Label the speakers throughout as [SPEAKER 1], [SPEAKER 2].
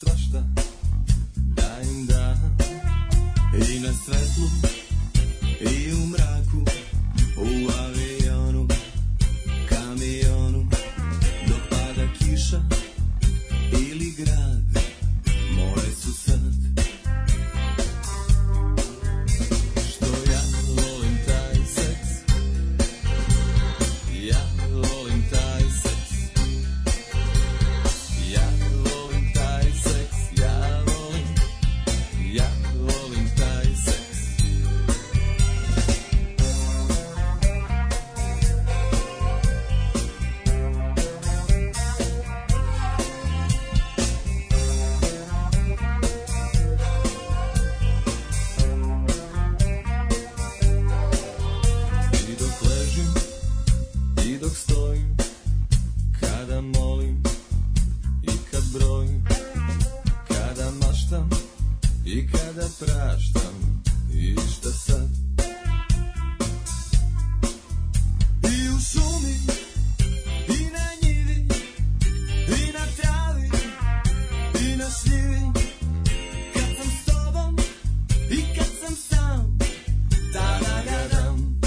[SPEAKER 1] ništa da im dam I na svetlu i u mraku U avionu, kamionu Dok pada kiša ili grad Moje su sad Što ja volim taj seks Ja volim taj seks ja volim taj seks, ja volim, ja volim taj seks. I dok ležim, i dok stojim, kada molim, i kad brojim, kada maštam i kada praštam i šta sad? I u šumi, i na njivi, i na travi, i na šljivi, kad sam s tobom i kad sam sam, ta-da-da-dam.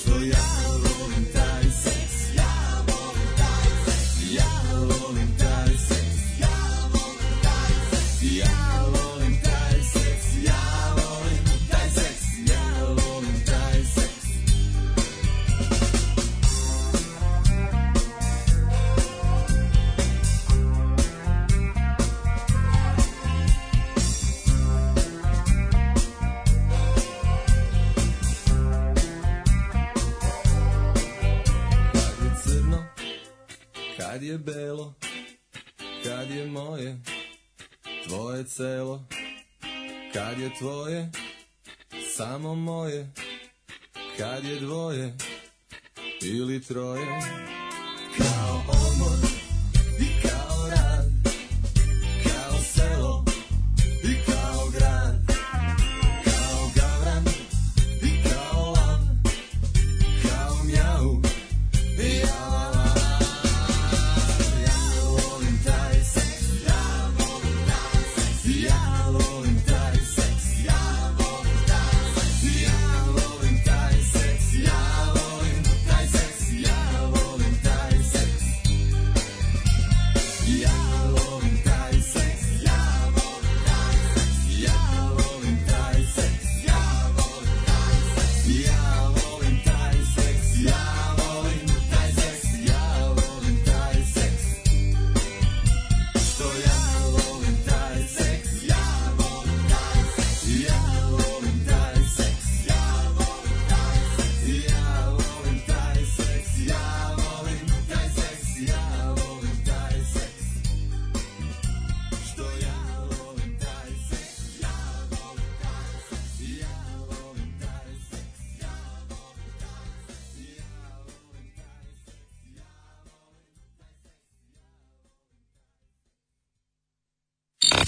[SPEAKER 1] Što ja volim taj seks, ja volim taj seks, ja volim taj seks, ja volim taj seks, ja volim taj seks, ja volim taj seks, ja volim taj seks. Kad je crno, kad je belo, kad je moje, tvoje celo, kad je tvoje, samo moje, kad je dvoje ili troje, kao omor i kao rad, kao selo i kao grad, kao gavran i kao lav, kao mjau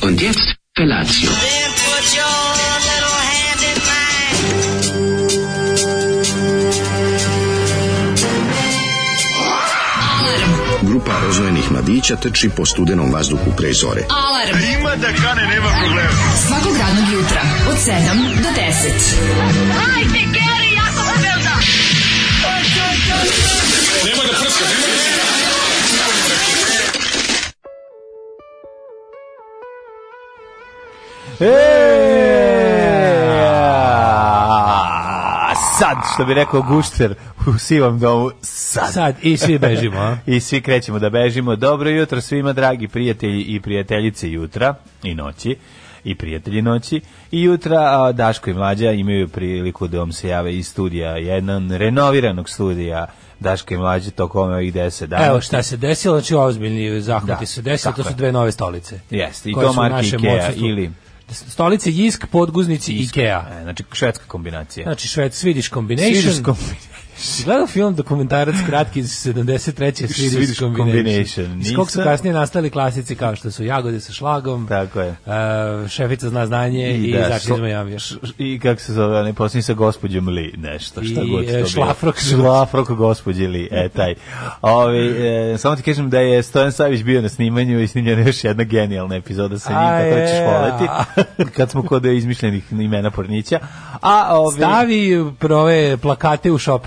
[SPEAKER 2] Und jetzt Felatio.
[SPEAKER 3] Then put your little hand in mine.
[SPEAKER 4] Grupa rozvojenih mladića teči po studenom vazduhu pre zore.
[SPEAKER 5] Alarm. Ima da kane, nema problema. Svakog radnog jutra, od 7 do 10.
[SPEAKER 3] Hajde, Geri, jako se velda.
[SPEAKER 6] A, sad, što bi rekao Gušter u sivom domu, sad.
[SPEAKER 7] Sad i svi bežimo, a?
[SPEAKER 6] I svi krećemo da bežimo. Dobro jutro svima, dragi prijatelji i prijateljice jutra i noći i prijatelji noći. I jutra a, Daško i Mlađa imaju priliku da vam se jave iz studija, jedan renoviranog studija Daško i Mlađe tokom ovih 10 dana.
[SPEAKER 7] Evo šta se desilo, znači ozbiljni zahvati
[SPEAKER 6] Da,
[SPEAKER 7] se desili, to
[SPEAKER 6] tako
[SPEAKER 7] su
[SPEAKER 6] je.
[SPEAKER 7] dve nove stolice.
[SPEAKER 6] Jeste, i
[SPEAKER 7] Koje
[SPEAKER 6] to
[SPEAKER 7] su u
[SPEAKER 6] marke
[SPEAKER 7] našem
[SPEAKER 6] Ikea
[SPEAKER 7] odsustvu.
[SPEAKER 6] ili...
[SPEAKER 7] Stolice Jisk, podguznici Ikea.
[SPEAKER 6] E, znači, švedska kombinacija.
[SPEAKER 7] Znači, šved, Swedish Combination.
[SPEAKER 6] Swedish combination.
[SPEAKER 7] Si Gledao film dokumentarac kratki iz 73.
[SPEAKER 6] Sweetest
[SPEAKER 7] Swedish Combination.
[SPEAKER 6] Combination.
[SPEAKER 7] Iz kog su
[SPEAKER 6] Nisam.
[SPEAKER 7] kasnije nastali klasici kao što su Jagode sa šlagom,
[SPEAKER 6] Tako je.
[SPEAKER 7] e, Šefica zna znanje i, i
[SPEAKER 6] da,
[SPEAKER 7] Zakon iz
[SPEAKER 6] šla-
[SPEAKER 7] Majamija.
[SPEAKER 6] š- I kako se zove, ne posljednji sa gospođom Li, nešto, šta
[SPEAKER 7] I,
[SPEAKER 6] god
[SPEAKER 7] e,
[SPEAKER 6] to bilo.
[SPEAKER 7] šlafrok.
[SPEAKER 6] Šlafrok gospođe Li, e, taj. Ovi, e, samo ti kažem da je Stojan Savić bio na snimanju i snimljena je još jedna genijalna epizoda sa njim,
[SPEAKER 7] A
[SPEAKER 6] kako ćeš
[SPEAKER 7] je,
[SPEAKER 6] voleti, kad smo kod izmišljenih imena Pornića. A, ovi, Mm,
[SPEAKER 7] Stavi prove plakate u šop.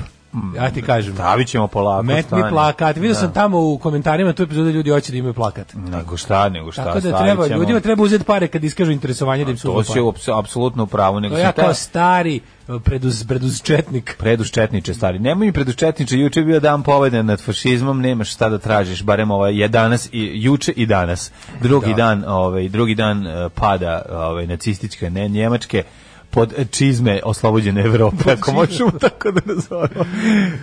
[SPEAKER 7] Ja ti kažem.
[SPEAKER 6] Stavit ćemo polako.
[SPEAKER 7] Metni
[SPEAKER 6] stani.
[SPEAKER 7] plakat. Vidio sam tamo u komentarima tu epizodu ljudi hoće da imaju plakat.
[SPEAKER 6] Nego šta, nego šta,
[SPEAKER 7] Tako da
[SPEAKER 6] stavit
[SPEAKER 7] treba,
[SPEAKER 6] ćemo.
[SPEAKER 7] ljudima treba uzeti pare kad iskažu interesovanje da im se
[SPEAKER 6] To
[SPEAKER 7] uzmu
[SPEAKER 6] si
[SPEAKER 7] pare.
[SPEAKER 6] ups- apsolutno u pravu, nego
[SPEAKER 7] To
[SPEAKER 6] si
[SPEAKER 7] ja
[SPEAKER 6] teo-
[SPEAKER 7] kao stari e, preduz, preduzčetnik.
[SPEAKER 6] Preduščetniče, stari. Nemoj mi preduščetniče, juče je bio dan pobede nad fašizmom, nemaš šta da tražiš, barem ovaj je danas i juče i danas. Drugi dan, ovaj drugi dan eh, pada ovaj nacističke ne njemačke pod čizme oslobođene Evrope, ako možemo tako da nazovemo.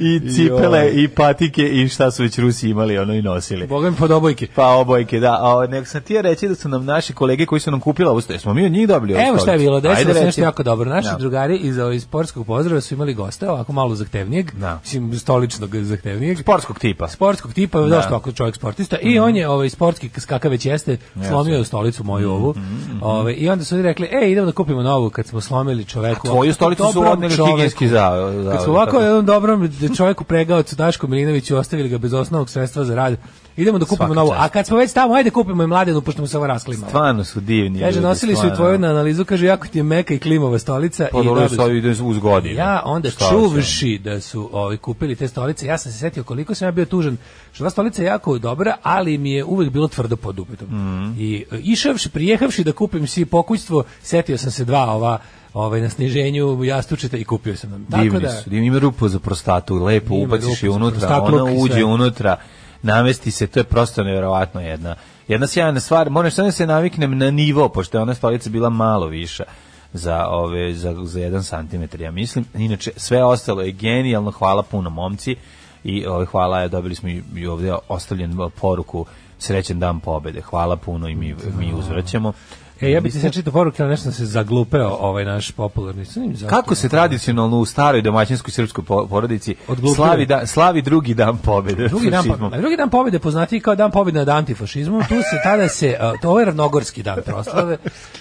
[SPEAKER 6] I cipele, i patike, i šta su već Rusi imali, ono i nosili.
[SPEAKER 7] Boga mi pod obojke.
[SPEAKER 6] Pa obojke, da. A, nego sam ti ja reći da su nam naši kolege koji su nam kupila usta, jesmo mi od njih dobili
[SPEAKER 7] Evo šta je bilo, desilo se
[SPEAKER 6] je
[SPEAKER 7] nešto jako dobro. Naši
[SPEAKER 6] Da.
[SPEAKER 7] drugari iz, eh, iz sportskog pozdrava su imali goste, ovako malo zahtevnijeg,
[SPEAKER 6] Da. Pa
[SPEAKER 7] mislim stoličnog zahtevnijeg.
[SPEAKER 6] Sportskog tipa.
[SPEAKER 7] sportskog tipa, da. došto ako čovjek sportista i on
[SPEAKER 6] Mhm.
[SPEAKER 7] je ovaj sportski skakav već jeste slomio je stolicu moju ovu.
[SPEAKER 6] Mhm,
[SPEAKER 7] ovaj i onda su oni rekli: "Ej, idemo da kupimo novu kad smo slomili čoveku."
[SPEAKER 6] A tvoju
[SPEAKER 7] ovako
[SPEAKER 6] stolicu su
[SPEAKER 7] dobrom
[SPEAKER 6] odneli
[SPEAKER 7] čoveku."
[SPEAKER 6] higijenski za- za-
[SPEAKER 7] Kad smo ovako
[SPEAKER 6] tako.
[SPEAKER 7] jednom dobrom čovjeku pregaocu Dašku Milinoviću ostavili ga bez osnovnog sredstva za rad. Idemo da kupimo
[SPEAKER 6] Svaka
[SPEAKER 7] novu.
[SPEAKER 6] čast.
[SPEAKER 7] A kad smo već tamo, ajde kupimo i mladenu pošto mu se ovo rasklima.
[SPEAKER 6] Stvarno su divni.
[SPEAKER 7] Kaže,
[SPEAKER 6] ljudi,
[SPEAKER 7] nosili su i
[SPEAKER 6] stvarno. Pa
[SPEAKER 7] tvoju na analizu, kaže, jako ti je meka i klimova stolica. i
[SPEAKER 6] Podolio
[SPEAKER 7] dobri
[SPEAKER 6] su ovi ide uz godinu.
[SPEAKER 7] ja onda
[SPEAKER 6] Šta hoće?
[SPEAKER 7] čuvši da su ovi kupili te stolice, ja sam se setio koliko sam ja bio tužan. Što ta stolica je jako dobra, ali mi je uvek bilo tvrdo pod dupetom.
[SPEAKER 6] Mhm.
[SPEAKER 7] I e, išavši, prijehavši da kupim si pokućstvo, setio sam se dva ova ovaj na sniženju jastučeta i kupio sam nam. Tako
[SPEAKER 6] Divni
[SPEAKER 7] da
[SPEAKER 6] su, divni. Ima rupu za prostatu, lepo
[SPEAKER 7] Ima
[SPEAKER 6] ubaciš
[SPEAKER 7] rupu
[SPEAKER 6] je
[SPEAKER 7] za
[SPEAKER 6] unutra,
[SPEAKER 7] prostatluk
[SPEAKER 6] ona
[SPEAKER 7] i
[SPEAKER 6] uđe
[SPEAKER 7] sve.
[SPEAKER 6] unutra, namesti se, to je prosto nevjerovatno jedna. Jedna sjajna stvar, moram što da se naviknem na nivo, pošto je ona stolica bila malo viša za ove za za 1 cm ja mislim inače sve ostalo je genijalno hvala puno momci i ovaj hvala je dobili smo i, i ovdje ostavljen poruku srećan dan pobede hvala puno i mi mi uzvraćamo
[SPEAKER 7] E, ja bih ti sad čitao poruke, ali nešto sam se zaglupeo ovaj naš popularni. Sad im zaglupeo.
[SPEAKER 6] Kako se tradicionalno u staroj domaćinskoj srpskoj po- porodici
[SPEAKER 7] Odglupljuje.
[SPEAKER 6] slavi, da, slavi drugi dan pobjede
[SPEAKER 7] Drugi dan,
[SPEAKER 6] fašizmom?
[SPEAKER 7] pobjede, drugi dan pobjede poznati kao dan pobjede nad antifašizmom, tu se tada se, a, to je ovaj ravnogorski dan proslave,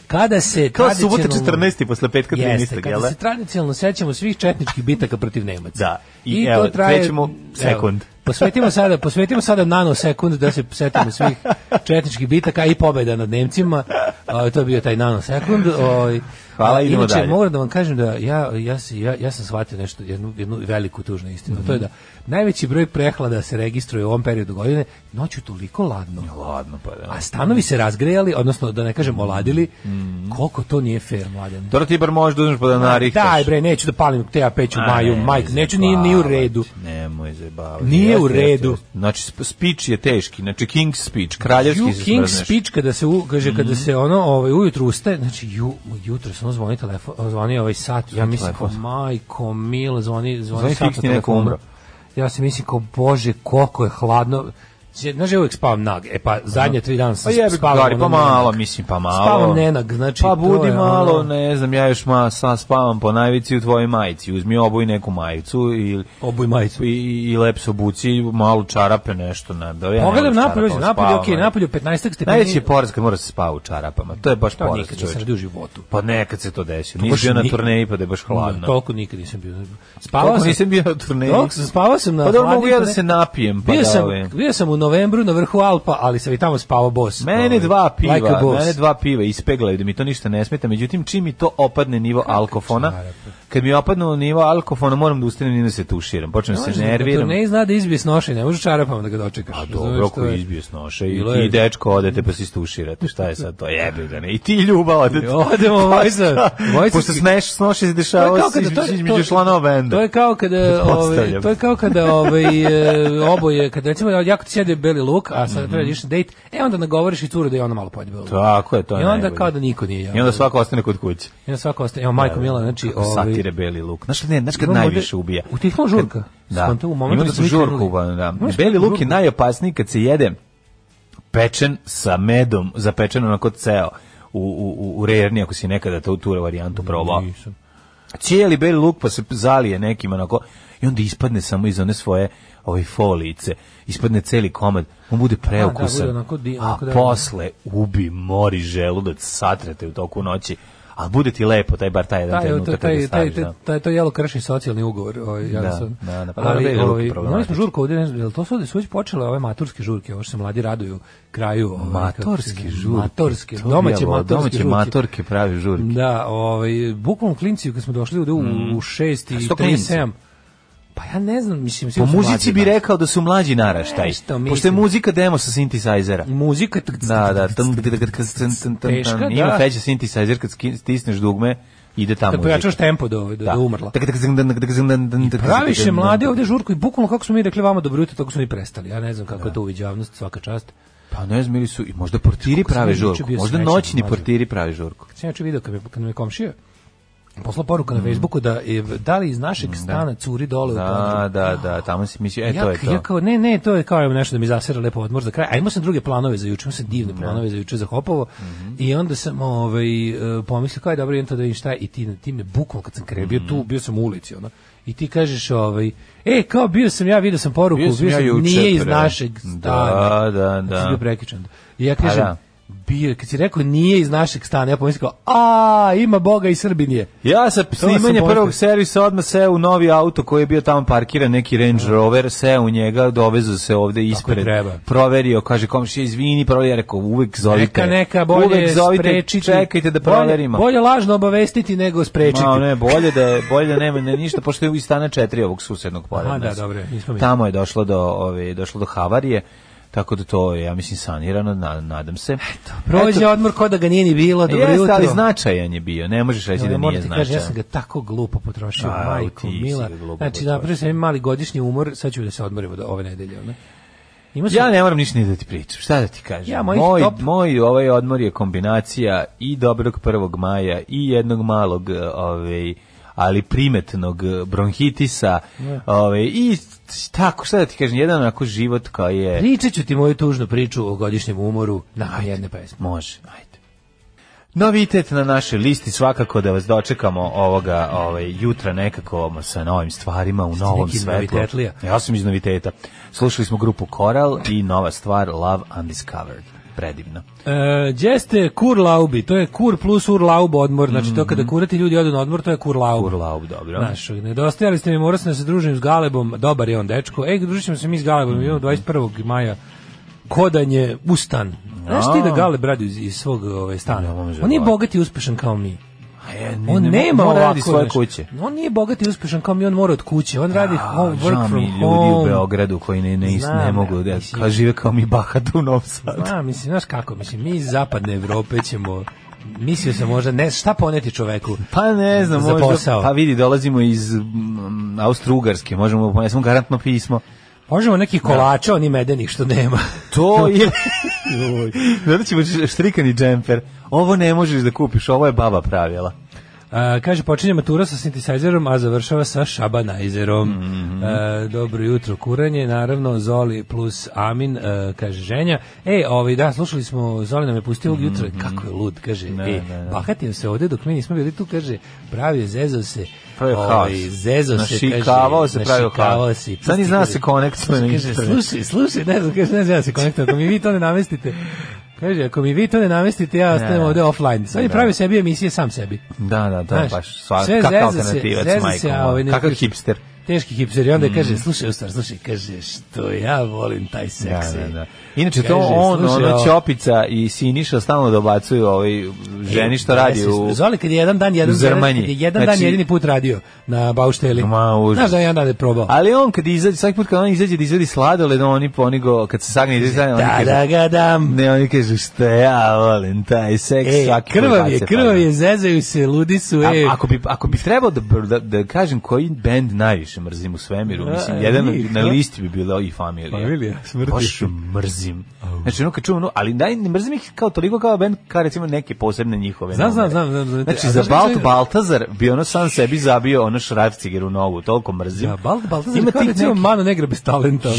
[SPEAKER 7] kada se
[SPEAKER 6] Kao subota pa
[SPEAKER 7] tradicionalno-
[SPEAKER 6] 14. posle petka 13.
[SPEAKER 7] Jeste, kada
[SPEAKER 6] jel da?
[SPEAKER 7] se tradicionalno sećamo svih četničkih bitaka protiv Nemaca.
[SPEAKER 6] Da, i evo, krećemo sekund.
[SPEAKER 7] evo, posvetimo sada, posvetimo sada nanosekund da se setimo svih četničkih bitaka i pobeda nad Nemcima. A, to je bio taj nanosekund. Oj,
[SPEAKER 6] Hvala,
[SPEAKER 7] a,
[SPEAKER 6] idemo
[SPEAKER 7] inače,
[SPEAKER 6] dalje.
[SPEAKER 7] moram da vam kažem da ja, ja, se- ja, ja sam shvatio nešto, jednu, jednu veliku tužnu istinu. To je da najveći broj prehlada se registruje u ovom periodu godine, noću toliko ladno.
[SPEAKER 6] Ladno, pa da.
[SPEAKER 7] A stanovi se razgrejali, odnosno da ne kažem oladili,
[SPEAKER 6] Mm.
[SPEAKER 7] koliko to nije fair, mladene.
[SPEAKER 6] Dobro ti bar možeš da uzmeš pa da narihtaš.
[SPEAKER 7] Daj bre, neću da palim te peć u
[SPEAKER 6] A,
[SPEAKER 7] maju,
[SPEAKER 6] nemoj
[SPEAKER 7] majk, neću ni, ni u
[SPEAKER 6] zajebavati,
[SPEAKER 7] redu.
[SPEAKER 6] Nemoj zajebavati.
[SPEAKER 7] Nije u
[SPEAKER 6] Jeste, jeste,
[SPEAKER 7] redu.
[SPEAKER 6] jeste. Znači, sp- speech je teški, znači King's speech, kraljevski Mhm.
[SPEAKER 7] You
[SPEAKER 6] se znači.
[SPEAKER 7] King
[SPEAKER 6] smrzneš.
[SPEAKER 7] speech kada se u, kaže kada se ono ovaj ujutru ustaje, znači ju jutro samo zvoni telefon, zvoni ovaj sat, ja mislim kao
[SPEAKER 6] telefon.
[SPEAKER 7] majko mil, zvoni zvoni
[SPEAKER 6] Zvoni
[SPEAKER 7] sat na
[SPEAKER 6] fiksni, neko
[SPEAKER 7] telefonu.
[SPEAKER 6] umro.
[SPEAKER 7] Ja se mislim kao bože koliko je hladno. Znači, Znaš, ja uvek spavam nag. E pa zadnje tri dana
[SPEAKER 6] Pa
[SPEAKER 7] sam
[SPEAKER 6] jebi ga,
[SPEAKER 7] spavam.
[SPEAKER 6] Gari,
[SPEAKER 7] ono
[SPEAKER 6] pa malo,
[SPEAKER 7] nenak.
[SPEAKER 6] mislim, pa malo.
[SPEAKER 7] Spavam nenak, znači,
[SPEAKER 6] Pa
[SPEAKER 7] to
[SPEAKER 6] budi
[SPEAKER 7] je
[SPEAKER 6] malo,
[SPEAKER 7] ono-
[SPEAKER 6] ne znam, ja još ma, sa, spavam po najvici u tvojoj majici. Uzmi obuj neku majicu ili...
[SPEAKER 7] Obuj majicu.
[SPEAKER 6] I, i, i lep se obuci, malo čarape, nešto. Na, da, ja nemam
[SPEAKER 7] Pogledam
[SPEAKER 6] čarapa,
[SPEAKER 7] napolje,
[SPEAKER 6] spavam,
[SPEAKER 7] napolje,
[SPEAKER 6] ne.
[SPEAKER 7] okej, napolje 15 stepeni.
[SPEAKER 6] Najveći je poraz kad mora se spava u čarapama. To je baš
[SPEAKER 7] To
[SPEAKER 6] poraz,
[SPEAKER 7] nikad nisam
[SPEAKER 6] čovječe.
[SPEAKER 7] radio u životu.
[SPEAKER 6] Pa nekad se to desi.
[SPEAKER 7] baš
[SPEAKER 6] Nisi bio na
[SPEAKER 7] ni-
[SPEAKER 6] turneji pa da je baš
[SPEAKER 7] Da,
[SPEAKER 6] hladno.
[SPEAKER 7] toliko nikad nisam bio. Spavao
[SPEAKER 6] Toliko
[SPEAKER 7] sam,
[SPEAKER 6] nisam bio na turneji.
[SPEAKER 7] Dok sam spavao sam na
[SPEAKER 6] Pa dobro, mogu
[SPEAKER 7] hladnjem
[SPEAKER 6] ja da
[SPEAKER 7] tone-
[SPEAKER 6] se napijem. Pa
[SPEAKER 7] bio,
[SPEAKER 6] da,
[SPEAKER 7] sam,
[SPEAKER 6] ovaj.
[SPEAKER 7] bio sam u novembru na vrhu Alpa, ali sam i tamo spavao bos.
[SPEAKER 6] Mene
[SPEAKER 7] Ovaj,
[SPEAKER 6] dva piva,
[SPEAKER 7] Like a boss.
[SPEAKER 6] mene dva piva ispeglaju da mi to ništa ne smeta. Međutim, čim mi to opadne nivo alkofona, kad mi opadne nivo alkofona, moram da ustanem i da se tuširam. Počnem
[SPEAKER 7] Ne
[SPEAKER 6] se
[SPEAKER 7] možeš da-
[SPEAKER 6] nerviram.
[SPEAKER 7] Ne zna da izbije s noše, ne može čarapama da ga dočekaš.
[SPEAKER 6] A
[SPEAKER 7] razumeš,
[SPEAKER 6] dobro,
[SPEAKER 7] to
[SPEAKER 6] ako
[SPEAKER 7] je-
[SPEAKER 6] izbije s noše i,
[SPEAKER 7] Bilo je-
[SPEAKER 6] i dečko odete pa se istuširate, šta je sad to, jebi ga ne. I ti ljubav odete.
[SPEAKER 7] Odemo,
[SPEAKER 6] Pa
[SPEAKER 7] Vojsa,
[SPEAKER 6] šta?
[SPEAKER 7] Vojsa-
[SPEAKER 6] Pošto sneš, s noše se
[SPEAKER 7] To je
[SPEAKER 6] dešava
[SPEAKER 7] kao
[SPEAKER 6] se
[SPEAKER 7] kada- to je- to
[SPEAKER 6] između
[SPEAKER 7] je-
[SPEAKER 6] članova benda.
[SPEAKER 7] To je kao kada, ovaj,
[SPEAKER 6] Pretpostavljam.
[SPEAKER 7] to je kao kada ovaj, e, oboje, kada recimo jako ti sjede beli luk, a sad treba da ideš na dejt, e onda nagovoriš i curu da je ona malo pojede beli luk.
[SPEAKER 6] Tako je, Mhm. to je
[SPEAKER 7] I onda
[SPEAKER 6] najbolje.
[SPEAKER 7] kao da niko nije jeo.
[SPEAKER 6] I onda svako ostane kod kuće.
[SPEAKER 7] I onda svako ostaje, evo Majko Mila, znači...
[SPEAKER 6] Kako satire beli luk. Znaš kad, ne, znaš kad
[SPEAKER 7] Imamo
[SPEAKER 6] najviše
[SPEAKER 7] ovde-
[SPEAKER 6] ubija?
[SPEAKER 7] utihla žurka.
[SPEAKER 6] Kad, da,
[SPEAKER 7] Skonto, u momentu
[SPEAKER 6] ima da
[SPEAKER 7] kad
[SPEAKER 6] su
[SPEAKER 7] su
[SPEAKER 6] žurku
[SPEAKER 7] krenuli.
[SPEAKER 6] uba- da.
[SPEAKER 7] Znaš,
[SPEAKER 6] Beli luk je
[SPEAKER 7] žurku.
[SPEAKER 6] najopasniji kad se jede pečen sa medom, zapečen onako ceo u, u, u, u rerni, ako si nekada to tu varijantu probao.
[SPEAKER 7] Nisam.
[SPEAKER 6] cijeli beli luk pa se zalije nekim onako i onda ispadne samo iz one svoje ove folice, ispadne celi komad, on bude preukusan,
[SPEAKER 7] A, da, bude onako di-
[SPEAKER 6] a
[SPEAKER 7] onako da-
[SPEAKER 6] posle ubi, mori želudac, satrate u toku noći, ali bude ti lepo taj bar taj jedan
[SPEAKER 7] taj,
[SPEAKER 6] trenutak
[SPEAKER 7] taj,
[SPEAKER 6] kad ga
[SPEAKER 7] taj, taj,
[SPEAKER 6] staviš.
[SPEAKER 7] taj,
[SPEAKER 6] da.
[SPEAKER 7] taj, to jelo krši socijalni ugovor. Ovaj, ja
[SPEAKER 6] Da,
[SPEAKER 7] sam,
[SPEAKER 6] da, da, pa dobro,
[SPEAKER 7] ali,
[SPEAKER 6] bili
[SPEAKER 7] ovaj,
[SPEAKER 6] luke
[SPEAKER 7] imali smo žurku ovdje, ne znam, jel to su ovdje su već počele ove maturske žurke, ovo što se mladi raduju kraju. Ovaj, kako se
[SPEAKER 6] Matorske
[SPEAKER 7] zove,
[SPEAKER 6] žurke.
[SPEAKER 7] Matorske,
[SPEAKER 6] To bi
[SPEAKER 7] domaće
[SPEAKER 6] ja volao,
[SPEAKER 7] matorske
[SPEAKER 6] domaće
[SPEAKER 7] žurke.
[SPEAKER 6] matorke pravi žurke.
[SPEAKER 7] Da, ovaj, bukvalno klinci, kad smo došli ovdje u, u 6
[SPEAKER 6] Mm. A
[SPEAKER 7] i
[SPEAKER 6] što klinci?
[SPEAKER 7] 37, pa ja ne znam, mislim, svi
[SPEAKER 6] Po
[SPEAKER 7] su
[SPEAKER 6] muzici
[SPEAKER 7] mlađi,
[SPEAKER 6] bi
[SPEAKER 7] znaš.
[SPEAKER 6] rekao da su mlađi naraštaj.
[SPEAKER 7] Nešto mislim.
[SPEAKER 6] Pošto je muzika demo sa synthesizera.
[SPEAKER 7] Muzika,
[SPEAKER 6] Da, da. tum, tum, tum, tum, tum, tum.
[SPEAKER 7] Teška, da.
[SPEAKER 6] Ima feće synthesizer kad ski- stisneš dugme, ide ta
[SPEAKER 7] da
[SPEAKER 6] muzika.
[SPEAKER 7] pojačaš tempo do, do, da. do umrla.
[SPEAKER 6] Tak, tak, zing, dang, tak, zing, dang, dang, tak,
[SPEAKER 7] Praviše
[SPEAKER 6] zing, dang,
[SPEAKER 7] mlade
[SPEAKER 6] dang.
[SPEAKER 7] ovdje žurku i bukvalno kako smo mi rekli vama dobro jutro, tako su mi prestali. Ja ne znam kako je to uviđavnost, svaka čast.
[SPEAKER 6] Pa ne znam, ili su, i možda portiri
[SPEAKER 7] Kako sam
[SPEAKER 6] prave
[SPEAKER 7] juče
[SPEAKER 6] žurku.
[SPEAKER 7] bio
[SPEAKER 6] Možda
[SPEAKER 7] srećan,
[SPEAKER 6] noćni
[SPEAKER 7] mlađe.
[SPEAKER 6] portiri prave žurku.
[SPEAKER 7] Sam ja video kad me, kad me komšija poslao poruku na Facebooku da je, da li iz našeg stana curi dole u
[SPEAKER 6] Da,
[SPEAKER 7] podrum.
[SPEAKER 6] da, da, tamo si mislio, e,
[SPEAKER 7] ja,
[SPEAKER 6] to je
[SPEAKER 7] ja
[SPEAKER 6] to.
[SPEAKER 7] kao, ne, ne, to je kao imam nešto da mi zasera lepo odmor za kraj. A imao sam druge planove za juče, imao sam divne planove za juče za Hopovo.
[SPEAKER 6] Mhm.
[SPEAKER 7] I onda sam ovaj, e, pomislio, kao je dobro, idem to da vidim šta je. I ti, ti me bukvalno kad sam krenuo,
[SPEAKER 6] Mhm.
[SPEAKER 7] bio tu, bio sam u ulici, ono. I ti kažeš, ovaj, e, kao bio sam ja, vidio sam poruku,
[SPEAKER 6] Bio sam ja juče,
[SPEAKER 7] nije iz
[SPEAKER 6] pre.
[SPEAKER 7] našeg stana.
[SPEAKER 6] Da, da,
[SPEAKER 7] Kad si
[SPEAKER 6] da.
[SPEAKER 7] bio prekičan. I ja
[SPEAKER 6] Pa
[SPEAKER 7] kažem,
[SPEAKER 6] da.
[SPEAKER 7] bio, kad si rekao nije iz našeg stana, ja pomislio, kao, a, ima Boga i Srbin je.
[SPEAKER 6] Ja sa snimanje
[SPEAKER 7] sam
[SPEAKER 6] prvog
[SPEAKER 7] pomislio.
[SPEAKER 6] servisa odmah seo u novi auto koji je bio tamo parkiran, neki Range Rover, seo u njega, dovezu se ovde ispred,
[SPEAKER 7] treba.
[SPEAKER 6] proverio, kaže komšija izvini, proveri, ja rekao uvek zovite.
[SPEAKER 7] Neka, neka, bolje
[SPEAKER 6] uvek zovite,
[SPEAKER 7] sprečiti.
[SPEAKER 6] čekajte da
[SPEAKER 7] Bolje-
[SPEAKER 6] proverimo.
[SPEAKER 7] Bolje, lažno obavestiti nego sprečiti.
[SPEAKER 6] Ma, ne, bolje da je, bolje da nema ne, ništa, pošto je iz stana četiri ovog susednog pored
[SPEAKER 7] Aha, da,
[SPEAKER 6] nas.
[SPEAKER 7] dobro je, nismo mi.
[SPEAKER 6] Tamo je došlo do, ove, došlo do havarije, tako da to je, ja mislim, sanirano, na- nadam se. Eto,
[SPEAKER 7] Prođe odmor ko da ga nije ni bilo, dobro
[SPEAKER 6] Jeste,
[SPEAKER 7] jutro.
[SPEAKER 6] ali značajan je bio, ne možeš reći
[SPEAKER 7] Ali
[SPEAKER 6] da
[SPEAKER 7] moram
[SPEAKER 6] nije
[SPEAKER 7] ti kažem,
[SPEAKER 6] značajan.
[SPEAKER 7] ja sam ga tako glupo potrošio,
[SPEAKER 6] Au,
[SPEAKER 7] majko
[SPEAKER 6] ti si
[SPEAKER 7] mila.
[SPEAKER 6] ga glupo
[SPEAKER 7] Znači,
[SPEAKER 6] potrošio.
[SPEAKER 7] napravio sam jedan mali godišnji umor, sad ću da se odmorim od ove nedelje. Ono. Imao sam,
[SPEAKER 6] Ja ne moram ništa ni da ti pričam. Šta da ti kažem?
[SPEAKER 7] Ja, mojih
[SPEAKER 6] moj,
[SPEAKER 7] top-
[SPEAKER 6] moj ovaj odmor je kombinacija i dobrog 1. maja i jednog malog eh, ovaj ali primetnog eh, bronhitisa, ovaj i s- tako šta da ti kažem, jedan onako život koji je
[SPEAKER 7] pričat ću ti moju tužnu priču o godišnjem umoru na jedne pesme.
[SPEAKER 6] može, ajde. Novitet na našoj listi svakako da vas dočekamo ovoga ovaj jutra nekako ma, sa novim stvarima u novom
[SPEAKER 7] neki
[SPEAKER 6] svetlu.
[SPEAKER 7] novitetlija?
[SPEAKER 6] Ja sam iz noviteta. Slušali smo grupu Koral i nova stvar Love Undiscovered. Predivno.
[SPEAKER 7] E, Jeste kur laubi, to je kur plus ur laubo odmor, znači
[SPEAKER 6] Mhm.
[SPEAKER 7] to kada kurati ljudi odu na odmor, to je kur laubo.
[SPEAKER 6] Urlaub, dobro.
[SPEAKER 7] Znaš, nedostajali ste mi, morao sam da se družim s Galebom, dobar je on dečko. Ej, družit ćemo se mi s Galebom,
[SPEAKER 6] Mm.
[SPEAKER 7] imamo 21. maja kodanje u stan. Znaš ti da Galeb radi iz, iz svog ovaj, stana?
[SPEAKER 6] Ne može
[SPEAKER 7] on nije
[SPEAKER 6] ovako.
[SPEAKER 7] bogat i uspešan kao mi.
[SPEAKER 6] A ja, e, ne,
[SPEAKER 7] On
[SPEAKER 6] ne,
[SPEAKER 7] nema
[SPEAKER 6] mora radi
[SPEAKER 7] ovako,
[SPEAKER 6] svoje
[SPEAKER 7] znaš.
[SPEAKER 6] kuće.
[SPEAKER 7] On nije bogat i uspešan kao mi, on mora od kuće. On radi home,
[SPEAKER 6] Žao
[SPEAKER 7] work
[SPEAKER 6] mi
[SPEAKER 7] from
[SPEAKER 6] ljudi u
[SPEAKER 7] home.
[SPEAKER 6] Beogradu koji ne, ne,
[SPEAKER 7] Znam,
[SPEAKER 6] ne mogu,
[SPEAKER 7] ja,
[SPEAKER 6] da,
[SPEAKER 7] mislim.
[SPEAKER 6] kao žive kao mi bahatu u Novom Sadu.
[SPEAKER 7] Znam, mislim, znaš kako, mislim, mi iz zapadne Evrope ćemo, mislio sam možda, ne, šta poneti čoveku?
[SPEAKER 6] Pa ne znam,
[SPEAKER 7] Za
[SPEAKER 6] možda,
[SPEAKER 7] posao.
[SPEAKER 6] pa vidi, dolazimo iz mm, Austro-Ugarske, možemo, ponesemo garantno pismo.
[SPEAKER 7] Možemo neki kolača, oni medenih što nema.
[SPEAKER 6] To je... Zato ćemo š- štrikani džemper. Ovo ne možeš da kupiš, ovo je baba pravila.
[SPEAKER 7] A, kaže, počinje matura sa sintesajzerom, a završava sa šabanajzerom.
[SPEAKER 6] Mhm.
[SPEAKER 7] E, dobro jutro, kuranje, naravno, Zoli plus Amin, e, kaže ženja. E, ovaj, da, slušali smo, Zoli nam je pustio ovog jutra,
[SPEAKER 6] Mhm.
[SPEAKER 7] kako je lud, kaže, e, bahatio se ovde dok mi nismo bili tu, kaže, pravio, zezao se, ovaj,
[SPEAKER 6] Pravio haos.
[SPEAKER 7] zezo se, kaže,
[SPEAKER 6] Našikavao se, pravio
[SPEAKER 7] našikavao
[SPEAKER 6] haos.
[SPEAKER 7] se i pusti,
[SPEAKER 6] Sad ni zna
[SPEAKER 7] kaže,
[SPEAKER 6] se konektuje na
[SPEAKER 7] kaže,
[SPEAKER 6] internet.
[SPEAKER 7] slušaj, slušaj, ne znam, kaže, ne znam ja se konektujem, ako mi vi to ne namestite, kaže, ako mi vi to ne namestite, ja ostajem
[SPEAKER 6] Ne.
[SPEAKER 7] ovde offline. Sad je
[SPEAKER 6] Da.
[SPEAKER 7] pravio sebi emisije sam sebi.
[SPEAKER 6] Da, da, to je
[SPEAKER 7] Znaš,
[SPEAKER 6] baš sva,
[SPEAKER 7] sve
[SPEAKER 6] kakav
[SPEAKER 7] zeza se,
[SPEAKER 6] alternativac,
[SPEAKER 7] zeza
[SPEAKER 6] majko.
[SPEAKER 7] se, a
[SPEAKER 6] moja.
[SPEAKER 7] ovaj ne
[SPEAKER 6] Kakav
[SPEAKER 7] uključi.
[SPEAKER 6] hipster.
[SPEAKER 7] Teški hipster i onda je kaže, slušaj, u stvar, slušaj, kaže, što ja volim taj seks.
[SPEAKER 6] Mm. Da, da, da.
[SPEAKER 7] e.
[SPEAKER 6] Inače to
[SPEAKER 7] Kaže,
[SPEAKER 6] on,
[SPEAKER 7] slušaj,
[SPEAKER 6] ono
[SPEAKER 7] ovo-
[SPEAKER 6] Ćopica i Siniša stalno dobacuju ovaj ženi što radi
[SPEAKER 7] E, Jesi,
[SPEAKER 6] u
[SPEAKER 7] Zoli kad je jedan dan jedan
[SPEAKER 6] u Zrmanji.
[SPEAKER 7] kad je jedan
[SPEAKER 6] Znači-
[SPEAKER 7] dan jedini put radio na Baušteli.
[SPEAKER 6] Ma, užas.
[SPEAKER 7] Znaš da je jedan dan je probao.
[SPEAKER 6] Ali on kad izađe, svaki put kad on izađe da izvedi sladoled, oni po oni go, kad se sagne izađe, oni
[SPEAKER 7] da,
[SPEAKER 6] kažu,
[SPEAKER 7] da ga dam.
[SPEAKER 6] ne, oni kažu, šta ja volim, taj seks,
[SPEAKER 7] E,
[SPEAKER 6] svaki put
[SPEAKER 7] krvav je,
[SPEAKER 6] bace, pa,
[SPEAKER 7] krvav je, zezaju se, ludi su,
[SPEAKER 6] da.
[SPEAKER 7] e.
[SPEAKER 6] A, ako bi ako bi trebao da, da da kažem koji bend najviše najviše mrzim u svemiru.
[SPEAKER 7] Da,
[SPEAKER 6] Mislim,
[SPEAKER 7] e,
[SPEAKER 6] jedan
[SPEAKER 7] njih,
[SPEAKER 6] na
[SPEAKER 7] da.
[SPEAKER 6] listi bi bila i familija.
[SPEAKER 7] Familija, Pa smrti.
[SPEAKER 6] Baš mrzim. Znači, ono kad čujem, ono, ali naj, ne mrzim ih kao toliko kao band, kao recimo neke posebne njihove.
[SPEAKER 7] Znam, znam,
[SPEAKER 6] numere.
[SPEAKER 7] znam, znam, znam.
[SPEAKER 6] Znači, za
[SPEAKER 7] A znaš kako
[SPEAKER 6] Balt
[SPEAKER 7] se-
[SPEAKER 6] Baltazar bi ono sam sebi zabio ono šrafciger u nogu, toliko mrzim.
[SPEAKER 7] Da, Balt Baltazar
[SPEAKER 6] Ima
[SPEAKER 7] je kao
[SPEAKER 6] tih
[SPEAKER 7] recimo
[SPEAKER 6] nekih-
[SPEAKER 7] Mano Negra bez talenta.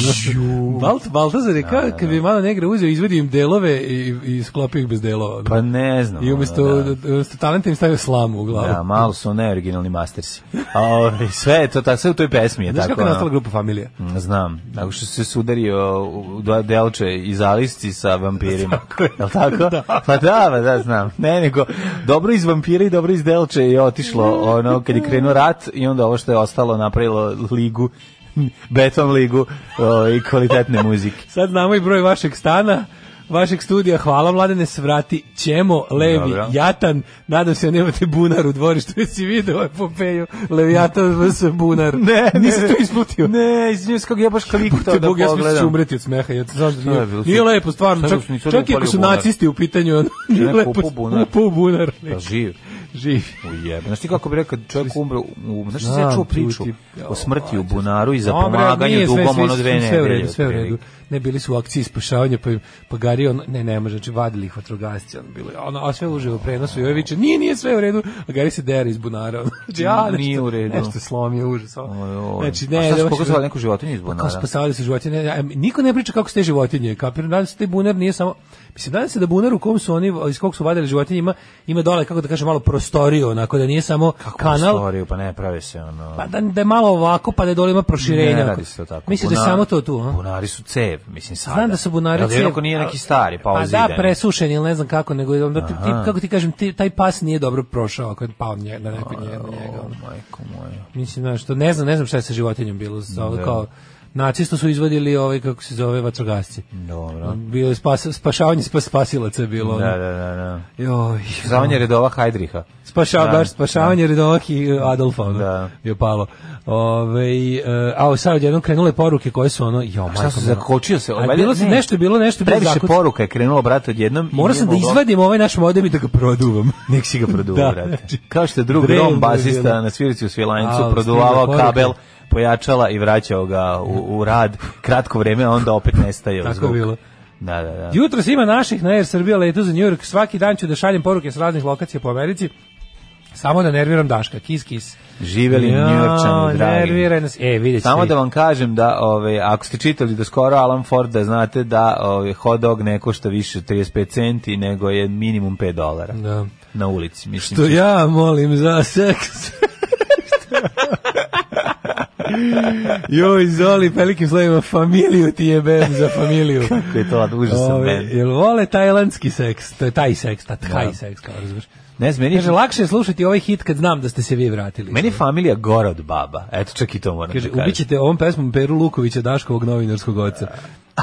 [SPEAKER 7] Ono. Balt Baltazar je kao
[SPEAKER 6] da,
[SPEAKER 7] kad bi Mano Negra uzeo, izvedio im delove i, i sklopio ih bez delova. ono.
[SPEAKER 6] Pa ne znam.
[SPEAKER 7] I
[SPEAKER 6] ono,
[SPEAKER 7] umesto,
[SPEAKER 6] da.
[SPEAKER 7] umesto talenta im stavio slamu u glavu.
[SPEAKER 6] Da, malo su neoriginalni mastersi. A, ovaj, sve je to, ta, sve u toj pesmi je
[SPEAKER 7] Znaš
[SPEAKER 6] tako.
[SPEAKER 7] kako je nastala
[SPEAKER 6] ono.
[SPEAKER 7] grupa familija?
[SPEAKER 6] Mm, Znam, tako što se sudario u dva delče iz Alisci sa vampirima. Jel tako? Pa da, pa da, znam. Ne, nego, dobro iz vampira i dobro iz delče je otišlo, ono, kad je krenuo rat i onda ovo što je ostalo napravilo ligu, beton ligu o, i kvalitetne muzike.
[SPEAKER 7] Sad znamo i broj vašeg stana, vašeg studija. Hvala mladene, svrati ćemo, levi,
[SPEAKER 6] Dobro.
[SPEAKER 7] jatan. Nadam se da nemate bunar u dvorištu, jer si video epopeju, levijatan vs. bunar.
[SPEAKER 6] Ne, ne,
[SPEAKER 7] Nisi to
[SPEAKER 6] ne.
[SPEAKER 7] isplutio.
[SPEAKER 6] Ne, izvinjam se kako ja baš kliku to
[SPEAKER 7] Te
[SPEAKER 6] da
[SPEAKER 7] Bog, ja sam mislio da ću
[SPEAKER 6] pogledam.
[SPEAKER 7] umreti od smeha. Ja sam zašto
[SPEAKER 6] je
[SPEAKER 7] nije,
[SPEAKER 6] bilo?
[SPEAKER 7] nije lepo, stvarno.
[SPEAKER 6] Šta
[SPEAKER 7] Čak,
[SPEAKER 6] su mi sad
[SPEAKER 7] čak i ako
[SPEAKER 6] upalio
[SPEAKER 7] su
[SPEAKER 6] bunar?
[SPEAKER 7] nacisti u pitanju, ono, nije
[SPEAKER 6] Ne,
[SPEAKER 7] lepo.
[SPEAKER 6] kupao bunar.
[SPEAKER 7] Kupao bunar.
[SPEAKER 6] Pa živ.
[SPEAKER 7] Živi.
[SPEAKER 6] Ujebe. Znaš ti kako bi rekao, čovjek umre, u- u, znaš ti se
[SPEAKER 7] Znam,
[SPEAKER 6] čuo priču
[SPEAKER 7] ljudi,
[SPEAKER 6] o smrti u bunaru i za
[SPEAKER 7] Dobro,
[SPEAKER 6] pomaganju
[SPEAKER 7] nije sve,
[SPEAKER 6] dugom
[SPEAKER 7] sve,
[SPEAKER 6] ono dve
[SPEAKER 7] sve, Sve u redu,
[SPEAKER 6] nedelje.
[SPEAKER 7] sve u redu.
[SPEAKER 6] otprilike.
[SPEAKER 7] Ne bili su u akciji spašavanja, pa im pa gari on, ne, ne može, znači vadili ih vatrogasci, on bilo, ono, a sve uživo u prenosu i ovi viče, nije, nije sve u redu, a gari se dera iz bunara, ono, znači, ja, nešto,
[SPEAKER 6] Nije u redu.
[SPEAKER 7] nešto slomio, užas, ono.
[SPEAKER 6] Ojoj.
[SPEAKER 7] znači, ne, Pa,
[SPEAKER 6] A
[SPEAKER 7] ne
[SPEAKER 6] šta su
[SPEAKER 7] može-
[SPEAKER 6] pokazali neku životinju iz
[SPEAKER 7] kao
[SPEAKER 6] bunara?
[SPEAKER 7] spasavali su životinje. Ne, a, Niko ne priča kako ste životinje. Kapiram, nadam se da taj bunar nije samo... Mislim, nadam se da bunar u kom su oni, iz kog su vadili životinje, ima, ima dole, kako da kažem, malo prostoriju, onako da nije samo kanal,
[SPEAKER 6] Storiju, pa ne prave se ono...
[SPEAKER 7] pa da, da je malo ovako, pa da je dole ima proširenja.
[SPEAKER 6] ne
[SPEAKER 7] ako-
[SPEAKER 6] radi se to tako.
[SPEAKER 7] Mislim da je
[SPEAKER 6] Bunar-
[SPEAKER 7] samo to tu, a?
[SPEAKER 6] Bunari su cev, mislim sada.
[SPEAKER 7] Znam da su bunari
[SPEAKER 6] Jel jednako
[SPEAKER 7] cev,
[SPEAKER 6] nije
[SPEAKER 7] ali-
[SPEAKER 6] neki stari, pa
[SPEAKER 7] Pa da,
[SPEAKER 6] ozidan.
[SPEAKER 7] presušen ili ne znam kako, nego je onda ti, ti- kako ti kažem, ti, taj pas nije dobro prošao ako je pao nje, na
[SPEAKER 6] Pa,
[SPEAKER 7] neko nje, na njega. ono.
[SPEAKER 6] Majko moja.
[SPEAKER 7] Mislim, znaš, to ne znam, ne znam šta je sa životinjom bilo. Za, ovo kao, nacisto su izvadili ovaj, kako se zove, vatrogasci.
[SPEAKER 6] Dobro.
[SPEAKER 7] Bilo je spas, spašavanje spas, spasilaca je bilo. ono.
[SPEAKER 6] Da, da, da, da.
[SPEAKER 7] Joj.
[SPEAKER 6] Zavanje redova Hajdriha.
[SPEAKER 7] Spašava,
[SPEAKER 6] Da.
[SPEAKER 7] baš spašavanje Redovak i e, Adolfa, ono,
[SPEAKER 6] Da.
[SPEAKER 7] je palo. Ove, a sad odjednom krenule poruke koje su ono, jo, majko.
[SPEAKER 6] Šta su, zakočio se?
[SPEAKER 7] A bilo se nešto, je bilo nešto, je bilo
[SPEAKER 6] Previše
[SPEAKER 7] zakuc-
[SPEAKER 6] poruka je krenulo, brate, odjednom. i
[SPEAKER 7] Morao
[SPEAKER 6] nije
[SPEAKER 7] sam da
[SPEAKER 6] moglo-
[SPEAKER 7] izvadim ovaj naš modem i da ga produvam.
[SPEAKER 6] Nek si ga produvao,
[SPEAKER 7] Da,
[SPEAKER 6] brate.
[SPEAKER 7] znači,
[SPEAKER 6] Kao što je drug
[SPEAKER 7] drevno
[SPEAKER 6] Rom
[SPEAKER 7] je
[SPEAKER 6] basista
[SPEAKER 7] bilo.
[SPEAKER 6] na svirici u
[SPEAKER 7] Au,
[SPEAKER 6] Svilajncu
[SPEAKER 7] stigla
[SPEAKER 6] produvavao
[SPEAKER 7] poruka.
[SPEAKER 6] kabel, pojačala i vraćao ga u, u rad kratko vreme, a onda opet nestaje
[SPEAKER 7] Tako je
[SPEAKER 6] zvuk.
[SPEAKER 7] bilo.
[SPEAKER 6] Da, da, da.
[SPEAKER 7] Jutro ima naših na Air Srbija letu za New York. Svaki dan ću da šaljem poruke s raznih lokacija po Americi. Samo da nerviram Daška. Kis, kis.
[SPEAKER 6] Živeli ja, Njujorčani, dragi.
[SPEAKER 7] nerviraj nas. E, vidjet ćete.
[SPEAKER 6] Samo da vam kažem da ove, ako ste čitali do skoro Alan Ford, da znate da ove, hot dog ne košta više od 35 centi, nego je minimum 5 dolara
[SPEAKER 7] Da.
[SPEAKER 6] na ulici. Mislim,
[SPEAKER 7] Što ja molim za seks. Joj, Zoli, velikim slovima, familiju ti jebem za familiju.
[SPEAKER 6] Kako je to užasan
[SPEAKER 7] Ove,
[SPEAKER 6] band.
[SPEAKER 7] Jel vole tajlandski seks? To je taj seks, ta taj
[SPEAKER 6] Da.
[SPEAKER 7] seks, kao razumiješ.
[SPEAKER 6] Ne znam, meni,
[SPEAKER 7] Kaže, lakše je slušati ovaj hit kad znam da ste se vi vratili.
[SPEAKER 6] meni je familija gora od baba. Eto, čak i to moram
[SPEAKER 7] Kaže,
[SPEAKER 6] da kažem.
[SPEAKER 7] ubićete ovom pesmom Peru Lukovića, Daškovog novinarskog oca.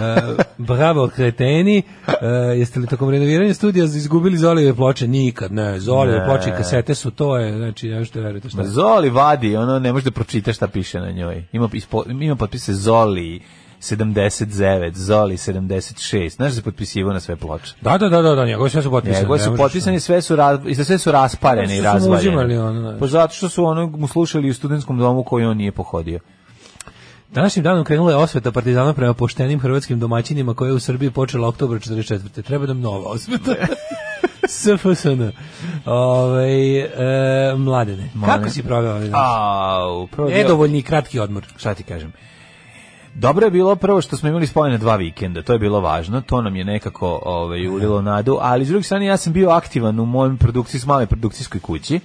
[SPEAKER 7] E, bravo, kreteni. E, jeste li tokom renoviranja studija izgubili Zolijeve ploče? Nikad, ne. Zolijeve
[SPEAKER 6] Ne.
[SPEAKER 7] ploče i kasete su, to je, znači, ne možete verujete šta
[SPEAKER 6] Ma
[SPEAKER 7] je.
[SPEAKER 6] Pa Zoli vadi, ono ne može da pročita šta piše na njoj. Ima, ispo, ima potpise Zoli 79, Zoli 76. Znaš da se potpisivo na sve ploče.
[SPEAKER 7] Da, da, da, da, da, njegove sve su potpisane.
[SPEAKER 6] Njegove
[SPEAKER 7] ne
[SPEAKER 6] su
[SPEAKER 7] možeš-
[SPEAKER 6] potpisani, sve su, raz, i sve su rasparene i
[SPEAKER 7] Zato što su mu
[SPEAKER 6] razvaljene.
[SPEAKER 7] uzimali ono, znaš.
[SPEAKER 6] Pa zato što su ono mu slušali u studentskom domu koji on nije pohodio.
[SPEAKER 7] Današnjim danom krenula je osveta partizana prema poštenim hrvatskim domaćinima koja je u Srbiji počela oktobra 44. Treba nam nova osveta. SFSN. Ove, e, mladene, kako si proveo ovaj dan?
[SPEAKER 6] Au,
[SPEAKER 7] E,
[SPEAKER 6] prvo bio-
[SPEAKER 7] Nedovoljni i kratki odmor.
[SPEAKER 6] šta ti kažem. Dobro je bilo prvo što smo imali spojene dva vikenda, to je bilo važno, to nam je nekako ovaj, ulilo nadu, ali s druge strane ja sam bio aktivan u mojoj produkciji, s male produkcijskoj kući,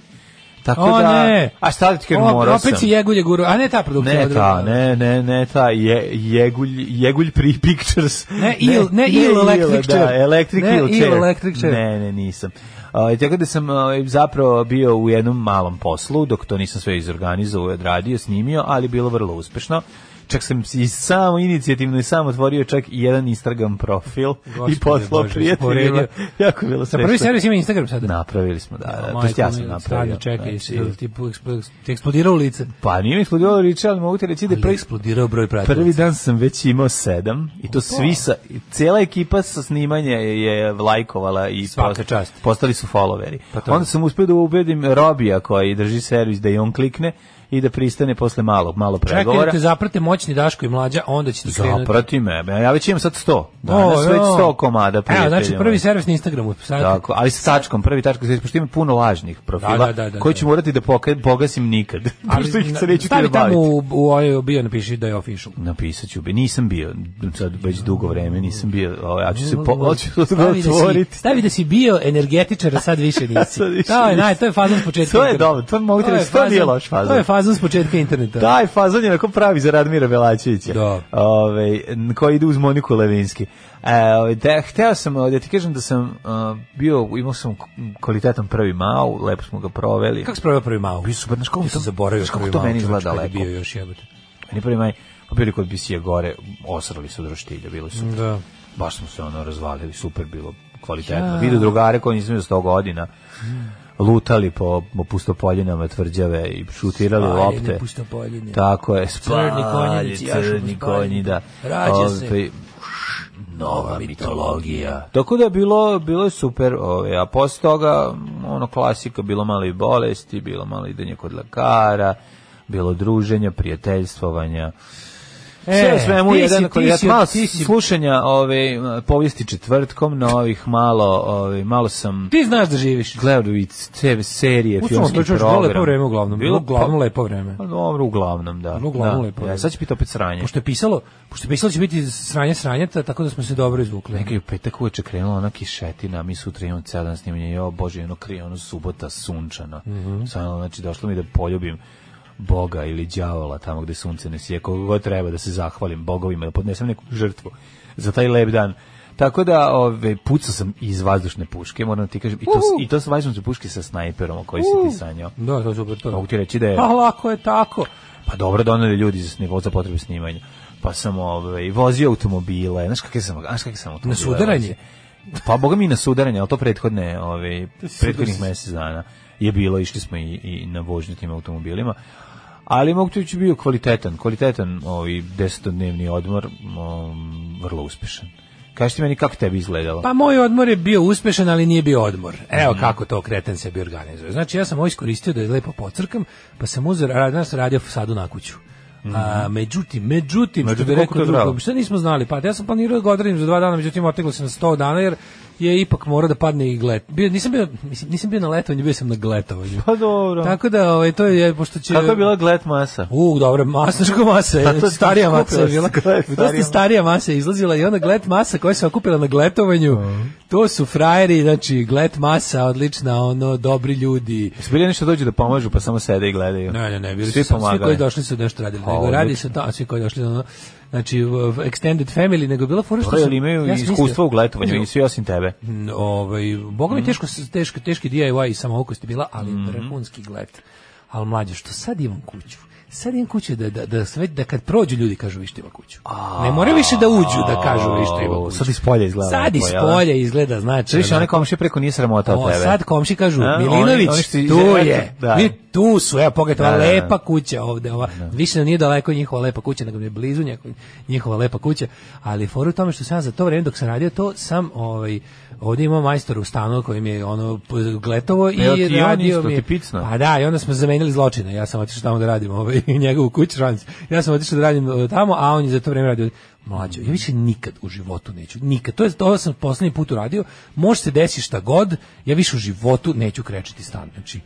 [SPEAKER 6] tako
[SPEAKER 7] O,
[SPEAKER 6] da...
[SPEAKER 7] ne.
[SPEAKER 6] A šta da ti kažem,
[SPEAKER 7] O,
[SPEAKER 6] morao sam.
[SPEAKER 7] Opet si jegulje guru, a ne ta produkcija.
[SPEAKER 6] Ne
[SPEAKER 7] ova
[SPEAKER 6] ta,
[SPEAKER 7] druga.
[SPEAKER 6] ne, ne, ne ta, je, jegulj, jegulj Pri Pictures.
[SPEAKER 7] Ne, Il- ne, Il Electric
[SPEAKER 6] Da,
[SPEAKER 7] Chair.
[SPEAKER 6] Electric
[SPEAKER 7] Ne,
[SPEAKER 6] Il
[SPEAKER 7] Il
[SPEAKER 6] Chair.
[SPEAKER 7] Electric Chair.
[SPEAKER 6] Ne, ne, nisam. A, tako da sam ovaj, zapravo bio u jednom malom poslu, dok to nisam sve izorganizovao, odradio, snimio, ali bilo vrlo uspešno. Čak sam si i samo inicijativno i sam otvorio čak i jedan Instagram profil i
[SPEAKER 7] Gospode
[SPEAKER 6] poslao
[SPEAKER 7] Bože,
[SPEAKER 6] prijateljima.
[SPEAKER 7] usporedio.
[SPEAKER 6] Jako je bilo
[SPEAKER 7] Sa
[SPEAKER 6] sve.
[SPEAKER 7] Pa prvi servis ima Instagram sada. Pa,
[SPEAKER 6] Napravili smo, da, da, to
[SPEAKER 7] Majko
[SPEAKER 6] jest ja sam
[SPEAKER 7] mila,
[SPEAKER 6] napravio.
[SPEAKER 7] stani, čekaj, jesi,
[SPEAKER 6] Znači,
[SPEAKER 7] jel ti pu- eksplo- ti eksplodirao u lice.
[SPEAKER 6] pa nije mi eksplodirao riče, ali mogu ti reći da je
[SPEAKER 7] Ali
[SPEAKER 6] prvi
[SPEAKER 7] eksplodirao broj pratilaca.
[SPEAKER 6] Prvi dan sam već imao sedam i to svi sa, i cela ekipa sa snimanja je, je lajkovala i
[SPEAKER 7] Svaka čast.
[SPEAKER 6] postali su followeri.
[SPEAKER 7] Pa to je.
[SPEAKER 6] Onda sam uspio da ubedim Robija koji drži servis da i on klikne i da pristane posle malo, malo
[SPEAKER 7] Čekaj da
[SPEAKER 6] pregovora.
[SPEAKER 7] te zaprate moćni Daško i mlađa, onda će ti krenuti.
[SPEAKER 6] Zaprati me. Ja već imam sad 100. Danas
[SPEAKER 7] O,
[SPEAKER 6] već
[SPEAKER 7] jo.
[SPEAKER 6] 100 komada
[SPEAKER 7] Evo,
[SPEAKER 6] prijatelja.
[SPEAKER 7] znači prvi
[SPEAKER 6] moji.
[SPEAKER 7] servis na Instagramu. Sad,
[SPEAKER 6] Tako, ali sa tačkom, prvi tačkom, znači, pošto ima puno lažnih profila,
[SPEAKER 7] Da, da, da, da,
[SPEAKER 6] koji ću
[SPEAKER 7] da.
[SPEAKER 6] morati da poka- pogasim nikad. Ali, pošto ih se neću ti
[SPEAKER 7] stavi
[SPEAKER 6] da
[SPEAKER 7] tamo
[SPEAKER 6] baviti.
[SPEAKER 7] u, u ovaj bio napiši da je official.
[SPEAKER 6] Napisat ću, bi. nisam bio, sad već dugo vreme nisam bio, ovaj, ja ću se po, hoću to da
[SPEAKER 7] Stavi da si-
[SPEAKER 6] otvoriti.
[SPEAKER 7] Stavi da si bio energetičar, a sad više nisi.
[SPEAKER 6] Sad više
[SPEAKER 7] to, je, naj,
[SPEAKER 6] nisam.
[SPEAKER 7] to je fazon s početka.
[SPEAKER 6] To je
[SPEAKER 7] interneta.
[SPEAKER 6] dobro, to mogu ti
[SPEAKER 7] je
[SPEAKER 6] reći, to nije
[SPEAKER 7] fazon-
[SPEAKER 6] loš fazon.
[SPEAKER 7] To je fazon s početka interneta.
[SPEAKER 6] Taj fazon je onako pravi za Radmira Belačevića.
[SPEAKER 7] Da.
[SPEAKER 6] Ovaj, n- koji ide uz Moniku Levinski. E, ovaj, da, hteo sam ovaj, da ti kažem da sam a, bio, imao sam k- kvalitetan prvi mau, lepo smo ga proveli.
[SPEAKER 7] Kako si proveo prvi mao?
[SPEAKER 6] Bio super, znaš kako
[SPEAKER 7] Ja
[SPEAKER 6] to-
[SPEAKER 7] sam zaboravio
[SPEAKER 6] znaš kako
[SPEAKER 7] prvi
[SPEAKER 6] to
[SPEAKER 7] mao,
[SPEAKER 6] meni
[SPEAKER 7] čovječe,
[SPEAKER 6] izgleda
[SPEAKER 7] kad je
[SPEAKER 6] daleko.
[SPEAKER 7] bio još jebote.
[SPEAKER 6] Meni prvi maj, pa bili kod Bisije gore, osrali su droštilje, bili su
[SPEAKER 7] Da.
[SPEAKER 6] baš smo se ono razvalili, super bilo, kvalitetno. Ja. Vidu drugare koji nisam imao 100 godina, lutali po, po pustopoljinama tvrđave i šutirali
[SPEAKER 7] Spaljene
[SPEAKER 6] lopte.
[SPEAKER 7] pustopoljine.
[SPEAKER 6] Tako je, spaljeni,
[SPEAKER 7] Crni konjanici, jašu
[SPEAKER 6] crni
[SPEAKER 7] pustopoljine.
[SPEAKER 6] konji, da.
[SPEAKER 7] Rađa se.
[SPEAKER 6] Ovaj, nova mitologija. Tako da je bilo, bilo je super, ove, a posle toga, m, ono klasika, bilo malo i bolesti, bilo malo idenje kod lekara, bilo druženja, prijateljstvovanja. Sve u svemu
[SPEAKER 7] E, ti
[SPEAKER 6] jedan
[SPEAKER 7] si- ti
[SPEAKER 6] kvalitet
[SPEAKER 7] si-
[SPEAKER 6] malo
[SPEAKER 7] ti si-
[SPEAKER 6] slušanja ove povijesti četvrtkom novih malo ove malo sam
[SPEAKER 7] Ti znaš da živiš.
[SPEAKER 6] gledao i TV serije,
[SPEAKER 7] Ustavno,
[SPEAKER 6] filmski
[SPEAKER 7] to je još
[SPEAKER 6] program.
[SPEAKER 7] bilo lepo vreme uglavnom, bilo uglavnom lepo vreme.
[SPEAKER 6] Pa, dobro, uglavnom, da.
[SPEAKER 7] Bilo uglavnom
[SPEAKER 6] da.
[SPEAKER 7] lepo
[SPEAKER 6] Ja,
[SPEAKER 7] vreme.
[SPEAKER 6] sad će biti opet sranje.
[SPEAKER 7] Pošto je pisalo, pošto je pisalo će biti sranje sranjeta, tako da smo se dobro izvukli.
[SPEAKER 6] Nekaj u petak uveče krenula ona kišetina, a mi sutra imamo ceo dan snimanje, jo bože, ono krije, ono subota sunčana. Mm znači, došlo mi da poljubim Boga ili đavola tamo gde sunce ne sije, koga god treba da se zahvalim bogovima, da podnesem neku žrtvu za taj lep dan. Tako da ove, pucao sam iz vazdušne puške, moram da ti kažem, i to, s- i to sa vazdušne puške sa snajperom o kojoj si ti sanjao.
[SPEAKER 7] Da, to je super. To. je.
[SPEAKER 6] Mogu ti reći da je...
[SPEAKER 7] Pa lako je tako.
[SPEAKER 6] Pa dobro, doneli ljudi za snimak za potrebe snimanja. Pa sam ovaj vozio automobile, znaš kakve sam, znaš kakve sam automobile.
[SPEAKER 7] Na sudaranje?
[SPEAKER 6] vozio? Pa boga mi na sudaranje, ali to prethodne, ovaj prethodnih mjesec dana je bilo, išli smo i, i na vožnju tim automobilima. Ali mogu ti reći bio kvalitetan, kvalitetan ovaj desetodnevni odmor, um, vrlo uspešan. Kaži ti meni kako tebi izgledalo?
[SPEAKER 7] Pa moj odmor je bio uspešan, ali nije bio odmor. Evo
[SPEAKER 6] Mhm.
[SPEAKER 7] kako to kreten sebi organizuje. Znači ja sam ovo iskoristio da je lepo pocrkam, pa sam uzeo, a danas sam radio sadu na kuću. A, međutim, međutim, što
[SPEAKER 6] Mhm. Međutim,
[SPEAKER 7] bi
[SPEAKER 6] koliko to
[SPEAKER 7] rekao
[SPEAKER 6] je trajalo?
[SPEAKER 7] drugo, što nismo znali, pa ja sam planirao da ga odradim za dva dana, međutim, oteglo se na 100 dana, jer je ipak mora da padne i glet. Bio, nisam, bio, mislim, nisam bio na letovanju, bio sam na gletovanju.
[SPEAKER 6] Pa dobro.
[SPEAKER 7] Tako da, ovaj, to je, pošto će...
[SPEAKER 6] Kako je bila gled masa?
[SPEAKER 7] U, dobro, masnaška masa,
[SPEAKER 6] Pa to
[SPEAKER 7] je,
[SPEAKER 6] si
[SPEAKER 7] starija
[SPEAKER 6] skupila
[SPEAKER 7] masa je bila.
[SPEAKER 6] se, to je starija
[SPEAKER 7] Dosta starija masa je izlazila i ona glet masa koja se okupila na gletovanju. To su frajeri, znači glet masa, odlična, ono, dobri ljudi.
[SPEAKER 6] Jesu bili nešto dođu da pomažu, pa samo sede i gledaju?
[SPEAKER 7] Ne, ne, ne, bili
[SPEAKER 6] Svi
[SPEAKER 7] su samo- svi
[SPEAKER 6] pomagali.
[SPEAKER 7] koji došli su nešto radili.
[SPEAKER 6] Pa,
[SPEAKER 7] Nego radi
[SPEAKER 6] odlično.
[SPEAKER 7] se tamo, svi koji došli ono, znači v- v- extended family, nego je bila fora što
[SPEAKER 6] Dobro, jel
[SPEAKER 7] sam-
[SPEAKER 6] imaju
[SPEAKER 7] ja sam
[SPEAKER 6] iskustva
[SPEAKER 7] mislio-
[SPEAKER 6] u gletovanju i svi osim tebe.
[SPEAKER 7] Mm, ovaj boga
[SPEAKER 6] Mhm.
[SPEAKER 7] mi teško teško teški DIY i samoukost je bila, ali vrhunski glet. Al mlađe što sad imam kuću. Sad imam kuću da da da sve da kad prođu ljudi kažu vi što ima kuću. Ne moraju više da uđu da kažu vi što ima
[SPEAKER 6] Au,
[SPEAKER 7] kuću.
[SPEAKER 6] sad iz polja izgleda
[SPEAKER 7] Sad
[SPEAKER 6] lepo,
[SPEAKER 7] iz
[SPEAKER 6] jel da?
[SPEAKER 7] polja izgleda znači.
[SPEAKER 6] Više
[SPEAKER 7] ono,
[SPEAKER 6] one komšije preko nije sramota od
[SPEAKER 7] o,
[SPEAKER 6] tebe.
[SPEAKER 7] sad komši kažu,
[SPEAKER 6] A, oni-
[SPEAKER 7] Milinović,
[SPEAKER 6] oni što iz-
[SPEAKER 7] tu
[SPEAKER 6] eto,
[SPEAKER 7] je,
[SPEAKER 6] da.
[SPEAKER 7] vi tu su, evo pogledajte, ova
[SPEAKER 6] Da, da, da.
[SPEAKER 7] lepa kuća ovde, ova, više nam nije daleko njihova lepa kuća, nego mi je blizu njeko- njihova lepa kuća, ali foru u tome što sam ja za to vreme dok sam radio to, sam ovaj, ovdje imao majstora u stanu koji mi je ono p- gletovo i,
[SPEAKER 6] E, a ti i on
[SPEAKER 7] radio
[SPEAKER 6] isto,
[SPEAKER 7] mi je,
[SPEAKER 6] ti picno?
[SPEAKER 7] pa da, i onda smo zamenili zločine, ja sam otišao tamo da radim ovaj, njegovu kuću, šalim se. ja sam otišao da radim eh, tamo, a on je za to vreme radio mlađo, ja više nikad u životu neću, nikad, to je to sam poslednji put uradio, može se desi šta god, ja više u životu neću krečiti stan, znači,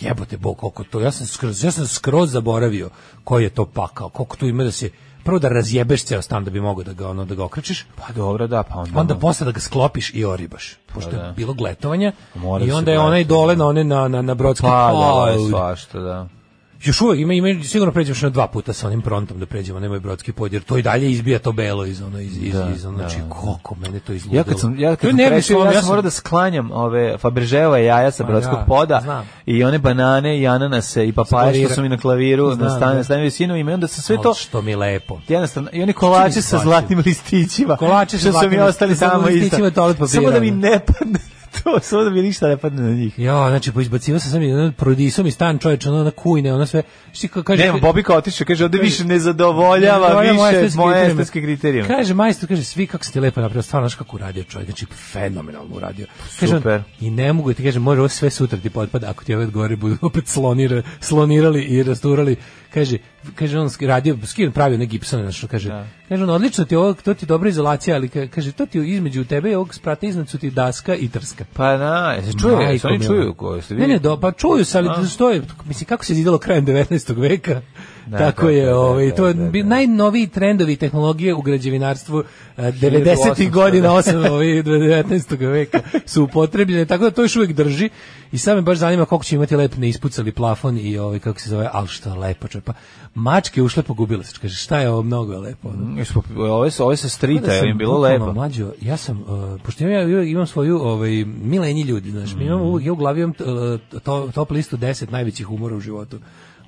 [SPEAKER 7] jebote bog, koliko to, ja sam skroz, ja sam skroz zaboravio koji je to pakao, koliko tu ima da se, prvo da razjebeš ceo stan da bi mogao da ga, ono, da ga okrečiš,
[SPEAKER 6] Pa dobro, da, pa onda...
[SPEAKER 7] onda posle da ga sklopiš i oribaš pošto je bilo gletovanja
[SPEAKER 6] Mora
[SPEAKER 7] i
[SPEAKER 6] se
[SPEAKER 7] onda je
[SPEAKER 6] gledati,
[SPEAKER 7] onaj dole na one na na na brodski
[SPEAKER 6] Pa, da,
[SPEAKER 7] Au,
[SPEAKER 6] svašta, da.
[SPEAKER 7] još uvek ima ima sigurno pređemo još na dva puta sa onim prontom da pređemo na moj brodski pod jer to i dalje izbija to belo iz ono iz iz, iz ono znači koliko mene to izludilo
[SPEAKER 6] Ja kad sam, ja
[SPEAKER 7] To
[SPEAKER 6] kad
[SPEAKER 7] je
[SPEAKER 6] sam
[SPEAKER 7] nervni
[SPEAKER 6] krešio,
[SPEAKER 7] slom,
[SPEAKER 6] ja sam
[SPEAKER 7] sam-
[SPEAKER 6] morao da sklanjam ove Fabergeova jaja sa
[SPEAKER 7] Ma
[SPEAKER 6] brodskog
[SPEAKER 7] da,
[SPEAKER 6] poda
[SPEAKER 7] znam.
[SPEAKER 6] i one banane i ananase i papaje što
[SPEAKER 7] klavira.
[SPEAKER 6] su mi na klaviru, na
[SPEAKER 7] Znam,
[SPEAKER 6] stane,
[SPEAKER 7] da.
[SPEAKER 6] stavio sinovima i onda sam sve to
[SPEAKER 7] Al što mi lepo
[SPEAKER 6] jednostavno i oni kolači sa
[SPEAKER 7] shvatio?
[SPEAKER 6] zlatnim listićima
[SPEAKER 7] Kolači sa
[SPEAKER 6] što su mi
[SPEAKER 7] zlatnim
[SPEAKER 6] ostali
[SPEAKER 7] listićima,
[SPEAKER 6] samo
[SPEAKER 7] listićima
[SPEAKER 6] isto
[SPEAKER 7] toalet papira,
[SPEAKER 6] samo da mi
[SPEAKER 7] ono.
[SPEAKER 6] ne padne to samo da mi ništa ne padne na njih.
[SPEAKER 7] Ja, znači, poizbacivao sam sam i ono, prodisom i stan čovječ, ono na kujne, ono sve. Šti, ka- kaže,
[SPEAKER 6] Nema, Bobika otišao, kaže, ovde više ne zadovoljava,
[SPEAKER 7] Zadovoljava moje
[SPEAKER 6] više
[SPEAKER 7] estetske
[SPEAKER 6] moje
[SPEAKER 7] kriterijume.
[SPEAKER 6] estetske kriterijume.
[SPEAKER 7] Kaže majstor, kaže svi kako ste lepo napravio, stvarno znaš kako uradio čovjek, znači fenomenalno uradio. Kaže, on,
[SPEAKER 6] Super.
[SPEAKER 7] I ne mogu ti kaže, može ovo sve sutra ti potpada, ako ti ove odgovore budu opet slonira, slonirali i rasturali. Kaže, kaže on sk- radio, skin pravio na gipsone, znači kaže. Kaže on odlično ti je ovo, to ti je dobra izolacija, ali ka- kaže to ti je između tebe i ovog sprata iznad su ti daska i trska.
[SPEAKER 6] Pa na, se čuje,
[SPEAKER 7] Majko
[SPEAKER 6] se oni
[SPEAKER 7] mila.
[SPEAKER 6] čuju ko se
[SPEAKER 7] Ne, ne, do, pa čuju se, ali da stoje, mislim, kako se zidalo krajem 19. veka,
[SPEAKER 6] Da,
[SPEAKER 7] tako
[SPEAKER 6] da,
[SPEAKER 7] je,
[SPEAKER 6] da,
[SPEAKER 7] ovaj,
[SPEAKER 6] da,
[SPEAKER 7] to je
[SPEAKER 6] da, da.
[SPEAKER 7] bi- najnoviji trendovi tehnologije u građevinarstvu eh, 90.
[SPEAKER 6] 1800,
[SPEAKER 7] godina 8. ovaj, 19. veka su upotrebljene, tako da to još uvijek drži i sad me baš zanima koliko će imati lep neispucali plafon i ovaj, kako se zove, ali što lepo čepa. Mačke ušle pogubile se, kaže, šta je ovo mnogo je lepo. ono.
[SPEAKER 6] Jesmo- Ove, su- ove sa strita, je
[SPEAKER 7] Kada
[SPEAKER 6] im
[SPEAKER 7] sam
[SPEAKER 6] bilo
[SPEAKER 7] bukvalno
[SPEAKER 6] lepo.
[SPEAKER 7] Mlađo, ja sam, uh, pošto ja uvijek imam svoju ovaj, milenji ljudi, znaš, mi
[SPEAKER 6] Mm.
[SPEAKER 7] imamo uvijek, ja u glavi imam uh, to, top listu 10 najvećih umora u životu.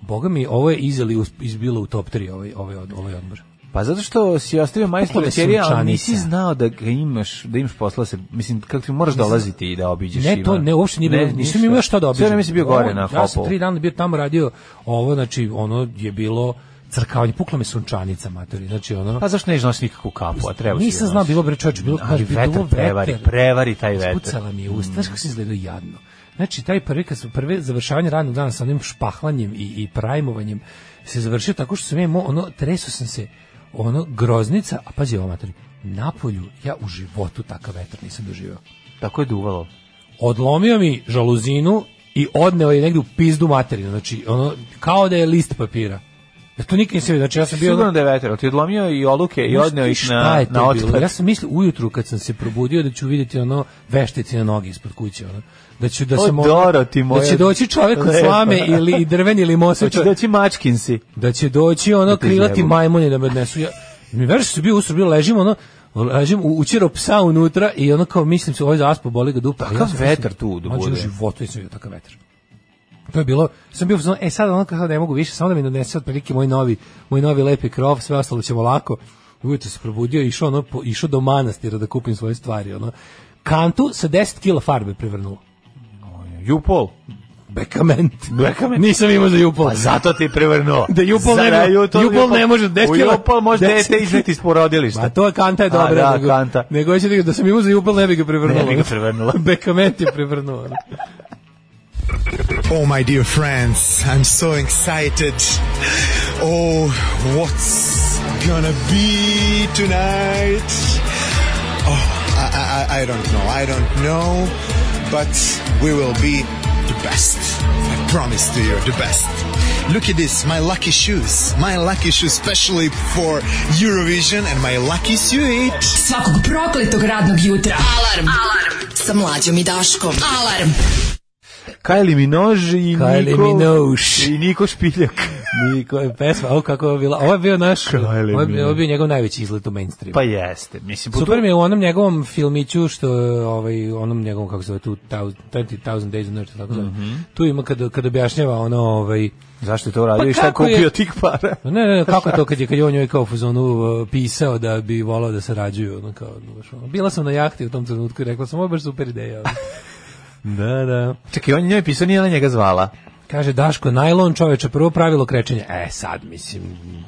[SPEAKER 7] Boga mi, ovo je izjeli us- izbilo u top 3 ovaj, ovaj, od- ovaj odmor.
[SPEAKER 6] Pa zato što si ostavio majstor
[SPEAKER 7] Poplave
[SPEAKER 6] večerija, ali
[SPEAKER 7] sunčanica.
[SPEAKER 6] nisi znao da ga imaš, da imaš posla se, mislim, kako ti moraš dolaziti i da obiđeš.
[SPEAKER 7] Ne, to
[SPEAKER 6] Ivan.
[SPEAKER 7] ne, uopšte nije bilo,
[SPEAKER 6] ništa.
[SPEAKER 7] nisam imao šta da obiđem.
[SPEAKER 6] Sve vreme si bio gore
[SPEAKER 7] Ovo,
[SPEAKER 6] na
[SPEAKER 7] Ja sam
[SPEAKER 6] hopu.
[SPEAKER 7] tri dana bio tamo radio ovo, znači, ono je bilo crkavanje, pukla me sunčanica, materi, znači ono...
[SPEAKER 6] Pa zašto ne znaš nikakvu kapu, a treba si
[SPEAKER 7] Nisam
[SPEAKER 6] da
[SPEAKER 7] znao,
[SPEAKER 6] nosiš.
[SPEAKER 7] bilo bre čoveče, bilo
[SPEAKER 6] Ali
[SPEAKER 7] kaže
[SPEAKER 6] vetar
[SPEAKER 7] bilo
[SPEAKER 6] prevari,
[SPEAKER 7] vetar.
[SPEAKER 6] prevari taj vetar.
[SPEAKER 7] Ispucala mi je usta, znaš kako se izgledao jadno. Znači taj prvi kad su prve završavanje radnog dana sa onim špahlanjem i i prajmovanjem se završio tako što sam ja imao ono treso sam se ono groznica, a pazi ovo mater. Napolju ja u životu takav vetar nisam doživio.
[SPEAKER 6] Tako je duvalo.
[SPEAKER 7] Odlomio mi žaluzinu i odneo je negdje u pizdu materinu. Znači, ono, kao da je list papira. Ja to nikad nisam vidio. Znači, ja sam bio... ono-
[SPEAKER 6] Sigurno da je vetar, ali ti je odlomio i oluke i
[SPEAKER 7] Znaš
[SPEAKER 6] odneo
[SPEAKER 7] ti
[SPEAKER 6] ih
[SPEAKER 7] šta
[SPEAKER 6] na,
[SPEAKER 7] je to
[SPEAKER 6] na
[SPEAKER 7] bilo?
[SPEAKER 6] otpad.
[SPEAKER 7] Ja sam mislio ujutru kad sam se probudio da ću vidjeti ono veštice na noge ispod kuće. Ono. Da ću da
[SPEAKER 6] O,
[SPEAKER 7] sam ono-
[SPEAKER 6] Doro, ti moja
[SPEAKER 7] da će doći čovjek od
[SPEAKER 6] lepa.
[SPEAKER 7] slame ili i drven ili mosa.
[SPEAKER 6] Hoće doći mačkin si.
[SPEAKER 7] Da će doći ono
[SPEAKER 6] te
[SPEAKER 7] krilati
[SPEAKER 6] izjebu.
[SPEAKER 7] majmuni da me odnesu. Ja, mi veruješ što bio usro, bilo ležim ono ležim u učero psa unutra i ono kao mislim se ovaj zaspo boli ga dupa.
[SPEAKER 6] Takav
[SPEAKER 7] Ja sam
[SPEAKER 6] vetar
[SPEAKER 7] mislio,
[SPEAKER 6] tu da
[SPEAKER 7] mlađe,
[SPEAKER 6] bude.
[SPEAKER 7] U životu nisam vidio takav vetar. To je bilo, sam bio, u fazonu, e sad ono kao ne mogu više, samo da mi donese otprilike moj novi, moj novi lepi krov, sve ostalo ćemo lako. Ujutro se probudio i išao, ono, po- išao do manastira da kupim svoje stvari. Ono. Kantu sa 10 kila farbe prevrnulo.
[SPEAKER 6] Jupol.
[SPEAKER 7] Bekament.
[SPEAKER 6] Bekament.
[SPEAKER 7] Nisam imao za jupol.
[SPEAKER 6] Pa zato ti je prevrnuo.
[SPEAKER 7] Da Jupol ne bi-
[SPEAKER 6] Zara,
[SPEAKER 7] Jupol ne može, 10
[SPEAKER 6] U
[SPEAKER 7] kila-
[SPEAKER 6] Jupol može
[SPEAKER 7] 10
[SPEAKER 6] dete izneti iz porodilišta.
[SPEAKER 7] A Pa to je kanta je dobra.
[SPEAKER 6] A, da,
[SPEAKER 7] nego,
[SPEAKER 6] kanta.
[SPEAKER 7] Nego hoće da, da sam imao za jubel, ne bi ga prevrnula.
[SPEAKER 6] Ne bi ga prevrnula.
[SPEAKER 7] Bekament je prevrnula.
[SPEAKER 8] Oh, my dear friends, I'm so excited. Oh, what's gonna be tonight? Oh, I, I, I- I don't know. I don't know, but we will be the best. I promise to you, the best. Look at this, my lucky shoes. My lucky shoes, specially for Eurovision and my lucky suit.
[SPEAKER 5] Svakog prokletog radnog jutra. Alarm. Alarm. Sa mlađom i Daškom. Alarm.
[SPEAKER 6] Kylie Minogue i
[SPEAKER 7] Kylie
[SPEAKER 6] Niko...
[SPEAKER 7] Minogue.
[SPEAKER 6] I Niko Špiljak.
[SPEAKER 7] Niko je pesma, ovo kako je ovo bila. Ovo je bio naš,
[SPEAKER 6] Kralje
[SPEAKER 7] ovo je, ovo je
[SPEAKER 6] mili.
[SPEAKER 7] bio njegov najveći izlet u mainstreamu.
[SPEAKER 6] pa jeste. Mislim, po
[SPEAKER 7] Super
[SPEAKER 6] tu-
[SPEAKER 7] mi je u onom njegovom filmiću što je, ovaj onom njegovom kako se zove tu 2000 Days on Earth tako zove.
[SPEAKER 6] Mhm.
[SPEAKER 7] Tu ima kada kada objašnjava ono ovaj
[SPEAKER 6] Zašto je to uradio
[SPEAKER 7] Pa
[SPEAKER 6] i šta je
[SPEAKER 7] kako je-
[SPEAKER 6] kupio tih para?
[SPEAKER 7] Ne, ne, ne, kako to kad je kad je on njoj kao u fazonu uh, pisao da bi volao da sarađuju, ono kao, ono, baš ono. bila sam na jahti u tom trenutku i rekla sam, ovo je baš super ideja. ono. da, da.
[SPEAKER 6] Čekaj, on njoj je pisao, nije ona njega zvala.
[SPEAKER 7] Kaže Daško, najlon čoveče, prvo pravilo krečenja. E, sad, mislim,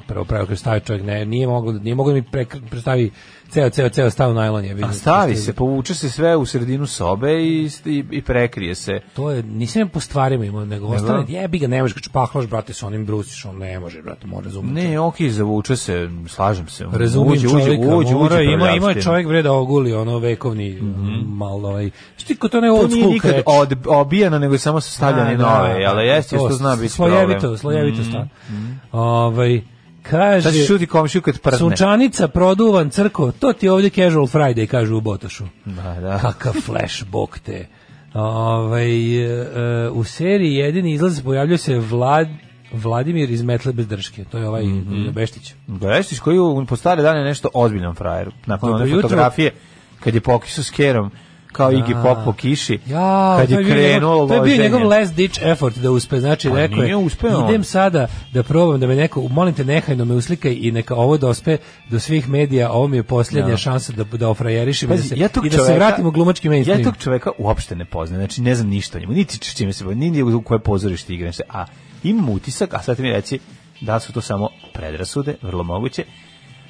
[SPEAKER 7] prvo pravilo krečenja stavi čovjek, ne, nije moglo, nije moglo da mi pre, prestavi ceo, ceo, ceo stav najlon je. vidim.
[SPEAKER 6] A stavi se, povuče se sve u sredinu sobe i, i, i prekrije se.
[SPEAKER 7] To je, nisam ja po stvarima imao, nego ostane, jebi ga, ne možeš, kad čpahlaš, brate, sa onim brusiš, on ne može, brate, mora razumjeti.
[SPEAKER 6] Ne, okej, zavuče se, slažem se.
[SPEAKER 7] Razumem
[SPEAKER 6] uđe,
[SPEAKER 7] čovjeka,
[SPEAKER 6] uđe, uđe,
[SPEAKER 7] mora,
[SPEAKER 6] uđe,
[SPEAKER 7] ima, ima
[SPEAKER 6] prljavštine.
[SPEAKER 7] čovjek vreda oguli, ono vekovni,
[SPEAKER 6] Mhm.
[SPEAKER 7] malo ovaj, što ti ko to ne
[SPEAKER 6] To
[SPEAKER 7] old
[SPEAKER 6] nije
[SPEAKER 7] school
[SPEAKER 6] nikad
[SPEAKER 7] kreč.
[SPEAKER 6] od, obijano, nego je samo stavljane
[SPEAKER 7] Da,
[SPEAKER 6] nove,
[SPEAKER 7] da,
[SPEAKER 6] ali jeste što zna biti problem. Mm. Mhm.
[SPEAKER 7] Slojevito, slojevito stvar. Ovaj, kaže,
[SPEAKER 6] Sad ćeš čuti komšiju kad prdne.
[SPEAKER 7] sunčanica, produvan, crko, to ti je ovdje casual Friday, kažu u Botošu.
[SPEAKER 6] Da, da.
[SPEAKER 7] Kakav flash, bog te. Ovaj, e, e, u seriji jedini izlaz pojavljuje se Vlad, Vladimir iz Metle bez drške, to je ovaj Beštić.
[SPEAKER 6] Beštić koji u- po stare dane je nešto ozbiljan frajer. Nakon
[SPEAKER 7] Dobro
[SPEAKER 6] one
[SPEAKER 7] jutro.
[SPEAKER 6] fotografije, kad je pokisao s kerom, kao Iggy Pop po kiši.
[SPEAKER 7] Ja,
[SPEAKER 6] kad
[SPEAKER 7] to
[SPEAKER 6] je
[SPEAKER 7] bio
[SPEAKER 6] krenulo
[SPEAKER 7] njegov, to je bio
[SPEAKER 6] loženje.
[SPEAKER 7] njegov last ditch effort da uspe, znači
[SPEAKER 6] Pa
[SPEAKER 7] rekao
[SPEAKER 6] nije
[SPEAKER 7] je,
[SPEAKER 6] uspeo on.
[SPEAKER 7] idem sada da probam da me neko, molim te nehajno me uslikaj i neka ovo dospe do svih medija, ovo mi je posljednja šansa da, da ofrajerišem i da
[SPEAKER 6] Pazi,
[SPEAKER 7] se,
[SPEAKER 6] ja tog
[SPEAKER 7] i da se
[SPEAKER 6] čoveka-
[SPEAKER 7] vratim u glumački mainstream.
[SPEAKER 6] Ja tog čoveka uopšte ne poznajem, znači ne znam ništa o njemu, niti s čime se bavi, niti u koje pozorište igra, ništa. a imam utisak, a sad ti mi reci da su to samo predrasude, vrlo moguće,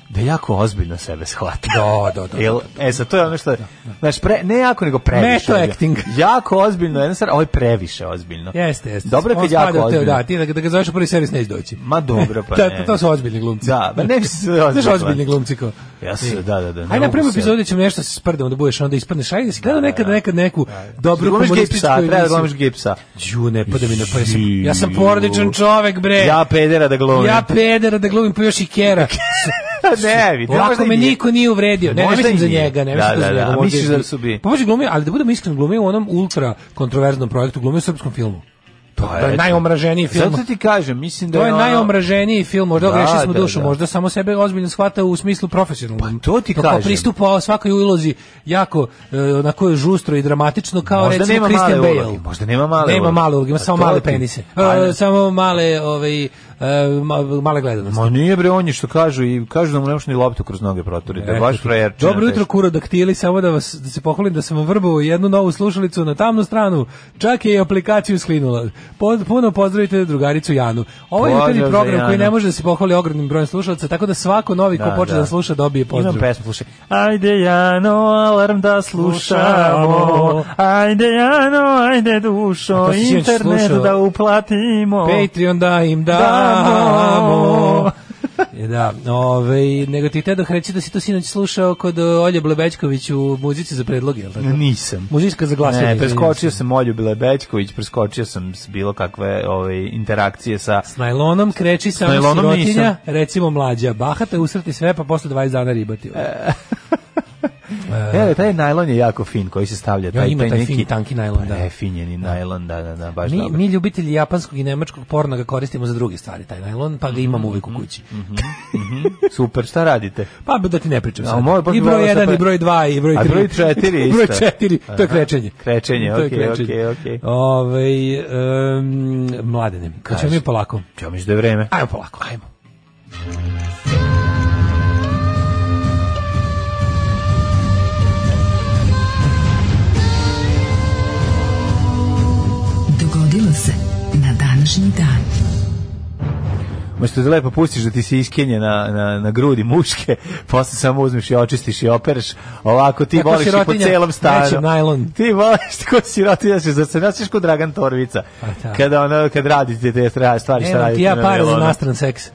[SPEAKER 6] da jako ozbiljno sebe shvata.
[SPEAKER 7] Da, da, da.
[SPEAKER 6] Jel, e, sad to je ono što je, znaš, pre, ne jako, nego previše.
[SPEAKER 7] Meta acting.
[SPEAKER 6] Jako ozbiljno, jedna stvar, a ovo je previše ozbiljno.
[SPEAKER 7] Jeste, jeste.
[SPEAKER 6] Dobro je
[SPEAKER 7] On
[SPEAKER 6] kad
[SPEAKER 7] spada
[SPEAKER 6] jako
[SPEAKER 7] u te-
[SPEAKER 6] ozbiljno.
[SPEAKER 7] Da, ti da, da ga zoveš u prvi servis neće doći.
[SPEAKER 6] Ma dobro, pa
[SPEAKER 7] Da,
[SPEAKER 6] ne.
[SPEAKER 7] to su ozbiljni glumci.
[SPEAKER 6] Da, pa ne bi se ozbiljni
[SPEAKER 7] Znaš, ozbiljni
[SPEAKER 6] glumci.
[SPEAKER 7] glumci kao.
[SPEAKER 6] Ja se- da, da, da, ne
[SPEAKER 7] Ajde, na
[SPEAKER 6] mogu
[SPEAKER 7] prvom
[SPEAKER 6] se-
[SPEAKER 7] epizodu ćemo nešto se sprdamo da budeš, onda ispadneš. Ajde, si gledao nekad, nekad neku dobru
[SPEAKER 6] Glumiš gej
[SPEAKER 7] komunističku
[SPEAKER 6] psa, treba da
[SPEAKER 7] emisiju.
[SPEAKER 6] glumiš gej psa.
[SPEAKER 7] Ju, ne, pa da mi ne, pa ja sam,
[SPEAKER 6] Ju.
[SPEAKER 7] ja sam porodičan čovek, bre.
[SPEAKER 6] Ja pedera da glumim.
[SPEAKER 7] Ja pedera da glumim, pa još i kera.
[SPEAKER 6] ne, vidi, možda
[SPEAKER 7] Ovako
[SPEAKER 6] i
[SPEAKER 7] me
[SPEAKER 6] nije.
[SPEAKER 7] niko nije uvredio. Ne, ne
[SPEAKER 6] Možda
[SPEAKER 7] mislim
[SPEAKER 6] i
[SPEAKER 7] za
[SPEAKER 6] nije.
[SPEAKER 7] njega, ne
[SPEAKER 6] Da,
[SPEAKER 7] mislim to
[SPEAKER 6] da, da,
[SPEAKER 7] za njega.
[SPEAKER 6] a
[SPEAKER 7] možda
[SPEAKER 6] misliš
[SPEAKER 7] i-
[SPEAKER 6] da su bi-
[SPEAKER 7] Pa može glumio, ali da budem iskren, glumio u onom ultra kontroverznom projektu, glumio u srpskom filmu. To
[SPEAKER 6] Pa,
[SPEAKER 7] je
[SPEAKER 6] eto.
[SPEAKER 7] najomraženiji film.
[SPEAKER 6] Zato ti kažem, mislim da
[SPEAKER 7] To je
[SPEAKER 6] ono-
[SPEAKER 7] najomraženiji film, možda
[SPEAKER 6] Da,
[SPEAKER 7] ogrešili smo
[SPEAKER 6] da,
[SPEAKER 7] dušu,
[SPEAKER 6] da.
[SPEAKER 7] možda samo sebe ozbiljno shvata u smislu profesionalnom.
[SPEAKER 6] Pa to ti
[SPEAKER 7] kao
[SPEAKER 6] kažem.
[SPEAKER 7] pristupa svakoj ulozi jako e, onako žustro i dramatično kao
[SPEAKER 6] Možda
[SPEAKER 7] recimo
[SPEAKER 6] nema
[SPEAKER 7] Christian
[SPEAKER 6] male
[SPEAKER 7] Bale.
[SPEAKER 6] uloge, možda nema male
[SPEAKER 7] Nema
[SPEAKER 6] uloge.
[SPEAKER 7] male uloge, ima
[SPEAKER 6] Pa
[SPEAKER 7] samo
[SPEAKER 6] to
[SPEAKER 7] male
[SPEAKER 6] ti-
[SPEAKER 7] penise. E,
[SPEAKER 6] Pa-
[SPEAKER 7] samo male, ovaj e, ma- male gledanosti.
[SPEAKER 6] Ma nije bre, on je što kažu i kažu da mu ne možeš ni loptu kroz noge proturiti, da je
[SPEAKER 7] Eto
[SPEAKER 6] E, baš
[SPEAKER 7] ti.
[SPEAKER 6] frajerčina.
[SPEAKER 7] Dobro jutro
[SPEAKER 6] teška.
[SPEAKER 7] kurodaktili, samo da vas da se pohvalim da sam vam vrbao jednu novu slušalicu na tamnu stranu. Čak je i aplikaciju sklinula. Po- puno pozdravite drugaricu Janu. Ovo je
[SPEAKER 6] Pozdrav
[SPEAKER 7] jutarnji
[SPEAKER 6] za
[SPEAKER 7] program koji ne
[SPEAKER 6] Janu.
[SPEAKER 7] može da se pohvali ogromnim brojem slušalaca, tako da svako novi ko
[SPEAKER 6] Da,
[SPEAKER 7] počne da.
[SPEAKER 6] da.
[SPEAKER 7] sluša dobije pozdrav.
[SPEAKER 6] Imam pesmu, slušaj. Ajde Jano, alarm da slušamo. Pa Ajde Jano, ajde
[SPEAKER 7] A
[SPEAKER 6] dušo,
[SPEAKER 7] to si sinoć
[SPEAKER 6] internet
[SPEAKER 7] slušao?
[SPEAKER 6] da uplatimo.
[SPEAKER 7] Patreon da im damo.
[SPEAKER 6] Damo.
[SPEAKER 7] E, da, ovaj nego ti te da reći da si to sinoć slušao kod o, Olje Blebečković u muzici za predloge, jel tako?
[SPEAKER 6] Nisam.
[SPEAKER 7] Muzika za glasanje.
[SPEAKER 6] Mm. Ne,
[SPEAKER 7] izvinjavam
[SPEAKER 6] preskočio
[SPEAKER 7] se.
[SPEAKER 6] sam Olju Bilebećković, preskočio sam s bilo kakve ove, interakcije sa...
[SPEAKER 7] S najlonom kreći samo
[SPEAKER 6] najlonom
[SPEAKER 7] sirotinja,
[SPEAKER 6] nisam.
[SPEAKER 7] recimo mlađa. Bahata usrti sve, pa posle 20 dana ribati.
[SPEAKER 6] E, taj najlon je jako fin koji se stavlja. Taj,
[SPEAKER 7] ima taj
[SPEAKER 6] neki-
[SPEAKER 7] fin, tanki najlon, da.
[SPEAKER 6] Prefinjeni najlon, da, da, da, baš
[SPEAKER 7] mi,
[SPEAKER 6] dobro.
[SPEAKER 7] mi ljubitelji japanskog i nemačkog porna ga koristimo za druge stvari, taj najlon, pa ga imamo uvijek u kući.
[SPEAKER 6] Super, šta radite?
[SPEAKER 7] Pa da ti ne pričam
[SPEAKER 6] A,
[SPEAKER 7] sad.
[SPEAKER 6] moj, baš
[SPEAKER 7] I
[SPEAKER 6] bi
[SPEAKER 7] broj
[SPEAKER 6] volao sad
[SPEAKER 7] 1,
[SPEAKER 6] pa-
[SPEAKER 7] i broj 2, i broj 3.
[SPEAKER 6] A broj četiri je
[SPEAKER 7] broj
[SPEAKER 6] isto.
[SPEAKER 7] 4, to je
[SPEAKER 6] Aha.
[SPEAKER 7] krećenje.
[SPEAKER 6] Krećenje,
[SPEAKER 7] To je
[SPEAKER 6] okej, okej,
[SPEAKER 7] krećenje.
[SPEAKER 6] okej.
[SPEAKER 7] Ovaj, em, mladene, kad ćemo mi polako?
[SPEAKER 6] Ja mislim da je vreme.
[SPEAKER 7] Ajmo polako, ajmo.
[SPEAKER 5] Dogodilo se na današnji dan.
[SPEAKER 6] Možete da lepo pustiš da ti se iskenje na, na, na grudi muške, posle samo uzmeš i očistiš i opereš. Ovako ti
[SPEAKER 7] Tako
[SPEAKER 6] voliš i po
[SPEAKER 7] sirotinja,
[SPEAKER 6] celom
[SPEAKER 7] neće
[SPEAKER 6] stanu.
[SPEAKER 7] najlon.
[SPEAKER 6] Ti voliš ko sirotinja, da se zacenasiš ko Dragan Torvica.
[SPEAKER 7] Pa da.
[SPEAKER 6] Kada ono, kad radite te stra- stvari, šta
[SPEAKER 7] Nemam
[SPEAKER 6] radite
[SPEAKER 7] ti ja
[SPEAKER 6] na
[SPEAKER 7] para za
[SPEAKER 6] nailonu.
[SPEAKER 7] nastran seks.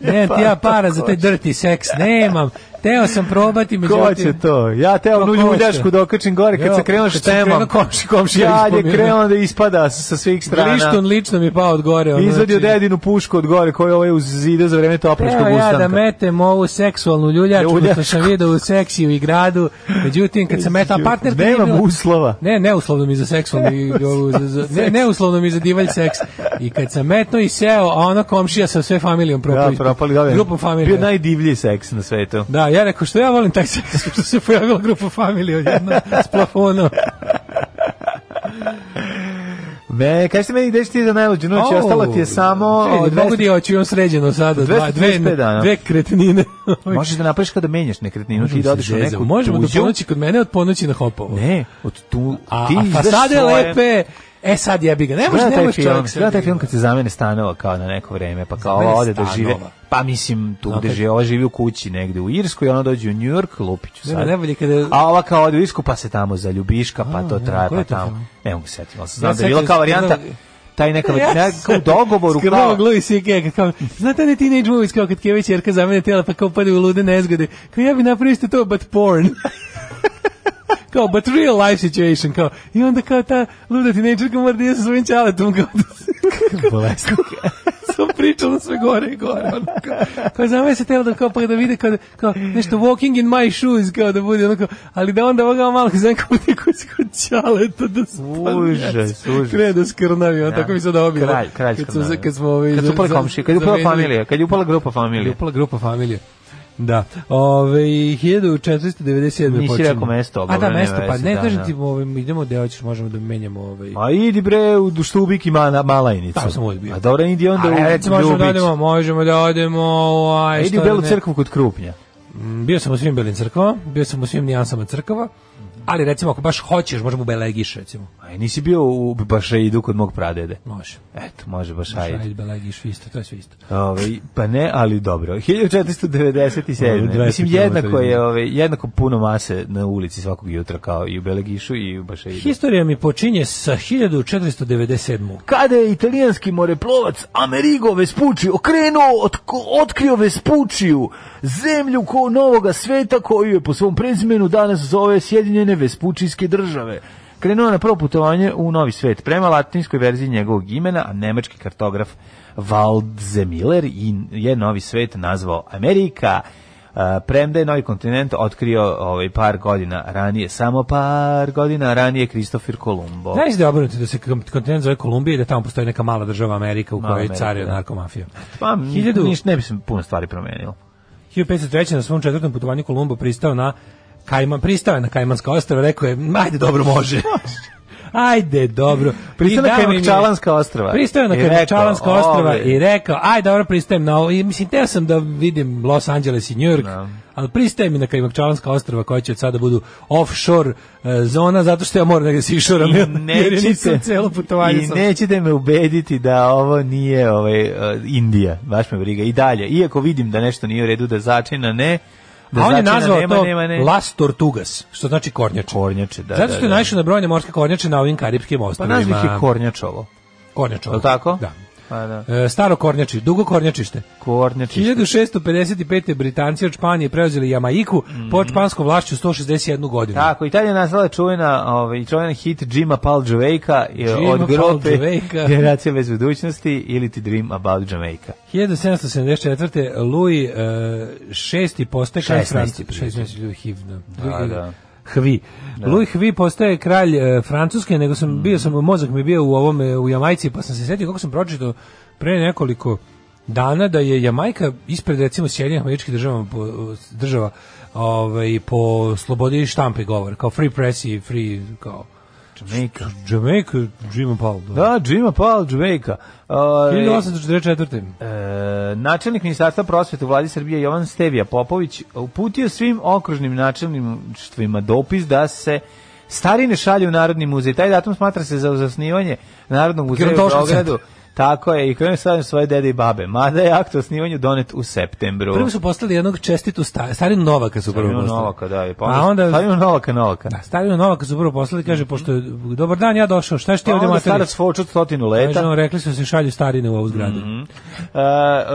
[SPEAKER 7] Nemam ti ja
[SPEAKER 6] pa, pa
[SPEAKER 7] para za
[SPEAKER 6] ko
[SPEAKER 7] taj
[SPEAKER 6] će?
[SPEAKER 7] dirty seks. Nemam. Teo sam probati, međutim...
[SPEAKER 6] Ko će to? Ja te onu
[SPEAKER 7] Pa ko će?
[SPEAKER 6] ljuljašku dokačim gore kad
[SPEAKER 7] Jo,
[SPEAKER 6] se krenuo
[SPEAKER 7] kad sam krenuo
[SPEAKER 6] štemom.
[SPEAKER 7] komši- komšija
[SPEAKER 6] Kad je
[SPEAKER 7] ispomio.
[SPEAKER 6] krenuo da ispada sa, sa svih strana.
[SPEAKER 7] Glišton lično mi je pao od gore. ono,
[SPEAKER 6] Izvadio
[SPEAKER 7] znači,
[SPEAKER 6] dedinu pušku od gore koju je ovaj uz zide za vreme topličkog
[SPEAKER 7] Teo ja
[SPEAKER 6] ustanka.
[SPEAKER 7] da metem ovu seksualnu ljuljačku
[SPEAKER 6] Ljuljačku.
[SPEAKER 7] što sam video u seksiju i gradu, međutim kad sam metao partner
[SPEAKER 6] Nemam uslova.
[SPEAKER 7] Ne, neuslovno mi za seksualnu i ovu, za, za, ne, neuslovno mi za divalj seks. I kad sam metno i seo, a ona komšija sa sve familijom
[SPEAKER 6] Da,
[SPEAKER 7] propali.
[SPEAKER 6] propali dobro.
[SPEAKER 7] Grupom familije.
[SPEAKER 6] Bio najdivlji seks na svetu.
[SPEAKER 7] Da, ja rekao što ja volim taj seks, što se pojavila grupa familije odjedno s plafonom.
[SPEAKER 6] Ne, kažete meni gde si ti za najluđu noć,
[SPEAKER 7] Au,
[SPEAKER 6] Znači, ostalo ti je samo...
[SPEAKER 7] ej,
[SPEAKER 6] o, 200
[SPEAKER 7] Mogu ti oći, imam sređeno sada, dva,
[SPEAKER 6] 235
[SPEAKER 7] dve,
[SPEAKER 6] dana.
[SPEAKER 7] dve kretnine. Ovaj
[SPEAKER 6] Možeš da napraviš kada menjaš nekretninu, ti da odeš u neku
[SPEAKER 7] Možemo do
[SPEAKER 6] tuđu.
[SPEAKER 7] ponoći kod mene, od ponoći na hopovo.
[SPEAKER 6] Ne, od tu...
[SPEAKER 7] A,
[SPEAKER 6] ti
[SPEAKER 7] a
[SPEAKER 6] izdaš
[SPEAKER 7] fasade
[SPEAKER 6] svoje-
[SPEAKER 7] lepe, e sad jebi ga, ne može,
[SPEAKER 6] Gleda
[SPEAKER 7] ne
[SPEAKER 6] taj
[SPEAKER 7] može
[SPEAKER 6] film,
[SPEAKER 7] čovjek se.
[SPEAKER 6] gleda taj film kad se zamene stanova kao na neko vreme, pa kao
[SPEAKER 7] Zamene
[SPEAKER 6] ova ode da
[SPEAKER 7] stanova.
[SPEAKER 6] žive, pa mislim tu gde
[SPEAKER 7] kad-
[SPEAKER 6] žive, ova živi u kući negde u Irskoj, ona dođe u New York, lupiću
[SPEAKER 7] Nema,
[SPEAKER 6] sad.
[SPEAKER 7] najbolje kada-
[SPEAKER 6] A ova kao ode u Irsku, pa se tamo zaljubiška, pa to
[SPEAKER 7] ja,
[SPEAKER 6] traje,
[SPEAKER 7] koji
[SPEAKER 6] pa
[SPEAKER 7] je to
[SPEAKER 6] tamo.
[SPEAKER 7] film?
[SPEAKER 6] Ne mogu se setiti, ali sam
[SPEAKER 7] Ja
[SPEAKER 6] znam da je bila
[SPEAKER 7] sećam
[SPEAKER 6] kao
[SPEAKER 7] se
[SPEAKER 6] varijanta,
[SPEAKER 7] jednog-
[SPEAKER 6] taj neka,
[SPEAKER 7] Ja
[SPEAKER 6] neka u
[SPEAKER 7] sam-
[SPEAKER 6] dogovoru, kao,
[SPEAKER 7] Skromog Louis C.K. kad kao, znate one teenage movies kao kad Kević Jerka zamene tela pa kao pade u lude nezgode. Kao ja bi napravio isto to, but porn. kao, but real life situation. Kao, I onda kao ta luda teenagerka mora da je sa svojim čaletom. Kao,
[SPEAKER 6] bolesnik.
[SPEAKER 7] sam pričala sve gore i gore. Ono, kao, kao zamene se tela da kao, pa da vide kao, da- kao nešto walking in my shoes, kao da bude onako, ali da onda ovoga malo kao zamene kao neko iz kod čaleta da spadne.
[SPEAKER 6] Užas, užas.
[SPEAKER 7] Krene da skrnavi, on
[SPEAKER 6] Da.
[SPEAKER 7] Pa tako mi se da obilo.
[SPEAKER 6] Kralj, kralj
[SPEAKER 7] kad, su-
[SPEAKER 6] skrnavi.
[SPEAKER 7] kad smo, ovaj,
[SPEAKER 6] Kad su upali komšije, kad je upala familija, kad je upala grupa
[SPEAKER 7] je
[SPEAKER 6] familije.
[SPEAKER 7] upala grupa familije. Da. Ove, 1497.
[SPEAKER 6] Nisi
[SPEAKER 7] počinje.
[SPEAKER 6] rekao mesto, ali
[SPEAKER 7] A da,
[SPEAKER 6] nema
[SPEAKER 7] mesto, pa
[SPEAKER 6] veze,
[SPEAKER 7] ne,
[SPEAKER 6] da,
[SPEAKER 7] kažem
[SPEAKER 6] da.
[SPEAKER 7] ti, ovaj, idemo gde hoćeš, možemo da menjamo ovaj...
[SPEAKER 6] Ma idi bre u Štubik i Mana- Malajnicu.
[SPEAKER 7] Tamo sam uvijek bio.
[SPEAKER 6] A dobro, idi onda
[SPEAKER 7] A,
[SPEAKER 6] u
[SPEAKER 7] recimo, možemo da
[SPEAKER 6] Ljubić.
[SPEAKER 7] odemo, možemo da odemo, ovaj,
[SPEAKER 6] Idi u
[SPEAKER 7] šta
[SPEAKER 6] Belu
[SPEAKER 7] ne-
[SPEAKER 6] crkvu kod Krupnja.
[SPEAKER 7] Mm, Bio sam u svim belim crkvama, bio sam u svim nijansama crkava, ali recimo, ako baš hoćeš, možemo u Belegiš, recimo.
[SPEAKER 6] Aj, nisi bio u Bašaidu kod mog pradede.
[SPEAKER 7] Može.
[SPEAKER 6] Eto, može Bašaid.
[SPEAKER 7] Ajde, Belegiš, isto, to je sve isto.
[SPEAKER 6] Ove, pa ne, ali dobro. 1497.
[SPEAKER 7] Dobro,
[SPEAKER 6] Mislim,
[SPEAKER 7] 20
[SPEAKER 6] jednako je,
[SPEAKER 7] kilometara.
[SPEAKER 6] ove, jednako puno mase na ulici svakog jutra kao i u Belegišu i u Bašaidu.
[SPEAKER 7] Historija mi počinje sa 1497.
[SPEAKER 6] Kada je italijanski moreplovac Amerigo Vespucci okrenuo, otko- otkrio Vespucciju, zemlju ko novoga sveta koju je po svom prezimenu danas zove Sjedinjene Vespučijske države. Krenuo na prvo putovanje u novi svet prema latinskoj verziji njegovog imena, a nemački kartograf Waldseemiller i- je novi svet nazvao Amerika. A, premda je novi kontinent otkrio ovaj par godina ranije, samo par godina ranije Kristofer Kolumbo.
[SPEAKER 7] Znaš da je obrnuto da se kom- kontinent zove Kolumbija i da tamo postoji neka mala država Amerika u
[SPEAKER 6] Mala
[SPEAKER 7] kojoj
[SPEAKER 6] Amerika,
[SPEAKER 7] car je
[SPEAKER 6] da.
[SPEAKER 7] narkomafija.
[SPEAKER 6] Pa,
[SPEAKER 7] Hiljadu-
[SPEAKER 6] niš, ne bi se puno stvari promenilo.
[SPEAKER 7] 1503. na svom četvrtom putovanju Kolumbo pristao na Kajman, pristao je na Kajmanska ostrava, rekao je, ajde dobro može. ajde dobro.
[SPEAKER 6] Pristao
[SPEAKER 7] I
[SPEAKER 6] na
[SPEAKER 7] dao im je-
[SPEAKER 6] Kajmakčalanska ostrava.
[SPEAKER 7] Pristao je na
[SPEAKER 6] I rekao,
[SPEAKER 7] Kajmakčalanska ostrava
[SPEAKER 6] "Ove."
[SPEAKER 7] i rekao, aj dobro pristajem na ovo. I, mislim, teo sam da vidim Los Angeles i New York, ali pristajem i na Kajmakčalanska ostrava koja će od sada budu offshore e, zona, zato što ja moram negdje se išoram, jer, jer ja nisam celo putovanje
[SPEAKER 6] i
[SPEAKER 7] sam.
[SPEAKER 6] nećete me ubediti da ovo nije ovaj, uh, Indija, baš me briga, i dalje. Iako vidim da nešto nije u redu, da začina ne, da
[SPEAKER 7] A on je
[SPEAKER 6] začina
[SPEAKER 7] nazvao
[SPEAKER 6] nema,
[SPEAKER 7] to
[SPEAKER 6] nema, ne.
[SPEAKER 7] Las Tortugas, što znači kornjače.
[SPEAKER 6] Kornjače, da,
[SPEAKER 7] Zato
[SPEAKER 6] da,
[SPEAKER 7] što je
[SPEAKER 6] da.
[SPEAKER 7] naišao na brojne morske kornjače na ovim karipskim
[SPEAKER 6] Pa
[SPEAKER 7] ostrovima.
[SPEAKER 6] nazvih je Kornjačovo.
[SPEAKER 7] Kornjačovo.
[SPEAKER 6] Je li tako?
[SPEAKER 7] Da.
[SPEAKER 6] Pa da.
[SPEAKER 7] E, staro kornjači, dugo kornjačište.
[SPEAKER 6] Kornjačište.
[SPEAKER 7] 1655. Britanci od Španije preuzeli Jamaiku
[SPEAKER 6] Mhm.
[SPEAKER 7] pod španskom vlašću 161 godinu.
[SPEAKER 6] Tako, Italija je nazvala čuvena, ovaj, čuvena hit Jima Paul Jamaica je
[SPEAKER 7] Jima
[SPEAKER 6] od
[SPEAKER 7] Paul
[SPEAKER 6] grope
[SPEAKER 7] Jamaica.
[SPEAKER 6] Generacija bez budućnosti ili ti Dream About Jamaica.
[SPEAKER 7] 1774. Louis e, šesti postaje kralj
[SPEAKER 6] 16.
[SPEAKER 7] Francuske.
[SPEAKER 6] prijatelj.
[SPEAKER 7] 16. Louis Hiv, da.
[SPEAKER 6] Da, da.
[SPEAKER 7] Hvi. Louis Hvi postaje kralj e, Francuske, nego sam bio sam mozak mi je bio u ovom e, u Jamajci, pa sam se sjetio kako sam pročitao pre nekoliko dana da je Jamajka ispred recimo Sjedinjenih Američkih Država po, država ovaj po slobodi štampe govor, kao free press i free kao
[SPEAKER 6] Jamaica.
[SPEAKER 7] Jamaica, Jim Paul. Da.
[SPEAKER 6] Da, Jima Paul Jamaica. Ovaj,
[SPEAKER 7] 1844.
[SPEAKER 6] E, načelnik ministarstva prosvete u vladi Srbije Jovan Stevija Popović uputio svim okružnim načelništvima dopis da se starine šalju u Narodni muzej. Taj datum smatra se za zasnivanje Narodnog muzeja u
[SPEAKER 7] Gerontološkog
[SPEAKER 6] Beogradu. Tako je, i krenuo stavljam svoje dede i babe. Mada je akt o osnivanju donet u septembru.
[SPEAKER 7] Prvo su postali jednog čestitu sta, starinu Novaka su prvo
[SPEAKER 6] Stavimo
[SPEAKER 7] postali.
[SPEAKER 6] Novaka, da, i pa
[SPEAKER 7] A onda-
[SPEAKER 6] onda... Stavimo Novaka, Novaka.
[SPEAKER 7] Da, starinu Novaka su prvo poslali, kaže, pošto je, dobar dan, ja došao, šta
[SPEAKER 6] Mhm. Pa
[SPEAKER 7] ćete ovdje
[SPEAKER 6] onda
[SPEAKER 7] materi?
[SPEAKER 6] starac Fočut stotinu
[SPEAKER 7] Kaže,
[SPEAKER 6] leta.
[SPEAKER 7] on, rekli su da se šalju starine u ovu zgradu.
[SPEAKER 6] E,
[SPEAKER 7] Mm.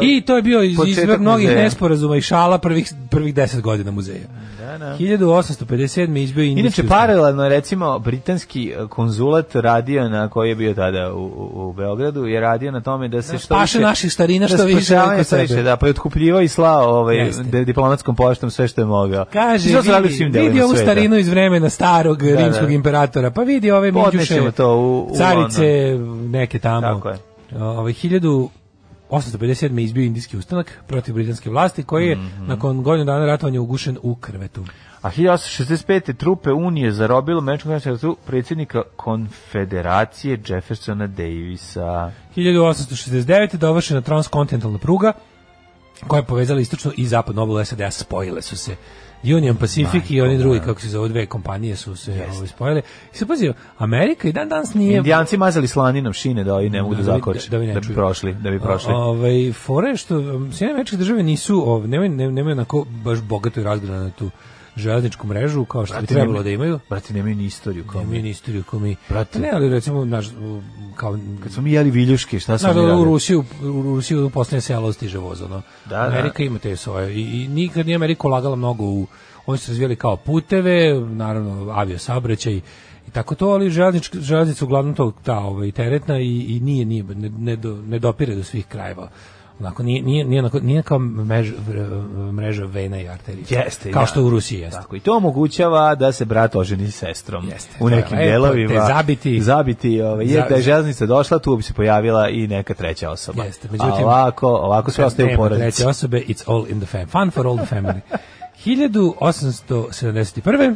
[SPEAKER 7] I to je bio iz,
[SPEAKER 6] Mhm. Početak
[SPEAKER 7] izvor mnogih
[SPEAKER 6] muzeja.
[SPEAKER 7] nesporazuma i šala prvih, prvih deset godina muzeja.
[SPEAKER 6] da, da.
[SPEAKER 7] 1857. izbio indijski...
[SPEAKER 6] Inače, paralelno je, recimo, britanski eh, konzulat radio na koji je bio tada u, u, u Beogradu je radio na tome da se što
[SPEAKER 7] Paše
[SPEAKER 6] više...
[SPEAKER 7] naših starina što
[SPEAKER 6] da
[SPEAKER 7] više
[SPEAKER 6] spašavanje
[SPEAKER 7] nego
[SPEAKER 6] što
[SPEAKER 7] sebe.
[SPEAKER 6] više, da, pa je otkupljivao i slao ovaj,
[SPEAKER 7] Jeste.
[SPEAKER 6] de- diplomatskom poštom sve što je mogao.
[SPEAKER 7] Kaže,
[SPEAKER 6] I to su radili u
[SPEAKER 7] vidi,
[SPEAKER 6] svim
[SPEAKER 7] vidi
[SPEAKER 6] delovima
[SPEAKER 7] ovu
[SPEAKER 6] sveta.
[SPEAKER 7] starinu iz vremena starog
[SPEAKER 6] da.
[SPEAKER 7] rimskog imperatora, pa vidi ove
[SPEAKER 6] Podnećemo
[SPEAKER 7] minđuše,
[SPEAKER 6] to u- u
[SPEAKER 7] carice, neke tamo.
[SPEAKER 6] Tako je.
[SPEAKER 7] Ovaj, 1857. je izbio indijski ustanak protiv britanske vlasti, koji je
[SPEAKER 6] Mhm.
[SPEAKER 7] nakon godinu dana ratovanja ugušen u krvetu.
[SPEAKER 6] A 1865. trupe Unije zarobilo američkog konferenciju predsjednika konfederacije Jeffersona Davisa.
[SPEAKER 7] 1869. dovršena transkontinentalna pruga koja je povezala istočnu i zapadnu obalu SAD-a, spojile su se Union Pacific i oni drugi, kako se zove, dve kompanije su se ovaj, spojile. I sad pazio, Amerika i dan danas nije...
[SPEAKER 6] Indijanci mazali slaninom šine da ovi ne mogu da,
[SPEAKER 7] Da bi-
[SPEAKER 6] zakoče,
[SPEAKER 7] da
[SPEAKER 6] da,
[SPEAKER 7] bi ne
[SPEAKER 6] bi
[SPEAKER 7] čuju.
[SPEAKER 6] prošli, da bi prošli.
[SPEAKER 7] Ovaj fore je što um, Sjedinjene Američke Države nisu ov nemaju ne- nemaju onako baš bogato i razgranatu železničku mrežu kao što bi
[SPEAKER 6] Brate,
[SPEAKER 7] trebalo
[SPEAKER 6] nemaju-
[SPEAKER 7] da imaju.
[SPEAKER 6] Brate, nemaju ni istoriju kao mi.
[SPEAKER 7] Imaju ni istoriju kao mi.
[SPEAKER 6] Brate.
[SPEAKER 7] Ne, ali recimo naš u- kao
[SPEAKER 6] Kad smo mi jeli viljuške, šta smo
[SPEAKER 7] Znaš
[SPEAKER 6] mi
[SPEAKER 7] da u
[SPEAKER 6] radili?
[SPEAKER 7] Rusiju, u Rusiju u poslednje selo stiže voz, ono.
[SPEAKER 6] Da, da.
[SPEAKER 7] Amerika ima te svoje. I, i nikad nije Amerika ulagala mnogo u... Oni su razvijali kao puteve, naravno avio saobraćaj i tako to, ali železnička- železnica uglavnom to ta ovaj, teretna i, i nije, nije ne, ne, do, ne dopire do svih krajeva Onako, nije, nije, nije, onako, nije kao mreža, mreža vena i arterija.
[SPEAKER 6] Jeste,
[SPEAKER 7] Kao
[SPEAKER 6] da.
[SPEAKER 7] što u Rusiji jeste.
[SPEAKER 6] Tako, i to omogućava da se brat oženi s sestrom
[SPEAKER 7] Jeste,
[SPEAKER 6] u
[SPEAKER 7] to je
[SPEAKER 6] nekim
[SPEAKER 7] lepo,
[SPEAKER 6] delovima.
[SPEAKER 7] te zabiti.
[SPEAKER 6] Zabiti, ovaj, jer
[SPEAKER 7] Za-
[SPEAKER 6] da je železnica došla, tu bi se pojavila i neka treća osoba.
[SPEAKER 7] Jeste, međutim-
[SPEAKER 6] A ovako, ovako sve ostaje u
[SPEAKER 7] Nema
[SPEAKER 6] porodici.
[SPEAKER 7] Treće osobe, it's all in the family. Fun for all the family. 1871.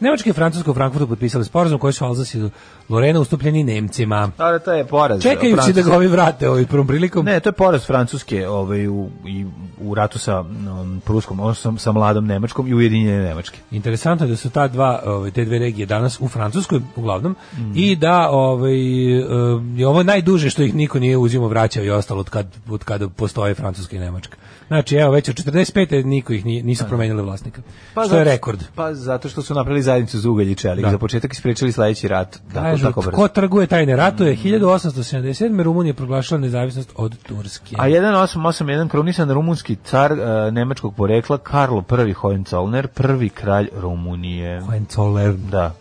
[SPEAKER 7] Nemačka i Francuska u Frankfurtu potpisali sporazum koji su Alzas i Lorena ustupljeni Nemcima.
[SPEAKER 6] Dobro, to je poraz.
[SPEAKER 7] Čekajući da
[SPEAKER 6] Francuske.
[SPEAKER 7] ga ovi vrate ovaj prvom prilikom.
[SPEAKER 6] Ne, to je poraz Francuske ovaj, u, i, u ratu sa um, Pruskom, odnosno sa mladom Nemačkom i Ujedinjene Nemačke.
[SPEAKER 7] Interesantno je da su ta dva, ovaj, te dve regije danas u Francuskoj uglavnom i da ovaj, eh, je ovo najduže što ih niko nije uzimo vraćao i ostalo od kad, od kada postoje Francuska i Nemačka. Znači, evo, već od 45. niko ih nije, nisu promenili vlasnika. što je
[SPEAKER 6] Pa zato-
[SPEAKER 7] rekord.
[SPEAKER 6] Pa zato što su napravili zajednicu za ugalj i čelik.
[SPEAKER 7] Da.
[SPEAKER 6] Za početak ispričali sledeći rat. Tako,
[SPEAKER 7] Kažu,
[SPEAKER 6] tako brzo.
[SPEAKER 7] ko trguje tajne ratuje, 1877. Rumunija je proglašala nezavisnost od Turske.
[SPEAKER 6] A 1881 krunisan rumunski car e, nemačkog porekla Karlo I Hohenzollern, prvi kralj Rumunije.
[SPEAKER 7] Hohenzollern.
[SPEAKER 6] Da.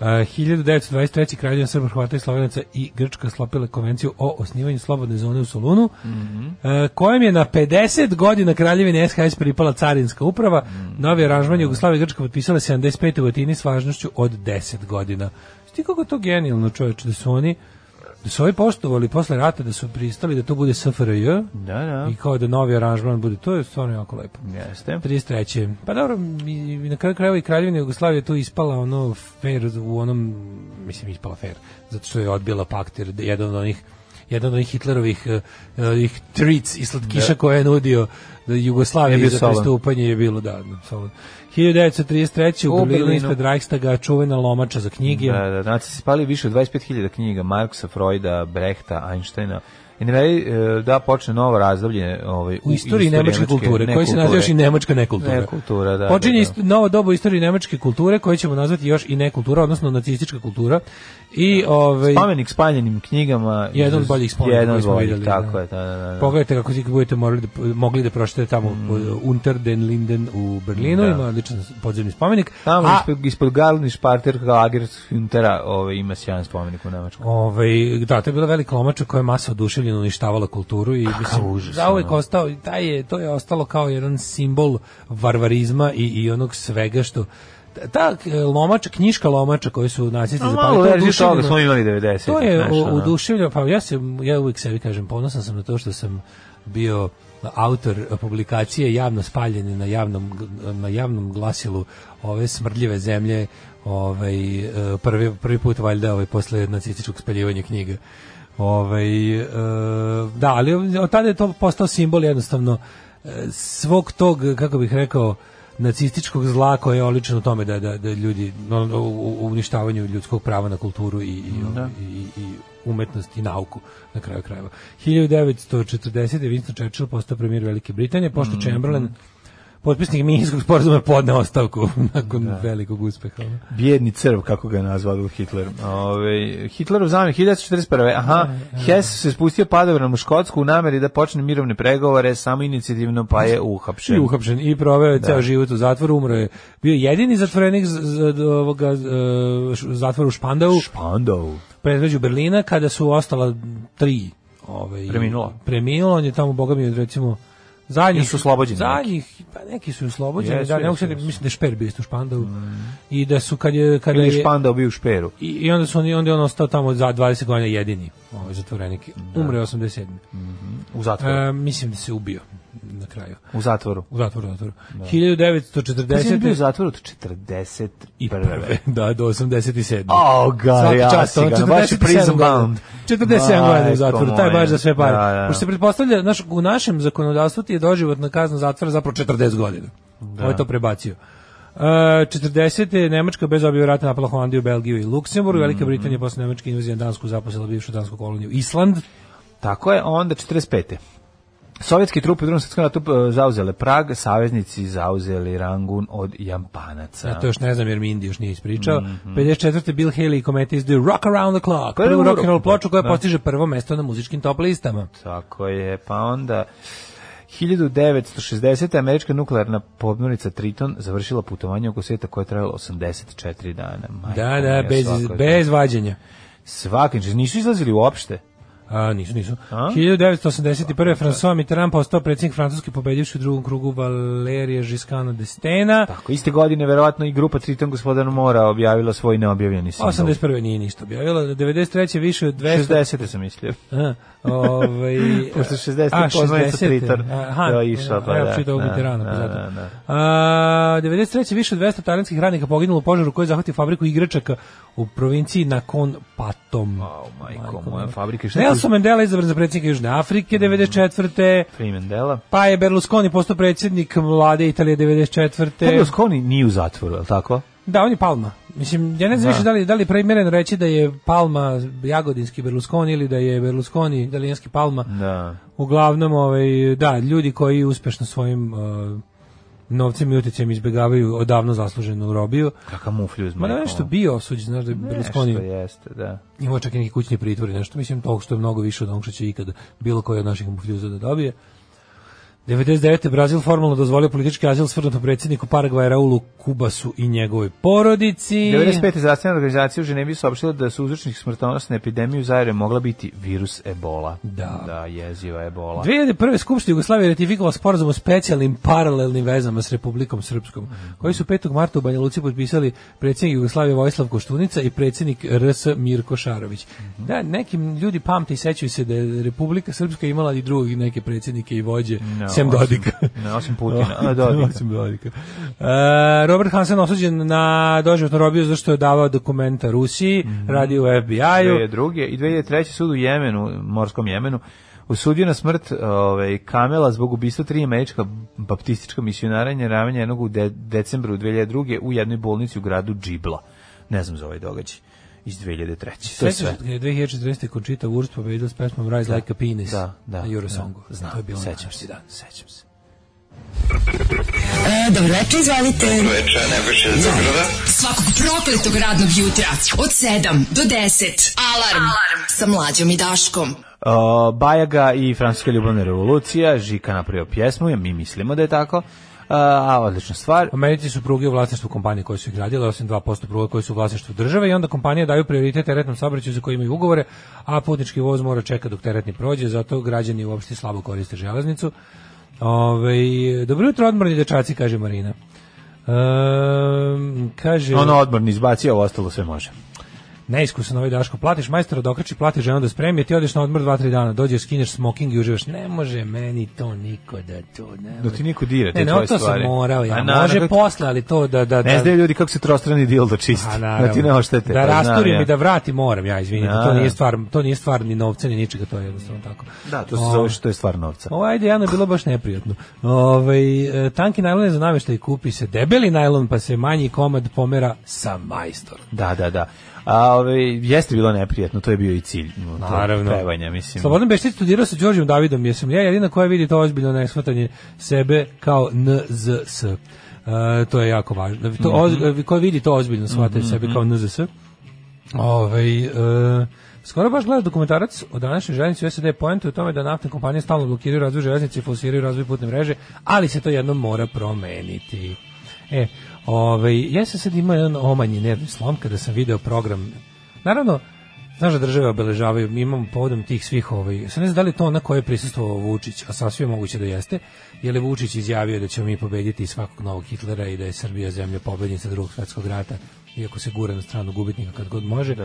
[SPEAKER 7] Uh, 1923. kraljevina Srba, Hrvata i Slovenaca i Grčka sklopila konvenciju o osnivanju slobodne zone u Solunu,
[SPEAKER 6] Mhm.
[SPEAKER 7] uh, kojem je na 50 godina kraljevine SHS pripala carinska uprava.
[SPEAKER 6] Mhm.
[SPEAKER 7] Novi aranžman Jugoslavije i Grčka potpisala 75. u Atini s važnošću od 10 godina. Sti kako je to genijalno čoveče, da su oni da su ovi poštovali posle rata da su pristali da to bude SFRJ
[SPEAKER 6] Da, da.
[SPEAKER 7] i kao da novi aranžman bude to je stvarno jako lepo.
[SPEAKER 6] Jeste.
[SPEAKER 7] 33. Pa dobro, i, i na kraju krajeva i Kraljevina Jugoslavija je tu ispala ono fair u onom, mislim ispala fair, zato što je odbila pakt jer jedan od onih jedan od onih Hitlerovih eh, eh, onih treats i slatkiša koje je nudio da
[SPEAKER 6] Je bio
[SPEAKER 7] Jugoslaviji za
[SPEAKER 6] solan.
[SPEAKER 7] pristupanje je bilo da, da solan. 1933.
[SPEAKER 6] U
[SPEAKER 7] u Berlinu
[SPEAKER 6] Berlinu.
[SPEAKER 7] ispred Reichstaga čuvena lomača za knjige.
[SPEAKER 6] Da, da, znači se spali više od 25.000 knjiga Marksa, Freuda, Brehta, Einsteina. I na kraju, e, da počne novo razdoblje ovaj,
[SPEAKER 7] u istoriji nemačke kulture, koji se naziva još i nemačka nekultura.
[SPEAKER 6] Nekultura, da,
[SPEAKER 7] Počinje
[SPEAKER 6] da, da.
[SPEAKER 7] ist- novo doba u istoriji nemačke kulture, koje ćemo nazvati još i nekultura, odnosno nacistička kultura. I ovaj
[SPEAKER 6] Spomenik spaljenim knjigama.
[SPEAKER 7] Jedan od boljih spomenika
[SPEAKER 6] Jedan
[SPEAKER 7] koji
[SPEAKER 6] od
[SPEAKER 7] smo
[SPEAKER 6] boljih,
[SPEAKER 7] vidjeli,
[SPEAKER 6] tako
[SPEAKER 7] da.
[SPEAKER 6] je, da, da, da. Mm.
[SPEAKER 7] Pogledajte kako si budete morali da, mogli da pročitate tamo eh, Unter den Linden u Berlinu, ima odličan podzemni spomenik.
[SPEAKER 6] Tamo
[SPEAKER 7] A
[SPEAKER 6] ispod, ispod Galni Šparter Lagerhüntera ovaj, ima sjajan spomenik u Nemačkoj.
[SPEAKER 7] Ovaj da, to je bila velika lomača koja je masa oduševljeno uništavala kulturu i mislim
[SPEAKER 6] užas, ono.
[SPEAKER 7] zauvek ostao i taj je to je ostalo kao jedan simbol varvarizma i i onog svega što ta eh, lomača, knjiška lomača koju su nacisti
[SPEAKER 6] A
[SPEAKER 7] zapalili,
[SPEAKER 6] malo
[SPEAKER 7] to je
[SPEAKER 6] verziju toga
[SPEAKER 7] oduševljeno-
[SPEAKER 6] smo imali 90.
[SPEAKER 7] to je
[SPEAKER 6] znaš, ono.
[SPEAKER 7] uduševljeno, pa ja se ja uvijek sebi kažem ponosan sam na to što sam bio autor publikacije javno spaljene na javnom na javnom glasilu ove smrdljive zemlje, ovaj e, prvi prvi put valjda ovaj posle nacističkog spaljivanja knjiga. Ovaj e, da, ali od tada je to postao simbol jednostavno e, svog tog kako bih rekao nacističkog zla koje je olično u tome da, da, da ljudi no, no, u, u uništavanju ljudskog prava na kulturu i, i, i, i umetnost i nauku na kraju krajeva. 1940. Winston Churchill postao premijer Velike Britanije, pošto Chamberlain potpisnik Minskog sporazuma je podneo ostavku nakon velikog uspeha. ono.
[SPEAKER 6] Bjedni crv, kako ga je nazvao Hitler. Ove, Hitlerov zamjer 1941. Aha, Hess se spustio padobranom u Škotsku u nameri da počne mirovne pregovore samo inicijativno, pa je uhapšen.
[SPEAKER 7] I uhapšen i proveo je ceo život u zatvoru, umro je. Bio je jedini zatvorenik z, z- od ovoga e, š- zatvora u Špandau,
[SPEAKER 6] Špandov.
[SPEAKER 7] predmeđu Berlina kada su ostala tri ovaj
[SPEAKER 6] Preminula.
[SPEAKER 7] Preminulo, on je tamo boga mi od recimo zadnjih
[SPEAKER 6] Ili su oslobođeni
[SPEAKER 7] Zadnjih, pa neki su i oslobođeni,
[SPEAKER 6] Jesu,
[SPEAKER 7] da, ne mogu
[SPEAKER 6] jesu,
[SPEAKER 7] sad-
[SPEAKER 6] jesu. Mm.
[SPEAKER 7] mislim da je Šper bio isto u Špandau. I da su kad je kada
[SPEAKER 6] Ili je
[SPEAKER 7] je-
[SPEAKER 6] Špandov bio u Šperu.
[SPEAKER 7] i, i onda su oni onda je on ostao tamo za 20 godina jedini, ovaj zatvorenik. Umre 87.
[SPEAKER 6] U zatvoru.
[SPEAKER 7] E, mislim da se ubio na kraju.
[SPEAKER 6] u zatvoru.
[SPEAKER 7] U zatvoru, u zatvoru.
[SPEAKER 6] Pa Mislim da je bio u
[SPEAKER 7] 1940.
[SPEAKER 6] zatvoru od 41.
[SPEAKER 7] i prve, da, do 87.
[SPEAKER 6] O, ga,
[SPEAKER 7] Svaka
[SPEAKER 6] ja
[SPEAKER 7] čast,
[SPEAKER 6] si
[SPEAKER 7] on
[SPEAKER 6] ga, baš je
[SPEAKER 7] 47
[SPEAKER 6] prison
[SPEAKER 7] godina.
[SPEAKER 6] bound.
[SPEAKER 7] 47 godina u zatvoru, taj baš za sve pare.
[SPEAKER 6] Da, da.
[SPEAKER 7] Pošto se pretpostavlja, znaš, u našem zakonodavstvu ti je doživotna kazna zatvora zapravo 40 godina. Da. Ovo je to prebacio. Uh, 40. je Nemačka bez obje rata napala Holandiju, Belgiju i Luksemburg.
[SPEAKER 6] Mhm.
[SPEAKER 7] Velika Britanija posle Nemačke invazije na Dansku zaposela bivšu dansku koloniju Island.
[SPEAKER 6] Tako je, onda 45. Sovjetski trupe u drugom svjetskom ratu e, zauzele Prag, saveznici zauzeli Rangun od Jampanaca.
[SPEAKER 7] Ja to još ne znam jer mi Indi još nije ispričao. 54. Bill Haley i kometa izdaju Rock Around the Clock,
[SPEAKER 6] Mhm. Prvu
[SPEAKER 7] prvu rock and roll
[SPEAKER 6] rock-
[SPEAKER 7] ploču koja
[SPEAKER 6] da.
[SPEAKER 7] postiže prvo mesto na muzičkim top listama.
[SPEAKER 6] Tako je, pa onda 1960. američka nuklearna podmornica Triton završila putovanje oko svijeta koje je trajalo 84 dana. Majko
[SPEAKER 7] Da, da,
[SPEAKER 6] moja,
[SPEAKER 7] bez,
[SPEAKER 6] svako je-
[SPEAKER 7] bez vađenja.
[SPEAKER 6] Svaka, znači, nisu izlazili uopšte.
[SPEAKER 7] A, A, nisu, nisu. 1981. François Mitterrand postao predsjednik Francuske pobedivši u drugom krugu Valerije Žiskana Destena.
[SPEAKER 6] Tako, iste godine verovatno i grupa Triton gospodar Mora objavila svoj neobjavljeni singl.
[SPEAKER 7] 81. nije ništa objavila, 93. više od 200...
[SPEAKER 6] 60. sam mislio.
[SPEAKER 7] A, ovaj,
[SPEAKER 6] Pošto 60
[SPEAKER 7] a,
[SPEAKER 6] poznanica
[SPEAKER 7] 60,
[SPEAKER 6] Triton.
[SPEAKER 7] Aha,
[SPEAKER 6] Da, išla, pa
[SPEAKER 7] a, ja
[SPEAKER 6] da.
[SPEAKER 7] čitao
[SPEAKER 6] Da,
[SPEAKER 7] Mitterranda, pa
[SPEAKER 6] da,
[SPEAKER 7] zato.
[SPEAKER 6] da, da.
[SPEAKER 7] A, 93. više od 200 talijanskih radnika poginulo u požaru koji je zahvatio fabriku igračaka u provinciji nakon Patom.
[SPEAKER 6] Au, majko moja, fabrike, šta je
[SPEAKER 7] Nelson Mandela izabran za predsjednika Južne Afrike 94.
[SPEAKER 6] Freeman Dela.
[SPEAKER 7] Pa je Berlusconi postao predsjednik vlade Italije 94.
[SPEAKER 6] Berlusconi nije u zatvoru, je li tako?
[SPEAKER 7] Da, on je Palma. Mislim, ja ne znam više da li, da li je primjereno reći da je Palma jagodinski Berlusconi ili da je Berlusconi italijanski Palma.
[SPEAKER 6] Da.
[SPEAKER 7] Uglavnom, ovaj, da, ljudi koji uspešno svojim uh, novcem i utjecajem izbjegavaju odavno zasluženu robiju.
[SPEAKER 6] Kakav muflju uz
[SPEAKER 7] Ma da je
[SPEAKER 6] majkom.
[SPEAKER 7] nešto bio osuđen, znaš da je Berlusconi
[SPEAKER 6] Nešto jeste, da.
[SPEAKER 7] imao čak i neki kućni pritvor i nešto, mislim, toliko što je mnogo više od onog što će ikad bilo koji od naših mufljuza da dobije. 99. Brazil formalno dozvolio politički azil svrnutom predsjedniku Paragvaja Raulu Kubasu i njegovoj porodici.
[SPEAKER 6] 95. zdravstvena organizacija u Ženevi saopštila da su uzročnih smrtonosne epidemije u Zaire mogla biti virus ebola.
[SPEAKER 7] Da.
[SPEAKER 6] Da, jeziva ebola.
[SPEAKER 7] 2001. skupština Jugoslavije ratifikovala sporazum o specijalnim paralelnim vezama s Republikom Srpskom, koji su 5. marta u Banja Luci potpisali predsjednik Jugoslavije Vojislav Koštunica i predsjednik RS Mirko Šarović.
[SPEAKER 6] Mhm.
[SPEAKER 7] Da, nekim ljudi pamte i sećaju se da je Republika Srpska imala i drugih neke predsjednike i vođe,
[SPEAKER 6] Ne,
[SPEAKER 7] sem
[SPEAKER 6] osim-
[SPEAKER 7] Dodika.
[SPEAKER 6] Ne, osim Putina. A, Dodika.
[SPEAKER 7] Osim Dodika. E, Robert Hansen osuđen na doživotnu robiju zato što je davao dokumenta Rusiji,
[SPEAKER 6] Mhm.
[SPEAKER 7] radio u FBI-u.
[SPEAKER 6] 2002. i 2003. sud u Jemenu, morskom Jemenu, osudio na smrt ovaj, Kamela zbog ubistva tri američka baptistička misionaranja ramenja jednog u de, decembru 2002. u jednoj bolnici u gradu Džibla. Ne znam za ovaj događaj iz 2003. To je sve.
[SPEAKER 7] Sećaš kad je 2014. Končita Wurst pobedila s pesmom Rise Like a Penis
[SPEAKER 6] Da, da.
[SPEAKER 7] na Eurosongu.
[SPEAKER 6] Da, znam,
[SPEAKER 7] to je bilo na
[SPEAKER 6] sećam se.
[SPEAKER 7] današnji dan.
[SPEAKER 6] Sećam se.
[SPEAKER 5] E, dobroveče, izvolite.
[SPEAKER 9] Večer, najbrže za prva.
[SPEAKER 5] Svakog prokletog radnog jutra od 7 do 10. Alarm, Alarm. sa mlađom i Daškom.
[SPEAKER 6] Uh, Bajaga i Francuska ljubavna revolucija, Žika napravio pjesmu, ja mi mislimo da je tako, uh, a odlična stvar.
[SPEAKER 7] Americi su pruge u vlasništvu kompanije koje su ih gradile, osim 2% pruga koje su u vlasništvu države i onda kompanije daju prioritet teretnom saobraćaju za koje imaju ugovore, a putnički voz mora čekati dok teretni prođe, zato građani uopšte slabo koriste železnicu. Ove, dobro jutro odmorni dečaci, kaže Marina. Ehm, kaže...
[SPEAKER 6] Ono odmorni izbacio, ovo ostalo sve može.
[SPEAKER 7] Neiskusan ovaj Daško, platiš majstora da okreči, platiš ženu da spremi, ti odeš na odmor 2-3 dana, dođeš, skineš smoking i uživaš. Ne može meni to niko da to ne
[SPEAKER 6] Da ti niko dire te
[SPEAKER 7] ne, ne,
[SPEAKER 6] tvoje
[SPEAKER 7] to sam
[SPEAKER 6] stvari. Pa
[SPEAKER 7] morao ja.
[SPEAKER 6] A na-
[SPEAKER 7] može
[SPEAKER 6] na-
[SPEAKER 7] posle, ali to da... da,
[SPEAKER 6] Ne
[SPEAKER 7] da
[SPEAKER 6] znaju ljudi kako se trostrani dildo čisti.
[SPEAKER 7] A, Pa, naravno.
[SPEAKER 6] da ti ne oštete.
[SPEAKER 7] Da
[SPEAKER 6] pa znam
[SPEAKER 7] rasturim
[SPEAKER 6] ja.
[SPEAKER 7] i da vratim moram, ja izvinite, to
[SPEAKER 6] Da.
[SPEAKER 7] nije stvar, to nije stvar ni novca ni ničega, to je jednostavno tako.
[SPEAKER 6] Da, to se
[SPEAKER 7] O,
[SPEAKER 6] zove što je stvar novca.
[SPEAKER 7] Ovo ajde, Jano, je bilo baš neprijatno. Ovaj e, tanki najlon je za namještaj kupi se debeli najlon, pa se manji komad pomera sa majstorom.
[SPEAKER 6] Da, da, da. A ove, jeste bilo neprijatno, to je bio i cilj. no, to
[SPEAKER 7] Naravno.
[SPEAKER 6] Pevanja, mislim.
[SPEAKER 7] Slobodan Beštić studirao sa Đorđem Davidom, jer sam ja jedina koja vidi to ozbiljno neshvatanje sebe kao NZS. E, to je jako važno. To,
[SPEAKER 6] Mhm.
[SPEAKER 7] oz- koja vidi to ozbiljno shvata sebe kao NZS. Ovaj, e, skoro baš gledaš dokumentarac o današnjoj željeznici u SAD pojentu u tome da naftne kompanije stalno blokiraju razvoj željeznice i forsiraju razvoj putne mreže, ali se to jednom mora promeniti. E, ovaj, ja sam sad imao jedan omanji nervni slom kada sam video program. Naravno, znaš da države obeležavaju, mi imamo povodom tih svih ovaj, sad ne znam da li je to ona koja je prisustvovao Vučić, a sasvim je moguće da jeste, jer je Vučić izjavio da ćemo mi pobediti svakog novog Hitlera i da je Srbija zemlja pobednica drugog svetskog rata iako se gura na stranu gubitnika kad god može.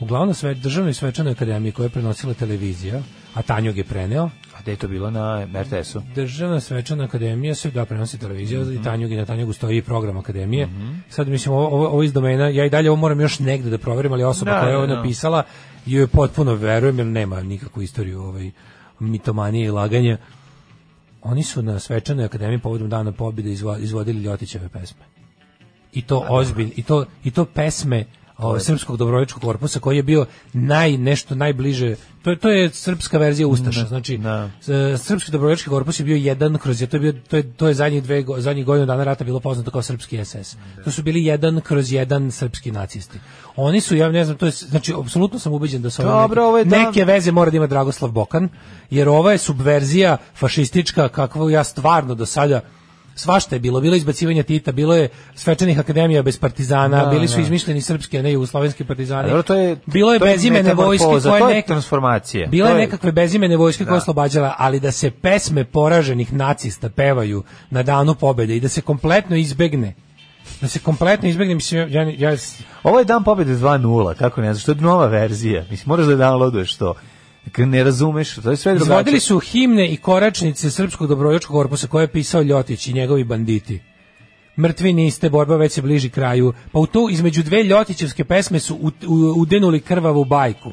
[SPEAKER 7] Uglavnom sve državnoj svečanoj akademiji koja je prenosila televizija, a Tanjog je preneo,
[SPEAKER 6] A gde je to bilo na RTS-u?
[SPEAKER 7] državna svečana akademija se da prenosi televizija
[SPEAKER 6] Mhm.
[SPEAKER 7] i Tanjug i na Tanjugu stoji i program akademije. Sad mislim ovo, ovo, ovo iz domena, ja i dalje ovo moram još negde da proverim, ali osoba
[SPEAKER 6] Da,
[SPEAKER 7] koja je
[SPEAKER 6] da,
[SPEAKER 7] ovo
[SPEAKER 6] da.
[SPEAKER 7] napisala joj potpuno verujem jer nema nikakvu istoriju ovaj mitomanije i laganja. Oni su na svečanoj akademiji povodom dana pobjede izvo- izvodili Ljotićeve pesme. I to ozbiljno, i to, i to pesme ovaj, srpskog dobrovoljačkog korpusa koji je bio naj nešto najbliže to je to je srpska verzija ustaša znači
[SPEAKER 6] da.
[SPEAKER 7] s- srpski dobrovoljački korpus je bio jedan kroz je- to je bio to je to je zadnjih dve go- zadnjih godina dana rata bilo poznato kao srpski SS to su bili jedan kroz jedan srpski nacisti oni su ja ne znam to je znači apsolutno sam ubeđen da su ovo
[SPEAKER 6] Dobro,
[SPEAKER 7] neke,
[SPEAKER 6] ovo je da-
[SPEAKER 7] neke veze mora da ima Dragoslav Bokan jer ova je subverzija fašistička kakvu ja stvarno do sada svašta je bilo, bilo je izbacivanje Tita, bilo je svečanih akademija bez partizana,
[SPEAKER 6] Da,
[SPEAKER 7] bili su
[SPEAKER 6] da.
[SPEAKER 7] izmišljeni srpski, a ne jugoslovenski
[SPEAKER 6] A
[SPEAKER 7] partizani.
[SPEAKER 6] dobro, to je,
[SPEAKER 7] bilo je
[SPEAKER 6] to je
[SPEAKER 7] bezimene vojske
[SPEAKER 6] metamorfoza,
[SPEAKER 7] koja
[SPEAKER 6] to je
[SPEAKER 7] neka-
[SPEAKER 6] transformacija.
[SPEAKER 7] Bila je
[SPEAKER 6] To je-
[SPEAKER 7] nekakve bezimene vojske koja je oslobađala, ali da se pesme poraženih nacista pevaju na danu pobede i da se kompletno izbegne da se kompletno izbegne, mislim, ja, ja, ja
[SPEAKER 6] Ovo je dan pobjede 2.0, kako ne znaš, to je nova verzija. Mislim, moraš da downloaduješ to. K- Ne razumeš, to je sve drugačije.
[SPEAKER 7] Izvodili su himne i koračnice Srpskog dobrovoljačkog korpusa koje je pisao Ljotić i njegovi banditi. Mrtvi niste, borba već se bliži kraju. Pa u to između dve Ljotićevske pesme su u, u, udenuli krvavu bajku.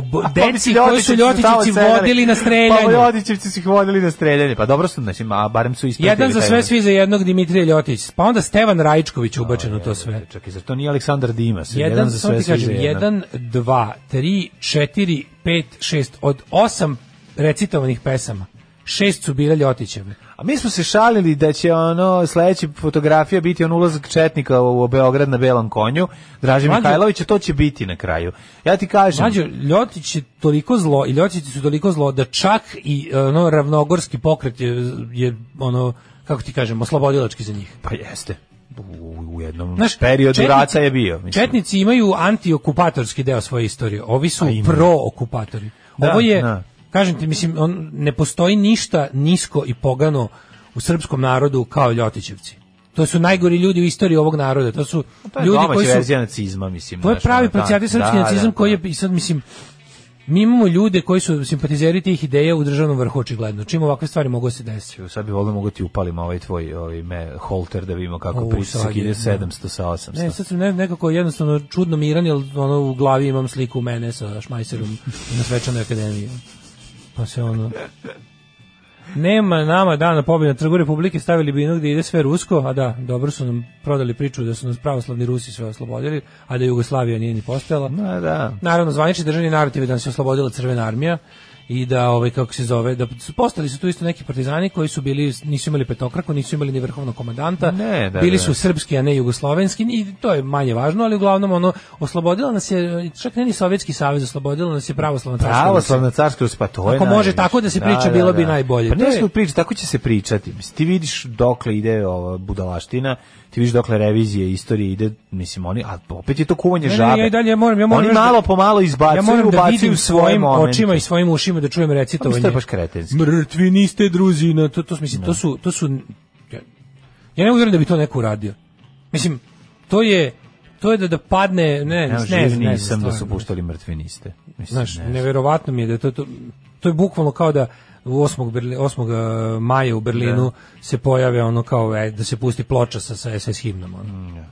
[SPEAKER 7] b- deci koji su Ljotićevci vodili na
[SPEAKER 6] Pa
[SPEAKER 7] streljanje.
[SPEAKER 6] Ljotićevci su ih vodili na streljanje. Pa dobro su, znači, a barem su ispratili.
[SPEAKER 7] Jedan za
[SPEAKER 6] taj
[SPEAKER 7] sve,
[SPEAKER 6] moment.
[SPEAKER 7] svi za jednog Dimitrija Ljotić. Pa onda Stevan Rajičković ubačen u to sve.
[SPEAKER 6] Čekaj, zar to nije Aleksandar Dimas? znači, Jedan,
[SPEAKER 7] Jedan,
[SPEAKER 6] za
[SPEAKER 7] samo
[SPEAKER 6] sve,
[SPEAKER 7] ti
[SPEAKER 6] svi
[SPEAKER 7] kažem,
[SPEAKER 6] za jedan.
[SPEAKER 7] jedan, dva, tri, četiri, pet, šest. Od osam recitovanih pesama, šest su bile Ljotićeve.
[SPEAKER 6] A mi smo se šalili da će ono sledeća fotografija biti on ulazak četnika u u Beograd na belom konju. Draži
[SPEAKER 7] Mlađo-
[SPEAKER 6] Mihajlović, a to će biti na kraju. Ja ti kažem.
[SPEAKER 7] Mlađo, Ljotić je toliko zlo i Ljotići su toliko zlo da čak i ono ravnogorski pokret je, je ono kako ti kažem, oslobodilački za njih.
[SPEAKER 6] Pa jeste. U, u jednom
[SPEAKER 7] Znaš,
[SPEAKER 6] periodu
[SPEAKER 7] četnici-
[SPEAKER 6] rata je bio. Mislim.
[SPEAKER 7] Četnici imaju antiokupatorski deo svoje istorije. Ovi su
[SPEAKER 6] A imaju.
[SPEAKER 7] prookupatori.
[SPEAKER 6] Da,
[SPEAKER 7] Ovo je,
[SPEAKER 6] da.
[SPEAKER 7] kažem ti, mislim, on, ne postoji ništa nisko i pogano u srpskom narodu kao Ljotićevci. To su najgori ljudi u istoriji ovog naroda. To su
[SPEAKER 6] To je
[SPEAKER 7] ljudi
[SPEAKER 6] domaća
[SPEAKER 7] koji su
[SPEAKER 6] verzija nacizma, mislim.
[SPEAKER 7] To je
[SPEAKER 6] znaš,
[SPEAKER 7] pravi
[SPEAKER 6] ono, da,
[SPEAKER 7] procijati srpski
[SPEAKER 6] da,
[SPEAKER 7] nacizam
[SPEAKER 6] da,
[SPEAKER 7] koji je,
[SPEAKER 6] da.
[SPEAKER 7] i sad mislim, mi imamo ljude koji su simpatizeri tih ideja u državnom vrhu očigledno. Čim ovakve stvari mogu da se desiti?
[SPEAKER 6] Sad bi volio mogu ti upalim ovaj tvoj ovaj me, holter da vidimo kako
[SPEAKER 7] U,
[SPEAKER 6] pritisak
[SPEAKER 7] sad je,
[SPEAKER 6] ide
[SPEAKER 7] da.
[SPEAKER 6] 700 sa 800.
[SPEAKER 7] Ne, sad sam ne- nekako jednostavno čudno miran, jer ono, u glavi imam sliku mene sa šmajserom na svečanoj akademiji. Pa se ono... Nema nama dana pobjede na trgu Republike, stavili bi inog da ide sve rusko, a da, dobro su nam prodali priču da su nas pravoslavni Rusi sve oslobodili, a da Jugoslavija nije ni postojala.
[SPEAKER 6] Ma da.
[SPEAKER 7] naravno zvanični državni narativ je da nas je oslobodila crvena armija i da ovaj kako se zove da su postali su tu isto neki partizani koji su bili nisu imali petokraku, nisu imali ni vrhovnog komandanta.
[SPEAKER 6] Ne, da,
[SPEAKER 7] bili
[SPEAKER 6] da.
[SPEAKER 7] su srpski a ne jugoslovenski i to je manje važno, ali uglavnom ono oslobodila nas je čak ne ni sovjetski savez oslobodila nas je pravoslavna crkva.
[SPEAKER 6] Pravoslavna carska Rusija, pa to je
[SPEAKER 7] Ako može
[SPEAKER 6] najviše.
[SPEAKER 7] tako da se priča, bilo bi najbolje.
[SPEAKER 6] Pa
[SPEAKER 7] To
[SPEAKER 6] ne
[SPEAKER 7] je-
[SPEAKER 6] smo priča, tako će se pričati. Mislim, ti vidiš dokle ide ova budalaština, ti vidiš dokle revizije istorije ide, mislim, oni, a opet je to kuvanje
[SPEAKER 7] Ne, ne,
[SPEAKER 6] žabe.
[SPEAKER 7] ja i dalje moram, ja moram
[SPEAKER 6] oni
[SPEAKER 7] još da-
[SPEAKER 6] malo po malo izbacuju,
[SPEAKER 7] Ja moram da
[SPEAKER 6] ubacuju
[SPEAKER 7] vidim
[SPEAKER 6] svoje
[SPEAKER 7] svojim
[SPEAKER 6] momente.
[SPEAKER 7] očima i svojim ušima da čujem
[SPEAKER 6] Pa
[SPEAKER 7] recitovanje.
[SPEAKER 6] mislim, to je baš kretenski.
[SPEAKER 7] Mrtvi niste druzina, to to mislim to su to su ja, ja ne uvjeren da bi to neko uradio. Mislim to je to je da da padne, ne,
[SPEAKER 6] Ja
[SPEAKER 7] ne,
[SPEAKER 6] živ
[SPEAKER 7] ne, znam, ne,
[SPEAKER 6] nisam
[SPEAKER 7] znam,
[SPEAKER 6] da su
[SPEAKER 7] stvarno.
[SPEAKER 6] puštali mrtve niste. Mislim,
[SPEAKER 7] Znaš,
[SPEAKER 6] ne
[SPEAKER 7] neverovatno mi je da je to, to to je bukvalno kao da u 8. Berli, 8. eh, maja u Berlinu se pojave ono kao e, da se pusti ploča sa sa SS himnom ono.
[SPEAKER 6] Mm,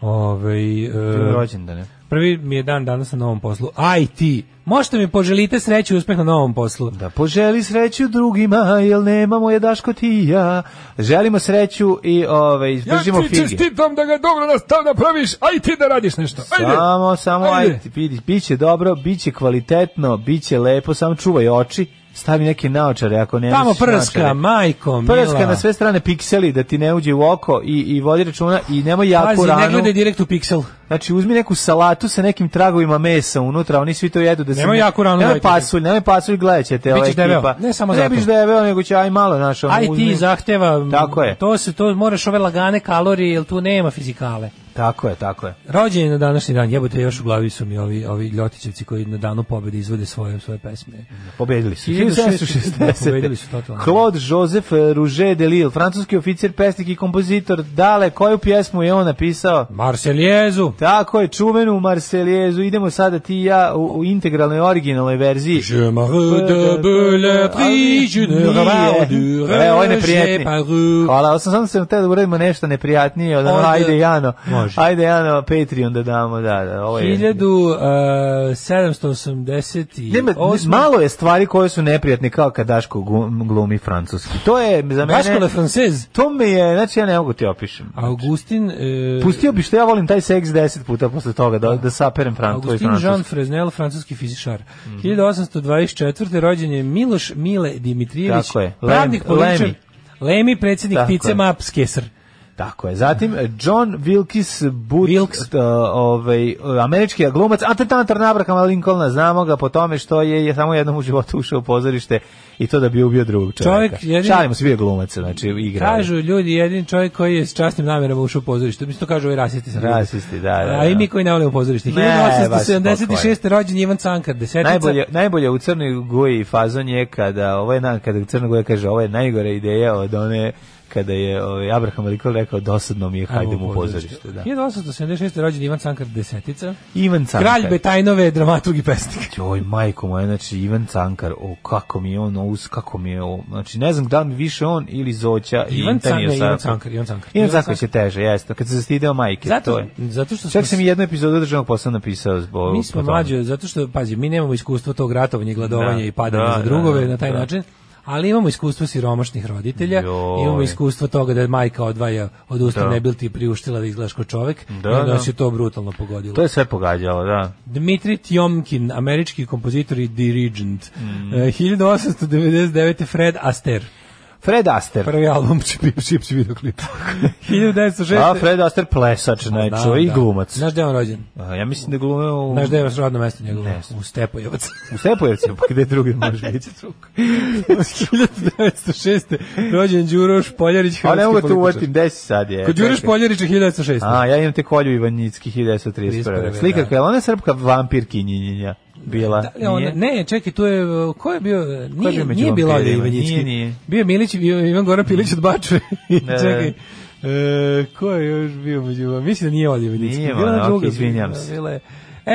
[SPEAKER 7] Ovaj, eh,
[SPEAKER 6] znam. rođendane.
[SPEAKER 7] prvi mi je dan danas na novom poslu. Aj ti, možete mi poželite sreću i uspeh na novom poslu.
[SPEAKER 6] Da poželi sreću drugima, jel nemamo je Daško ti i ja. Želimo sreću i ovaj, ove, izbržimo fige.
[SPEAKER 7] da ga dobro nastav napraviš, aj ti da radiš nešto.
[SPEAKER 6] Samo, samo,
[SPEAKER 7] Ajde.
[SPEAKER 6] ajde, vidi, bit će dobro, bit će kvalitetno, bit će lepo, samo čuvaj oči, stavi neke naočare ako ne
[SPEAKER 7] Tamo
[SPEAKER 6] nosiš
[SPEAKER 7] prska,
[SPEAKER 6] naočare.
[SPEAKER 7] majko, mila.
[SPEAKER 6] Prska na sve strane pikseli da ti ne uđe u oko i, i vodi računa i nemoj jaku
[SPEAKER 7] Pazi,
[SPEAKER 6] ranu.
[SPEAKER 7] ne gledaj direkt u piksel.
[SPEAKER 6] Znači, uzmi neku salatu sa nekim tragovima mesa unutra, oni svi to jedu da se...
[SPEAKER 7] Nemoj
[SPEAKER 6] ne-
[SPEAKER 7] jako rano
[SPEAKER 6] Nemoj
[SPEAKER 7] dajte.
[SPEAKER 6] pasulj, nemoj pasulj, gledat će te ova
[SPEAKER 7] Bićeš debeo.
[SPEAKER 6] ekipa.
[SPEAKER 7] Ne samo
[SPEAKER 6] Ne
[SPEAKER 7] zato.
[SPEAKER 6] biš debeo, nego će aj malo, znaš, ono,
[SPEAKER 7] Aj ti
[SPEAKER 6] uzmi-
[SPEAKER 7] zahteva,
[SPEAKER 6] Tako je.
[SPEAKER 7] to se to moraš ove lagane kalorije, jer tu nema fizikale.
[SPEAKER 6] Tako je, tako je.
[SPEAKER 7] Rođen je na današnji dan, jebote, još u glavi su mi ovi, ovi ljotićevci koji na danu pobjede izvode svoje, svoje pesme.
[SPEAKER 6] Pobedili su.
[SPEAKER 7] 1760. Pobedili su totalno.
[SPEAKER 6] Claude Joseph Rouget de Lille, francuski oficir, pesnik i kompozitor. Dale, koju pjesmu je on napisao?
[SPEAKER 7] Marseljezu,
[SPEAKER 6] Tako je, čuvenu Marselijezu. Idemo sada ti i ja u, u integralnoj, originalnoj verziji.
[SPEAKER 7] Je me la pris, je ne
[SPEAKER 6] Nije.
[SPEAKER 7] revendu,
[SPEAKER 6] E, ovo je
[SPEAKER 7] je
[SPEAKER 6] neprijatni.
[SPEAKER 7] paru.
[SPEAKER 6] Hvala, ali sam samo sam te da uradimo nešto neprijatnije od ono,
[SPEAKER 7] Onda-
[SPEAKER 6] ajde Jano,
[SPEAKER 7] Može.
[SPEAKER 6] ajde Jano, Patreon da damo, da, da, ovo Pa je...
[SPEAKER 7] eh, 1780
[SPEAKER 6] Nema, malo je stvari koje su neprijatne kao kad Daško gu- glumi francuski. To je za mene...
[SPEAKER 7] Vaško le francez,
[SPEAKER 6] To mi je, znači ja ne mogu ti opišem.
[SPEAKER 7] Augustin, e,
[SPEAKER 6] Pustio bi što ja volim taj seks 10 puta posle toga da, da saperem fran, tvoj
[SPEAKER 7] Augustin Jean
[SPEAKER 6] francuski. Mhm.
[SPEAKER 7] Fresnel, francuski fizičar. 1824. rođen je Miloš Mile Dimitrijević,
[SPEAKER 6] Tako je. Lem-
[SPEAKER 7] pravnik političar,
[SPEAKER 6] Lemi.
[SPEAKER 7] Lemi, predsjednik
[SPEAKER 6] Tako
[SPEAKER 7] Pice
[SPEAKER 6] je.
[SPEAKER 7] Maps Kesar.
[SPEAKER 6] Tako je. Zatim eh, John Wilkes Booth,
[SPEAKER 7] Wilkes.
[SPEAKER 6] t- ovaj eh, američki glumac, atentator na Abrahama Lincolna, znamo ga po tome što je, je samo jednom u životu ušao u pozorište i to da bi ubio drugog čovjeka.
[SPEAKER 7] Čovjek jedini-
[SPEAKER 6] Šalimo se, bio je glumac, znači igra.
[SPEAKER 7] Kažu ljudi, jedin čovjek koji je s častnim namjerama ušao u pozorište. Mislim, to kažu ovi rasisti. sad.
[SPEAKER 6] Rasisti, da, da,
[SPEAKER 7] A i
[SPEAKER 6] da.
[SPEAKER 7] mi koji ne volimo pozorište.
[SPEAKER 6] Ne, baš
[SPEAKER 7] 1876. rođen Ivan Cankar, desetica.
[SPEAKER 6] Najbolje, najbolje u Crnoj Goji fazon je kada, ovo je, na- kada Crna Goja kaže, ovo je najgore ideja od one kada je ovaj, Abraham Lincoln rekao dosadno mi je,
[SPEAKER 7] Evo,
[SPEAKER 6] hajde mu u pozorište. Da.
[SPEAKER 7] 1876. rođen Ivan Cankar, desetica.
[SPEAKER 6] Ivan Cankar.
[SPEAKER 7] Kralj Betajnove, dramaturg i pesnik.
[SPEAKER 6] Joj, majko moja, znači Ivan Cankar, o kako mi je on, uz kako mi je on, znači ne znam da li mi više on ili Zoća i
[SPEAKER 7] Ivan Cankar,
[SPEAKER 6] Antonija
[SPEAKER 7] ne, Ivan
[SPEAKER 6] Sarkov.
[SPEAKER 7] Cankar, Ivan Cankar.
[SPEAKER 6] Ivan Cankar je teže, jeste, kad se zastideo majke, to
[SPEAKER 7] Zato,
[SPEAKER 6] je.
[SPEAKER 7] zato što
[SPEAKER 6] Čak
[SPEAKER 7] smo-
[SPEAKER 6] sam i jednu epizodu državnog posla napisao zbog...
[SPEAKER 7] Mi smo
[SPEAKER 6] po tome.
[SPEAKER 7] mlađe, zato što, pazi, mi nemamo iskustvo tog ratovanja i gladovanja
[SPEAKER 6] Da,
[SPEAKER 7] i padanja
[SPEAKER 6] da,
[SPEAKER 7] za
[SPEAKER 6] da,
[SPEAKER 7] drugove
[SPEAKER 6] da,
[SPEAKER 7] na taj
[SPEAKER 6] da.
[SPEAKER 7] način, ali imamo iskustvo siromašnih roditelja,
[SPEAKER 6] Joj.
[SPEAKER 7] imamo iskustvo toga da je majka odvaja od usta,
[SPEAKER 6] Da.
[SPEAKER 7] ne bi li ti priuštila da izgledaš kao čovek,
[SPEAKER 6] Da,
[SPEAKER 7] i onda
[SPEAKER 6] da.
[SPEAKER 7] se to brutalno pogodilo.
[SPEAKER 6] To je sve pogađalo, da.
[SPEAKER 7] Dmitri Tjomkin, američki kompozitor i dirigent.
[SPEAKER 6] Mm.
[SPEAKER 7] E, 1899. Fred Astaire.
[SPEAKER 6] Fred Aster.
[SPEAKER 7] Prvi album Chip Chips videoklip. 1906.
[SPEAKER 6] A, Pa, Fred Aster plesač,
[SPEAKER 7] Da,
[SPEAKER 6] znači, i
[SPEAKER 7] da.
[SPEAKER 6] glumac.
[SPEAKER 7] Znaš gde je on rođen?
[SPEAKER 6] A, Ja mislim da glume u...
[SPEAKER 7] Znaš gde je radno mesto njegovo?
[SPEAKER 6] Ne znam.
[SPEAKER 7] U Stepojevac.
[SPEAKER 6] U Stepojevcima, pa gde drugi može biti?
[SPEAKER 7] 1906. rođen Đuroš Poljarić,
[SPEAKER 6] A
[SPEAKER 7] hrvatski
[SPEAKER 6] Pa ne mogu te
[SPEAKER 7] političar.
[SPEAKER 6] uvatim, desi sad je.
[SPEAKER 7] Kod Đuroš Poljarić je 1906.
[SPEAKER 6] A, ja imam te kolju Ivanjicki 1931.
[SPEAKER 7] 31.,
[SPEAKER 6] Slikarka,
[SPEAKER 7] da.
[SPEAKER 6] je li ona srpka vampirkinjinja bila?
[SPEAKER 7] Da li on-
[SPEAKER 6] Pa Nije?
[SPEAKER 7] ne, čekaj, tu je, e, ko je bio, nije,
[SPEAKER 6] bio među
[SPEAKER 7] nije bila Olja
[SPEAKER 6] vampirima?
[SPEAKER 7] Ivanjicki.
[SPEAKER 6] Nije, nije. Mm.
[SPEAKER 7] Bio je Milić, bio je Ivan Goran Pilić od Bačve. I
[SPEAKER 6] Da, da.
[SPEAKER 7] čekaj, e, ko je još bio među vama? Mislim da nije Olja Ivanjicki.
[SPEAKER 6] Nije,
[SPEAKER 7] bila
[SPEAKER 6] ma,
[SPEAKER 7] je
[SPEAKER 6] ok,
[SPEAKER 7] druga,
[SPEAKER 6] izvinjam
[SPEAKER 7] bila-
[SPEAKER 6] se.
[SPEAKER 7] bila je-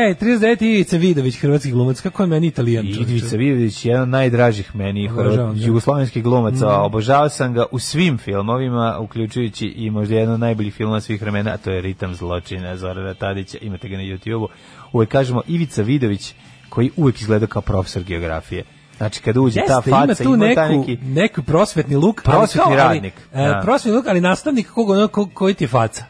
[SPEAKER 7] Ej, 39. Ivica Vidović, hrvatski glumac, kako je meni italijan čovječe?
[SPEAKER 6] Ivica Vidović, jedan od najdražih meni
[SPEAKER 7] Obožavam
[SPEAKER 6] hrvat-
[SPEAKER 7] ga. Mhm.
[SPEAKER 6] jugoslovenskih glumaca. Obožavao sam ga u svim filmovima, uključujući i možda jedan od najboljih filmova svih vremena, a to je Ritam zločina Zorana Tadića. Imate ga na YouTube-u. Uvek kažemo Ivica Vidović koji uvek izgleda kao profesor geografije. Znači kad uđe ta
[SPEAKER 7] Jeste, ima
[SPEAKER 6] faca,
[SPEAKER 7] tu
[SPEAKER 6] ima taj
[SPEAKER 7] neku,
[SPEAKER 6] neki
[SPEAKER 7] neku prosvetni luk. ali
[SPEAKER 6] Prosvetni
[SPEAKER 7] kao, ali,
[SPEAKER 6] radnik,
[SPEAKER 7] e,
[SPEAKER 6] da.
[SPEAKER 7] prosvetni luk, ali nastavnik kog, ono, ko- koji ti je faca.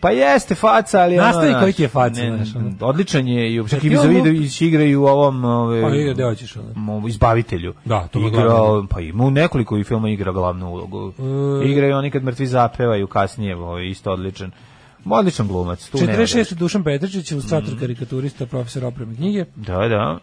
[SPEAKER 6] Pa jeste faca, ali
[SPEAKER 7] Nastavi
[SPEAKER 6] ono,
[SPEAKER 7] koji ti je faca,
[SPEAKER 6] ne,
[SPEAKER 7] znaš, ono.
[SPEAKER 6] odličan je i uopšte
[SPEAKER 7] Čak i
[SPEAKER 6] Ivica
[SPEAKER 7] on
[SPEAKER 6] Vidović igra i u ovom ove,
[SPEAKER 7] Pa igra gde hoćeš, ono.
[SPEAKER 6] mo- izbavitelju.
[SPEAKER 7] Da, to mu je
[SPEAKER 6] igra,
[SPEAKER 7] glavna.
[SPEAKER 6] pa ima u nekoliko i filma igra glavnu ulogu.
[SPEAKER 7] E.
[SPEAKER 6] Igra i oni kad mrtvi zapevaju kasnije, ovaj isto odličan. Odličan glumac, tu nema
[SPEAKER 7] 46. Dušan Petričić, ilustrator,
[SPEAKER 6] Mm.
[SPEAKER 7] karikaturista, profesor opreme knjige.
[SPEAKER 6] Da, da. da.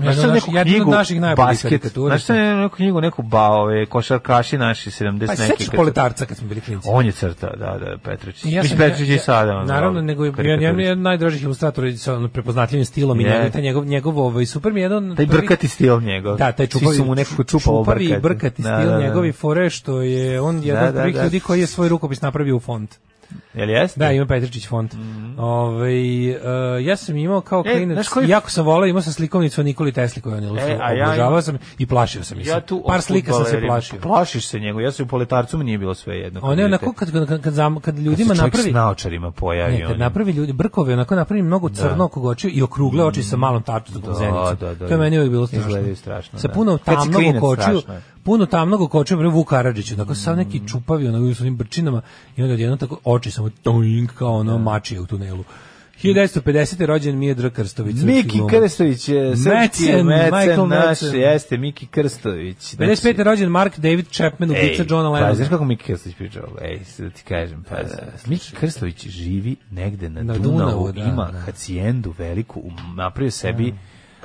[SPEAKER 7] Jedan
[SPEAKER 6] Znaš
[SPEAKER 7] od
[SPEAKER 6] sad
[SPEAKER 7] naših-
[SPEAKER 6] neku
[SPEAKER 7] jedan od
[SPEAKER 6] knjigu,
[SPEAKER 7] naših najboljih
[SPEAKER 6] basket,
[SPEAKER 7] karikaturista.
[SPEAKER 6] znaš sad neku knjigu, neku ba, ove, košarkaši naši, 70
[SPEAKER 7] Pa
[SPEAKER 6] neki.
[SPEAKER 7] se sećaš
[SPEAKER 6] kad-
[SPEAKER 7] proletarca kad smo bili klinci.
[SPEAKER 6] On je crta, da, da, Petrić.
[SPEAKER 7] I
[SPEAKER 6] Mislim, Petrić i sada. ono,
[SPEAKER 7] naravno, nego je ja, ja,
[SPEAKER 6] karikaturista.
[SPEAKER 7] ja najdražih ilustratora sa ono, prepoznatljivim stilom
[SPEAKER 6] Je.
[SPEAKER 7] i njegov, taj njegov, njegov ovaj, super mi je jedan... od
[SPEAKER 6] Taj
[SPEAKER 7] prvih-
[SPEAKER 6] brkati stil njegov.
[SPEAKER 7] Da, taj čupavi,
[SPEAKER 6] Svi su mu nekako čupavo
[SPEAKER 7] čupavi
[SPEAKER 6] brkati.
[SPEAKER 7] i brkati
[SPEAKER 6] Da,
[SPEAKER 7] stil
[SPEAKER 6] da, da.
[SPEAKER 7] njegovi fore što je on jedan
[SPEAKER 6] Da,
[SPEAKER 7] od
[SPEAKER 6] da,
[SPEAKER 7] prvih
[SPEAKER 6] da.
[SPEAKER 7] ljudi koji je svoj rukopis napravio u font.
[SPEAKER 6] Jel jeste?
[SPEAKER 7] Da, ima Petričić font. Ovaj, e, ja sam imao kao
[SPEAKER 6] Mhm. E,
[SPEAKER 7] klinac,
[SPEAKER 6] znaš koji-
[SPEAKER 7] jako sam volao, imao sam slikovnicu o Nikoli Tesli koju on je
[SPEAKER 6] E, a ja-
[SPEAKER 7] ilustrirao. Obožavao sam i plašio sam ih se.
[SPEAKER 6] Ja tu od
[SPEAKER 7] Par slika sam se
[SPEAKER 6] fudbalera-
[SPEAKER 7] plašio.
[SPEAKER 6] Plašiš se njega. Ja se u poletarcu mi nije bilo sve jedno.
[SPEAKER 7] On je onako kad kad kad, zam- kad ljudima
[SPEAKER 6] Kad se čovjek
[SPEAKER 7] napravi
[SPEAKER 6] s naočarima pojavi. ono.
[SPEAKER 7] Ne, kad
[SPEAKER 6] on-
[SPEAKER 7] napravi ljudi brkove, onako napravi mnogo crno oko očiju i okrugle oči sa malom tačnom
[SPEAKER 6] Da,
[SPEAKER 7] zenicom.
[SPEAKER 6] da, da,
[SPEAKER 7] to je
[SPEAKER 6] da.
[SPEAKER 7] meni uvijek bilo strašno.
[SPEAKER 6] Izgledaju strašno,
[SPEAKER 7] Sa
[SPEAKER 6] da.
[SPEAKER 7] puno
[SPEAKER 6] Kad si
[SPEAKER 7] tamnog
[SPEAKER 6] klinac,
[SPEAKER 7] oko očiju,
[SPEAKER 6] strašno je. Mm.
[SPEAKER 7] puno tamnog oko očiju, prvo Vuk Karadžić, onako sav neki čupavi, onako s onim brčinama i onda odjednom tako oči samo toing kao ono mačije u tunelu. 1950. rođen Mijedra Krstović. srpski
[SPEAKER 6] Miki
[SPEAKER 7] glumac.
[SPEAKER 6] Krstović, je srpski je
[SPEAKER 7] Mecen,
[SPEAKER 6] mecen
[SPEAKER 7] Michael
[SPEAKER 6] naš,
[SPEAKER 7] Mecen.
[SPEAKER 6] jeste Miki Krstović. Znači-
[SPEAKER 7] 55. rođen Mark David Chapman,
[SPEAKER 6] Ej,
[SPEAKER 7] ubica Johna
[SPEAKER 6] pa, znaš
[SPEAKER 7] Lennona.
[SPEAKER 6] kako Miki Krstović priča? Ej, sad da ti kažem, pa, Miki Krstović živi negde na,
[SPEAKER 7] Na
[SPEAKER 6] Dunavu,
[SPEAKER 7] Dunavu, da,
[SPEAKER 6] ima
[SPEAKER 7] da.
[SPEAKER 6] hacijendu veliku, um, napravio sebi,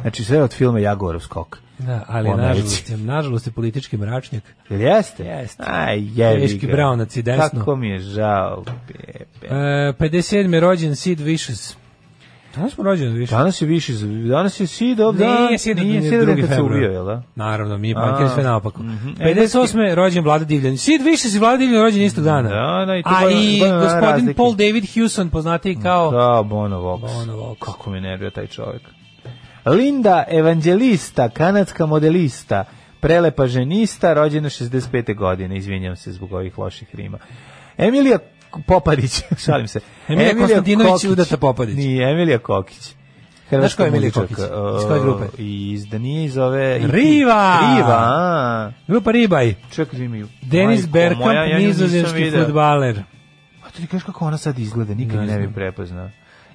[SPEAKER 6] znači sve od filma Jagorov skok.
[SPEAKER 7] Da, ali
[SPEAKER 6] Ona
[SPEAKER 7] nažalost, je- nažalost je politički mračnjak.
[SPEAKER 6] Jel jeste?
[SPEAKER 7] Jeste.
[SPEAKER 6] Aj, jebi
[SPEAKER 7] Teški
[SPEAKER 6] ga.
[SPEAKER 7] braunac i desno.
[SPEAKER 6] Kako mi je žao. Pepe.
[SPEAKER 7] E, 57. rođen Sid Vicious. Danas smo rođen Vicious.
[SPEAKER 6] Danas je više, za- danas je Sidov dan.
[SPEAKER 7] Nije sjedan,
[SPEAKER 6] nije
[SPEAKER 7] nije
[SPEAKER 6] Sidov dan
[SPEAKER 7] drugi
[SPEAKER 6] kad se
[SPEAKER 7] februar.
[SPEAKER 6] ubio, jel da?
[SPEAKER 7] Naravno, mi je
[SPEAKER 6] A.
[SPEAKER 7] pamtili sve naopako.
[SPEAKER 6] Mhm. E,
[SPEAKER 7] 58. je rođen Vlada Divljan. Sid više si Vlada Divljan rođen istog dana.
[SPEAKER 6] Da, da, i tu
[SPEAKER 7] A
[SPEAKER 6] godina-
[SPEAKER 7] i
[SPEAKER 6] godina
[SPEAKER 7] gospodin
[SPEAKER 6] razlike. Mm,
[SPEAKER 7] Paul David Hewson, poznatiji kao...
[SPEAKER 6] Da, Bono Vox.
[SPEAKER 7] Bono Vox.
[SPEAKER 6] Kako me nervira taj čovjek. Linda Evangelista, kanadska modelista, prelepa ženista, rođena 65. godine, izvinjam se zbog ovih loših rima. Emilija Popadić, šalim se.
[SPEAKER 7] Emilija Konstantinović udata Popadić.
[SPEAKER 6] Nije, Emilija Kokić.
[SPEAKER 7] Znaš ko je Emilija
[SPEAKER 6] muzičarka,
[SPEAKER 7] Kokić? Iz koje grupe?
[SPEAKER 6] e, Iz, da nije iz ove...
[SPEAKER 7] Riva!
[SPEAKER 6] Riva, a.
[SPEAKER 7] Grupa Ribaj.
[SPEAKER 6] Čekaj da imaju.
[SPEAKER 7] Denis
[SPEAKER 6] Majko
[SPEAKER 7] Bergkamp,
[SPEAKER 6] moja, ja nju nisam
[SPEAKER 7] nizozemski
[SPEAKER 6] video.
[SPEAKER 7] futbaler.
[SPEAKER 6] A to ti kažeš kako ona sad izgleda, nikad
[SPEAKER 7] Ne
[SPEAKER 6] ne, ne bi
[SPEAKER 7] znam.
[SPEAKER 6] prepoznao.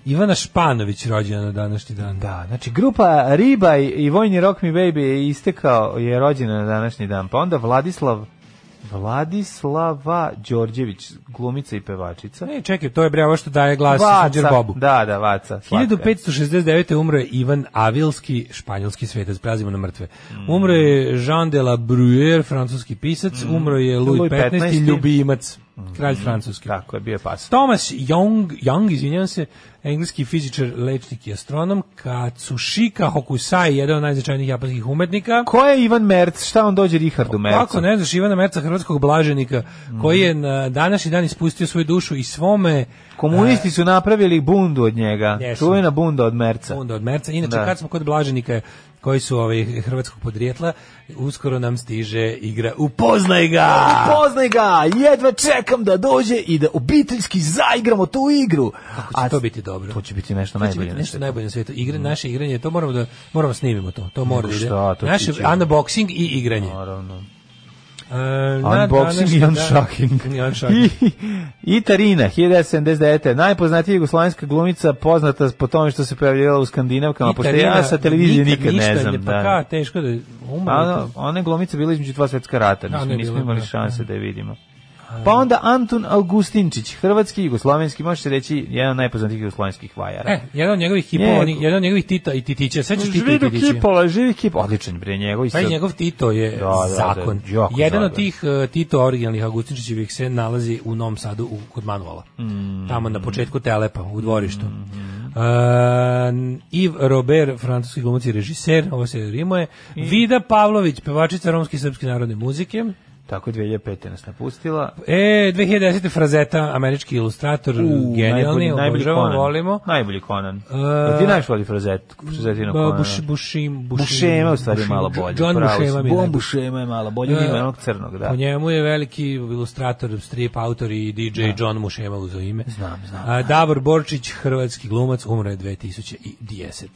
[SPEAKER 7] Ivana Španović rođena na današnji dan.
[SPEAKER 6] Da, znači grupa Ribaj i vojni Rock Me Baby je istekao, je rođena na današnji dan, pa onda Vladislav Vladislava Đorđević, glumica i pevačica.
[SPEAKER 7] Ne, E, čekaj, to je bre ovo što daje glas Srđan Bobu.
[SPEAKER 6] Da, da, Vaca. slatka je.
[SPEAKER 7] 1569. umro je Ivan Avilski, španjolski svetac, prazimo na mrtve.
[SPEAKER 6] Mm.
[SPEAKER 7] Umro je Jean de la Bruyère, francuski pisac, umro je Louis
[SPEAKER 6] Mm. Louis Mm.
[SPEAKER 7] XV,
[SPEAKER 6] 15.,
[SPEAKER 7] ljubimac, kralj francuski.
[SPEAKER 6] Tako je, bio je pas.
[SPEAKER 7] Thomas Young, Young, izvinjavam se, engleski fizičar, lečnik i astronom, Katsushika Hokusai, jedan od najznačajnijih japanskih umetnika.
[SPEAKER 6] Ko je Ivan Merc? Šta on dođe Richardu Mercu?
[SPEAKER 7] Kako ne znaš Ivana Merca, hrvatskog blaženika,
[SPEAKER 6] Mhm.
[SPEAKER 7] koji je na današnji dan ispustio svoju dušu i svome
[SPEAKER 6] Komunisti su napravili bundu od njega.
[SPEAKER 7] Jesu.
[SPEAKER 6] Čuvena bunda od Merca.
[SPEAKER 7] Onda od Merca. Inače,
[SPEAKER 6] Da.
[SPEAKER 7] kad smo kod Blaženika, koji su ovaj, hrvatskog podrijetla, uskoro nam stiže igra Upoznaj ga!
[SPEAKER 6] Poznaj ga, jedva čekam da dođe i da obiteljski zaigramo tu igru.
[SPEAKER 7] Ako će to biti dobro.
[SPEAKER 6] To će biti nešto
[SPEAKER 7] To će
[SPEAKER 6] najbolje.
[SPEAKER 7] biti
[SPEAKER 6] na
[SPEAKER 7] nešto
[SPEAKER 6] svetu. Mhm.
[SPEAKER 7] najbolje na svetu. Igre, naše igranje, to moramo da moramo snimimo to. To mora da ide.
[SPEAKER 6] šta, to ti
[SPEAKER 7] Naše
[SPEAKER 6] ćemo.
[SPEAKER 7] unboxing i igranje.
[SPEAKER 6] Naravno.
[SPEAKER 7] E, na
[SPEAKER 6] Unboxing
[SPEAKER 7] današnji
[SPEAKER 6] i
[SPEAKER 7] dan-
[SPEAKER 6] unshocking.
[SPEAKER 7] I unshocking.
[SPEAKER 6] I Tarina, 1979. Najpoznatija jugoslovenska glumica, poznata po tome što se pojavljivala u Skandinavkama,
[SPEAKER 7] I
[SPEAKER 6] pošto ja
[SPEAKER 7] Tarina
[SPEAKER 6] sa televizije nikad,
[SPEAKER 7] ništa
[SPEAKER 6] ne znam.
[SPEAKER 7] Pa
[SPEAKER 6] Da.
[SPEAKER 7] ka, teško da umre.
[SPEAKER 6] Pa ono, ona je glumica bila između dva svetska rata,
[SPEAKER 7] Da,
[SPEAKER 6] nismo,
[SPEAKER 7] ona je
[SPEAKER 6] nismo
[SPEAKER 7] bila,
[SPEAKER 6] imali
[SPEAKER 7] da,
[SPEAKER 6] šanse da je vidimo. Pa onda Antun Augustinčić, hrvatski, jugoslovenski, može se reći jedan od najpoznatijih jugoslovenskih vajara.
[SPEAKER 7] E, jedan od njegovih hipova,
[SPEAKER 6] Njegov.
[SPEAKER 7] jedan od njegovih Tita i Titića. Sećaš Tita i
[SPEAKER 6] Živi
[SPEAKER 7] Titića?
[SPEAKER 6] kipola, živi kipola. Odličan bre njegov. i
[SPEAKER 7] Pa i
[SPEAKER 6] sad-
[SPEAKER 7] njegov Tito je
[SPEAKER 6] Da, da, da,
[SPEAKER 7] zakon.
[SPEAKER 6] jako
[SPEAKER 7] Jedan od
[SPEAKER 6] zakon.
[SPEAKER 7] tih eh, Tito originalnih Augustinčićevih se nalazi u Novom Sadu u, kod Manuela.
[SPEAKER 6] Mm.
[SPEAKER 7] Tamo na početku Telepa, u dvorištu. Eh, Yves Robert, francuski glumac i režiser, ovo se rimuje. Vida Pavlović, pevačica romske i srpske narodne muzike.
[SPEAKER 6] Tako je 2005. nas napustila.
[SPEAKER 7] E, 2010. Frazeta, američki ilustrator, genijalni, obožavam,
[SPEAKER 6] Conan.
[SPEAKER 7] volimo.
[SPEAKER 6] Najbolji Conan.
[SPEAKER 7] E,
[SPEAKER 6] Uh, Ti najviše voli Frazet, Frazetino
[SPEAKER 7] Ba,
[SPEAKER 6] Conan.
[SPEAKER 7] Buš, Bušim, Bušim,
[SPEAKER 6] Bušema je u stvari
[SPEAKER 7] Bušim,
[SPEAKER 6] malo bolje.
[SPEAKER 7] John
[SPEAKER 6] pravo si.
[SPEAKER 7] Bušema mi je
[SPEAKER 6] Bon
[SPEAKER 7] najbolji.
[SPEAKER 6] Bušema je malo bolje, od
[SPEAKER 7] E,
[SPEAKER 6] ima onog crnog, da.
[SPEAKER 7] Po njemu je veliki ilustrator, strip autor i DJ John Mušema uzeo ime.
[SPEAKER 6] Znam, znam.
[SPEAKER 7] A, Davor Borčić, hrvatski glumac, umro je 2010.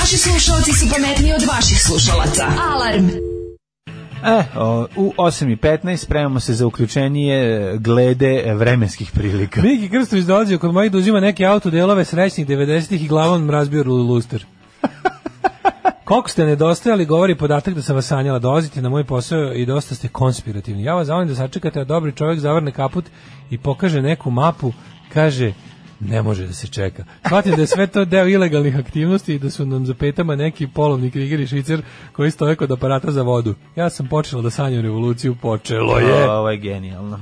[SPEAKER 5] Naši slušalci su pametniji od vaših slušalaca. Alarm!
[SPEAKER 6] E, o, u 8.15 spremamo se za uključenje e, glede e, vremenskih prilika.
[SPEAKER 7] Miki Krstović dolazio kod mojih da uzima neke autodelove srećnih 90-ih i glavom razbio lu- luster. Koliko ste nedostajali, govori podatak da sam vas sanjala. Dolazite na moj posao i dosta ste konspirativni. Ja vas zamolim da sačekate, a dobri čovjek zavrne kaput i pokaže neku mapu, kaže ne može da se čeka. Shvatim da je sve to deo ilegalnih aktivnosti i da su nam za petama neki polovni kriger i šicer koji stoje kod aparata za vodu. Ja sam počela da sanjam revoluciju, počelo je.
[SPEAKER 6] Ovo je genijalno.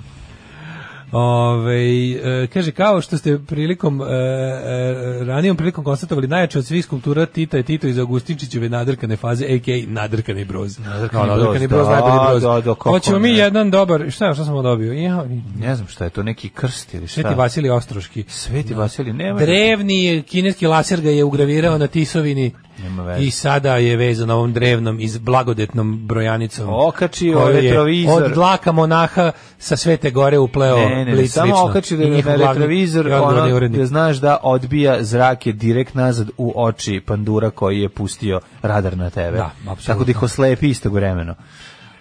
[SPEAKER 7] Ove, e, kaže, kao što ste prilikom, e, e, ranijom prilikom konstatovali najjače od svih skulptura Tita je Tito iz Augustinčićeve nadrkane faze, a.k.a. nadrkani broz.
[SPEAKER 6] Nadrkani
[SPEAKER 7] No,
[SPEAKER 6] broz, da,
[SPEAKER 7] najbolji broz.
[SPEAKER 6] da, da, kako
[SPEAKER 7] Hoćemo mi
[SPEAKER 6] ne.
[SPEAKER 7] jedan dobar, šta, šta sam ovo dobio? Ja,
[SPEAKER 6] Ne znam šta je to, neki krst ili šta.
[SPEAKER 7] Sveti Vasilij Ostroški.
[SPEAKER 6] Sveti Vasilij, nema.
[SPEAKER 7] Drevni kineski laser ga je ugravirao na Tisovini
[SPEAKER 6] Nema veze.
[SPEAKER 7] i sada je vezan ovom drevnom iz blagodetnom brojanicom.
[SPEAKER 6] Okačio
[SPEAKER 7] koju je
[SPEAKER 6] ovaj retrovizor.
[SPEAKER 7] Od dlaka monaha sa Svete Gore upleo
[SPEAKER 6] Ne, ne, ne,
[SPEAKER 7] blic
[SPEAKER 6] samo
[SPEAKER 7] lično.
[SPEAKER 6] okači da
[SPEAKER 7] I
[SPEAKER 6] je
[SPEAKER 7] njihov
[SPEAKER 6] na
[SPEAKER 7] glavni
[SPEAKER 6] retrovizor,
[SPEAKER 7] i odgovorni
[SPEAKER 6] ono,
[SPEAKER 7] urednik.
[SPEAKER 6] da znaš da odbija zrake direkt nazad u oči pandura koji je pustio radar na tebe.
[SPEAKER 7] Da, apsolutno.
[SPEAKER 6] Tako da ih oslepi istovremeno.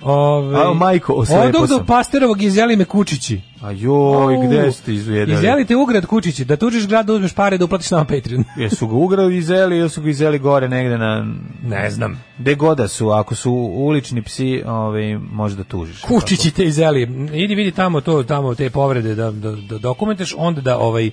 [SPEAKER 7] Ove,
[SPEAKER 6] A, majko, oslepo
[SPEAKER 7] Odog do
[SPEAKER 6] sam.
[SPEAKER 7] Ovaj- Pasterovog izjeli me kučići.
[SPEAKER 6] A joj, gde ste izvedeli?
[SPEAKER 7] Izjelite ugrad kučići, da tužiš grad da uzmeš pare da uplatiš nama Patreon.
[SPEAKER 6] Jesu ga ugrali izeli ili su ga izeli gore negde na...
[SPEAKER 7] Ne znam.
[SPEAKER 6] Gde goda su, ako su ulični psi, ovaj, može da tužiš.
[SPEAKER 7] Kučići te izjeli. Idi vidi tamo to, tamo te povrede da, da, da dokumenteš, onda da ovaj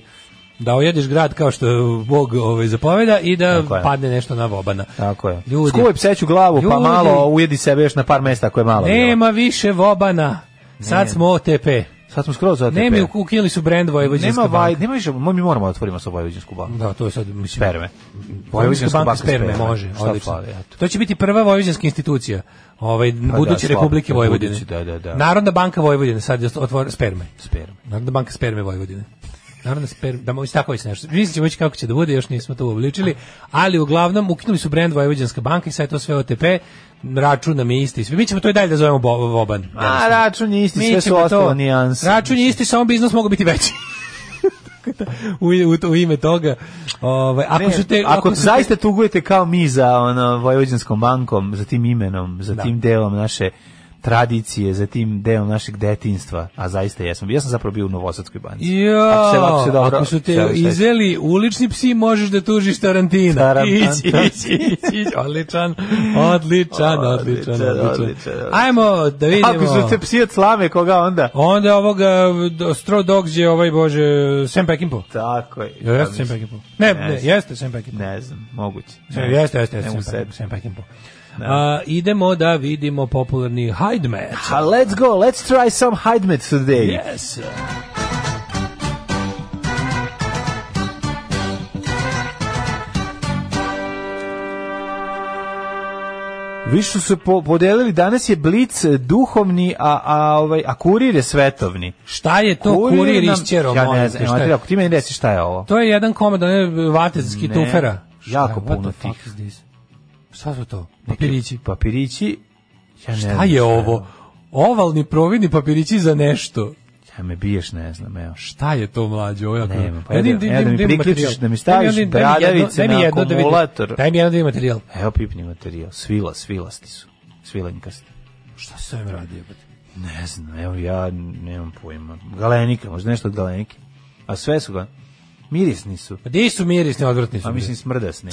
[SPEAKER 7] da ojedeš grad kao što Bog ovaj zapoveda i da
[SPEAKER 6] Tako je.
[SPEAKER 7] padne nešto na vobana.
[SPEAKER 6] Tako je.
[SPEAKER 7] Ljudi.
[SPEAKER 6] Skuvaj pseću glavu, pa
[SPEAKER 7] Ljudi.
[SPEAKER 6] malo ujedi sebe još na par mesta ako je malo. bilo.
[SPEAKER 7] Nema više vobana. Sad smo OTP.
[SPEAKER 6] Sad smo skroz OTP.
[SPEAKER 7] Nema, ukili su brend Vojvođanska
[SPEAKER 6] Nema vaj,
[SPEAKER 7] banka.
[SPEAKER 6] nema više, mi moramo da otvorimo sa Vojvođansku banku.
[SPEAKER 7] Da, to je sad, mislim,
[SPEAKER 6] Sperme.
[SPEAKER 7] Vojvođanska banka sperme,
[SPEAKER 6] sperme.
[SPEAKER 7] može,
[SPEAKER 6] Šta
[SPEAKER 7] odlično.
[SPEAKER 6] fali, eto.
[SPEAKER 7] To će biti prva vojvođanska institucija, ovaj, buduće
[SPEAKER 6] slabo,
[SPEAKER 7] Republike
[SPEAKER 6] da,
[SPEAKER 7] Vojvodine.
[SPEAKER 6] budući, da, da, da.
[SPEAKER 7] Narodna banka Vojvodine, sad je otvor sperme.
[SPEAKER 6] Sperme.
[SPEAKER 7] Narodna banka sperme Vojvodine. Narodna sperme, da moći tako već nešto. Mislim ćemo već kako će da bude, još nismo to uobličili, ali uglavnom ukinuli su brend Vojvođanska banka i sad je to sve OTP, račun nam je isti. i sve. Mi ćemo to i dalje da zovemo Bo- Voban.
[SPEAKER 6] A, račun je isti, sve su
[SPEAKER 7] ćemo
[SPEAKER 6] ostalo nijanse.
[SPEAKER 7] Račun je isti, samo bi iznos mogao biti veći. Tako da, u, u, u ime toga ovaj ako
[SPEAKER 6] Ne,
[SPEAKER 7] su te
[SPEAKER 6] ako,
[SPEAKER 7] su te-
[SPEAKER 6] zaista tugujete kao mi za ono, Vojvođanskom bankom, za tim imenom, za tim delom naše tradicije, za tim deo našeg detinstva, a zaista jesmo. Ja sam zapravo bio u Novosadskoj banci.
[SPEAKER 7] Jo,
[SPEAKER 6] Ako se- ako se dobro-
[SPEAKER 7] ako su
[SPEAKER 6] se-
[SPEAKER 7] te
[SPEAKER 6] se-
[SPEAKER 7] izeli ulični psi, možeš da tužiš Tarantina.
[SPEAKER 6] Tarantan.
[SPEAKER 7] Ići, ići, ići, ići. Odličan, odličan, odličan,
[SPEAKER 6] Odličan,
[SPEAKER 7] odličan.
[SPEAKER 6] odličan, odličan.
[SPEAKER 7] Ajmo da vidimo.
[SPEAKER 6] Ako su te psi od slame, koga onda?
[SPEAKER 7] Onda ovoga do- Straw Dogs je ovaj, bože, Sam Peckinpah.
[SPEAKER 6] Tako je.
[SPEAKER 7] Jel jeste Sam Peckinpah? Ne, ne,
[SPEAKER 6] znam.
[SPEAKER 7] jeste Sam Peckinpah.
[SPEAKER 6] Ne znam, moguće.
[SPEAKER 7] Sam- Jeste, jeste,
[SPEAKER 6] Ne
[SPEAKER 7] jeste
[SPEAKER 6] mogu
[SPEAKER 7] Sam
[SPEAKER 6] sebi.
[SPEAKER 7] Peckinpah. Sam Peckinpah. A, idemo da vidimo popularni Hyde match.
[SPEAKER 6] Ha, let's go, let's try some Hydemet today.
[SPEAKER 7] Yes.
[SPEAKER 6] Viš su se po, podelili, danas je blic eh, duhovni, a, a, ovaj, a kurir je svetovni.
[SPEAKER 7] Šta je to kurir, kurir
[SPEAKER 6] nam-
[SPEAKER 7] isćero?
[SPEAKER 6] Ja
[SPEAKER 7] molim
[SPEAKER 6] ne
[SPEAKER 7] te,
[SPEAKER 6] znam,
[SPEAKER 7] šta je
[SPEAKER 6] Matija, ako ti meni reci šta je ovo.
[SPEAKER 7] To je jedan komad, ne, vatec
[SPEAKER 6] Ne,
[SPEAKER 7] kitufera.
[SPEAKER 6] jako
[SPEAKER 7] Šta je,
[SPEAKER 6] puno
[SPEAKER 7] what the fuck
[SPEAKER 6] tih.
[SPEAKER 7] is this? Šta su to? Papirići.
[SPEAKER 6] Papirići. Ja ne
[SPEAKER 7] Šta
[SPEAKER 6] znam
[SPEAKER 7] je ovo? Ovalni providni papirići za nešto.
[SPEAKER 6] Ja me biješ, ne znam, evo.
[SPEAKER 7] Šta je to mlađe? Ovo jako...
[SPEAKER 6] Nema, pa
[SPEAKER 7] Ja
[SPEAKER 6] ajde,
[SPEAKER 7] dim- dim-
[SPEAKER 6] ajde da mi
[SPEAKER 7] dim- dim
[SPEAKER 6] priključiš,
[SPEAKER 7] materijal.
[SPEAKER 6] da mi staviš
[SPEAKER 7] Daj mi- daj mi jedno-
[SPEAKER 6] bradavice
[SPEAKER 7] daj mi
[SPEAKER 6] na
[SPEAKER 7] jedno da vidim.
[SPEAKER 6] akumulator.
[SPEAKER 7] Daj mi jedan da vidim materijal.
[SPEAKER 6] Evo pipni materijal, svila, svilasti su. Svilenkasti.
[SPEAKER 7] Šta se ovim radi? jebote?
[SPEAKER 6] Ne znam, evo ja nemam pojma. Galenika, možda nešto od galenike. A sve su ga, mirisni su.
[SPEAKER 7] Pa Di su mirisni, odvratni su.
[SPEAKER 6] A Pa mislim smrdasni.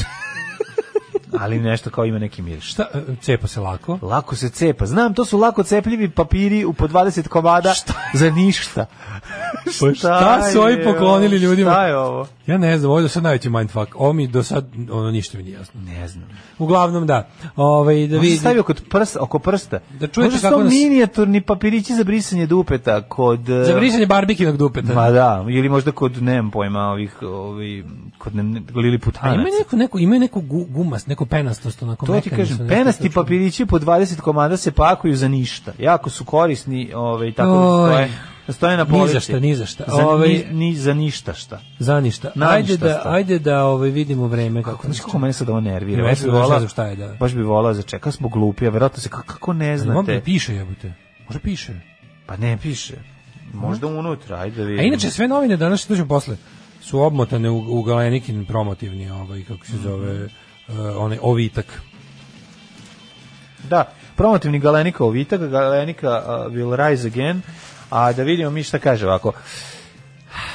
[SPEAKER 6] Ali nešto kao ima neki miris.
[SPEAKER 7] Šta, e, cepa se lako.
[SPEAKER 6] Lako se cepa. Znam, to su lako cepljivi papiri u po 20 komada za ništa.
[SPEAKER 7] Pa šta su ovi
[SPEAKER 6] je ovo?
[SPEAKER 7] poklonili ljudima?
[SPEAKER 6] Šta je ovo?
[SPEAKER 7] Ja ne znam, ovo je do sad najveći mindfuck. Ovo mi do sad, ono, ništa mi nije jasno.
[SPEAKER 6] Ne znam.
[SPEAKER 7] Uglavnom, da. Ovaj, da
[SPEAKER 6] Da vi
[SPEAKER 7] vidim.
[SPEAKER 6] stavio kod prsta, oko prsta.
[SPEAKER 7] Da čujete
[SPEAKER 6] Možda su
[SPEAKER 7] kako
[SPEAKER 6] to
[SPEAKER 7] nas-
[SPEAKER 6] minijaturni papirići za brisanje dupeta kod eh,
[SPEAKER 7] Za brisanje barbikinog dupeta.
[SPEAKER 6] Ma da, ili možda kod nemam pojma ovih, ovi, kod ne,
[SPEAKER 7] A
[SPEAKER 6] liliputanaca.
[SPEAKER 7] ima neko, neko, ima neko gu, gumas, neko penastost, onako
[SPEAKER 6] To ti
[SPEAKER 7] mekanično,
[SPEAKER 6] kažem,
[SPEAKER 7] nešto
[SPEAKER 6] penasti
[SPEAKER 7] slično.
[SPEAKER 6] papirići po 20 komada se pakuju za ništa. Jako su korisni, ovaj tako da
[SPEAKER 7] Oj.
[SPEAKER 6] stoje, da stoje na
[SPEAKER 7] Ni za
[SPEAKER 6] polici.
[SPEAKER 7] šta, ni za šta.
[SPEAKER 6] Za,
[SPEAKER 7] Ovaj-
[SPEAKER 6] ni, ni za ništa šta.
[SPEAKER 7] Za ništa.
[SPEAKER 6] Na
[SPEAKER 7] Ajde
[SPEAKER 6] ništa
[SPEAKER 7] da,
[SPEAKER 6] sta.
[SPEAKER 7] ajde da ovaj, vidimo vreme kako
[SPEAKER 6] Znači kako mene sad ovo nervira.
[SPEAKER 7] Ne,
[SPEAKER 6] Baš bi
[SPEAKER 7] ne znam
[SPEAKER 6] volao,
[SPEAKER 7] šta je, da.
[SPEAKER 6] baš bi volao začekao smo glupi, a verovatno se kako, kako ne
[SPEAKER 7] Znate.
[SPEAKER 6] znate.
[SPEAKER 7] piše, jebote. Možda piše.
[SPEAKER 6] Pa ne piše. Možda unutra, ajde da
[SPEAKER 7] A
[SPEAKER 6] vidim.
[SPEAKER 7] inače, sve novine danas, što ćemo posle, su obmotane u, u Galenikin promotivni, ovaj, kako
[SPEAKER 6] Mhm.
[SPEAKER 7] se zove, uh, onaj ovitak.
[SPEAKER 6] Da, promotivni Galenika Ovitak, Galenika uh, Will Rise Again, a da vidimo mi šta kaže ovako.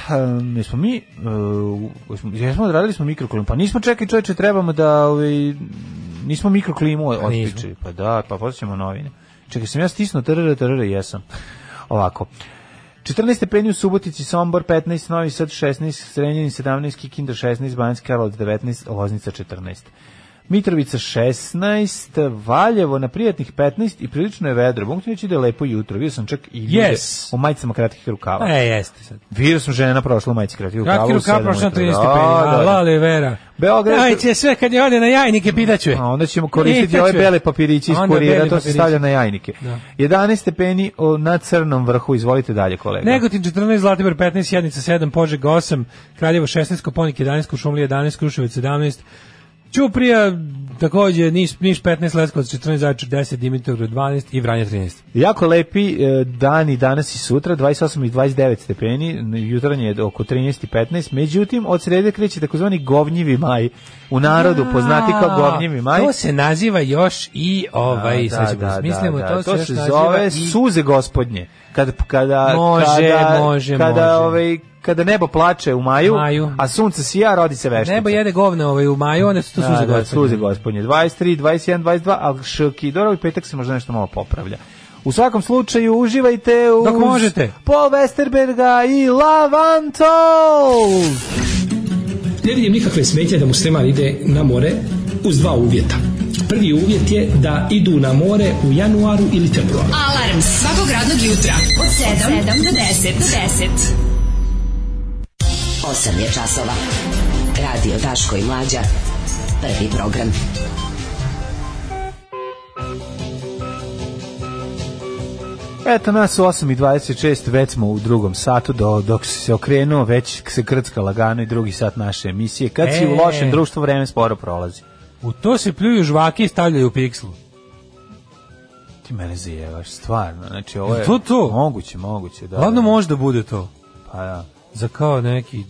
[SPEAKER 6] Um, jesmo mi, uh, jesmo, jesmo odradili smo mikroklimu, pa nismo čekaj čoveče, trebamo da, ovaj, nismo mikroklimu otpičili, pa da, pa posjećamo novine. Čekaj, sam ja stisnuo, trr, trr, jesam. Ovako, 14 stepeni u Subotici, Sombor 15, Novi Sad 16, Srenjanin 17, Kikinda 16, Banjska Karlovac 19, Loznica 14. Mitrovica 16, Valjevo na prijatnih 15 i prilično je vedro. Mogu ti reći da je lepo jutro. Vidio sam čak i ljude
[SPEAKER 7] Yes.
[SPEAKER 6] u majicama kratkih rukava.
[SPEAKER 7] E, jeste sad.
[SPEAKER 6] Vidio sam žena prošla u majici kratkih rukava.
[SPEAKER 7] Kratki
[SPEAKER 6] u
[SPEAKER 7] rukav,
[SPEAKER 6] sedam
[SPEAKER 7] prošlo na
[SPEAKER 6] ujutro.
[SPEAKER 7] 13
[SPEAKER 6] Da,
[SPEAKER 7] stepeni.
[SPEAKER 6] da, da.
[SPEAKER 7] Lala i Vera.
[SPEAKER 6] Beograd-
[SPEAKER 7] Aj, će sve kad je ode na jajnike, pitaću je.
[SPEAKER 6] A onda ćemo koristiti
[SPEAKER 7] Pitaću
[SPEAKER 6] ove
[SPEAKER 7] je.
[SPEAKER 6] bele papiriće iz
[SPEAKER 7] Onda
[SPEAKER 6] kurira,
[SPEAKER 7] beli
[SPEAKER 6] to se
[SPEAKER 7] papirići.
[SPEAKER 6] stavlja na jajnike.
[SPEAKER 7] Da.
[SPEAKER 6] 11 stepeni o, na crnom vrhu, izvolite dalje kolega.
[SPEAKER 7] Negotin 14, Zlatibor 15, Sjednica 7, Požega 8, Kraljevo 16, Koponik 11, Kušumlija 11, Kruševac 17, Ćuprija takođe, Niš, Niš 15, Leskovac 14, Zaječar 10, Dimitrovgrad 12 i Vranje 13.
[SPEAKER 6] Jako lepi e, dani danas i sutra, 28 i 29 stepeni, jutarnje je oko 13 i 15, međutim od srede kreće takozvani govnjivi maj, u narodu poznati kao govnjivi maj.
[SPEAKER 7] To se naziva još i ovaj, da, sad ćemo da, smislimo, da, to,
[SPEAKER 6] to
[SPEAKER 7] se,
[SPEAKER 6] se
[SPEAKER 7] još
[SPEAKER 6] zove
[SPEAKER 7] naziva i...
[SPEAKER 6] suze gospodnje. Kad, kada,
[SPEAKER 7] Može,
[SPEAKER 6] kada,
[SPEAKER 7] može,
[SPEAKER 6] kada,
[SPEAKER 7] može.
[SPEAKER 6] Ovaj, kada nebo plače u maju,
[SPEAKER 7] Maju.
[SPEAKER 6] a sunce sija, rodi se veštica.
[SPEAKER 7] Nebo jede govna ovaj, u maju, one su to
[SPEAKER 6] Da,
[SPEAKER 7] suze
[SPEAKER 6] da,
[SPEAKER 7] da,
[SPEAKER 6] suze gospodnje. 23, 21, 22, ali Škidorov i petak se možda nešto malo popravlja. U svakom slučaju, uživajte u...
[SPEAKER 7] Dok možete.
[SPEAKER 6] Paul Westerberga i Lavantol!
[SPEAKER 10] Ne vidim nikakve smetje da musliman ide na more uz dva uvjeta. Prvi uvjet je da idu na more u januaru ili februaru.
[SPEAKER 5] Alarm svakog radnog jutra od 7, do 10. Do 10.
[SPEAKER 11] 8 je časova. Radio Daško i Mlađa. Prvi program.
[SPEAKER 6] Eto nas u 8.26, već smo u drugom satu, do, dok si se okrenuo, već se krcka lagano i drugi sat naše emisije. Kad si u
[SPEAKER 7] E.
[SPEAKER 6] lošem društvu, vreme sporo prolazi.
[SPEAKER 7] U to se pljuju žvake i stavljaju u pikslu.
[SPEAKER 6] Ti mene zijevaš, stvarno. Znači, ovo je...
[SPEAKER 7] Jel to to?
[SPEAKER 6] Moguće, moguće, da.
[SPEAKER 7] Ladno
[SPEAKER 6] da.
[SPEAKER 7] može da bude to.
[SPEAKER 6] Pa da.
[SPEAKER 7] za kao neki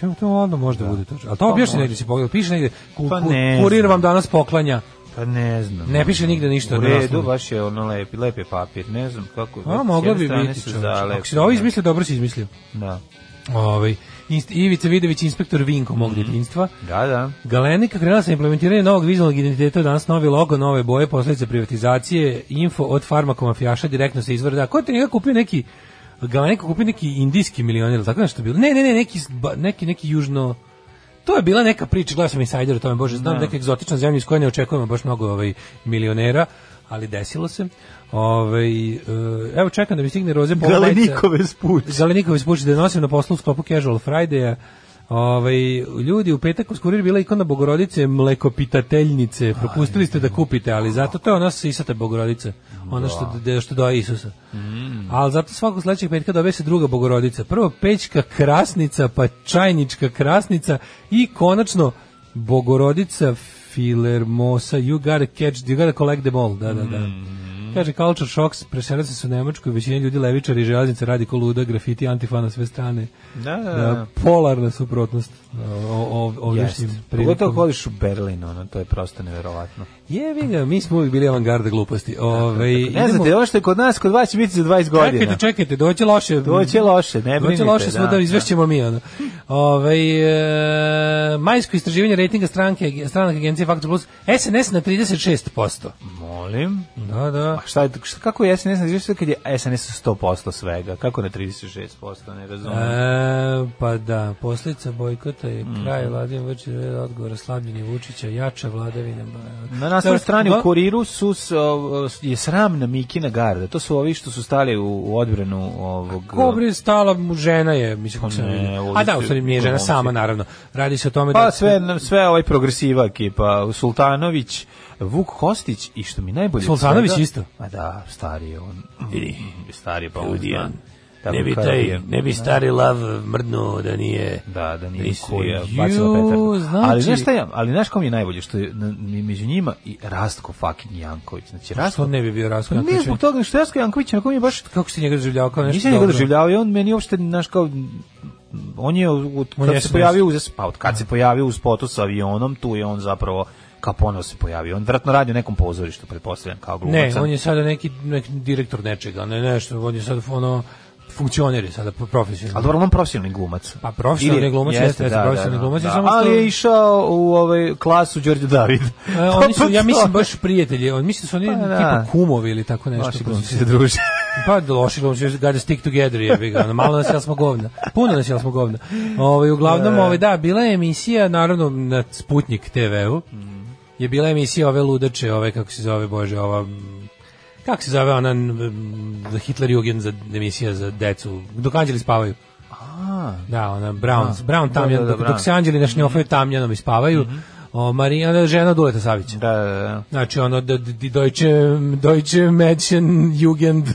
[SPEAKER 7] Čemu to ladno možda bude to. A to objašnjeno negde se pogledao, piše negde ku,
[SPEAKER 6] Pa
[SPEAKER 7] ku-
[SPEAKER 6] ne
[SPEAKER 7] kurir
[SPEAKER 6] znam.
[SPEAKER 7] vam danas poklanja.
[SPEAKER 6] Pa ne znam.
[SPEAKER 7] Ne piše nigde ništa
[SPEAKER 6] U
[SPEAKER 7] na
[SPEAKER 6] redu,
[SPEAKER 7] naslovu.
[SPEAKER 6] baš je ono lepi, lepi papir, ne znam kako.
[SPEAKER 7] Ono
[SPEAKER 6] Pa s
[SPEAKER 7] moglo
[SPEAKER 6] jedne
[SPEAKER 7] bi
[SPEAKER 6] strane
[SPEAKER 7] biti.
[SPEAKER 6] su
[SPEAKER 7] čoveče.
[SPEAKER 6] zalepljene.
[SPEAKER 7] Ako si ovo izmislio, dobro si izmislio.
[SPEAKER 6] Da.
[SPEAKER 7] Ovaj, inst- Ivica Vidović, inspektor Vinko mog
[SPEAKER 6] Mhm.
[SPEAKER 7] djetinjstva.
[SPEAKER 6] Da, da.
[SPEAKER 7] Galenika krenula sa implementiranjem novog vizualnog identiteta, danas novi logo, nove boje, posledice privatizacije, info od farmakomafijaša, direktno se izvrda. A Ko je to njega kupio neki, Galenika kupio neki indijski milioner, ili tako nešto bilo? Ne, ne, ne, neki, s- ba- neki, neki južno... To je bila neka priča, gledao sam Insider o tome, bože, znam neka egzotična zemlja iz koje ne očekujemo baš mnogo ovaj, milionera, ali desilo se. Ovaj, e, evo čekam da mi stigne roze polo majica.
[SPEAKER 6] Galenikove spuče.
[SPEAKER 7] Zeleniković puši da je nosim na poslu u sklopu Casual Friday-a. Ovaj, ljudi, u petak uz kurir bila ikona Bogorodice, mlekopitateljnice. Propustili ste da kupite, ali zato to je ono ona sisata Bogorodica. Ona Ono što, da- što doje Isusa. Ali zato svakog sledećeg petka dobe se druga Bogorodica. Prvo pećka krasnica, pa čajnička krasnica i konačno Bogorodica Filermosa. You gotta catch, you gotta collect them all. Da, da, da.
[SPEAKER 6] Mm-hmm.
[SPEAKER 7] Kaže, Culture Shocks preselili se su u Nemačku i većina ljudi levičari i železnice radi ko luda, grafiti, antifa na sve strane.
[SPEAKER 6] Da, da,
[SPEAKER 7] Da,
[SPEAKER 6] da.
[SPEAKER 7] polarna suprotnost o- o- o- ovdješnjim
[SPEAKER 6] Jeste. Pogotovo ako
[SPEAKER 7] prilikama.
[SPEAKER 6] voliš u Berlin, ono, to je prosto neverovatno.
[SPEAKER 7] Jevi ga, mi smo uvijek bili avangarda gluposti. Ove,
[SPEAKER 6] Ne znate, ovo što je kod nas, kod vas će biti za 20 godina.
[SPEAKER 7] Čekajte, čekajte, doće loše.
[SPEAKER 6] Doće loše, ne brinite,
[SPEAKER 7] Doće loše smo
[SPEAKER 6] da,
[SPEAKER 7] da, izvešćemo mi. Ono. Ove, e, majsko istraživanje rejtinga stranke, stranak agencije Faktor Plus, SNS na 36%.
[SPEAKER 6] Molim.
[SPEAKER 7] Da, da.
[SPEAKER 6] A šta je, šta, kako je SNS izvještaj kad je SNS 100% svega? Kako na 36%, ne razumijem.
[SPEAKER 7] E, pa da, posljedica bojkota je
[SPEAKER 6] Mhm.
[SPEAKER 7] kraj vladin vrči red odgovora slabljenje Vučića, jača vladavina. ba-
[SPEAKER 6] Na naslovnoj
[SPEAKER 7] Dobro,
[SPEAKER 6] strani
[SPEAKER 7] no,
[SPEAKER 6] u kuriru su, s- o- o- je sramna Mikina garda. To su ovi što su stali u, u odbranu ovog...
[SPEAKER 7] Kobri stala mu žena je, mislim kako
[SPEAKER 6] Pa
[SPEAKER 7] se
[SPEAKER 6] ne,
[SPEAKER 7] vidi.
[SPEAKER 6] ovi
[SPEAKER 7] A da,
[SPEAKER 6] su-
[SPEAKER 7] u stvari nije žena
[SPEAKER 6] momci.
[SPEAKER 7] sama, naravno. Radi se o tome da...
[SPEAKER 6] Pa sve, sve ovaj progresiva ekipa, Sultanović, Vuk Kostić i što mi najbolje... od
[SPEAKER 7] Sultanović
[SPEAKER 6] svega-
[SPEAKER 7] isto?
[SPEAKER 6] Ma da, stari je on.
[SPEAKER 7] Vidi.
[SPEAKER 6] Stari je pa on
[SPEAKER 7] Ludijan.
[SPEAKER 6] zna. Tako
[SPEAKER 7] ne bi,
[SPEAKER 6] kaže,
[SPEAKER 7] taj, ne bi stari lav mrnuo da nije...
[SPEAKER 6] Da, da nije
[SPEAKER 7] Mislim,
[SPEAKER 6] koji je
[SPEAKER 7] ju,
[SPEAKER 6] bacila petardu. Ali znaš
[SPEAKER 7] znači-
[SPEAKER 6] šta je, ali znaš kom je najbolje što je na- među njima i Rastko fucking Janković. Znači
[SPEAKER 7] Što
[SPEAKER 6] Rastko
[SPEAKER 7] ne bi bio
[SPEAKER 6] Pa
[SPEAKER 7] raskon?
[SPEAKER 6] ne zbog toga što Rastko Janković na kom je baš
[SPEAKER 7] Kako si njega doživljavao kao Pa nešto
[SPEAKER 6] nisam njega
[SPEAKER 7] dobro?
[SPEAKER 6] doživljavao i on meni uopšte znaš kao on je od
[SPEAKER 7] On
[SPEAKER 6] kad
[SPEAKER 7] jeste
[SPEAKER 6] se pojavio uz pa od kad se pojavio u spotu sa avionom tu je on zapravo kao ponovo se pojavio. On vjerojatno radi u nekom pozorištu, pretpostavljam, kao
[SPEAKER 7] Ne,
[SPEAKER 6] glumac.
[SPEAKER 7] on je sada neki, neki direktor nečega, ne nešto, on je sad ono funkcioner je sada profesionalno.
[SPEAKER 6] Ali dobro, on profesionalni glumac.
[SPEAKER 7] Pa profesionalni
[SPEAKER 6] Ili je-
[SPEAKER 7] glumac jeste, jeste profesionalni glumac, je samo
[SPEAKER 6] Ali
[SPEAKER 7] što-
[SPEAKER 6] je išao u ovaj klasu Đorđe David.
[SPEAKER 7] E, oni su, ja mislim, baš prijatelji. On, mislim da su oni
[SPEAKER 6] Pa, da.
[SPEAKER 7] tipa kumovi ili tako nešto.
[SPEAKER 6] Naši glumci se druže.
[SPEAKER 7] Pa da, loši glumci, gotta stick together, je ga. ono, Malo nas jel smo govna. Puno nas jel smo govna. Ovaj, uglavnom, ovaj, da, bila je emisija, naravno, na Sputnik TV-u.
[SPEAKER 6] Mhm.
[SPEAKER 7] Je bila emisija ove ludače, ove, kako se zove, bože, ova... mm, Kako se zove ona mm, Hitler Jugend za emisija za decu? Dok anđeli spavaju. Da, ona Brown, Brown tamjan,
[SPEAKER 6] da, da,
[SPEAKER 7] dok,
[SPEAKER 6] Brown. Mhm.
[SPEAKER 7] dok se anđeli ne šnjofaju tamjanom i spavaju. O, Marija, ona je žena Duleta Savića.
[SPEAKER 6] Da, da, da.
[SPEAKER 7] Znači ono d- d- d- Deutsche Deutsche Mädchen Jugend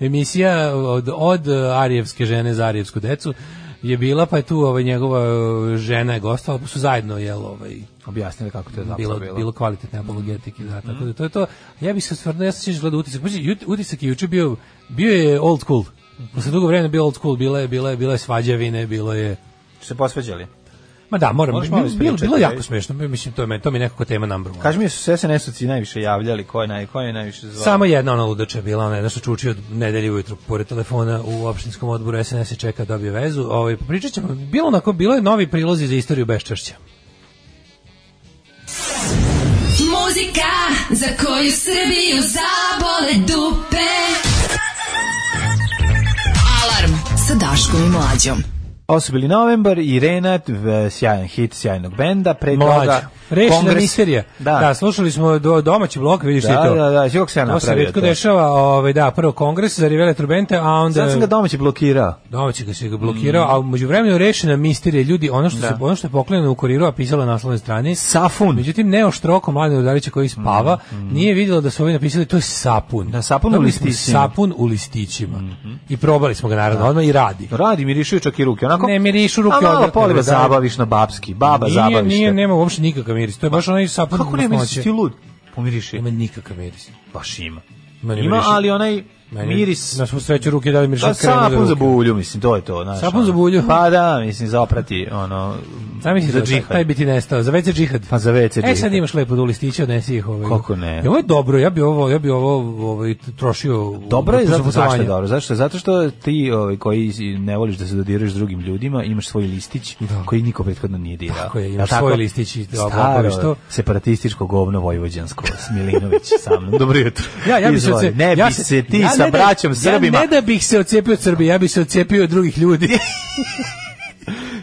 [SPEAKER 7] emisija od od Arijevske žene za Arijevsku decu je bila pa je tu ovaj njegova eh, žena je gostovala pa su zajedno jel ovaj
[SPEAKER 6] Objasnili kako to je Mhm. zapravo
[SPEAKER 7] bilo, bilo kvalitetne apologetike, da, tako da to je to. Ja bih se stvarno, ja sam sviđa gledao utisak, Pazi, jut- utisak je juče bio, bio je old school,
[SPEAKER 6] Mhm.
[SPEAKER 7] posle dugo vremena bio old school, bila je, bila je, bila je svađavine, bilo je,
[SPEAKER 6] se posveđali.
[SPEAKER 7] ma da, moram,
[SPEAKER 6] Moraš
[SPEAKER 7] bilo,
[SPEAKER 6] malo
[SPEAKER 7] bilo,
[SPEAKER 6] ispričati,
[SPEAKER 7] bilo je jako
[SPEAKER 6] ajde.
[SPEAKER 7] smešno, mislim, to je, meni- to mi je nekako tema number one.
[SPEAKER 6] Kaži mi, su se SNS-ovci najviše javljali, ko je, naj, ko je najviše zvao?
[SPEAKER 7] Samo jedna ona ludača je bila, ona jedna što čuči od nedelje ujutru pored telefona u opštinskom odboru SNS je čeka da dobije vezu. Ovaj pričat ćemo, bilo onako, bilo je novi prilozi za istoriju beščašća.
[SPEAKER 5] Muzika za koju Srbiju zabole dupe. Alarm sa Daškom i Mlađom.
[SPEAKER 6] Ovo su bili Novembar i Renat, v- sjajan hit sjajnog benda, pre
[SPEAKER 7] Mlađa.
[SPEAKER 6] toga...
[SPEAKER 7] Rešena
[SPEAKER 6] Kongres-
[SPEAKER 7] misterija.
[SPEAKER 6] Da,
[SPEAKER 7] Da. slušali smo do domaći blok, vidiš ti
[SPEAKER 6] da,
[SPEAKER 7] to.
[SPEAKER 6] da, da, Kako se ja
[SPEAKER 7] To se
[SPEAKER 6] napravio
[SPEAKER 7] retko dešava, ovaj, da, prvo kongres za Rivele Trubente, a onda...
[SPEAKER 6] Sad sam ga domaći blokirao.
[SPEAKER 7] Domaći ga se ga blokirao,
[SPEAKER 6] Mm.
[SPEAKER 7] a umeđu vremenu rešena misterija ljudi, ono što, se, ono što je poklonjeno u kuriru, a pisalo na naslovnoj strani,
[SPEAKER 6] Safun.
[SPEAKER 7] Međutim, Neo Štroko, mladi udarića koji spava, nije vidjelo da su ovi napisali, to je sapun.
[SPEAKER 6] Mm, Da, sapun u
[SPEAKER 7] Dobili smo
[SPEAKER 6] listićima. Mm,
[SPEAKER 7] Sapun u listićima. I probali smo ga, naravno, odmah i radi.
[SPEAKER 6] Radi, mirišuju čak i ruke. Onako,
[SPEAKER 7] Ne, mirišu ruke
[SPEAKER 6] A malo
[SPEAKER 7] odvratno,
[SPEAKER 6] poliva
[SPEAKER 7] da.
[SPEAKER 6] zabaviš na babski. Baba
[SPEAKER 7] nije,
[SPEAKER 6] zabaviš.
[SPEAKER 7] nije,
[SPEAKER 6] te.
[SPEAKER 7] nema uopšte nikakav miris. To je baš onaj sapun
[SPEAKER 6] Kako ne misliš
[SPEAKER 7] masnoće.
[SPEAKER 6] ti lud? Pomiriši.
[SPEAKER 7] Nema nikakav miris.
[SPEAKER 6] Baš ima.
[SPEAKER 7] Ima, ne
[SPEAKER 6] Ima,
[SPEAKER 7] miriši.
[SPEAKER 6] ali onaj
[SPEAKER 7] Meni-
[SPEAKER 6] miris
[SPEAKER 7] Na svu sreću ruke dali mi
[SPEAKER 6] Da,
[SPEAKER 7] šat krene do
[SPEAKER 6] sapun za
[SPEAKER 7] ruke.
[SPEAKER 6] bulju, mislim, to je to. Znaš,
[SPEAKER 7] Sapun
[SPEAKER 6] ono.
[SPEAKER 7] za bulju?
[SPEAKER 6] Pa da, mislim, za oprati, ono,
[SPEAKER 7] Znam misli
[SPEAKER 6] za
[SPEAKER 7] da taj,
[SPEAKER 6] džihad.
[SPEAKER 7] taj bi ti nestao, za WC džihad.
[SPEAKER 6] Pa za WC
[SPEAKER 7] E sad
[SPEAKER 6] džihad.
[SPEAKER 7] imaš lepo do listića, odnesi ih ovaj.
[SPEAKER 6] Kako ne?
[SPEAKER 7] I ovo je dobro, ja bi ovo, ja bi ovo ovaj, trošio u-
[SPEAKER 6] Dobro je
[SPEAKER 7] za
[SPEAKER 6] zato zašto je
[SPEAKER 7] putovanje.
[SPEAKER 6] dobro. Zašto? Zato što ti ovaj koji ne voliš da se dodiruješ s drugim ljudima, imaš svoj listić koji niko prethodno nije dirao.
[SPEAKER 7] Tako je, imaš
[SPEAKER 6] Jel
[SPEAKER 7] svoj listić i da
[SPEAKER 6] staro
[SPEAKER 7] oboriš to.
[SPEAKER 6] separatističko govno vojvođansko Smilinović sa mnom. Dobro jutro.
[SPEAKER 7] Ja, ja bi se
[SPEAKER 6] Izvoli.
[SPEAKER 7] odce-
[SPEAKER 6] ne
[SPEAKER 7] ja
[SPEAKER 6] bi
[SPEAKER 7] se-
[SPEAKER 6] se ti
[SPEAKER 7] ja
[SPEAKER 6] sa
[SPEAKER 7] ne da-
[SPEAKER 6] braćom Srbima.
[SPEAKER 7] Ja ne da bih se odcepio od Srbije, ja bih se odcepio od drugih ljudi.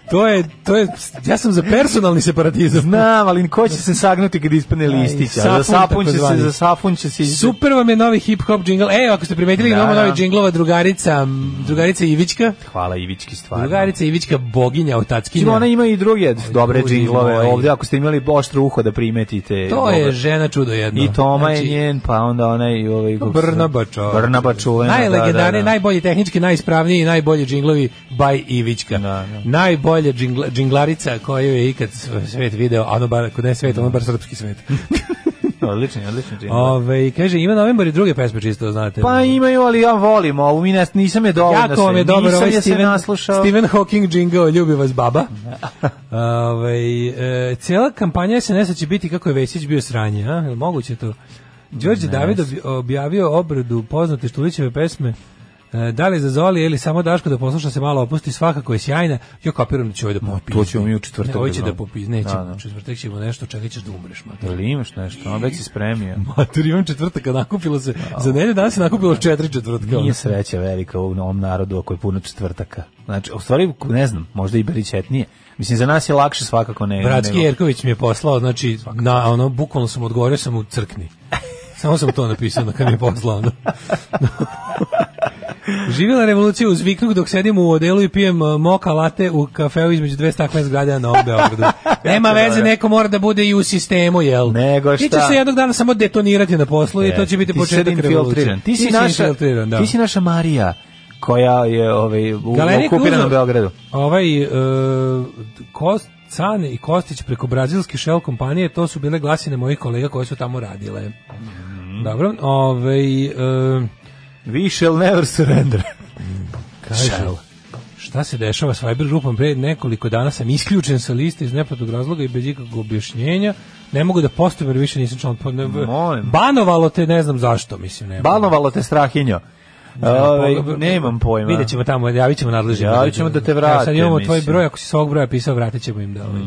[SPEAKER 7] to je, to je, ja sam za personalni separatizam.
[SPEAKER 6] Znam, ali ko će se sagnuti kad ispane listić? A za
[SPEAKER 7] sapun
[SPEAKER 6] sapun će se,
[SPEAKER 7] takozvani.
[SPEAKER 6] za sapun će se...
[SPEAKER 7] Super vam je novi hip hop džingl. E, ako ste primetili,
[SPEAKER 6] Da,
[SPEAKER 7] imamo
[SPEAKER 6] da.
[SPEAKER 7] novi džinglova drugarica, m, drugarica Ivićka.
[SPEAKER 6] Hvala Ivički stvarno.
[SPEAKER 7] Drugarica Ivićka boginja
[SPEAKER 6] Pa Ima,
[SPEAKER 7] otackinja.
[SPEAKER 6] ona ima i druge dobre
[SPEAKER 7] ljudi
[SPEAKER 6] džinglove
[SPEAKER 7] moji.
[SPEAKER 6] ovdje, ako ste imali oštro uho da primetite.
[SPEAKER 7] To
[SPEAKER 6] dobar.
[SPEAKER 7] je žena čudo jedno.
[SPEAKER 6] I Toma je
[SPEAKER 7] Znači, ovaj.
[SPEAKER 6] njen, pa onda onaj... Ovaj, kako se zove?
[SPEAKER 7] Brnaba, čovječe.
[SPEAKER 6] Brnaba čuvena, da,
[SPEAKER 7] Najlegendarniji,
[SPEAKER 6] da, da.
[SPEAKER 7] najbolji tehnički, najispravniji i najbolji džinglovi by Ivićka.
[SPEAKER 6] Da, da.
[SPEAKER 7] Najbolja džingla- džinglarica koju je ikad s- svet video, a ono bar, ako ne svet, ono bar srpski svet.
[SPEAKER 6] Odličan, je, odličan džingl.
[SPEAKER 7] Ove, i kaže, ima novembar i druge pesme čisto, znate.
[SPEAKER 6] Pa imaju, ali ja volim ovu, mi ne, nisam je dovoljno
[SPEAKER 7] Jako vam je
[SPEAKER 6] se,
[SPEAKER 7] dobar
[SPEAKER 6] nisam
[SPEAKER 7] ovaj
[SPEAKER 6] je se
[SPEAKER 7] Steven,
[SPEAKER 6] naslušao.
[SPEAKER 7] Stephen Hawking džingao, ljubi vas baba. Ove, e, cijela kampanja SNS-a će biti kako je Vesić bio sranje, a? Je li moguće to? Đorđe David obj- objavio obradu poznate Štulićeve pesme E, da li za Zoli ili samo Daško da posluša se malo opusti, svakako je sjajna. Jo kapiram da će ovaj da popizni.
[SPEAKER 6] to ćemo mi u četvrtak
[SPEAKER 7] Ne, Ovo
[SPEAKER 6] da
[SPEAKER 7] će da
[SPEAKER 6] znamo.
[SPEAKER 7] popizni, neće.
[SPEAKER 6] Da, da.
[SPEAKER 7] U četvrtak ćemo nešto, čekaj ćeš da umreš, mater.
[SPEAKER 6] Ili imaš nešto, on već si spremio.
[SPEAKER 7] Mater, imam četvrtaka, nakupilo se, za nedelju danas se nakupilo četiri četvrtka. ono.
[SPEAKER 6] Nije sreća velika u ovom narodu ako je puno četvrtaka. Znači, u stvari, ne znam, možda i beričetnije. Mislim, za nas je lakše svakako ne.
[SPEAKER 7] Bratski
[SPEAKER 6] nego-
[SPEAKER 7] Jerković mi je poslao, znači, na, ono, bukvalno sam odgovorio sam u crkni. Samo sam to napisao na kad mi je poslao. Ono. Živjela revolucija uz viknuk dok sedim u odelu i pijem e, moka late u kafeu između dve stakle zgrade na Novom Beogradu. Nema
[SPEAKER 6] Jako
[SPEAKER 7] veze,
[SPEAKER 6] dobro.
[SPEAKER 7] neko mora da bude i u sistemu, jel?
[SPEAKER 6] Nego
[SPEAKER 7] Ti ćeš
[SPEAKER 6] šta? E,
[SPEAKER 7] se jednog dana samo detonirati na poslu i to će biti
[SPEAKER 6] Ti si sad
[SPEAKER 7] početak revolucije.
[SPEAKER 6] infiltriran. Ti si, naša,
[SPEAKER 7] infiltriran, da.
[SPEAKER 6] ti si naša Marija koja je ovaj, u
[SPEAKER 7] Galerija
[SPEAKER 6] okupiranom
[SPEAKER 7] Kruzov.
[SPEAKER 6] Beogradu.
[SPEAKER 7] Ovaj uh, Kost, Cane i Kostić preko brazilske Shell kompanije, to su bile glasine mojih kolega koje su tamo radile.
[SPEAKER 6] Mhm.
[SPEAKER 7] Dobro, ovaj e,
[SPEAKER 6] We shall never surrender.
[SPEAKER 7] kaže, Šta se dešava s Viber grupom pre nekoliko dana sam isključen sa liste iz nepotog razloga i bez ikakvog objašnjenja. Ne mogu da postavim jer više nisam član. Pa ne-
[SPEAKER 6] Molim.
[SPEAKER 7] Banovalo te, ne znam zašto, mislim. Ne,
[SPEAKER 6] Balnovalo te strahinjo. Ovaj,
[SPEAKER 7] Pogled-
[SPEAKER 6] nemam pojma.
[SPEAKER 7] Vidjet ćemo tamo, javit ćemo nadležnim.
[SPEAKER 6] Javit ćemo da te vrate,
[SPEAKER 7] Evo, Sad imamo tvoj
[SPEAKER 6] mislim. Mhm.
[SPEAKER 7] broj, ako si s ovog broja pisao, vratit ćemo im da, ovaj,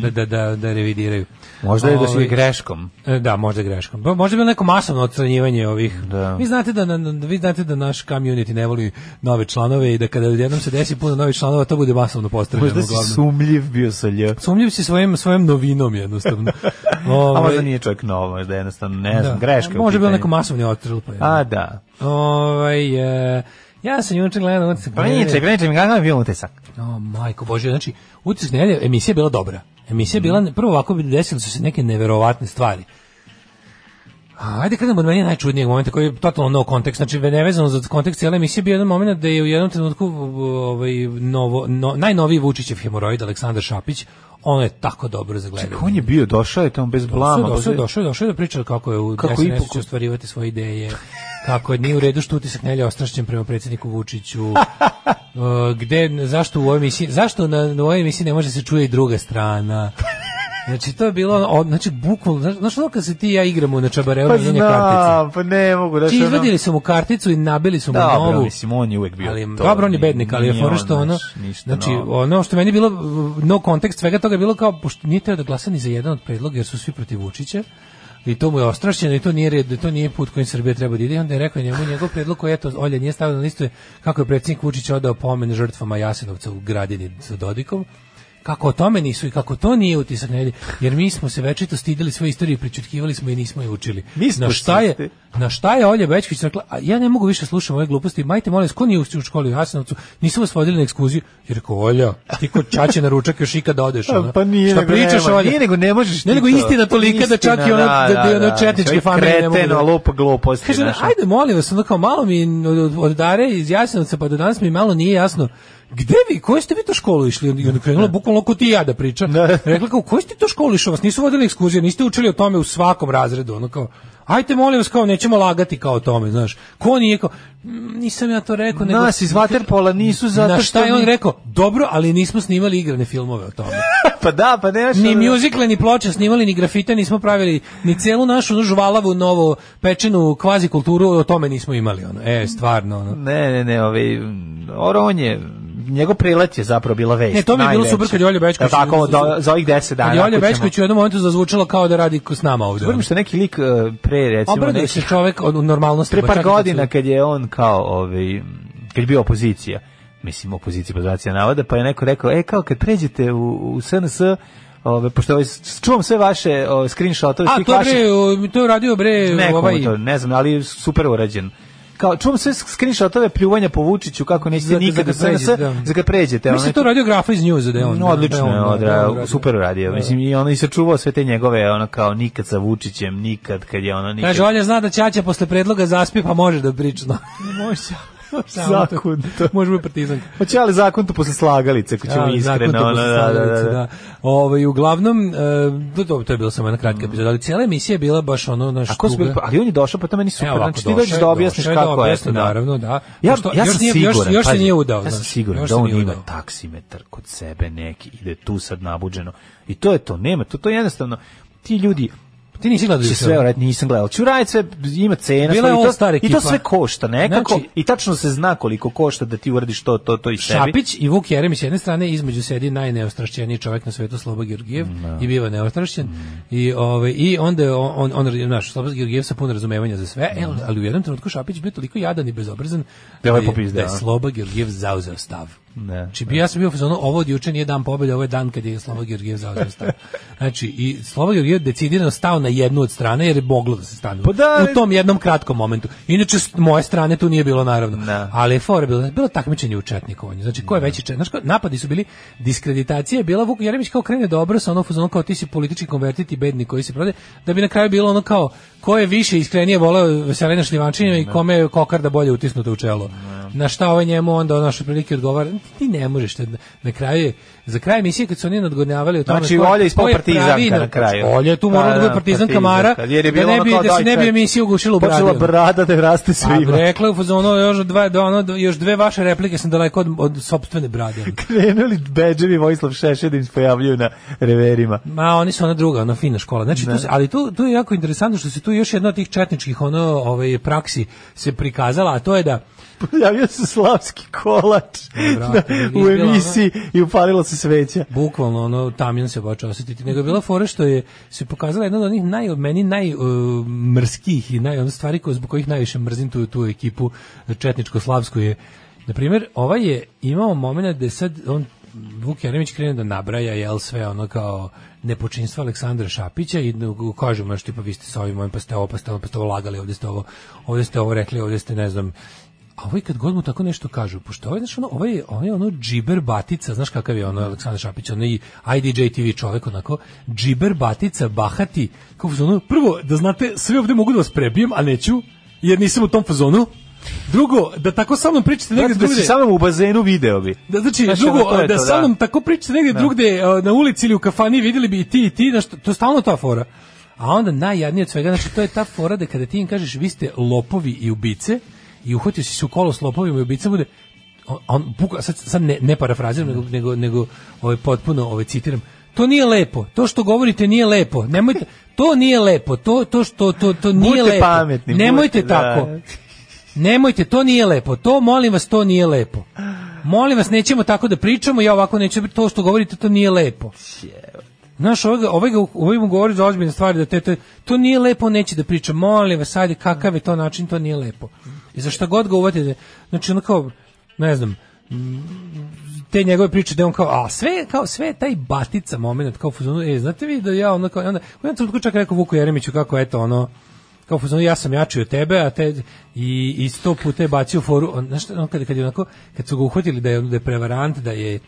[SPEAKER 7] da, da, da, da revidiraju.
[SPEAKER 6] Možda je da si
[SPEAKER 7] Ovaj,
[SPEAKER 6] greškom.
[SPEAKER 7] e, Da, možda je greškom. Pa Možda je bilo neko masovno odstranjivanje ovih.
[SPEAKER 6] Da.
[SPEAKER 7] Vi znate da, na- na- vi znate da naš community ne voli nove članove i da kada jednom se desi puno novih članova, to bude masovno postavljeno.
[SPEAKER 6] Možda si
[SPEAKER 7] uglavnom.
[SPEAKER 6] sumljiv bio sa lj.
[SPEAKER 7] Sumnjiv si svojim, svojim novinom jednostavno.
[SPEAKER 6] A
[SPEAKER 7] Ovaj,
[SPEAKER 6] možda nije čovjek novo, možda jednostavno, ne znam,
[SPEAKER 7] da.
[SPEAKER 6] greška. u
[SPEAKER 7] Možda je bilo
[SPEAKER 6] pitanju.
[SPEAKER 7] neko masovni otrl. Pa,
[SPEAKER 6] A, da.
[SPEAKER 7] Ovaj, e, ja sam juče gledao utisak.
[SPEAKER 6] Pa
[SPEAKER 7] nedelje.
[SPEAKER 6] nije čak, neće mi kakav je bio utisak.
[SPEAKER 7] O, majko Bože, znači, utisak nedelje, emisija je bila dobra. Emisija je
[SPEAKER 6] Mhm.
[SPEAKER 7] bila, prvo ovako bi desile su se neke neverovatne stvari. A, Ajde krenemo od meni najčudnijeg momenta koji je totalno no kontekst, znači nevezano za kontekst cijele emisije bio jedan moment da je u jednom trenutku ovaj, novo, no, najnoviji Vučićev hemoroid Aleksandar Šapić, ono je tako dobro za gledanje.
[SPEAKER 6] On je bio, došao je tamo bez blama.
[SPEAKER 7] Došao, došao,
[SPEAKER 6] možda-
[SPEAKER 7] došao, došao da priča kako je u
[SPEAKER 6] Kako
[SPEAKER 7] kako SNS
[SPEAKER 6] ipak-
[SPEAKER 7] će ostvarivati svoje ideje, kako je nije u redu što utisak Nelja ostrašćen prema predsjedniku Vučiću, e, gde, zašto u ovoj emisiji, zašto na, na ovoj emisiji ne može se čuje i druga strana, Znači, to je bilo, ono, o, znači, bukvalno, znaš, znaš ono kad se ti i ja igramo na čabareu
[SPEAKER 6] Pa
[SPEAKER 7] na njene kartice?
[SPEAKER 6] znam, pa ne mogu. Znači,
[SPEAKER 7] Znači,
[SPEAKER 6] ono-
[SPEAKER 7] izvadili su mu karticu i nabili su mu
[SPEAKER 6] Dobro,
[SPEAKER 7] novu.
[SPEAKER 6] mislim, on je uvek bio
[SPEAKER 7] ali,
[SPEAKER 6] to.
[SPEAKER 7] Dobro, on je bednik, ali je
[SPEAKER 6] Nije
[SPEAKER 7] fora
[SPEAKER 6] on,
[SPEAKER 7] što ono,
[SPEAKER 6] znaš, ništa
[SPEAKER 7] znači,
[SPEAKER 6] novo.
[SPEAKER 7] ono što meni je bilo, no kontekst svega toga je bilo kao, pošto nije teo da glasa ni za jedan od predloga, jer su svi protiv Vučića, i to mu je ostrašćeno i to nije red, to nije put kojim Srbija treba da ide. I onda je rekao njemu njegov predlog koji eto Olja nije stavio na listu je kako je predsjednik Vučić odao pomen žrtvama Jasenovca u gradini sa Dodikom. Kako o tome nisu i kako to nije utisak nedelje, jer mi smo se večito stidili svoje istorije, pričutkivali smo i nismo je učili.
[SPEAKER 6] Mi smo
[SPEAKER 7] na šta je,
[SPEAKER 6] čisti.
[SPEAKER 7] na šta je Olja Bećković rekla, a ja ne mogu više slušati ove gluposti, majte molim, vas, ko nije učio u školi u Hasanovcu, nisu vas vodili na ekskluziju, jer rekao, Olja, ti kod čače na ručak još ikada odeš, ono.
[SPEAKER 6] Pa nije,
[SPEAKER 7] šta
[SPEAKER 6] nego
[SPEAKER 7] pričaš,
[SPEAKER 6] nema,
[SPEAKER 7] Olja?
[SPEAKER 6] nije, nego ne možeš
[SPEAKER 7] Ne,
[SPEAKER 6] ti
[SPEAKER 7] nego
[SPEAKER 6] to.
[SPEAKER 7] istina tolika da čak i
[SPEAKER 6] Istina,
[SPEAKER 7] ona, da,
[SPEAKER 6] da,
[SPEAKER 7] da, da,
[SPEAKER 6] da.
[SPEAKER 7] četničke
[SPEAKER 6] Čovjek
[SPEAKER 7] familije ne mogu
[SPEAKER 6] kreteno,
[SPEAKER 7] da-
[SPEAKER 6] lupa gluposti,
[SPEAKER 7] Kaže,
[SPEAKER 6] znaš, ono.
[SPEAKER 7] ajde, molim vas, ono kao malo mi od, od Dare iz Jasenovca pa do danas mi malo nije jasno, gde vi, koju ste vi to školu išli? I onda krenula bukvalno ko ti i ja da pričam. Rekla kao, koju ste to školu išli? Vas nisu vodili ekskurzije, niste učili o tome u svakom razredu. Ono kao, Ajte molim vas kao nećemo lagati kao o tome, znaš. Ko nije kao "Mm, nisam ja to rekao, nego
[SPEAKER 6] ono. Nas iz Waterpola nisu zato
[SPEAKER 7] Na
[SPEAKER 6] što
[SPEAKER 7] šta je on
[SPEAKER 6] mi-
[SPEAKER 7] rekao? Dobro, ali nismo snimali igrane filmove o tome.
[SPEAKER 6] pa da, pa nemaš...
[SPEAKER 7] Ni
[SPEAKER 6] ono-
[SPEAKER 7] mjuzikle, ni ploče snimali, ni grafite nismo pravili, ni celu našu ono, žvalavu novo pečenu kvazi kulturu o tome nismo imali. Ono. E, stvarno. Ono.
[SPEAKER 6] Ne, ne, ne, ovaj, mm, Oron je, njegov prilet je zapravo bila vest.
[SPEAKER 7] Ne, to mi je bilo
[SPEAKER 6] najveća.
[SPEAKER 7] super kad Jolja Bečković...
[SPEAKER 6] Jel Tako, do- za ovih 10 dana.
[SPEAKER 7] Kad Jolja
[SPEAKER 6] ako ćemo-
[SPEAKER 7] Bečković u jednom momentu zazvučala kao da radi s nama ovde.
[SPEAKER 6] Zvrnim što neki lik eh, pre, recimo,
[SPEAKER 7] Obraduje se
[SPEAKER 6] nekih
[SPEAKER 7] čovek od u normalnosti.
[SPEAKER 6] pre
[SPEAKER 7] pa
[SPEAKER 6] par
[SPEAKER 7] čak i kad
[SPEAKER 6] godina
[SPEAKER 7] su-
[SPEAKER 6] kad je on kao ovaj m, kad je bio opozicija mislim opozicija opozicija navada pa je neko rekao e kao kad pređete u, u SNS ove pošto ovaj, s- čuvam sve vaše ove, screenshotove
[SPEAKER 7] A,
[SPEAKER 6] svih
[SPEAKER 7] to je
[SPEAKER 6] vaših
[SPEAKER 7] bre, o, to je uradio bre
[SPEAKER 6] nekomu
[SPEAKER 7] ovaj...
[SPEAKER 6] to, ne znam ali super urađen kao čuvam sve screenshotove pljuvanja po Vučiću kako nećete
[SPEAKER 7] Za- za
[SPEAKER 6] nikad
[SPEAKER 7] ga
[SPEAKER 6] u SNS
[SPEAKER 7] pređete, da.
[SPEAKER 6] za kad pređete
[SPEAKER 7] Mislim,
[SPEAKER 6] onaj-
[SPEAKER 7] to je radio grafa iz njuza da je
[SPEAKER 6] No,
[SPEAKER 7] on. da je
[SPEAKER 6] Mm, odlično
[SPEAKER 7] on,
[SPEAKER 6] je
[SPEAKER 7] da je on
[SPEAKER 6] odra,
[SPEAKER 7] radio.
[SPEAKER 6] super uradio. Mislim, i ono i sačuvao sve te njegove, ono kao nikad sa Vučićem, nikad kad je ono nikad...
[SPEAKER 7] Kaže, Olja zna da Ćaća posle predloga zaspi, pa može da priča. No.
[SPEAKER 6] može
[SPEAKER 7] Samo to.
[SPEAKER 6] zakon to.
[SPEAKER 7] Možemo i partizanka.
[SPEAKER 6] Hoće ali zakon to posle slagalice, ako ćemo
[SPEAKER 7] Ja,
[SPEAKER 6] iskreno.
[SPEAKER 7] zakon to
[SPEAKER 6] ono,
[SPEAKER 7] posle
[SPEAKER 6] da, da, da,
[SPEAKER 7] slagalice,
[SPEAKER 6] da.
[SPEAKER 7] Ovaj, uglavnom, e, to, to, to je bilo samo jedna kratka epizoda, ali cijela emisija je bila baš ono, naš
[SPEAKER 6] A ko su bili- pa, ali on je došao, pa to meni super.
[SPEAKER 7] Evo ovako,
[SPEAKER 6] znači ti
[SPEAKER 7] došao
[SPEAKER 6] dođeš
[SPEAKER 7] je,
[SPEAKER 6] da objasniš
[SPEAKER 7] došao je da
[SPEAKER 6] kako je.
[SPEAKER 7] objasni, naravno, da.
[SPEAKER 6] Ja,
[SPEAKER 7] Pošto
[SPEAKER 6] ja
[SPEAKER 7] još
[SPEAKER 6] sam
[SPEAKER 7] nije-
[SPEAKER 6] siguran,
[SPEAKER 7] još- još se
[SPEAKER 6] pazi,
[SPEAKER 7] nije udao,
[SPEAKER 6] Ja sam
[SPEAKER 7] znaš,
[SPEAKER 6] siguran
[SPEAKER 7] još
[SPEAKER 6] da
[SPEAKER 7] se
[SPEAKER 6] on
[SPEAKER 7] nije
[SPEAKER 6] ima
[SPEAKER 7] udao.
[SPEAKER 6] taksimetar kod sebe neki i da je tu sad nabuđeno. I to je to, nema, to, to je jednostavno, ti ljudi,
[SPEAKER 7] Ti nisi gledao ono?
[SPEAKER 6] će
[SPEAKER 7] juče,
[SPEAKER 6] Znači, sve uraditi, nisam gledao. Ću uraditi sve, ima cena,
[SPEAKER 7] Bila je
[SPEAKER 6] sve, i,
[SPEAKER 7] All
[SPEAKER 6] to,
[SPEAKER 7] Star
[SPEAKER 6] i to
[SPEAKER 7] ekipa.
[SPEAKER 6] sve košta nekako,
[SPEAKER 7] Znači-
[SPEAKER 6] i tačno se zna koliko košta da ti uradiš to, to, to i sebi.
[SPEAKER 7] Šapić i Vuk Jeremić s jedne strane između sedi najneostrašćeniji čovjek na svetu Sloba Georgijev
[SPEAKER 6] Mm,
[SPEAKER 7] i biva neostrašćen i ovaj i onda je on on, on znaš Sloba Georgijev sa puno razumevanja za sve e, ali u jednom trenutku Šapić bio toliko jadan i bezobrazan
[SPEAKER 6] Mm. Da ovaj
[SPEAKER 7] je-
[SPEAKER 6] popizdeo,
[SPEAKER 7] da je
[SPEAKER 6] a?
[SPEAKER 7] Sloba Georgijev zauzeo stav.
[SPEAKER 6] Ne,
[SPEAKER 7] znači bi ja sam bio u fazonu ovo od juče nije dan pobede, ovo je dan kad je Sloba Georgijev zauzeo stav. Znači i Sloba Georgijev decidirano stao na jednu od strane jer je moglo da se stane
[SPEAKER 6] Pa da,
[SPEAKER 7] u tom jednom kratkom momentu. Inače s moje strane tu nije bilo naravno.
[SPEAKER 6] Da.
[SPEAKER 7] Ali je fora bilo, bilo takmičenje u četnikovanju. Znači, ko je veći četnik? Znaš, ko- napadi su bili, diskreditacija je bila, Vuk Jeremić kao krene dobro sa onom fuzonom kao ti si politički konvertiti bedni koji se prode, da bi na kraju bilo ono kao ko je više iskrenije voleo Veselina Šljivančinja i kome je kokarda bolje utisnuta u čelo. Na šta ovaj njemu onda o našoj prilike odgovara? Ti ne možeš. te- Na kraju je, za kraj emisije kad su oni nadgonjavali o tome
[SPEAKER 6] Znači,
[SPEAKER 7] ko-
[SPEAKER 6] Olja je ispao
[SPEAKER 7] ko je
[SPEAKER 6] partizanka
[SPEAKER 7] pravi
[SPEAKER 6] na
[SPEAKER 7] narko-
[SPEAKER 6] kraju.
[SPEAKER 7] Olja je tu morala
[SPEAKER 6] Pa,
[SPEAKER 7] da bude
[SPEAKER 6] da, partizanka,
[SPEAKER 7] partizanka Mara,
[SPEAKER 6] jer je
[SPEAKER 7] da,
[SPEAKER 6] bilo
[SPEAKER 7] ne
[SPEAKER 6] ono
[SPEAKER 7] bi,
[SPEAKER 6] kao
[SPEAKER 7] da se ne
[SPEAKER 6] daj,
[SPEAKER 7] bi
[SPEAKER 6] čak-
[SPEAKER 7] emisija ugušila u bradu.
[SPEAKER 6] Počela
[SPEAKER 7] ono.
[SPEAKER 6] brada da raste
[SPEAKER 7] Pa
[SPEAKER 6] svima.
[SPEAKER 7] rekla je u fazonu još dva do ono do- još dve vaše replike sam daleko od, od sopstvene brade.
[SPEAKER 6] Krenuli Beđevi Vojislav Šešelj da im se pojavljuju na reverima.
[SPEAKER 7] Ma oni su ona druga, ona fina škola. Znači tu se- ali tu tu je jako interesantno što se tu još jedna od tih četničkih ono ovaj praksi se prikazala, a to je da
[SPEAKER 6] Pojavio se Slavski kolač
[SPEAKER 7] brate,
[SPEAKER 6] na- u
[SPEAKER 7] nije bila
[SPEAKER 6] emisiji i upalilo se sveća.
[SPEAKER 7] bukvalno ono tamjan se baš osjetiti nego je bila fora što je se pokazala jedna od onih naj meni naj uh, mrskih i naj ono stvari koje zbog kojih najviše mrzim tu tu ekipu četničko-slavsku je na primjer ovaj je imao momenat da sad on Vuk Jeremić krene da nabraja jel sve ono kao nepočinstvo Aleksandra Šapića i kažemo što tipa vi ste sa ovim mojim pa ste ovo pa ste ono, pa ste ovo lagali ovdje ste ovo ovdje ste ovo rekli ovdje ste ne znam a ovaj kad god mu tako nešto kažu, pošto ovaj, znaš, ono, ovaj, je- ovaj je ono džiber batica, znaš kakav je ono Aleksandar Šapić, ono i IDJ TV čovjek, onako, džiber batica, bahati, kao ono, prvo, da znate, sve ovdje mogu da vas prebijem, a neću, jer nisam u tom fazonu, Drugo, da tako sa mnom pričate negdje
[SPEAKER 6] Brate, Da si
[SPEAKER 7] drugdje.
[SPEAKER 6] sa mnom u bazenu video bi.
[SPEAKER 7] Da, znači,
[SPEAKER 6] Znaš,
[SPEAKER 7] drugo,
[SPEAKER 6] ono, to je
[SPEAKER 7] da
[SPEAKER 6] to,
[SPEAKER 7] sa
[SPEAKER 6] da.
[SPEAKER 7] mnom tako pričate negdje drugdje, a, na ulici ili u kafani, vidjeli bi i ti i ti, znaš, to, to je stalno ta fora. A onda najjadnije od svega, znači, to je ta fora da kada ti im kažeš, vi ste lopovi i ubice, i uhvatio si se u kolo s lopovima i ubicama, bude, on, on buka, sad, sad ne, ne parafraziram, nego, nego, nego ovaj, potpuno ovaj, citiram, to nije lepo, to što govorite nije lepo, nemojte, to nije lepo, to, to što, to, to nije
[SPEAKER 6] Budite
[SPEAKER 7] lepo,
[SPEAKER 6] pametni,
[SPEAKER 7] nemojte
[SPEAKER 6] budite, da.
[SPEAKER 7] tako, Nemojte, to nije lepo. To molim vas, to nije lepo. Molim vas, nećemo tako da pričamo, ja ovako neću to što govorite, to nije lepo. Znaš, ovaj, ga- ovaj, ga- ovaj mu govori za ozbiljne stvari, da te, te- to nije lepo, neće da priča, molim vas, ajde, kakav je to način, to nije lepo. I za šta god ga uvatite, znači ono kao, ne znam, m, te njegove priče da je on kao, a sve, je kao, sve je taj batica moment, kao u fazonu, e, znate vi da ja ono kao, i onda, u jednom trenutku čak rekao Vuku Jeremiću kako, eto, ono, kao u fazonu, ja sam jači od tebe, a te, i, i sto puta je bacio foru, on, znaš, šta, on kad, kad je onako, kad su ga uhvatili da je, da je prevarant, da je,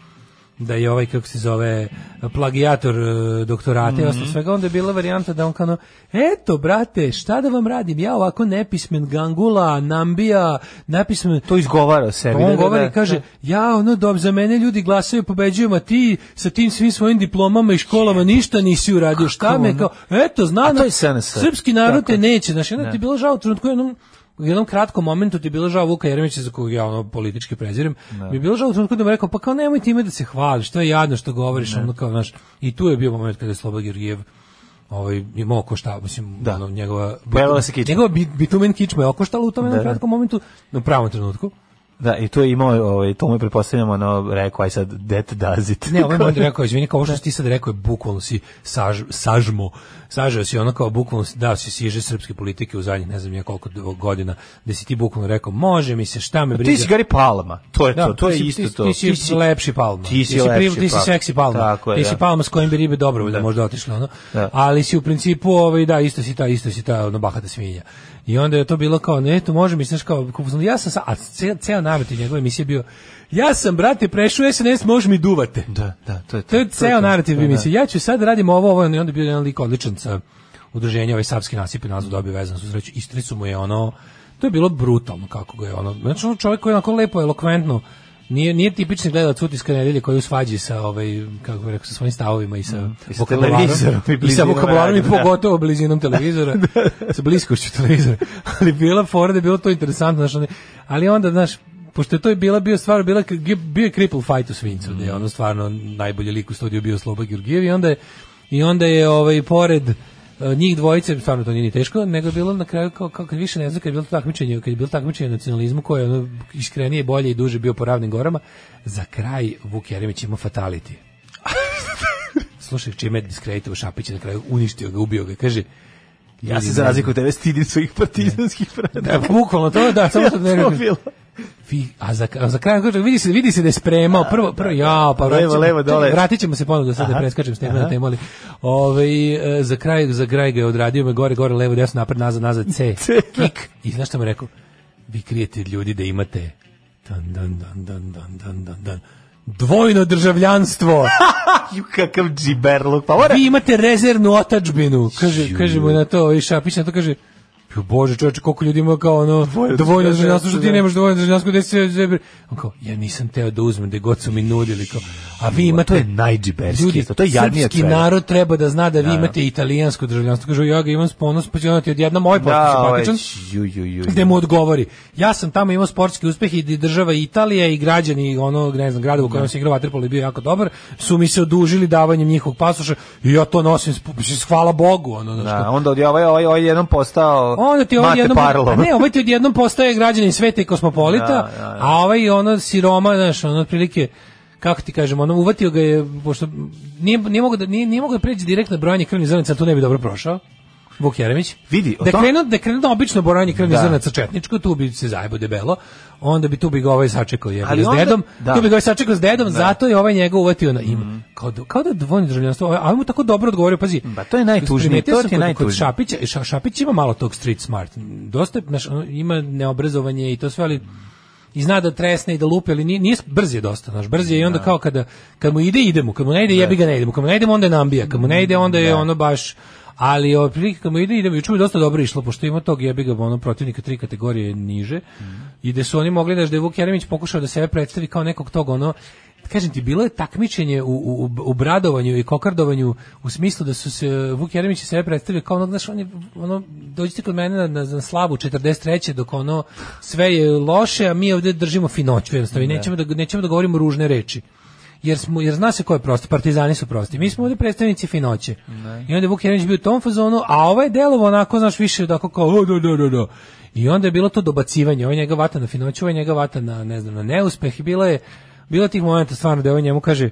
[SPEAKER 7] da je ovaj, kako se zove, plagijator e, doktorata i ostalo svega, onda je bila varijanta da on kao, ono, eto, brate, šta da vam radim, ja ovako nepismen gangula, nambija, nepismen...
[SPEAKER 6] To izgovara o sebi.
[SPEAKER 7] Pa On
[SPEAKER 6] da, da,
[SPEAKER 7] govori,
[SPEAKER 6] da.
[SPEAKER 7] kaže, ja, ono, dob, za mene ljudi glasaju, pobeđujem, a ti sa tim svim svojim diplomama i školama ništa nisi uradio, šta
[SPEAKER 6] Kako
[SPEAKER 7] me,
[SPEAKER 6] ono?
[SPEAKER 7] kao, eto, zna,
[SPEAKER 6] A to
[SPEAKER 7] ono,
[SPEAKER 6] je SNS.
[SPEAKER 7] srpski narod
[SPEAKER 6] Tako
[SPEAKER 7] te
[SPEAKER 6] je.
[SPEAKER 7] neće, znaš, onda ti je bilo žao u trenutku, jednom, u jednom kratkom momentu ti je bilo žao Vuka Jeremića za kojeg ja ono politički prezirem. Mi je bilo žao u trenutku da mu je rekao pa kao nemoj time da se hvališ, to je jadno što govoriš, ono kao znaš. I tu je bio moment kada je Slobodan Georgijev ovaj imao košta, mislim,
[SPEAKER 6] Da.
[SPEAKER 7] ono, njegova
[SPEAKER 6] Pojavila se kičma.
[SPEAKER 7] njegova bit- bitumen kičma je okoštala u tom jednom
[SPEAKER 6] Da, da.
[SPEAKER 7] kratkom momentu, na pravom trenutku.
[SPEAKER 6] Da, i to je imao, ovaj, to mu je pretpostavljamo, ono, rekao, aj sad, that does it.
[SPEAKER 7] Ne, ovaj moment rekao, izvini, kao ovo što si ti sad rekao je bukvalno si saž, sažmo, sažao si ono kao bukvalno si, da si siže srpske politike u zadnjih ne znam ja koliko do- godina, da si ti bukvalno rekao, može mi se, šta me briga.
[SPEAKER 6] Pa Ti si Gary Palma, to je to, to je
[SPEAKER 7] ti si-
[SPEAKER 6] isto
[SPEAKER 7] ti,
[SPEAKER 6] to.
[SPEAKER 7] Ti si, lepši palma.
[SPEAKER 6] Ti si lepši
[SPEAKER 7] pri- Ti si
[SPEAKER 6] Palma.
[SPEAKER 7] seksi palma.
[SPEAKER 6] Tako je,
[SPEAKER 7] ti si
[SPEAKER 6] da.
[SPEAKER 7] palma s kojim bi ribe dobrovoljno možda otišle. Ono.
[SPEAKER 6] Da.
[SPEAKER 7] Ali si u principu, ovaj, da, isto si ta, isto si ta ono, bahata svinja. I onda je to bilo kao, ne, to može, misliš kao, kao, znam, ja sam, sa, a ceo, ceo namet i njegove emisije je bio, ja sam, brate, prešao SNS, može mi duvate.
[SPEAKER 6] Da, da, to je to.
[SPEAKER 7] To je
[SPEAKER 6] to.
[SPEAKER 7] ceo narativ bi
[SPEAKER 6] Da, da.
[SPEAKER 7] mislio. Ja ću sad radim ovo, ovo, i onda je bio jedan lik odličan sa udruženja, ovaj sapski nasip i nazvu dobio vezan su sreću. Istricu mu je ono, to je bilo brutalno kako ga je ono. Znači ono čovjek koji je onako lepo, elokventno, nije, nije tipični gledalac utiska nedelje koji je u svađi sa, ovaj, kako bih rekao, sa svojim stavovima i sa,
[SPEAKER 6] i sa
[SPEAKER 7] vokabularom.
[SPEAKER 6] televizorom i
[SPEAKER 7] I sa
[SPEAKER 6] blizinom
[SPEAKER 7] vokabularom i
[SPEAKER 6] radija, da.
[SPEAKER 7] pogotovo blizinom televizora, sa bliskošću televizora. Ali bila fora da je bilo to interesantno, znaš, ono- ali onda, znaš, pošto je to je bila bio stvar bila bio je cripple fight u Svincu, gde je ono stvarno najbolji lik u studiju bio Sloba Georgijev i onda je i onda je ovaj pored e, njih dvojice, stvarno to nije ni teško, nego je bilo na kraju kao, kao kad više ne znam kad je bilo takmičenje, kad je bilo takmičenje u nacionalizmu koje je ono iskrenije, bolje i duže bio po ravnim gorama, za kraj Vuk Jeremić ima fatality slušaj čime je diskreditovo Šapića na kraju uništio ga, ubio ga, kaže
[SPEAKER 6] Ja se za razliku od tebe stidim svojih partizanskih
[SPEAKER 7] Da,
[SPEAKER 6] predaka.
[SPEAKER 7] E, bukvalno to, da, samo što ne
[SPEAKER 6] To
[SPEAKER 7] rekao.
[SPEAKER 6] bilo.
[SPEAKER 7] Vi, a za, a za kraj kaže, vidi se, vidi se da je spremao, prvo, prvo, ja, pa vratit
[SPEAKER 6] Levo,
[SPEAKER 7] ćemo-
[SPEAKER 6] levo, dole.
[SPEAKER 7] čekaj, vratit ćemo se ponovno da sad ne
[SPEAKER 6] Aha.
[SPEAKER 7] preskačem s teme na temu, ali ovaj, e, za kraj, za kraj ga je odradio, me gore, gore, levo, desno, napred, nazad, nazad, C, kik, i znaš šta mu je rekao? Vi krijete od ljudi da imate dan, dan, dan, dan, dan, dan, dan, dan, dvojno državljanstvo.
[SPEAKER 6] Ju, kakav džiberluk. Pa mora...
[SPEAKER 7] vi imate rezervnu otačbinu. Kaže, kaže mu na to, i Šapić na to kaže, Jo bože, čoveče, koliko ljudi ima kao ono
[SPEAKER 6] Dvojno
[SPEAKER 7] dvojno državljanstvo, što ti
[SPEAKER 6] državljanstvo,
[SPEAKER 7] nemaš dvojno državljanstvo, gde se zebre. On kao, ja nisam teo da uzmem, da god su mi nudili kao. A vi imate
[SPEAKER 6] to je najdžiberski
[SPEAKER 7] Ljudi,
[SPEAKER 6] E, isto, to je jadnije od
[SPEAKER 7] Srpski
[SPEAKER 6] svega.
[SPEAKER 7] narod treba da zna da vi imate italijansko državljanstvo. Kaže, ja ga imam s ponos, pa će ono ti odjednom moj
[SPEAKER 6] Da,
[SPEAKER 7] potpuno
[SPEAKER 6] ovaj,
[SPEAKER 7] simpatičan
[SPEAKER 6] ju, ju, ju.
[SPEAKER 7] gde mu odgovori. Ja sam tamo imao sportski uspeh i država Italija i građani onog ne znam grada u kojem se igrao vaterpolo je bio jako dobar, su mi se odužili davanjem njihovog pasoša i ja to nosim sp- mislim, hvala Bogu ono znaš
[SPEAKER 6] Da,
[SPEAKER 7] kao.
[SPEAKER 6] onda od ovaj, ovaj, ovaj jednom postao
[SPEAKER 7] Onda ti ovaj
[SPEAKER 6] Mate
[SPEAKER 7] jednom,
[SPEAKER 6] Parlov.
[SPEAKER 7] ne, ovaj ti odjednom postaje građanin sveta i kosmopolita,
[SPEAKER 6] Da, da, da.
[SPEAKER 7] a ovaj ono siroma, znaš, ono otprilike kako ti kažem, ono uvatio ga je pošto nije, nije mogao da nije, nije mogao da pređe direktno na brojanje krvnih zrnaca, tu ne bi dobro prošao. Vuk Jeremić.
[SPEAKER 6] Vidi, o
[SPEAKER 7] da
[SPEAKER 6] tom-
[SPEAKER 7] krenu, da krenu na obično boranje krvnih
[SPEAKER 6] Da.
[SPEAKER 7] zrnaca četničko, tu bi se zajebo debelo, onda bi tu bi ga ovaj sačekao je
[SPEAKER 6] Ali
[SPEAKER 7] s
[SPEAKER 6] onda-
[SPEAKER 7] dedom,
[SPEAKER 6] da. Mhm.
[SPEAKER 7] tu bi ga ovaj sačekao s dedom, zato je ovaj njega uvatio na ime. Kao, da- kao da je dvojno državljanstvo, ovaj- a on mu tako dobro odgovorio, pazi.
[SPEAKER 6] Pa to je najtužnije,
[SPEAKER 7] primetio
[SPEAKER 6] to
[SPEAKER 7] sam
[SPEAKER 6] ti je
[SPEAKER 7] kod- Kod
[SPEAKER 6] najtužnije.
[SPEAKER 7] Šapića, Ša- Šapić ima malo tog street smart, dosta je, znaš, ono, ima neobrazovanje i to sve, ali i zna da tresne i da lupi, ali nije, nije brz je dosta, znaš, brz je i onda kao kada, kad mu ide, idemo, kad mu ne ide, jebi ga ne idemo, kad mu ne idemo, onda je nambija, kad mu ne ide, onda je ono baš, ali ovaj prilike kad mu ide, idemo, juče mu je dosta dobro išlo, pošto ima tog jebi ga, ono, protivnika tri kategorije niže, i da su oni mogli, znaš, da je Vuk Jeremić pokušao da sebe predstavi kao nekog tog, ono, kažem ti, bilo je takmičenje u, u, u bradovanju i kokardovanju u smislu da su se Vuk Jeremić i sebe predstavio kao ono, znaš, on je, ono, dođite kod mene na, na, na slavu 43. dok ono sve je loše, a mi ovdje držimo finoću jednostavno i nećemo da, nećemo da govorimo ružne reči. Jer, smo, jer zna se ko je prosti, partizani su prosti. Mi smo ovdje predstavnici finoće. I onda je Vuk Jeremić bio u tom fazonu, a ovaj delovo onako, znaš, više onako kao, o, da, da, da, da. I onda je bilo to dobacivanje, ovaj njega vata na finoću, ovaj njega vata na, ne znam, na neuspeh i bilo je, bilo je tih momenta stvarno da ovaj njemu kaže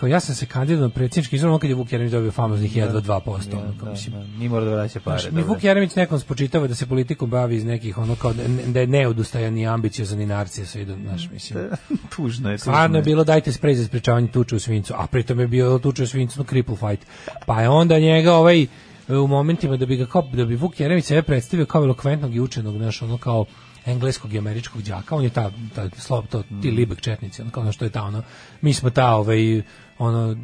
[SPEAKER 7] kao ja sam se kandidovao na predsjednički izbor ono kad je Vuk Jeremić dobio famoznih jedva 2%. ono, kao, mislim,
[SPEAKER 6] Ni mora da vraća pare.
[SPEAKER 7] znaš, mi
[SPEAKER 6] dobro.
[SPEAKER 7] Vuk Jeremić nekom spočitava da se politikom bavi iz nekih ono kao da, da je neodustajan i ambiciozan i narcijas idu, znaš, mislim.
[SPEAKER 6] Tužno je. tužno
[SPEAKER 7] Stvarno je bilo dajte sprej za sprečavanje tuče u svincu, a pritom je bio tuče u svincu no, cripple fight. Pa je onda njega ovaj e, u momentima da bi ga kao, da bi Vuk Jeremić sebe predstavio kao elokventnog i učenog, znaš, ono kao engleskog i američkog đaka, on je ta, ta slob, to, ti
[SPEAKER 6] Mm.
[SPEAKER 7] libek četnici, ono, kao ono što je ta ono, mi smo ta, ovaj, ono,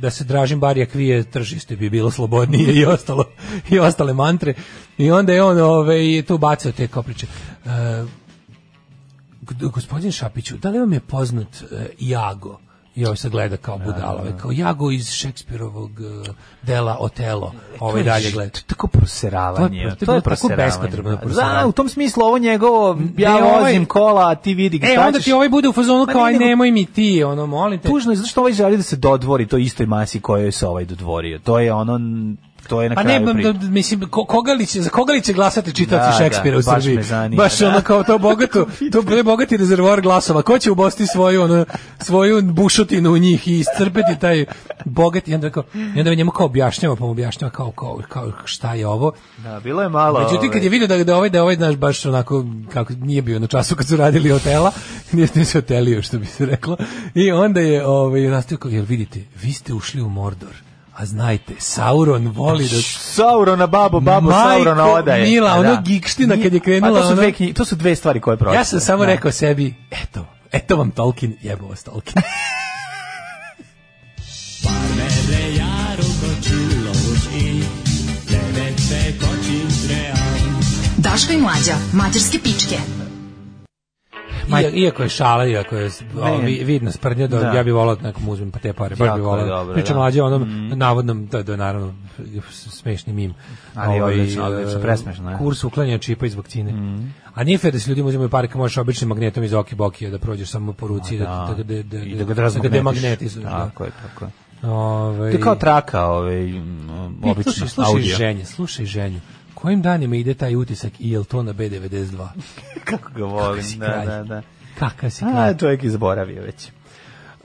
[SPEAKER 7] da se Dražin Barija krije, tržište bi bilo slobodnije i ostalo, i ostale mantre. I onda je on ovaj, tu bacio te kao priče. E, G- gospodin Šapiću, da li vam je poznat e, Jago? I ovaj se gleda kao budala, ovaj, kao Jago iz Šekspirovog e, dela Otelo. Ovaj
[SPEAKER 6] je
[SPEAKER 7] dalje
[SPEAKER 6] ž-
[SPEAKER 7] gleda.
[SPEAKER 6] to je tako proseravanje.
[SPEAKER 7] To je- to je tako bespotrebno proseravanje.
[SPEAKER 6] Da, Pa u tom smislu ovo njegovo, ja
[SPEAKER 7] E, ovaj-
[SPEAKER 6] vozim kola, a ti vidi
[SPEAKER 7] E,
[SPEAKER 6] šta
[SPEAKER 7] onda
[SPEAKER 6] ćeš.
[SPEAKER 7] ti ovaj bude u fazonu
[SPEAKER 6] Ma
[SPEAKER 7] kao,
[SPEAKER 6] ne,
[SPEAKER 7] aj
[SPEAKER 6] nego-
[SPEAKER 7] nemoj mi ti, ono, molim te.
[SPEAKER 6] Tužno je zašto ovaj želi da se dodvori toj istoj masi kojoj se ovaj dodvorio. To je ono, to je na
[SPEAKER 7] Pa ne,
[SPEAKER 6] kraju priče.
[SPEAKER 7] da, mislim, ko, koga li će, za koga li će glasati čitati
[SPEAKER 6] Da,
[SPEAKER 7] da, Šekspira u
[SPEAKER 6] da, baš
[SPEAKER 7] Srbiji?
[SPEAKER 6] me zanima,
[SPEAKER 7] baš
[SPEAKER 6] da.
[SPEAKER 7] ono kao to bogato, to je bogati rezervoar glasova. Ko će ubosti svoju, ono, svoju bušotinu u njih i iscrpeti taj bogati? I onda, kao, i onda njemu kao objašnjava, pa mu objašnjava kao, kao, kao šta je ovo.
[SPEAKER 6] Da, bilo je malo...
[SPEAKER 7] Međutim, kad je
[SPEAKER 6] ovaj,
[SPEAKER 7] vidio da, da ovaj, da ovaj, znaš, baš onako, kako nije bio na času kad su radili hotela, nije, nije se hotelio, što bi se reklo, i onda je ovaj, nastavio kao, jel vidite, vi ste ušli u Mordor, a znajte, Sauron voli
[SPEAKER 6] Pa
[SPEAKER 7] da...
[SPEAKER 6] Saurona babo, babo
[SPEAKER 7] Majko
[SPEAKER 6] Saurona odaje.
[SPEAKER 7] mila,
[SPEAKER 6] Da.
[SPEAKER 7] ono gikština kad je krenula,
[SPEAKER 6] Pa to su dve,
[SPEAKER 7] ono-
[SPEAKER 6] knji- to su dve stvari koje pročitao.
[SPEAKER 7] Ja sam samo
[SPEAKER 6] Da.
[SPEAKER 7] rekao sebi, eto, eto vam Tolkien, jebo vas Tolkien.
[SPEAKER 5] Daško i mlađa, mađarske pičke.
[SPEAKER 7] Ma, iako je šala, iako je o,
[SPEAKER 6] Ne.
[SPEAKER 7] vi- vidno sprdnja, da,
[SPEAKER 6] Da.
[SPEAKER 7] ja bih volao da nekom uzmem pa te pare, baš
[SPEAKER 6] Jako
[SPEAKER 7] bih
[SPEAKER 6] je
[SPEAKER 7] volao.
[SPEAKER 6] dobro,
[SPEAKER 7] Pričam
[SPEAKER 6] da. Mm.
[SPEAKER 7] mlađe o onom navodnom, to je, to je naravno smešni mim.
[SPEAKER 6] Ali je odlično, odlično,
[SPEAKER 7] e,
[SPEAKER 6] presmešno, Mm. ne?
[SPEAKER 7] Kurs uklanja čipa iz vakcine. A nije fer da se ljudima uzimaju pare, kad možeš običnim magnetom iz oki bokija da prođeš samo po ruci i da, da, da, da,
[SPEAKER 6] I da ga
[SPEAKER 7] da ga
[SPEAKER 6] razmagnetiš.
[SPEAKER 7] demagnetizuješ. da.
[SPEAKER 6] Tako je, tako je.
[SPEAKER 7] Ovaj,
[SPEAKER 6] To je kao traka, ovaj, m, obično,
[SPEAKER 7] Slušaj, slušaj
[SPEAKER 6] audio.
[SPEAKER 7] ženje, slušaj ženju. Kojim danima ide taj utisak i jel to na B92?
[SPEAKER 6] Kako ga volim,
[SPEAKER 7] si
[SPEAKER 6] da,
[SPEAKER 7] kralj.
[SPEAKER 6] da, da.
[SPEAKER 7] Kakav si kralj.
[SPEAKER 6] A, čovjek je zaboravio već.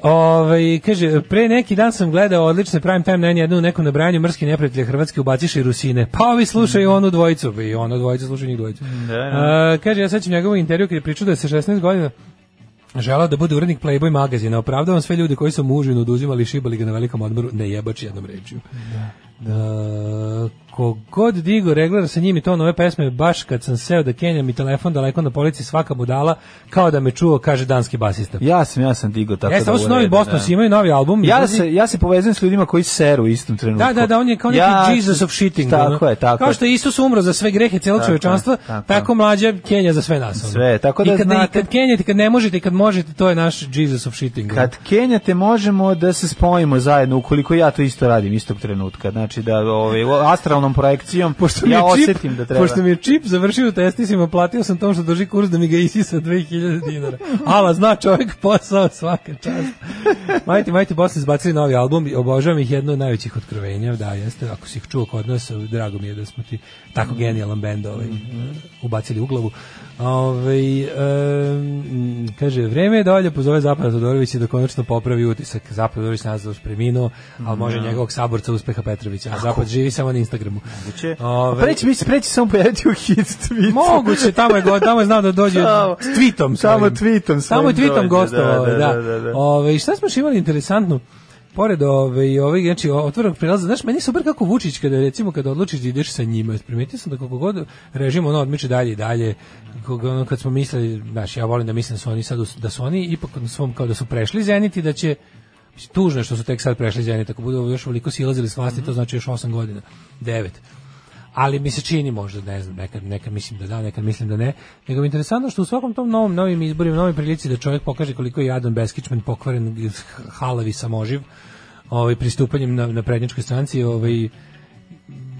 [SPEAKER 7] Ove, Ovaj, kaže, pre neki dan sam gledao odlične prime time na jednu u nekom nabrajanju mrski neprijatelja Hrvatske ubaciš i Rusine. Pa ovi slušaju onu dvojicu. I ono dvojicu slušaju njih dvojicu.
[SPEAKER 6] Mm. Da,
[SPEAKER 7] A, kaže, ja sećam njegovu intervju kad je pričao da je sa 16 godina želao da bude urednik Playboy magazina. Opravdavam sve ljude koji su mu užinu oduzimali i šibali ga na velikom odmoru. Ne jebač jednom rečju. Da, kogod digo regler sa njim i to nove pesme, baš kad sam seo da kenjam i telefon daleko na polici svaka budala, kao da me čuo, kaže danski basista.
[SPEAKER 6] Ja sam, ja sam digao tako
[SPEAKER 7] Jeste,
[SPEAKER 6] da
[SPEAKER 7] ovo E, su novi
[SPEAKER 6] urede,
[SPEAKER 7] Bosnos,
[SPEAKER 6] da.
[SPEAKER 7] imaju novi album.
[SPEAKER 6] Ja
[SPEAKER 7] izlazi.
[SPEAKER 6] se, ja se povezujem s ljudima koji seru u istom trenutku.
[SPEAKER 7] Da, da, da, on je kao neki Jesus of shitting.
[SPEAKER 6] Tako
[SPEAKER 7] ono.
[SPEAKER 6] je, tako
[SPEAKER 7] Kao
[SPEAKER 6] je.
[SPEAKER 7] što je Isus umro za sve grehe celog
[SPEAKER 6] Tako je,
[SPEAKER 7] čovečanstva,
[SPEAKER 6] tako
[SPEAKER 7] tako,
[SPEAKER 6] je.
[SPEAKER 7] mlađa Kenja za sve nas. ono.
[SPEAKER 6] Sve, tako da
[SPEAKER 7] I kad,
[SPEAKER 6] znate-
[SPEAKER 7] I kad kenjate, kad ne možete, i kad možete, to je naš Jesus of shitting. ono.
[SPEAKER 6] Kad kenjate, možemo da se spojimo zajedno, ukoliko ja to isto radim istog trenutka. Znači da ovaj, astralnom projekcijom
[SPEAKER 7] Pošto mi je
[SPEAKER 6] ja
[SPEAKER 7] čip,
[SPEAKER 6] osetim da treba.
[SPEAKER 7] Pošto mi je čip završio u testisima, platio sam tom što drži kurs da mi ga isi sa 2000 dinara. Ala, zna čovjek posao, svaka čast. Majti, majti, Bosni izbacili novi album i obožavam ih jedno od najvećih otkrovenja, da, jeste, ako si ih čuo kod nas, drago mi je da smo ti tako
[SPEAKER 6] Mhm.
[SPEAKER 7] genijalan bend ovaj, ubacili u glavu. Ovaj, em, kaže, vreme je da Olja pozove Zapad Todorović i da konačno popravi utisak. Zapad Todorović nazvao preminuo, ali može njegovog saborca uspeha Petrovića, a Zapad živi samo na Instagramu.
[SPEAKER 6] Moguće.
[SPEAKER 7] Ove-
[SPEAKER 6] A Preći mi se, preći samo pojaviti u hit tweetu.
[SPEAKER 7] Moguće, tamo je, go- tamo je znao da dođe
[SPEAKER 6] Samo-
[SPEAKER 7] s tweetom.
[SPEAKER 6] samo
[SPEAKER 7] svojim.
[SPEAKER 6] tweetom svojim
[SPEAKER 7] Samo je tweetom
[SPEAKER 6] dođe,
[SPEAKER 7] gostovao,
[SPEAKER 6] da,
[SPEAKER 7] da.
[SPEAKER 6] da, da, da.
[SPEAKER 7] Ove, i šta smo još imali interesantno? Pored ove i ove, znači otvorenog prelaza, znaš, meni je super kako Vučić kada recimo kada odlučiš da ideš sa njima, primetio sam da koliko god režim ono odmiče dalje i dalje, koga, ono, kad smo mislili, znaš, ja volim da mislim da su oni sad, u- da su oni ipak na svom, kao da su prešli Zenit i da će, mislim, tužno je što su tek sad prešli Zenit, ako budu još veliko silazili s vlasti,
[SPEAKER 6] Mhm.
[SPEAKER 7] to znači još 8 godina, 9 ali mi se čini možda, ne znam, nekad, nekad mislim da da, nekad mislim da ne, nego mi je interesantno što u svakom tom novom, novim izborima, novoj prilici da čovjek pokaže koliko je jadan Beskičman pokvaren, halavi, samoživ, ovaj, pristupanjem na, na prednjačkoj stranci, ovaj,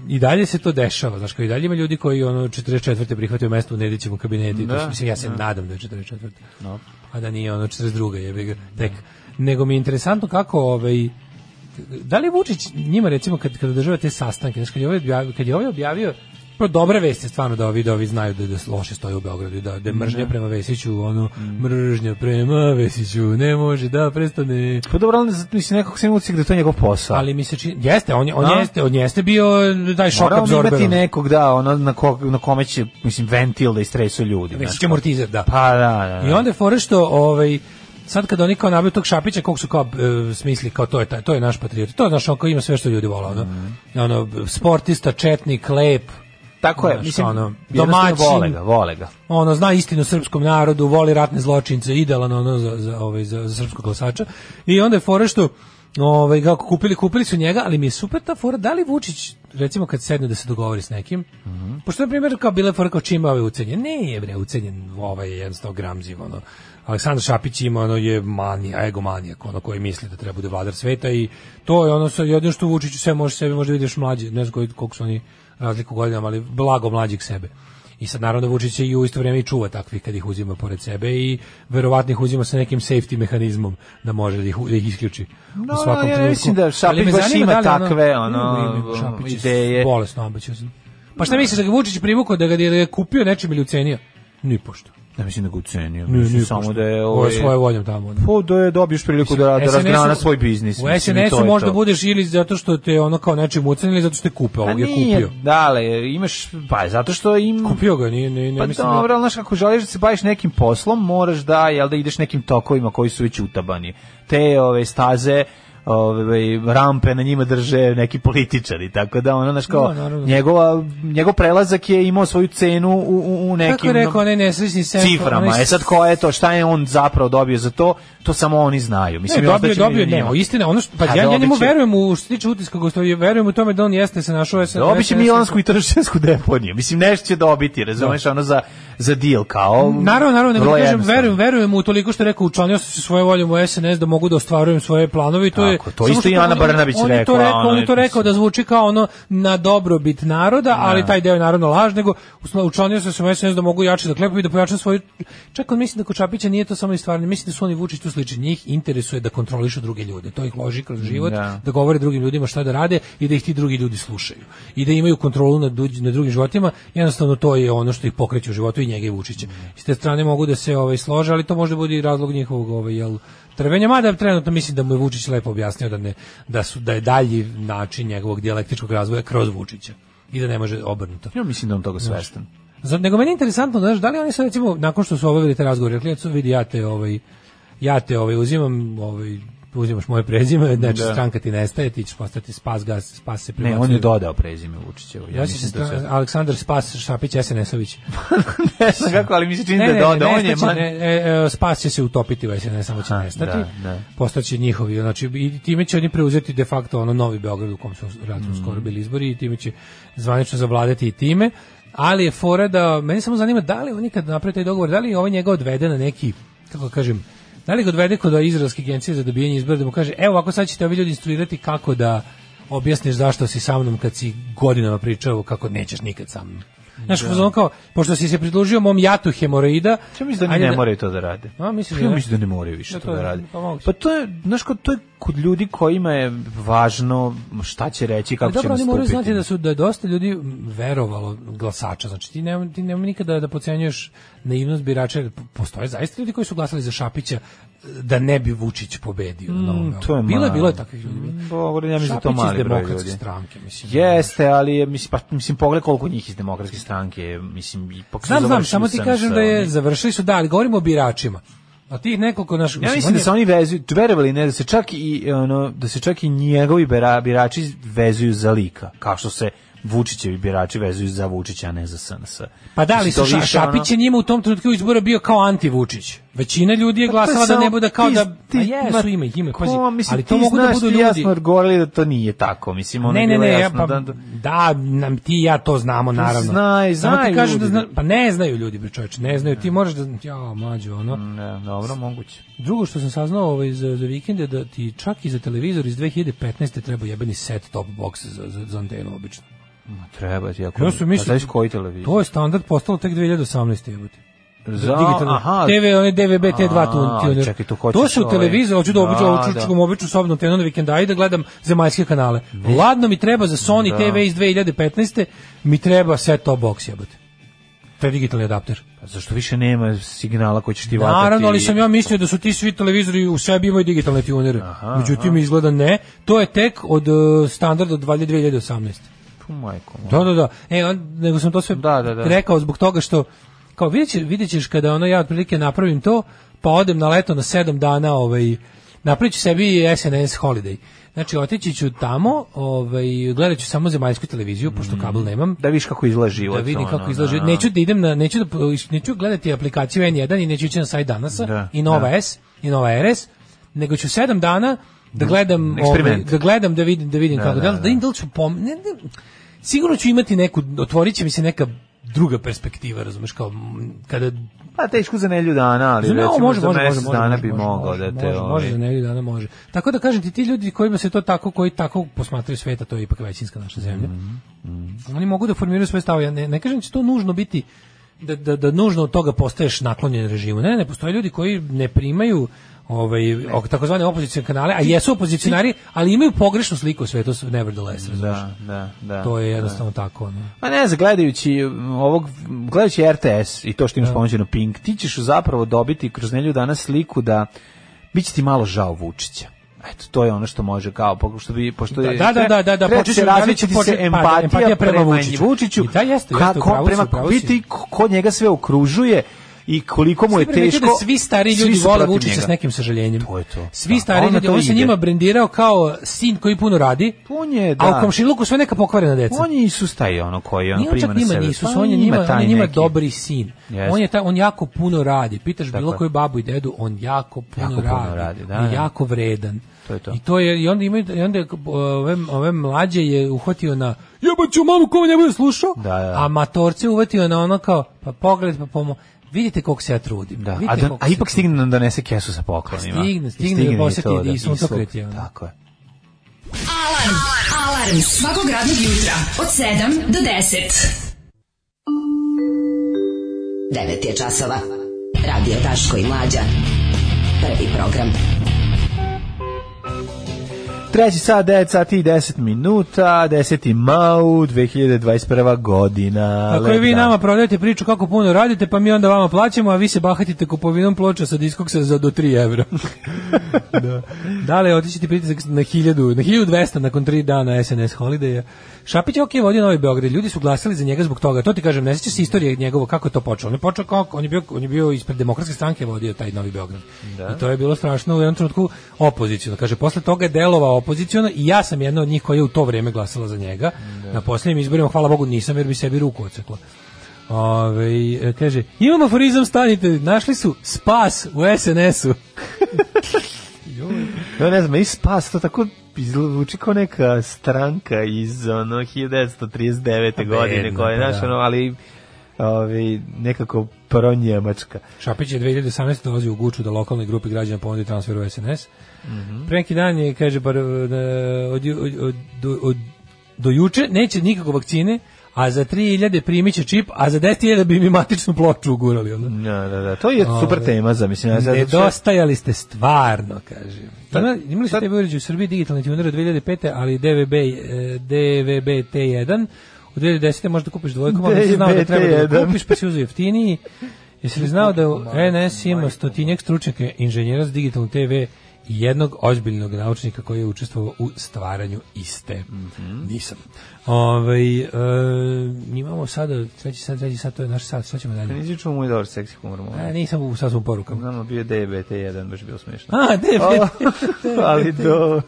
[SPEAKER 7] i dalje se to dešava, znaš, kao i dalje ima ljudi koji ono 44. prihvatio mesto u Nedićevom kabinetu, i to su- mislim, ja se nadam da je 44. No. A da nije ono 42. je ga, tek. Nego mi je interesantno kako, ovaj, da li Vučić njima recimo kad kad održava te sastanke, znači kad je ovaj objavio, kad je ovaj objavio pro dobra vest je stvarno da ovi da ovi znaju da, da loše stoje u Beogradu, i da da je mržnja
[SPEAKER 6] Mhm.
[SPEAKER 7] prema Vesiću, ono mržnja prema Vesiću ne može da prestane.
[SPEAKER 6] Pa dobro, ali mislim nekako sam ucik da je to njegov posao.
[SPEAKER 7] Ali mi se čini, jeste, on, je- on
[SPEAKER 6] Da.
[SPEAKER 7] jeste, on jeste bio taj šok
[SPEAKER 6] Moramo
[SPEAKER 7] absorber.
[SPEAKER 6] imati
[SPEAKER 7] ono.
[SPEAKER 6] nekog, da, ono na, ko, na kome će, mislim, ventil da istresu ljudi.
[SPEAKER 7] Znači, Vesić
[SPEAKER 6] znaš.
[SPEAKER 7] je mortizer, da.
[SPEAKER 6] Pa da, da, da.
[SPEAKER 7] I onda je fora što ovaj sad kad oni kao nabiju tog Šapića kog su kao e, smisli kao to je taj, to
[SPEAKER 6] Mhm.
[SPEAKER 7] je naš patriot. To je naš on koji ima sve što ljudi vole, ono. Ono sportista, četnik, lep,
[SPEAKER 6] Tako je,
[SPEAKER 7] Znaš,
[SPEAKER 6] mislim,
[SPEAKER 7] ono,
[SPEAKER 6] jednostavno
[SPEAKER 7] domaćin.
[SPEAKER 6] vole ga, vole ga.
[SPEAKER 7] ono zna istinu o srpskom narodu, voli ratne zločince, idealan ono za za ovaj za, za srpskog glasača. I onda je fora što ovaj kako kupili, kupili su njega, ali mi je super ta fora, da li Vučić recimo kad sedne da se dogovori s nekim. Pošto na primjer kao bile fora kao čime je ovaj ucenjen. Ne je bre ucenjen, ovaj je 100 gram ziv, ono. Aleksandar Šapić ima ono je manija, egomanijak, ono koji misli da treba bude vladar sveta i to je ono sa jedino što Vučiću sve može sebi, možda vidiš mlađe, ne znam koji- koliko su oni razliku u godinama, ali blago mlađih sebe. I sad naravno da Vučić i u isto vrijeme i čuva takvih kad ih uzima pored sebe i verovatno ih uzima sa nekim safety mehanizmom da može da ih, da ih isključi
[SPEAKER 6] No,
[SPEAKER 7] u svakom
[SPEAKER 6] ja ne
[SPEAKER 7] trenutku.
[SPEAKER 6] mislim da
[SPEAKER 7] Ali
[SPEAKER 6] Šapić
[SPEAKER 7] me
[SPEAKER 6] baš
[SPEAKER 7] zanima
[SPEAKER 6] ima
[SPEAKER 7] da li ono-
[SPEAKER 6] takve, ono,
[SPEAKER 7] Mm, Šapić je
[SPEAKER 6] ideje.
[SPEAKER 7] Bolesno ambiciozan. Pa šta misliš da ga Vučić privukao da ga da ga je kupio nečim ili ucenio? Ni pošto.
[SPEAKER 6] Ne mislim da ga ucenio,
[SPEAKER 7] Ni,
[SPEAKER 6] mislim
[SPEAKER 7] ni
[SPEAKER 6] samo
[SPEAKER 7] pošto.
[SPEAKER 6] da je...
[SPEAKER 7] Ovo je
[SPEAKER 6] Ovaj,
[SPEAKER 7] svoje voljom tamo. ono.
[SPEAKER 6] po, da je dobiješ priliku da, da
[SPEAKER 7] SNS -u
[SPEAKER 6] razgrana svoj biznis.
[SPEAKER 7] U
[SPEAKER 6] mislim, i to
[SPEAKER 7] SNS-u
[SPEAKER 6] je
[SPEAKER 7] možda
[SPEAKER 6] to.
[SPEAKER 7] budeš ili zato što te ono kao nečim ucenio ili zato što te kupe,
[SPEAKER 6] Pa
[SPEAKER 7] ovog je
[SPEAKER 6] nije,
[SPEAKER 7] kupio.
[SPEAKER 6] dale, imaš, pa zato što im...
[SPEAKER 7] Kupio ga, nije, nije, nije
[SPEAKER 6] Pa
[SPEAKER 7] mislim da-
[SPEAKER 6] dobro, ali znaš, ako želiš da se baviš nekim poslom, moraš da, jel da ideš nekim tokovima koji su već utabani. Te ove staze, ove, rampe na njima drže neki političari, tako da ono, znaš, kao,
[SPEAKER 7] Da, naravno.
[SPEAKER 6] njegova, njegov prelazak je imao svoju cenu u, u, u nekim...
[SPEAKER 7] Kako je rekao onaj nesrećni sem
[SPEAKER 6] ciframa. E sad ko je to, šta je on zapravo dobio za to, to samo oni znaju. Mislim,
[SPEAKER 7] Mislim, ne,
[SPEAKER 6] i
[SPEAKER 7] dobio,
[SPEAKER 6] ostaće mi
[SPEAKER 7] dobio,
[SPEAKER 6] na
[SPEAKER 7] ne,
[SPEAKER 6] njima.
[SPEAKER 7] istina, ono što, pa
[SPEAKER 6] A
[SPEAKER 7] ja, ja
[SPEAKER 6] dobit
[SPEAKER 7] njemu
[SPEAKER 6] će-
[SPEAKER 7] verujem u, što se tiče utiska Gostovije, verujem u tome da on jeste se našao SNS.
[SPEAKER 6] Dobit će Milansku i Tršćansku deponiju. Mislim, nešto će dobiti, razumeš, ono za, za deal, kao...
[SPEAKER 7] Mm, Naravno, naravno, nego
[SPEAKER 6] vrlo
[SPEAKER 7] kažem,
[SPEAKER 6] jednostavno.
[SPEAKER 7] verujem, verujem u toliko što je rekao, učlanio sam se svoje voljom u SNS da mogu da ostvarujem svoje planove i to je...
[SPEAKER 6] Tako, to
[SPEAKER 7] samo
[SPEAKER 6] isto
[SPEAKER 7] što
[SPEAKER 6] i Ana
[SPEAKER 7] on je-
[SPEAKER 6] Brnabić
[SPEAKER 7] on je to
[SPEAKER 6] rekla,
[SPEAKER 7] rekao,
[SPEAKER 6] ono,
[SPEAKER 7] on je to
[SPEAKER 6] mislim.
[SPEAKER 7] rekao da zvuči kao ono na dobrobit naroda, ali taj deo je naravno laž, nego usla- učlanio sam se u SNS da mogu jače da klepam i da pojačam svoju... Čak on mislim da kod Čapića nije to samo i stvarno, mislim da su oni Vučić tu slični, njih interesuje da kontrolišu druge ljude, to ih loži kroz život,
[SPEAKER 6] Da.
[SPEAKER 7] da govore drugim ljudima šta da rade i da ih ti drugi ljudi slušaju i da imaju kontrolu nad, duđ- nad drugim životima jednostavno to je ono što ih pokreće u životu i njega i Vučića s te strane mogu da se ovaj slože ali to možda bude i razlog njihovog ovaj jel trvenja mada trenutno mislim da mu je Vučić lepo objasnio da ne da su da je dalji način njegovog dijalektičkog razvoja kroz Vučića i da ne može obrnuto.
[SPEAKER 6] Ja mislim da on toga svestan.
[SPEAKER 7] Za- Nego meni je interesantno, znaš, da li oni su recimo, nakon što su obavili te razgovore, rekli, eto, vidi, ja te, ovaj, ja te ovaj, uzimam, ovaj, uzimaš moje prezime, znači
[SPEAKER 6] Da.
[SPEAKER 7] stranka ti nestaje, ti ćeš postati spas gas, spas se
[SPEAKER 6] Ne,
[SPEAKER 7] prebacuje.
[SPEAKER 6] on je dodao prezime Vučićevo. Ja,
[SPEAKER 7] Ja se
[SPEAKER 6] mislim da
[SPEAKER 7] stra-
[SPEAKER 6] sve.
[SPEAKER 7] Aleksandar Spas Šapić SNS-ović.
[SPEAKER 6] ne znam kako, ali mi se čini
[SPEAKER 7] Ne,
[SPEAKER 6] da
[SPEAKER 7] ne,
[SPEAKER 6] je
[SPEAKER 7] ne,
[SPEAKER 6] dodao. On je
[SPEAKER 7] nestaće,
[SPEAKER 6] man...
[SPEAKER 7] ne, e, e, spas će se utopiti u SNS, samo će
[SPEAKER 6] Aha,
[SPEAKER 7] nestati.
[SPEAKER 6] da, da.
[SPEAKER 7] Postaće njihovi, znači i time će oni preuzeti de facto ono novi Beograd u kom su relativno
[SPEAKER 6] Mm.
[SPEAKER 7] skoro bili izbori i time će zvanično zavladati i time. Ali je fora da, meni samo zanima da li oni kad naprave taj dogovor, da li je ovaj njega odvede na neki, kako da kažem, da li ga odvede kod Izraelske agencije za dobijanje izbora da mu kaže, evo ako sad ćete ovi ljudi instruirati kako da objasniš zašto si sa mnom kad si godinama pričao kako nećeš nikad sa mnom. Znaš, ono kao, pošto si se pridružio mom jatu hemoroida,
[SPEAKER 6] Ja mislim da
[SPEAKER 7] Ajde
[SPEAKER 6] oni ne moraju to da rade.
[SPEAKER 7] A, misliš
[SPEAKER 6] ja
[SPEAKER 7] da?
[SPEAKER 6] mislim da ne moraju više
[SPEAKER 7] Da,
[SPEAKER 6] to
[SPEAKER 7] to
[SPEAKER 6] da
[SPEAKER 7] je-
[SPEAKER 6] rade.
[SPEAKER 7] pa moguće.
[SPEAKER 6] Pa to je, znaš, kao, to je kod ljudi kojima je važno šta će reći, kako će
[SPEAKER 7] dobro, oni
[SPEAKER 6] nastupiti.
[SPEAKER 7] moraju znati da su da je dosta ljudi m, verovalo glasača. Znači ti nema ti nema nikada da podcenjuješ naivnost birača. jer Postoje zaista ljudi koji su glasali za Šapića e, da ne bi Vučić pobedio. na Novom Beogradu.
[SPEAKER 6] Mm, to je
[SPEAKER 7] bilo je
[SPEAKER 6] malo.
[SPEAKER 7] bilo je takvih ljudi.
[SPEAKER 6] Dobro, ja mislim da to
[SPEAKER 7] Šapić
[SPEAKER 6] mali
[SPEAKER 7] iz
[SPEAKER 6] broj
[SPEAKER 7] demokratske
[SPEAKER 6] ljudi.
[SPEAKER 7] stranke, mislim.
[SPEAKER 6] Jeste, ali je, mislim, pa, mislim, pogledaj koliko njih iz demokratske stranke, je, mislim, ipak su
[SPEAKER 7] Znam, znam,
[SPEAKER 6] završili
[SPEAKER 7] samo ti
[SPEAKER 6] sa-
[SPEAKER 7] kažem
[SPEAKER 6] sa
[SPEAKER 7] da je
[SPEAKER 6] onim-
[SPEAKER 7] završili su da, ali govorimo o biračima. A tih nekoliko naših
[SPEAKER 6] Ja mislim da se oni vezuju, verovali ne, da se čak i ono, da se čak i njegovi bira- birači vezuju za lika, kao što se Vučićevi birači vezuju za Vučića, a ne za SNS.
[SPEAKER 7] Pa da, ali
[SPEAKER 6] Mislim,
[SPEAKER 7] su
[SPEAKER 6] to
[SPEAKER 7] Ša-
[SPEAKER 6] više, ono-
[SPEAKER 7] Šapić je njima u tom trenutku izbora bio kao anti-Vučić. Većina ljudi je
[SPEAKER 6] Pa to je
[SPEAKER 7] glasala da
[SPEAKER 6] samo-
[SPEAKER 7] ne bude kao
[SPEAKER 6] ti-
[SPEAKER 7] da...
[SPEAKER 6] ti-
[SPEAKER 7] Pa jesu,
[SPEAKER 6] ma-
[SPEAKER 7] ima ih, ima ih, pazi.
[SPEAKER 6] ko, mislim,
[SPEAKER 7] ali to
[SPEAKER 6] ti
[SPEAKER 7] mogu da
[SPEAKER 6] znaš,
[SPEAKER 7] budu
[SPEAKER 6] ti
[SPEAKER 7] ljudi.
[SPEAKER 6] jasno odgovorili da to nije tako, mislim, ono
[SPEAKER 7] ne,
[SPEAKER 6] je
[SPEAKER 7] ne,
[SPEAKER 6] bilo
[SPEAKER 7] ne, ja,
[SPEAKER 6] jasno
[SPEAKER 7] pa,
[SPEAKER 6] da,
[SPEAKER 7] da,
[SPEAKER 6] da-
[SPEAKER 7] nam ti i ja to znamo, naravno.
[SPEAKER 6] znaj,
[SPEAKER 7] Samo ti
[SPEAKER 6] znaju
[SPEAKER 7] kažem
[SPEAKER 6] ljudi.
[SPEAKER 7] Da zna, pa ne znaju ljudi, bre čoveče, ne znaju. Ti moraš da... Ja, mlađo, ono...
[SPEAKER 6] Ne, dobro, moguće.
[SPEAKER 7] Drugo što sam saznao ovaj, za, za vikende, da ti čak i za televizor iz 2015. treba jebeni set top box za, za, za antenu, obično.
[SPEAKER 6] Treba ti, ako...
[SPEAKER 7] Ja sam mislio-
[SPEAKER 6] Pa znaš koji televizor?
[SPEAKER 7] To je standard postalo tek 2018. jebote.
[SPEAKER 6] Za-
[SPEAKER 7] digitalno.
[SPEAKER 6] aha.
[SPEAKER 7] TV, one DVB T2 tu,
[SPEAKER 6] A,
[SPEAKER 7] ti one-
[SPEAKER 6] čekaj, tu hoćeš
[SPEAKER 7] To su
[SPEAKER 6] ovaj-
[SPEAKER 7] televizor, hoću da obiđu
[SPEAKER 6] Da,
[SPEAKER 7] ovu čučku,
[SPEAKER 6] da.
[SPEAKER 7] običnu sobnu antenu na vikenda i da gledam zemaljske kanale. Ladno mi treba za Sony
[SPEAKER 6] Da.
[SPEAKER 7] TV iz 2015. Mi treba set top box jebote. To je digitalni adapter.
[SPEAKER 6] Pa Zašto više nema signala koji ćeš ti vatati?
[SPEAKER 7] Naravno, ali sam ja mislio da su ti svi televizori u sebi imaju digitalne tunere.
[SPEAKER 6] Aha,
[SPEAKER 7] Međutim, izgleda ne. To je tek od e, standarda od 2018.
[SPEAKER 6] Pu, majko moja.
[SPEAKER 7] Da, da, da. E, on, nego sam to sve
[SPEAKER 6] Da, da, da.
[SPEAKER 7] rekao zbog toga što kao vidjet, će, vidjet ćeš kada ono ja otprilike napravim to, pa odem na leto na sedam dana ovaj napravit ću sebi SNS holiday. Znači, otići ću tamo, ovaj, gledat ću samo zemaljsku televiziju, pošto
[SPEAKER 6] Mm.
[SPEAKER 7] kabel nemam.
[SPEAKER 6] Da vidiš kako izgleda život.
[SPEAKER 7] Da vidim
[SPEAKER 6] ono,
[SPEAKER 7] kako izlaže.
[SPEAKER 6] da.
[SPEAKER 7] Neću da idem na, neću, da, neću gledati aplikaciju N1 i neću ići na sajt danasa
[SPEAKER 6] Da,
[SPEAKER 7] i Nova
[SPEAKER 6] da.
[SPEAKER 7] S i Nova RS, nego ću sedam dana da gledam, ovaj,
[SPEAKER 6] Mm, Eksperiment.
[SPEAKER 7] da gledam da vidim da vidim
[SPEAKER 6] Da,
[SPEAKER 7] kako
[SPEAKER 6] da,
[SPEAKER 7] da, da,
[SPEAKER 6] da.
[SPEAKER 7] da, im da li ću pom... ne, ne, sigurno ću imati neku otvorit će mi se neka druga perspektiva, razumeš, kao m, kada
[SPEAKER 6] Pa teško za nelju dana, ali
[SPEAKER 7] Znam,
[SPEAKER 6] recimo
[SPEAKER 7] može,
[SPEAKER 6] za
[SPEAKER 7] može,
[SPEAKER 6] mesec
[SPEAKER 7] može, može,
[SPEAKER 6] dana
[SPEAKER 7] može,
[SPEAKER 6] bi
[SPEAKER 7] može,
[SPEAKER 6] mogao
[SPEAKER 7] može,
[SPEAKER 6] da te...
[SPEAKER 7] Može,
[SPEAKER 6] ovaj,
[SPEAKER 7] može, za nedelju dana može. Tako da kažem ti, ti ljudi kojima se to tako, koji tako posmatraju sveta, to je ipak većinska naša zemlja.
[SPEAKER 6] Mhm,
[SPEAKER 7] Oni mogu da formiraju svoje stavove. Ja ne, ne kažem da će to nužno biti da, da, da nužno od toga postaješ naklonjen režimu. Ne, ne, postoje ljudi koji ne primaju ovaj o- takozvane opozicione kanale, a jesu opozicionari, ali imaju pogrešnu sliku o svetu nevertheless, razumeš?
[SPEAKER 6] Da, da, da.
[SPEAKER 7] To je jednostavno tako. ono.
[SPEAKER 6] Ma Pa ne, znam, gledajući m, ovog gledajući RTS i to što imaš pomoćeno Pink, ti ćeš zapravo dobiti kroz nelju danas sliku da biće ti malo žao Vučića. Eto, to je ono što može kao po- što bi pošto
[SPEAKER 7] Da,
[SPEAKER 6] je-
[SPEAKER 7] da, da, da, da,
[SPEAKER 6] treba
[SPEAKER 7] počet
[SPEAKER 6] se
[SPEAKER 7] ću- da li
[SPEAKER 6] različiti se
[SPEAKER 7] ću počet- pa,
[SPEAKER 6] empatija,
[SPEAKER 7] empatija prema
[SPEAKER 6] prema
[SPEAKER 7] Vučiću.
[SPEAKER 6] Vučiću.
[SPEAKER 7] I da, jeste, jeste, u
[SPEAKER 6] kako
[SPEAKER 7] pravu si,
[SPEAKER 6] prema
[SPEAKER 7] u pravu si.
[SPEAKER 6] biti ko ko njega sve okružuje i koliko mu je
[SPEAKER 7] Sve primetio
[SPEAKER 6] teško.
[SPEAKER 7] Da svi stari ljudi
[SPEAKER 6] su
[SPEAKER 7] vole
[SPEAKER 6] protiv
[SPEAKER 7] Vučića
[SPEAKER 6] njega.
[SPEAKER 7] s nekim sažaljenjem.
[SPEAKER 6] To je to.
[SPEAKER 7] Svi
[SPEAKER 6] Da,
[SPEAKER 7] stari
[SPEAKER 6] on na
[SPEAKER 7] ljudi,
[SPEAKER 6] to
[SPEAKER 7] on se
[SPEAKER 6] ide.
[SPEAKER 7] njima brendirao kao sin koji puno radi,
[SPEAKER 6] On je, da.
[SPEAKER 7] a u komšiluku sve neka pokvarena deca.
[SPEAKER 6] On je Isus taj ono koji on
[SPEAKER 7] Nije on
[SPEAKER 6] prima
[SPEAKER 7] čak
[SPEAKER 6] na
[SPEAKER 7] njima
[SPEAKER 6] sebe.
[SPEAKER 7] nisu,
[SPEAKER 6] Pa
[SPEAKER 7] on je njima, on
[SPEAKER 6] taj
[SPEAKER 7] je njima
[SPEAKER 6] neki-
[SPEAKER 7] dobri sin.
[SPEAKER 6] Jeste.
[SPEAKER 7] On je ta, on jako puno radi. Pitaš bilo
[SPEAKER 6] Tako je.
[SPEAKER 7] koju babu i dedu, on jako puno
[SPEAKER 6] Jako puno
[SPEAKER 7] radi.
[SPEAKER 6] radi, da,
[SPEAKER 7] On je
[SPEAKER 6] da.
[SPEAKER 7] jako vredan.
[SPEAKER 6] To je to.
[SPEAKER 7] I to je i onda imaju i onda je, ove, ove mlađe je uhvatio na jebaću mamu ko me ne bude slušao.
[SPEAKER 6] Da, da.
[SPEAKER 7] A matorce uvatio na ono kao pa pogled pa pomo Vidite koliko se ja trudim.
[SPEAKER 6] Da,
[SPEAKER 7] Vidite
[SPEAKER 6] a, da,
[SPEAKER 7] koliko
[SPEAKER 6] a
[SPEAKER 7] se
[SPEAKER 6] ipak
[SPEAKER 7] trudim."
[SPEAKER 6] stigne da donese kesu sa poklonima.
[SPEAKER 7] Stigne, stigne da
[SPEAKER 6] i to,
[SPEAKER 7] posjeti i suncokret je, ono.
[SPEAKER 6] Tako je.
[SPEAKER 5] Alarm. Alarm svakog radnog jutra od 7 do 10.
[SPEAKER 11] 9 je časova. Radio Daško i Mlađa. Prvi program.
[SPEAKER 6] Treći sat, 9 sati i 10 minuta, 10. mau 2021. godina.
[SPEAKER 7] Ako je
[SPEAKER 6] Lep
[SPEAKER 7] vi
[SPEAKER 6] dan.
[SPEAKER 7] nama prodajete priču kako puno radite, pa mi onda vama plaćamo, a vi se bahatite kupovinom ploča sa diskoksa za do 3 evra. da. Dale, otići ti pritisak na 1000, na 1200 nakon 3 dana SNS holideja. Šapić je okej vodio Novi Beograd, ljudi su glasali za njega zbog toga. To ti kažem, ne sećaš se istorije njegovo kako je to počelo. On je počeo kao, on je bio, on je bio ispred demokratske stranke vodio taj Novi Beograd. I to je bilo strašno u jednom trenutku opoziciono. Kaže, posle toga je delovao opoziciono i ja sam jedna od njih koja je u to vrijeme glasala za njega. Na posljednjim izborima, hvala Bogu, nisam jer bi sebi ruku ocekla. Ove, e, kaže, imamo aforizam, stanite, našli su spas u SNS-u.
[SPEAKER 6] Ja ne znam, i spas, to tako izluči kao neka stranka iz ono 1939. godine, koja je
[SPEAKER 7] pa
[SPEAKER 6] naš,
[SPEAKER 7] da.
[SPEAKER 6] ono, ali ovi, nekako pro-njemačka.
[SPEAKER 7] Šapić je 2018. dolazio u Guču da lokalnoj grupi građana ponudi transfer u SNS. Pre neki dan je, kaže, bar, e, od, ju- od, od, do- od- do juče neće nikako vakcine, a za 3000 primit će čip, a za 10.000 bi mi matičnu ploču ugurali. Onda.
[SPEAKER 6] Da, da, da, to je super tema za, mislim, ja sad-
[SPEAKER 7] Nedostajali ste stvarno, kaže.
[SPEAKER 6] Ta-
[SPEAKER 7] Ima, imali ste
[SPEAKER 6] ta-
[SPEAKER 7] tebe uređe u Srbiji digitalni tuner od 2005. ali DVB, eh, DVB T1 u 2010. možda kupiš dvojkom, ali nisi znao da treba da ga
[SPEAKER 6] DVB-T1.
[SPEAKER 7] kupiš, pa si uzeo jeftiniji. Jesi li znao da u NS ima stotinjak stručnjaka inženjera za digitalnu TV i jednog ozbiljnog naučnika koji je učestvovao u stvaranju iste. Nisam. Ovaj, eh, imamo sada, treći sat, treći sat, to je naš sat, sad ćemo dalje.
[SPEAKER 6] Nisi čuo moj dobar seksi humor, moj.
[SPEAKER 7] E, nisam u sasvom porukama.
[SPEAKER 6] Znamo, bio je DBT1, baš je bilo smiješno.
[SPEAKER 7] A, DVD.
[SPEAKER 6] ali do...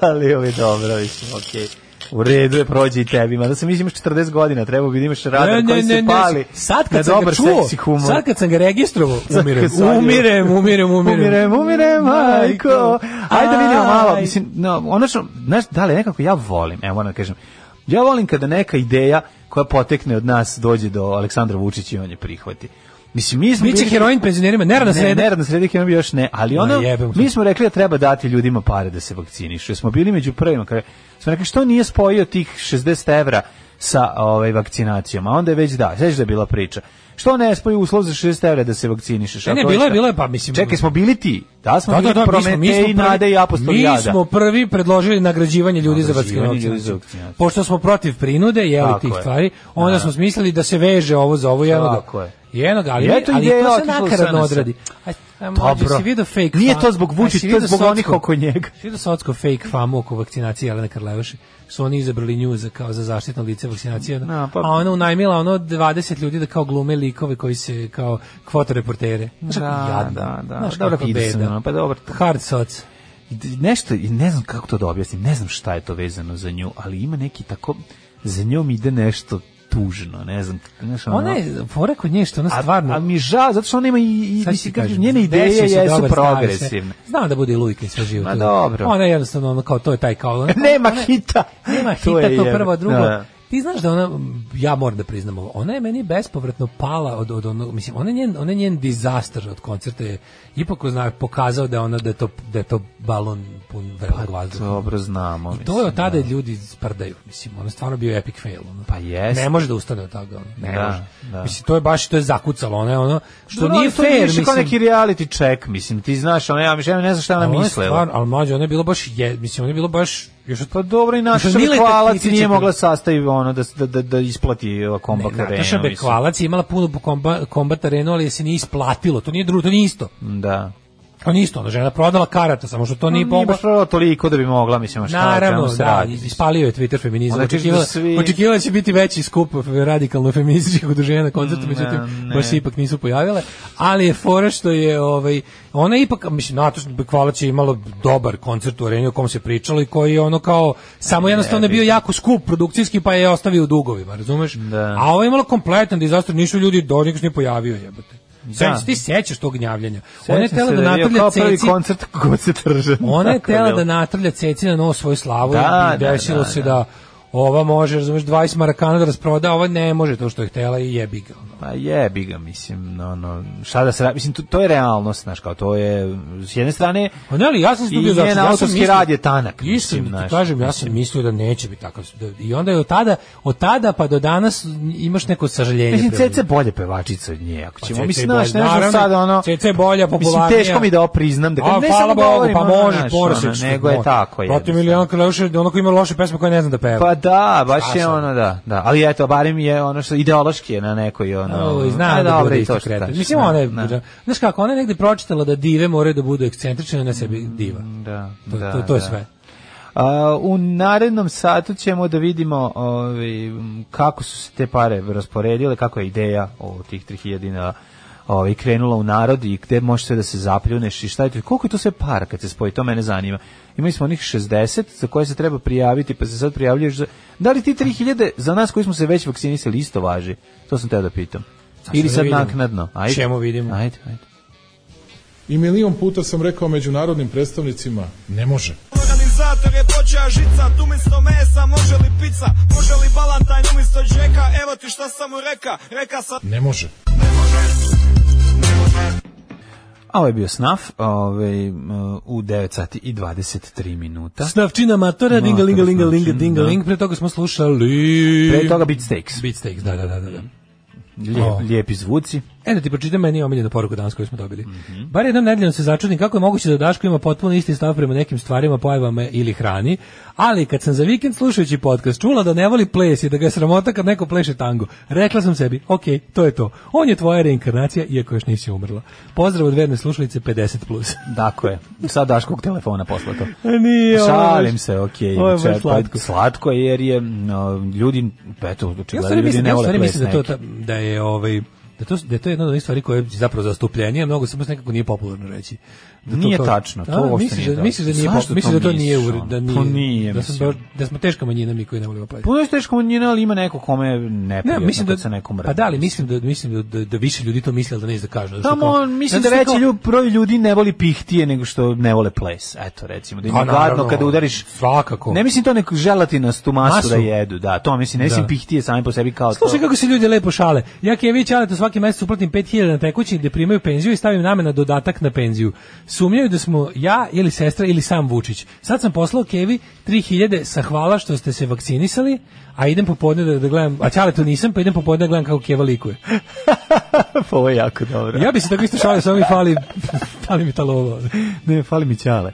[SPEAKER 6] ali ovo je dobro, mislim, okej. U redu je, prođe i tebi. Mada sam mislim imaš 40 godina, treba bi da imaš radar koji se pali.
[SPEAKER 7] Sad
[SPEAKER 6] na
[SPEAKER 7] kad sam ga
[SPEAKER 6] dobar
[SPEAKER 7] čuo,
[SPEAKER 6] seksi humor.
[SPEAKER 7] sad kad sam ga registrovao, umirem,
[SPEAKER 6] kad sam-
[SPEAKER 7] umirem, umirem, umirem.
[SPEAKER 6] Umirem, umirem, majko. Ajde da vidimo malo, mislim, no, ono što, znaš, da li nekako ja volim, evo moram da kažem, ja volim kada neka ideja koja potekne od nas dođe do Aleksandra Vučića i on je prihvati. Mislim, mi smo...
[SPEAKER 7] Biće
[SPEAKER 6] bili-
[SPEAKER 7] heroin penzionerima, neradna
[SPEAKER 6] Ne,
[SPEAKER 7] sreda.
[SPEAKER 6] neradna sreda ih imam još ne, ali ono,
[SPEAKER 7] Ma jebem se.
[SPEAKER 6] mi smo rekli da treba dati ljudima pare da se vakcinišu. Jer Smo bili među prvima, kada smo rekli što nije spojio tih 60 evra sa ovaj, vakcinacijom, a onda je već da, sveći da je bila priča. Što ne spoji uslov za 60 evra da se vakcinišeš?
[SPEAKER 7] Ne, ne,
[SPEAKER 6] Ako
[SPEAKER 7] bilo je,
[SPEAKER 6] šta?
[SPEAKER 7] bilo je, pa mislim-
[SPEAKER 6] Čekaj, smo bili ti. Da, smo
[SPEAKER 7] Da, da,
[SPEAKER 6] bili
[SPEAKER 7] da, mi smo, mi smo
[SPEAKER 6] Prometej, Nade i
[SPEAKER 7] prvi,
[SPEAKER 6] Apostol
[SPEAKER 7] mi
[SPEAKER 6] Jada.
[SPEAKER 7] smo prvi predložili nagrađivanje ljudi za
[SPEAKER 6] Nagrađivanje ljudi za
[SPEAKER 7] vakcinaciju.
[SPEAKER 6] vakcinaciju.
[SPEAKER 7] Pošto smo protiv prinude, jeli
[SPEAKER 6] Tako
[SPEAKER 7] tih
[SPEAKER 6] je.
[SPEAKER 7] stvari, onda smo smislili da se veže ovo za ovo jednog.
[SPEAKER 6] Tako je.
[SPEAKER 7] Jednog, ali,
[SPEAKER 6] I eto
[SPEAKER 7] ali
[SPEAKER 6] ideja
[SPEAKER 7] to se
[SPEAKER 6] otišla u
[SPEAKER 7] nakaradno
[SPEAKER 6] SNS.
[SPEAKER 7] odradi. Aj, aj, mlađe, si vidio fake
[SPEAKER 6] Nije
[SPEAKER 7] fan-
[SPEAKER 6] to zbog
[SPEAKER 7] Aj, si
[SPEAKER 6] Vučića, to je
[SPEAKER 7] vidio
[SPEAKER 6] zbog onih
[SPEAKER 7] Socko?
[SPEAKER 6] oko njega.
[SPEAKER 7] Svi da socko fake famu oko vakcinacije Jelena Karlevaše, su oni izabrali nju za, kao za zaštitno lice vakcinacije, ono.
[SPEAKER 6] No, pa-
[SPEAKER 7] a ona unajmila ono 20 ljudi da kao glume likove koji se kao kvotoreportere. Znaš kako
[SPEAKER 6] Da,
[SPEAKER 7] jadno.
[SPEAKER 6] da, da.
[SPEAKER 7] Znaš
[SPEAKER 6] Dobro,
[SPEAKER 7] kako
[SPEAKER 6] Peterson,
[SPEAKER 7] beda.
[SPEAKER 6] ono, pa dobro.
[SPEAKER 7] Hard soc.
[SPEAKER 6] D- Nešto, i ne znam kako to da objasnim, ne znam šta je to vezano za nju, ali ima neki tako, za njom ide nešto tužno, ne znam, znaš, ono,
[SPEAKER 7] Ona je, fora kod nje što ona
[SPEAKER 6] a-
[SPEAKER 7] stvarno...
[SPEAKER 6] A, mi je žao, zato što ona ima i, i
[SPEAKER 7] Sad ću ti
[SPEAKER 6] mislim, kažem,
[SPEAKER 7] kažem,
[SPEAKER 6] njene ideje
[SPEAKER 7] desio si
[SPEAKER 6] jesu
[SPEAKER 7] dobar, stavi se.
[SPEAKER 6] progresivne.
[SPEAKER 7] Znam da bude i lujka i sve živo.
[SPEAKER 6] Ma
[SPEAKER 7] tu.
[SPEAKER 6] dobro.
[SPEAKER 7] Ona je jednostavno ono kao to je taj kao... Ona,
[SPEAKER 6] Nema
[SPEAKER 7] ona-
[SPEAKER 6] hita.
[SPEAKER 7] Nema hita,
[SPEAKER 6] To
[SPEAKER 7] to,
[SPEAKER 6] je jebe.
[SPEAKER 7] prvo, drugo.
[SPEAKER 6] Da.
[SPEAKER 7] Ti znaš da ona, m, ja moram da priznam ovo, ona je meni bespovratno pala od, od onog, mislim, ona je njen, ona je njen dizaster od koncerta je ipak zna, pokazao da je ona, da je to, da je to balon pun vrelog vazduha.
[SPEAKER 6] Dobro znamo.
[SPEAKER 7] I to je od
[SPEAKER 6] Pa mislim,
[SPEAKER 7] tada ljudi sprdaju, mislim, ono je stvarno bio epic fail. Ono.
[SPEAKER 6] Pa jeste.
[SPEAKER 7] Ne može da ustane od toga, ono. ne
[SPEAKER 6] Da,
[SPEAKER 7] može.
[SPEAKER 6] da.
[SPEAKER 7] Mislim, to je baš, to je zakucalo, ono, je ono što
[SPEAKER 6] Dobro,
[SPEAKER 7] nije
[SPEAKER 6] ali to je
[SPEAKER 7] fair,
[SPEAKER 6] više
[SPEAKER 7] mislim.
[SPEAKER 6] kao neki reality check, mislim, ti znaš, ono, ja mislim, ja ne znam šta
[SPEAKER 7] Ali
[SPEAKER 6] ona
[SPEAKER 7] ono je
[SPEAKER 6] mislila.
[SPEAKER 7] stvarno- ali mlađe, ono je bilo baš, je, mislim, ono je bilo baš, još od
[SPEAKER 6] Pa dobro, i naša
[SPEAKER 7] Još od Mileta
[SPEAKER 6] Bekvalac
[SPEAKER 7] Kitića
[SPEAKER 6] nije
[SPEAKER 7] kad-
[SPEAKER 6] mogla sastaviti ono da, da, da, da isplati ova komba
[SPEAKER 7] Ne,
[SPEAKER 6] karenu.
[SPEAKER 7] Nataša Bekvalac je imala puno komba, kombat arenu, ali se nije isplatilo. To nije drugo, to nije isto.
[SPEAKER 6] Da.
[SPEAKER 7] To nije isto, ona žena prodala karata, samo što to
[SPEAKER 6] Nije,
[SPEAKER 7] nije
[SPEAKER 6] nije
[SPEAKER 7] bomba.
[SPEAKER 6] baš prodala toliko da bi mogla, mislim, šta
[SPEAKER 7] Naravno,
[SPEAKER 6] čemu se
[SPEAKER 7] da,
[SPEAKER 6] radi.
[SPEAKER 7] ispalio je Twitter feminizam.
[SPEAKER 6] Onda ćeš da
[SPEAKER 7] Očekivala,
[SPEAKER 6] svi-
[SPEAKER 7] očekivala će biti veći skup radikalno feminističkih udruženja na koncertu, međutim,
[SPEAKER 6] Mm, ne.
[SPEAKER 7] baš se ipak nisu pojavile, ali je fora što je, ovaj, ona je ipak, mislim, Nataš Bekvalac je imala dobar koncert u areni o kom se pričalo i koji je ono kao, samo jednostavno je bio jako skup produkcijski pa je ostavio u dugovima, razumeš?
[SPEAKER 6] Da.
[SPEAKER 7] A ovo je imalo kompletan dizastor, nisu ljudi, do nikog se nije pojavio, jebote. Da. ti sećaš tog gnjavljenja. Ona je
[SPEAKER 6] Sećam
[SPEAKER 7] tela
[SPEAKER 6] se
[SPEAKER 7] da
[SPEAKER 6] je bio
[SPEAKER 7] natrlja
[SPEAKER 6] kao prvi
[SPEAKER 7] ceci,
[SPEAKER 6] koncert kod se tržan.
[SPEAKER 7] ona je
[SPEAKER 6] Tako
[SPEAKER 7] tela
[SPEAKER 6] bilo.
[SPEAKER 7] da natrlja ceci na nos svoju slavu
[SPEAKER 6] Da,
[SPEAKER 7] i
[SPEAKER 6] da,
[SPEAKER 7] desilo
[SPEAKER 6] da,
[SPEAKER 7] se
[SPEAKER 6] da.
[SPEAKER 7] da. ova može, razumeš, 20 marakana da rasproda, a ova ne može to što je htela i jebi ga. ono.
[SPEAKER 6] Pa jebi ga, mislim, no, no, šta da se radi, mislim, to, to je realnost, znaš, kao to je, s jedne strane,
[SPEAKER 7] Pa ne, ali ja sam se
[SPEAKER 6] I
[SPEAKER 7] dobio začudan,
[SPEAKER 6] njen
[SPEAKER 7] ja sam
[SPEAKER 6] autorski
[SPEAKER 7] mislio-
[SPEAKER 6] rad je tanak,
[SPEAKER 7] Isto,
[SPEAKER 6] mislim,
[SPEAKER 7] ti
[SPEAKER 6] znaš,
[SPEAKER 7] kažem, ja sam mislio da neće biti takav. da- I onda je od tada, od tada pa do danas imaš neko sažaljenje.
[SPEAKER 6] mislim,
[SPEAKER 7] prema
[SPEAKER 6] Ceca je bolja pevačica od nje, ako
[SPEAKER 7] Pa
[SPEAKER 6] ćemo,
[SPEAKER 7] Ceca je
[SPEAKER 6] mislim,
[SPEAKER 7] bolja,
[SPEAKER 6] znaš, nešto
[SPEAKER 7] naravno,
[SPEAKER 6] sad, ono,
[SPEAKER 7] Ceca je bolja, popularnija.
[SPEAKER 6] Mislim, teško mi da opriznam, da
[SPEAKER 7] A,
[SPEAKER 6] ne
[SPEAKER 7] hvala
[SPEAKER 6] samo
[SPEAKER 7] Bogu,
[SPEAKER 6] govorim,
[SPEAKER 7] pa
[SPEAKER 6] ono,
[SPEAKER 7] može,
[SPEAKER 6] znaš,
[SPEAKER 7] porasić,
[SPEAKER 6] ono, nego je
[SPEAKER 7] može.
[SPEAKER 6] tako, je.
[SPEAKER 7] Protiv Milijana Kleuša, ono koji ima loše pesme koje ne zna da peva.
[SPEAKER 6] Pa da, baš
[SPEAKER 7] Šta
[SPEAKER 6] je
[SPEAKER 7] sad?
[SPEAKER 6] ono, da, da, ali eto, barem je ono što, ideološki je na nekoj, ono,
[SPEAKER 7] Oj,
[SPEAKER 6] a,
[SPEAKER 7] zna da
[SPEAKER 6] dobro,
[SPEAKER 7] bude
[SPEAKER 6] i
[SPEAKER 7] isto
[SPEAKER 6] što
[SPEAKER 7] kretan.
[SPEAKER 6] kažeš,
[SPEAKER 7] Mislim,
[SPEAKER 6] da,
[SPEAKER 7] ona je,
[SPEAKER 6] da.
[SPEAKER 7] znaš kako, ona je negde pročitala da dive moraju da budu ekscentrične, ona je sebi diva.
[SPEAKER 6] Da,
[SPEAKER 7] To,
[SPEAKER 6] Mm, da,
[SPEAKER 7] to, to je
[SPEAKER 6] da.
[SPEAKER 7] sve.
[SPEAKER 6] A, u narednom satu ćemo da vidimo ovaj, m, kako su se te pare rasporedile, kako je ideja o tih 3000 dinara ovaj, krenula u narod i gde može sve da se zapljuneš i šta je to, koliko je to sve para kad se spoji, to mene zanima. Imali smo onih 60 za koje se treba prijaviti, pa se sad prijavljaš za... Da li ti 3000 za nas koji smo se već vakcinisali isto važi? To sam teo da pitam. Ili
[SPEAKER 7] da
[SPEAKER 6] sad
[SPEAKER 7] vidimo.
[SPEAKER 6] naknadno. Ajde.
[SPEAKER 7] Čemu vidimo?
[SPEAKER 6] Ajde, ajde.
[SPEAKER 12] I milion puta sam rekao međunarodnim predstavnicima, ne može.
[SPEAKER 1] Organizator je počeo žica, tu umjesto mesa može li pizza, može li balantajn umjesto džeka, evo ti šta sam mu reka, reka sam...
[SPEAKER 12] Ne može.
[SPEAKER 6] A ovo je bio snaf ovaj, m, u 9 sati i 23 minuta.
[SPEAKER 7] Snavčina matora, dinga, linga, linga, linga, dinga, ling. Pre toga smo slušali...
[SPEAKER 6] Pre toga Beatsteaks.
[SPEAKER 7] Beatsteaks, da, da, da, da. da.
[SPEAKER 6] Lijep,
[SPEAKER 7] O.
[SPEAKER 6] Lijepi zvuci.
[SPEAKER 7] E da ti pročitam meni omiljenu poruku danas koju smo dobili.
[SPEAKER 6] Mhm.
[SPEAKER 7] Bar jednom nedeljom se začudim kako je moguće da Daško ima potpuno isti stav prema nekim stvarima, pojavama ili hrani, ali kad sam za vikend slušajući podcast čula da ne voli ples i da ga je sramota kad neko pleše tango, rekla sam sebi, ok, to je to. On je tvoja reinkarnacija, iako još nisi umrla. Pozdrav od verne slušalice 50+.
[SPEAKER 6] Tako je. Sa Daškog telefona posla to.
[SPEAKER 7] Nije, ono ovo je baš-
[SPEAKER 6] Šalim se, okej.
[SPEAKER 7] ovo je baš
[SPEAKER 6] čekaj,
[SPEAKER 7] slatko.
[SPEAKER 6] Slatko je jer je no, ljudi, eto,
[SPEAKER 7] Ja
[SPEAKER 6] očigledno
[SPEAKER 7] stvari
[SPEAKER 6] ljudi
[SPEAKER 7] mislim,
[SPEAKER 6] ne
[SPEAKER 7] ja
[SPEAKER 6] vole
[SPEAKER 7] stvari
[SPEAKER 6] ples
[SPEAKER 7] mislim da to
[SPEAKER 6] neki.
[SPEAKER 7] ta, da je ovaj da to da je to jedna od onih stvari koje je zapravo zastupljenije, a mnogo samo se nekako nije popularno reći. Da
[SPEAKER 6] Nije tačno, to
[SPEAKER 7] A,
[SPEAKER 6] uopšte
[SPEAKER 7] misliš,
[SPEAKER 6] nije
[SPEAKER 7] da, misliš da
[SPEAKER 6] tačno.
[SPEAKER 7] nije
[SPEAKER 6] Zašto
[SPEAKER 7] pop- misliš da
[SPEAKER 6] to
[SPEAKER 7] to nije
[SPEAKER 6] misliš,
[SPEAKER 7] ured, da
[SPEAKER 6] ono?
[SPEAKER 7] nije,
[SPEAKER 6] Pa nije,
[SPEAKER 7] da, smo,
[SPEAKER 6] mislim.
[SPEAKER 7] da, da smo teška manjina mi koji ne volimo play.
[SPEAKER 6] Puno je teško manjina, ali ima neko kome je
[SPEAKER 7] Ne,
[SPEAKER 6] neprijatno
[SPEAKER 7] mislim da
[SPEAKER 6] kad se nekom radi.
[SPEAKER 7] Pa da, ali mislim da mislim da da, da više ljudi to misle ali da ne znaju da kažu. zato što
[SPEAKER 6] Tamo,
[SPEAKER 7] kao-
[SPEAKER 6] mislim da
[SPEAKER 7] zato što
[SPEAKER 6] Pa veći
[SPEAKER 7] kao-
[SPEAKER 6] ljub, broj ljudi ne voli pihtije nego što ne vole ples. Eto, recimo, da im
[SPEAKER 7] A,
[SPEAKER 6] je gadno
[SPEAKER 7] Pa naravno,
[SPEAKER 6] kada udariš...
[SPEAKER 7] svakako.
[SPEAKER 6] Ne mislim to neku želatinastu masu,
[SPEAKER 7] Masu?
[SPEAKER 6] da jedu, da, to mislim, ne mislim
[SPEAKER 7] Da.
[SPEAKER 6] pihtije same po sebi kao to.
[SPEAKER 7] Slušaj kako se ljudi lepo šale. Ja Kević, ali to svaki mesec uplatim 5000 na tekući gde primaju penziju i stavim name na dodatak na penziju. Sumnjaju da smo ja ili sestra ili sam Vučić. Sad sam poslao Kevi 3000 sa hvala što ste se vakcinisali, a idem popodne da, da gledam, a Ćale to nisam, pa idem popodne da gledam kako Keva likuje.
[SPEAKER 6] Ovo je jako dobro.
[SPEAKER 7] Ja bi se tako isto šalio, samo mi fali, fali mi ta lova.
[SPEAKER 6] Ne, fali mi ćale.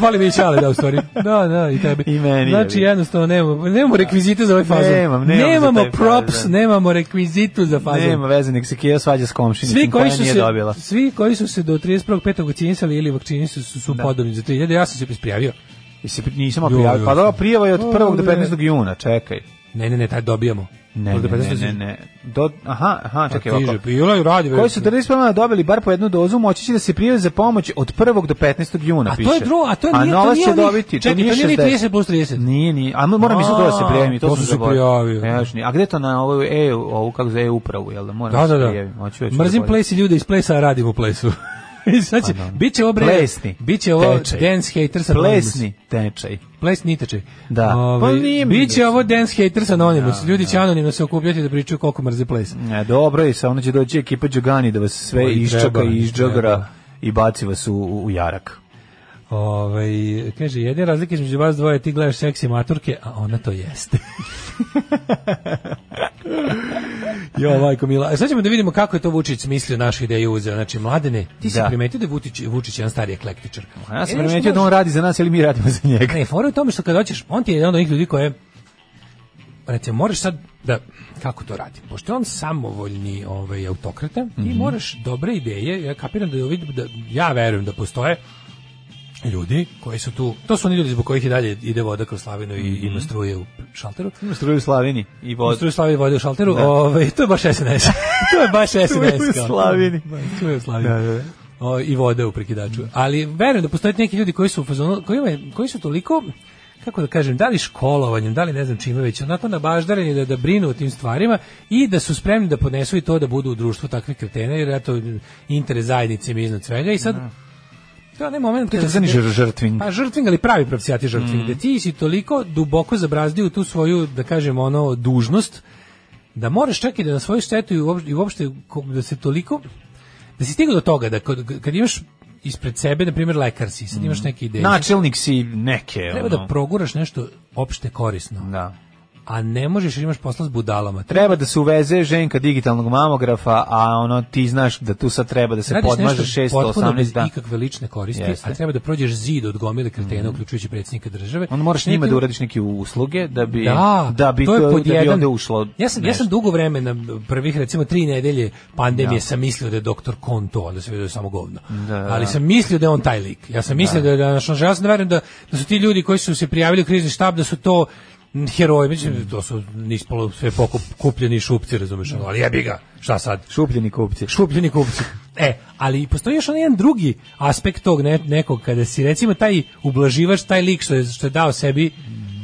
[SPEAKER 7] Fali mi i Ćale, da, u stvari. Da, da, i tebi.
[SPEAKER 6] I meni,
[SPEAKER 7] Znači,
[SPEAKER 6] jebi.
[SPEAKER 7] jednostavno, nemamo, nemamo rekvizite za ovaj fazon.
[SPEAKER 6] Nemam, nemam za
[SPEAKER 7] nemamo
[SPEAKER 6] taj fazon.
[SPEAKER 7] props, nemamo rekvizitu za fazon.
[SPEAKER 6] Nema veze, nek se Kija svađa s komšinicom
[SPEAKER 7] Svi koji
[SPEAKER 6] koja
[SPEAKER 7] su
[SPEAKER 6] nije
[SPEAKER 7] se
[SPEAKER 6] dobila.
[SPEAKER 7] svi koji su se do 31.5. vakcinisali ili vakcinisali su su podobni za 3000. Ja sam se prijavio.
[SPEAKER 6] I se pri- nisam
[SPEAKER 7] Joj,
[SPEAKER 6] prijavio. Pa
[SPEAKER 7] joj.
[SPEAKER 6] dobro, prijava je od 1. do
[SPEAKER 7] Dobre.
[SPEAKER 6] 15. juna, čekaj.
[SPEAKER 7] Ne, ne, ne, taj dobijamo. pa
[SPEAKER 6] Ne, ne, ne, ne, ne. Do, aha, aha, čekaj,
[SPEAKER 7] tiže,
[SPEAKER 6] ovako.
[SPEAKER 7] pila i radi, bre.
[SPEAKER 6] Koji su 40 plana dobili bar po jednu dozu, moći će da se prijave za pomoć od 1. do 15. juna,
[SPEAKER 7] A to
[SPEAKER 6] piše.
[SPEAKER 7] je drugo, a to nije-
[SPEAKER 6] A
[SPEAKER 7] to
[SPEAKER 6] novac
[SPEAKER 7] nije
[SPEAKER 6] će
[SPEAKER 7] onih-
[SPEAKER 6] dobiti,
[SPEAKER 7] čekaj, to nije ni 30 plus 30.
[SPEAKER 6] Nije, nije, a moram i to da se
[SPEAKER 7] A,
[SPEAKER 6] prijavim, i to,
[SPEAKER 7] to
[SPEAKER 6] sam
[SPEAKER 7] sam se
[SPEAKER 6] zaboravio.
[SPEAKER 7] prijavio.
[SPEAKER 6] Još nije. A gde to na ovu e, ovu kako zove e-upravu, jel da moram
[SPEAKER 7] Da,
[SPEAKER 6] se
[SPEAKER 7] da, da.
[SPEAKER 6] prijavim? Hoću, hoću
[SPEAKER 7] Mrzim
[SPEAKER 6] da bolje.
[SPEAKER 7] plesi ljude iz plesa, a radim u plesu. I sad će, bit će ovo bre,
[SPEAKER 6] Pa Plesni.
[SPEAKER 7] bit će ovo
[SPEAKER 6] Tečaj.
[SPEAKER 7] dance haters anonymous.
[SPEAKER 6] Plesni tečaj.
[SPEAKER 7] Plesni tečaj. Ovaj,
[SPEAKER 6] Da. Pa nije mi
[SPEAKER 7] biće ovo dance haters anonymous. Ljudi će anonimno se okupljati da pričaju koliko mrze ples.
[SPEAKER 6] Ne, dobro, i sa ono će doći ekipa Đugani da vas sve
[SPEAKER 7] O, i
[SPEAKER 6] iščaka
[SPEAKER 7] treba,
[SPEAKER 6] i
[SPEAKER 7] i
[SPEAKER 6] izđogra
[SPEAKER 7] treba.
[SPEAKER 6] i baci vas u, u, u jarak.
[SPEAKER 7] Ovaj kaže, jedina razlika između vas dvoje je ti gledaš seksi maturke, a ona to jeste. jo, majko mila. E, Sad ćemo da vidimo kako je to Vučić smislio našu ideju uzeo. Znači, mladene, ti si
[SPEAKER 6] Da.
[SPEAKER 7] primetio da je Vučić, Vučić jedan stari eklektičar.
[SPEAKER 6] A ja sam
[SPEAKER 7] E, nešto
[SPEAKER 6] primetio da on
[SPEAKER 7] može-
[SPEAKER 6] radi za nas ili mi radimo za njega.
[SPEAKER 7] Ne, fora je u tome što kad hoćeš, on ti je jedan od onih ljudi koje recimo, moraš sad da, kako to radi, pošto je on samovoljni ovaj, autokrata, ti moraš dobre ideje, ja kapiram da, je ovi- da ja verujem da postoje ljudi koji su tu, to su oni ljudi zbog kojih i dalje ide voda kroz slavinu i ima struje u šalteru,
[SPEAKER 6] Ima struju u Slavini i
[SPEAKER 7] ima
[SPEAKER 6] vod.
[SPEAKER 7] struje slavine i vode u šalteru,
[SPEAKER 6] Da.
[SPEAKER 7] ovaj, to je baš SNS, to je baš SNS. kao.
[SPEAKER 6] Slavini.
[SPEAKER 7] Struje u slavini. O, i vode u prekidaču. Ali verujem da postoje neki ljudi koji su u fazonu, koji, imaju- koji su toliko kako da kažem, da li školovanjem, da li ne znam čime već, onako nabaždareni da, da brinu o tim stvarima i da su spremni da podnesu i to da budu u društvu takvih kretena, jer eto, interes zajednice im je iznad svega i sad, to je onaj moment
[SPEAKER 6] To je
[SPEAKER 7] kada
[SPEAKER 6] takozvani
[SPEAKER 7] se-
[SPEAKER 6] žr- žrtving.
[SPEAKER 7] Pa žrtving, ali pravi pravcijati
[SPEAKER 6] Mm.
[SPEAKER 7] žrtving, da ti si toliko duboko zabrazdio u tu svoju, da kažem, ono, dužnost, da moraš čak i da na svoju štetu i uopšte, i uopšte ko- da se toliko da si stigao do toga da kad, kad imaš ispred sebe, na primjer lekar si, sad imaš neke ideje.
[SPEAKER 6] Načelnik si neke.
[SPEAKER 7] treba
[SPEAKER 6] Mm. Znači, ono.
[SPEAKER 7] da proguraš nešto opšte korisno,
[SPEAKER 6] Da.
[SPEAKER 7] a ne možeš jer imaš posla s budalama. Treba
[SPEAKER 6] Treba da se uveze ženka digitalnog mamografa, a ono ti znaš da tu sad treba da se
[SPEAKER 7] Radiš
[SPEAKER 6] podmaže
[SPEAKER 7] nešto potpuno bez
[SPEAKER 6] 618 da.
[SPEAKER 7] ikakve lične koristi,
[SPEAKER 6] Jeste. Mhm.
[SPEAKER 7] a treba da prođeš zid od gomile kretena, uključujući predsjednika države.
[SPEAKER 6] Onda Ono, moraš njima
[SPEAKER 7] Neki-
[SPEAKER 6] da uradiš neke usluge da bi
[SPEAKER 7] Da,
[SPEAKER 6] bi
[SPEAKER 7] to je pod
[SPEAKER 6] da bi
[SPEAKER 7] jedan-
[SPEAKER 6] ovde ušlo.
[SPEAKER 7] Ja sam, ja sam dugo vremena, prvih recimo tri nedelje pandemije, sam mislio da je doktor Kon to, onda se vidio da je samo govno.
[SPEAKER 6] da,
[SPEAKER 7] Ali sam mislio da je on taj lik. Ja sam mislio da, da, da, da ja sam da verujem da, da su ti ljudi koji su se prijavili u krizni štab, da su to mm, heroji, mislim, to su nispolo sve pokup, kupljeni šupci, razumeš, ono, ali jebi ga, šta sad?
[SPEAKER 6] Šupljeni kupci.
[SPEAKER 7] Šupljeni kupci. E, ali postoji još onaj jedan drugi aspekt tog ne- nekog, kada si recimo taj ublaživač, taj lik što je, što je dao sebi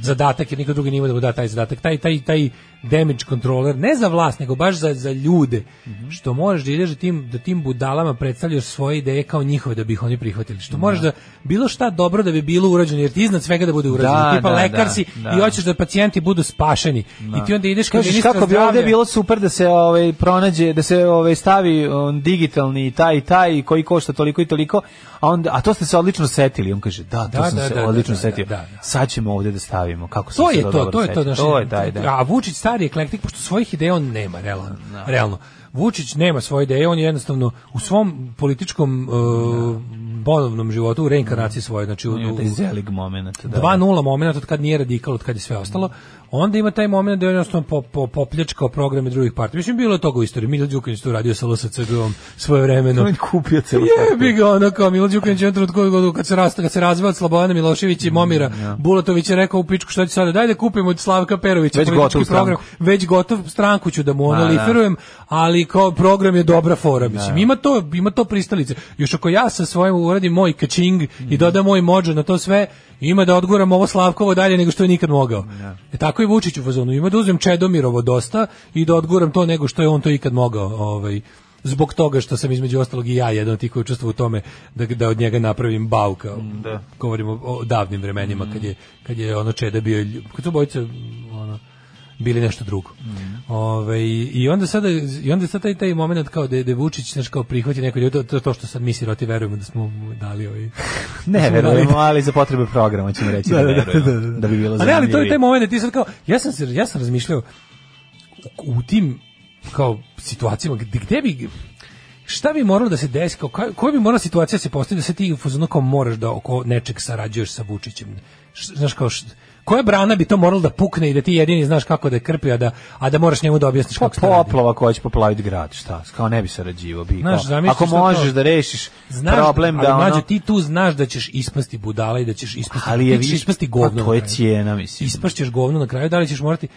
[SPEAKER 7] zadatak, jer niko drugi nije imao da mu da taj zadatak, taj, taj, taj damage controller, ne za vlast, nego baš za, za ljude,
[SPEAKER 6] Mhm.
[SPEAKER 7] što moraš da ideš da tim, da tim budalama predstavljaš svoje ideje kao njihove da bi ih oni prihvatili, što moraš da bilo šta dobro da bi bilo urađeno, jer ti iznad svega da bude urađeno,
[SPEAKER 6] Da,
[SPEAKER 7] tipa
[SPEAKER 6] da,
[SPEAKER 7] lekar
[SPEAKER 6] da,
[SPEAKER 7] si
[SPEAKER 6] da.
[SPEAKER 7] i hoćeš da pacijenti budu spašeni i ti onda ideš kod
[SPEAKER 6] Kažeš
[SPEAKER 7] ministra
[SPEAKER 6] kako bi ovde
[SPEAKER 7] zdravlja.
[SPEAKER 6] bilo super da se ovaj pronađe, da se ovaj stavi on, digitalni i taj i taj koji košta toliko i toliko, a onda a to ste se odlično setili, on kaže da, to
[SPEAKER 7] Da,
[SPEAKER 6] sam
[SPEAKER 7] da,
[SPEAKER 6] se
[SPEAKER 7] da,
[SPEAKER 6] odlično
[SPEAKER 7] da, da,
[SPEAKER 6] setio.
[SPEAKER 7] da, da.
[SPEAKER 6] Sad ćemo ovde da stavimo kako sam
[SPEAKER 7] To
[SPEAKER 6] se
[SPEAKER 7] je to,
[SPEAKER 6] dobro
[SPEAKER 7] to je to,
[SPEAKER 6] setio.
[SPEAKER 7] znači,
[SPEAKER 6] to je taj, da.
[SPEAKER 7] A Vučić stari eklektik, pošto svojih ideja on nema, realno. realno. Vučić nema svoje ideje, on je jednostavno u svom političkom uh, ponovnom životu, u reinkarnaciji svoje, znači u,
[SPEAKER 6] Ima taj
[SPEAKER 7] u,
[SPEAKER 6] zelig moment. Mm. Da.
[SPEAKER 7] 2-0 moment od kad nije radikal, od kad je sve ostalo, onda ima taj moment da je jednostavno po, po, popljačkao programe drugih partija. Mislim, bilo je toga u istoriji. Milo Đukanić to radio sa LSCG-om svoje vremeno.
[SPEAKER 6] On je kupio celu
[SPEAKER 7] Jebi ga ono kao Milo Đukanić je u jednom trenutku kad se rasta, kad se razveo od Slobodana Miloševića i Momira Bulatović je rekao u pičku šta ću sada, daj da kupim od Slavka Perovića
[SPEAKER 6] Već
[SPEAKER 7] politički
[SPEAKER 6] gotov
[SPEAKER 7] program, već gotov stranku ću da mu ono
[SPEAKER 6] Da, da.
[SPEAKER 7] liferujem, ali kao program je dobra fora, mislim. Ima to, ima to pristalice. Još ako ja sa svojim uradim moj kačing
[SPEAKER 6] Mhm.
[SPEAKER 7] i dodam moj mođo na to sve, ima da odguram ovo Slavkovo dalje nego što je nikad mogao. E tako i Vučić u fazonu. Ima da uzmem Čedomirovo dosta i da odguram to nego što je on to ikad mogao. Ovaj, zbog toga što sam između ostalog i ja jedan od tih koji učestvovao u tome da, da od njega napravim bauka.
[SPEAKER 6] Mm, da. Mm.
[SPEAKER 7] Govorimo o, o davnim vremenima kad, je, kad je ono Čeda bio, lju- kad su bojice ono, bili nešto drugo. Ovaj, I onda sada i onda sad taj taj momenat kao da je, da je Vučić znaš, kao prihvati neko ljudi, to, to, to što sad mi siroti verujemo da smo mu dali ovaj.
[SPEAKER 6] Ne, verujemo, ali za potrebe programa ćemo reći da,
[SPEAKER 7] Da, da, da,
[SPEAKER 6] verujemo,
[SPEAKER 7] da, da.
[SPEAKER 6] da bi bilo
[SPEAKER 7] A ne, ali to je
[SPEAKER 6] zanimljivije.
[SPEAKER 7] taj moment da ti sad kao ja sam se ja sam razmišljao u, u tim kao situacijama gde, gde bi šta bi moralo da se desi, kao, ka- koja bi morala situacija da se postavi da se ti u fazonu kao moraš da oko nečeg sarađuješ sa Vučićem? Š- Znaš kao, š- koja brana bi to moralo da pukne i da ti jedini znaš kako da je krpi, a da, a da moraš njemu da objasniš
[SPEAKER 6] Pa
[SPEAKER 7] kako se to radi?
[SPEAKER 6] poplava koja će poplaviti grad, šta? Kao ne bi sarađivao, bi
[SPEAKER 7] Znaš,
[SPEAKER 6] kao,
[SPEAKER 7] zamisli
[SPEAKER 6] Ako
[SPEAKER 7] šta to-
[SPEAKER 6] možeš da rešiš
[SPEAKER 7] Znaš,
[SPEAKER 6] problem
[SPEAKER 7] ali
[SPEAKER 6] da ono...
[SPEAKER 7] mlađe, ti tu znaš da ćeš ispasti budala i da ćeš ispasti,
[SPEAKER 6] ali je
[SPEAKER 7] ti ćeš
[SPEAKER 6] više
[SPEAKER 7] ispasti
[SPEAKER 6] Pa
[SPEAKER 7] govno.
[SPEAKER 6] to je
[SPEAKER 7] na kraju.
[SPEAKER 6] cijena, mislim.
[SPEAKER 7] Ispašćeš govno na kraju, da li ćeš morati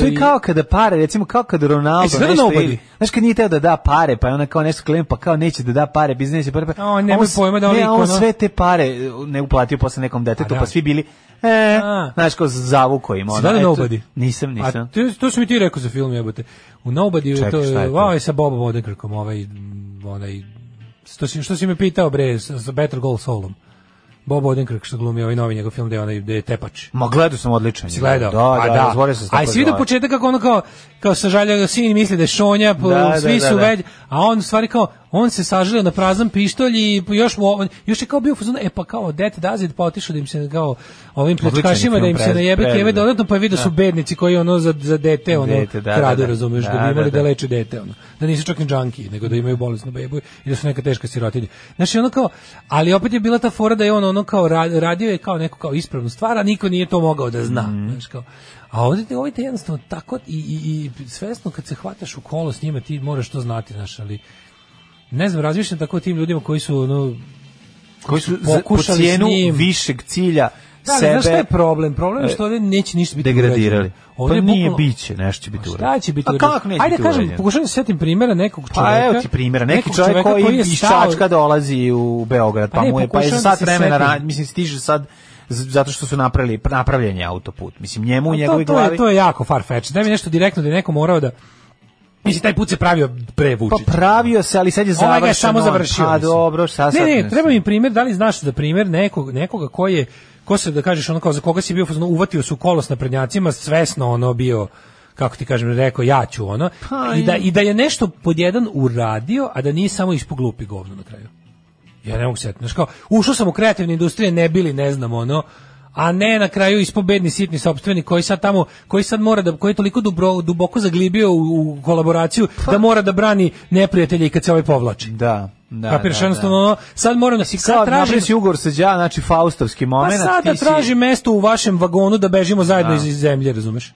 [SPEAKER 6] To je kao kada pare, recimo kao kada
[SPEAKER 7] E,
[SPEAKER 6] Ronaldo
[SPEAKER 7] sve na
[SPEAKER 6] nešto
[SPEAKER 7] nobody.
[SPEAKER 6] ili, znaš kad nije teo da da pare, pa je ona kao nešto klem, pa kao neće da da pare, biznes je pare, pa
[SPEAKER 7] on nema
[SPEAKER 6] on s-
[SPEAKER 7] pojma da on
[SPEAKER 6] ne,
[SPEAKER 7] lik,
[SPEAKER 6] on
[SPEAKER 7] ono-
[SPEAKER 6] sve te pare e, ne uplatio posle nekom detetu,
[SPEAKER 7] A, da.
[SPEAKER 6] pa svi bili, e, znaš kao zavuko im.
[SPEAKER 7] Sve
[SPEAKER 6] ono,
[SPEAKER 7] na
[SPEAKER 6] eto,
[SPEAKER 7] Nobody.
[SPEAKER 6] Nisam,
[SPEAKER 7] A
[SPEAKER 6] nisam.
[SPEAKER 7] to, to si mi ti rekao za film, jebote. U Nobody
[SPEAKER 6] Čekaj,
[SPEAKER 7] to,
[SPEAKER 6] šta je to?
[SPEAKER 7] Ovaj sa Bobom Odekrkom, ovaj, m, onaj, što si, što si me pitao, bre, sa sa Better Goal Saulom. Bob Odenkrk što glumi ovaj novi njegov film gde je onaj gde je tepač.
[SPEAKER 6] Ma gledao sam odličan.
[SPEAKER 7] Si gledao?
[SPEAKER 6] Da, da,
[SPEAKER 7] Pa
[SPEAKER 6] razborio sam se
[SPEAKER 7] A
[SPEAKER 6] tako
[SPEAKER 7] jesi vidio
[SPEAKER 6] zove.
[SPEAKER 7] početak kako ono kao, kao sažalja ga sin i misli da je šonja, pa,
[SPEAKER 6] Da,
[SPEAKER 7] svi
[SPEAKER 6] da,
[SPEAKER 7] su
[SPEAKER 6] da, da.
[SPEAKER 7] već, a on u stvari kao, on se sažalio na prazan pištolj i još mu, ovo- još je kao bio u fazonu, e pa kao, dete dazid, pa otišao da im se kao, ovim
[SPEAKER 6] Odličan je
[SPEAKER 7] pljačkašima da im
[SPEAKER 6] film,
[SPEAKER 7] se
[SPEAKER 6] pre-
[SPEAKER 7] najebe
[SPEAKER 6] predivno.
[SPEAKER 7] keve dodatno, pa vide su
[SPEAKER 6] Da.
[SPEAKER 7] bednici koji ono za, za dete, ono,
[SPEAKER 6] Dete, da,
[SPEAKER 7] kradu,
[SPEAKER 6] da, da.
[SPEAKER 7] razumeš, da,
[SPEAKER 6] Da,
[SPEAKER 7] bi
[SPEAKER 6] da,
[SPEAKER 7] imali
[SPEAKER 6] da.
[SPEAKER 7] da, leče dete, ono. Da nisu čak ni džanki, nego da imaju bolesnu bebu i da su neka teška sirotinja. Znači, ono kao, ali opet je bila ta fora da je on ono kao ra- radio je kao neku kao ispravnu stvar, a niko nije to mogao da zna.
[SPEAKER 6] Mhm.
[SPEAKER 7] Znaš, kao, a ovdje te, ovdje te jednostavno tako i, i, i svesno kad se hvataš u kolo s njima ti moraš to znati, znaš, ali ne znam, razmišljam tako o tim ljudima koji su ono,
[SPEAKER 6] Koji su za- po
[SPEAKER 7] pokušali s
[SPEAKER 6] cijenu
[SPEAKER 7] njim.
[SPEAKER 6] višeg cilja
[SPEAKER 7] Da, ali
[SPEAKER 6] sebe
[SPEAKER 7] znaš šta je problem? Problem je što ovdje neće ništa biti
[SPEAKER 6] degradirali.
[SPEAKER 7] urađeno.
[SPEAKER 6] Pa
[SPEAKER 7] je
[SPEAKER 6] nije
[SPEAKER 7] bukvalno-
[SPEAKER 6] biće, nešto će biti urađeno.
[SPEAKER 7] Šta će biti
[SPEAKER 6] A kako neće
[SPEAKER 7] Ajde
[SPEAKER 6] biti
[SPEAKER 7] kažem,
[SPEAKER 6] urađeno?
[SPEAKER 7] pokušavam da se setim primjera nekog čovjeka.
[SPEAKER 6] Pa evo ti primjera, neki
[SPEAKER 7] nekog
[SPEAKER 6] čovjek
[SPEAKER 7] čovjeka
[SPEAKER 6] koji,
[SPEAKER 7] je
[SPEAKER 6] iz
[SPEAKER 7] stao-
[SPEAKER 6] Čačka dolazi u Beograd,
[SPEAKER 7] A
[SPEAKER 6] pa
[SPEAKER 7] ne,
[SPEAKER 6] mu je pa je za
[SPEAKER 7] pokušavam da
[SPEAKER 6] sat
[SPEAKER 7] se
[SPEAKER 6] vremena,
[SPEAKER 7] setim.
[SPEAKER 6] ra- mislim stiže sad z- zato što su napravili napravljen je autoput. Mislim njemu u
[SPEAKER 7] Ali
[SPEAKER 6] njegovoj
[SPEAKER 7] to, to,
[SPEAKER 6] glavi.
[SPEAKER 7] je, to je jako farfetch. Daj mi nešto direktno da je neko morao da... Mislim, taj put se pravio pre Vučića.
[SPEAKER 6] Pa pravio se, ali sad je završeno.
[SPEAKER 7] Ovaj ga je samo završio.
[SPEAKER 6] Pa
[SPEAKER 7] mislim.
[SPEAKER 6] dobro, šta sad?
[SPEAKER 7] Ne, ne,
[SPEAKER 6] mislim.
[SPEAKER 7] treba mi primjer, da li znaš za primjer nekog, nekoga ko je, ko se da kažeš ono kao za koga si bio, ono, uvatio su kolos na prednjacima, svesno ono bio kako ti kažem, rekao ja ću ono i da, i da je nešto pod jedan uradio a da nije samo ispoglupi govno na kraju ja ne mogu setiti, znaš kao ušao sam u kreativne industrije, ne bili, ne znam ono a ne na kraju ispobedni sitni sopstveni koji sad tamo koji sad mora da koji je toliko dubro, duboko zaglibio u, u kolaboraciju da mora da brani neprijatelje i kad se ovaj povlači
[SPEAKER 6] Da, da.
[SPEAKER 7] Kapiraš,
[SPEAKER 6] da,
[SPEAKER 7] jednostavno, ono, sad moram da si
[SPEAKER 6] Sad
[SPEAKER 7] sad
[SPEAKER 6] napravi si
[SPEAKER 7] tražim,
[SPEAKER 6] ugovor sa Đa, znači Faustovski
[SPEAKER 7] pa
[SPEAKER 6] moment.
[SPEAKER 7] sad da tražim mesto u vašem vagonu da bežimo zajedno iz, iz zemlje, razumeš?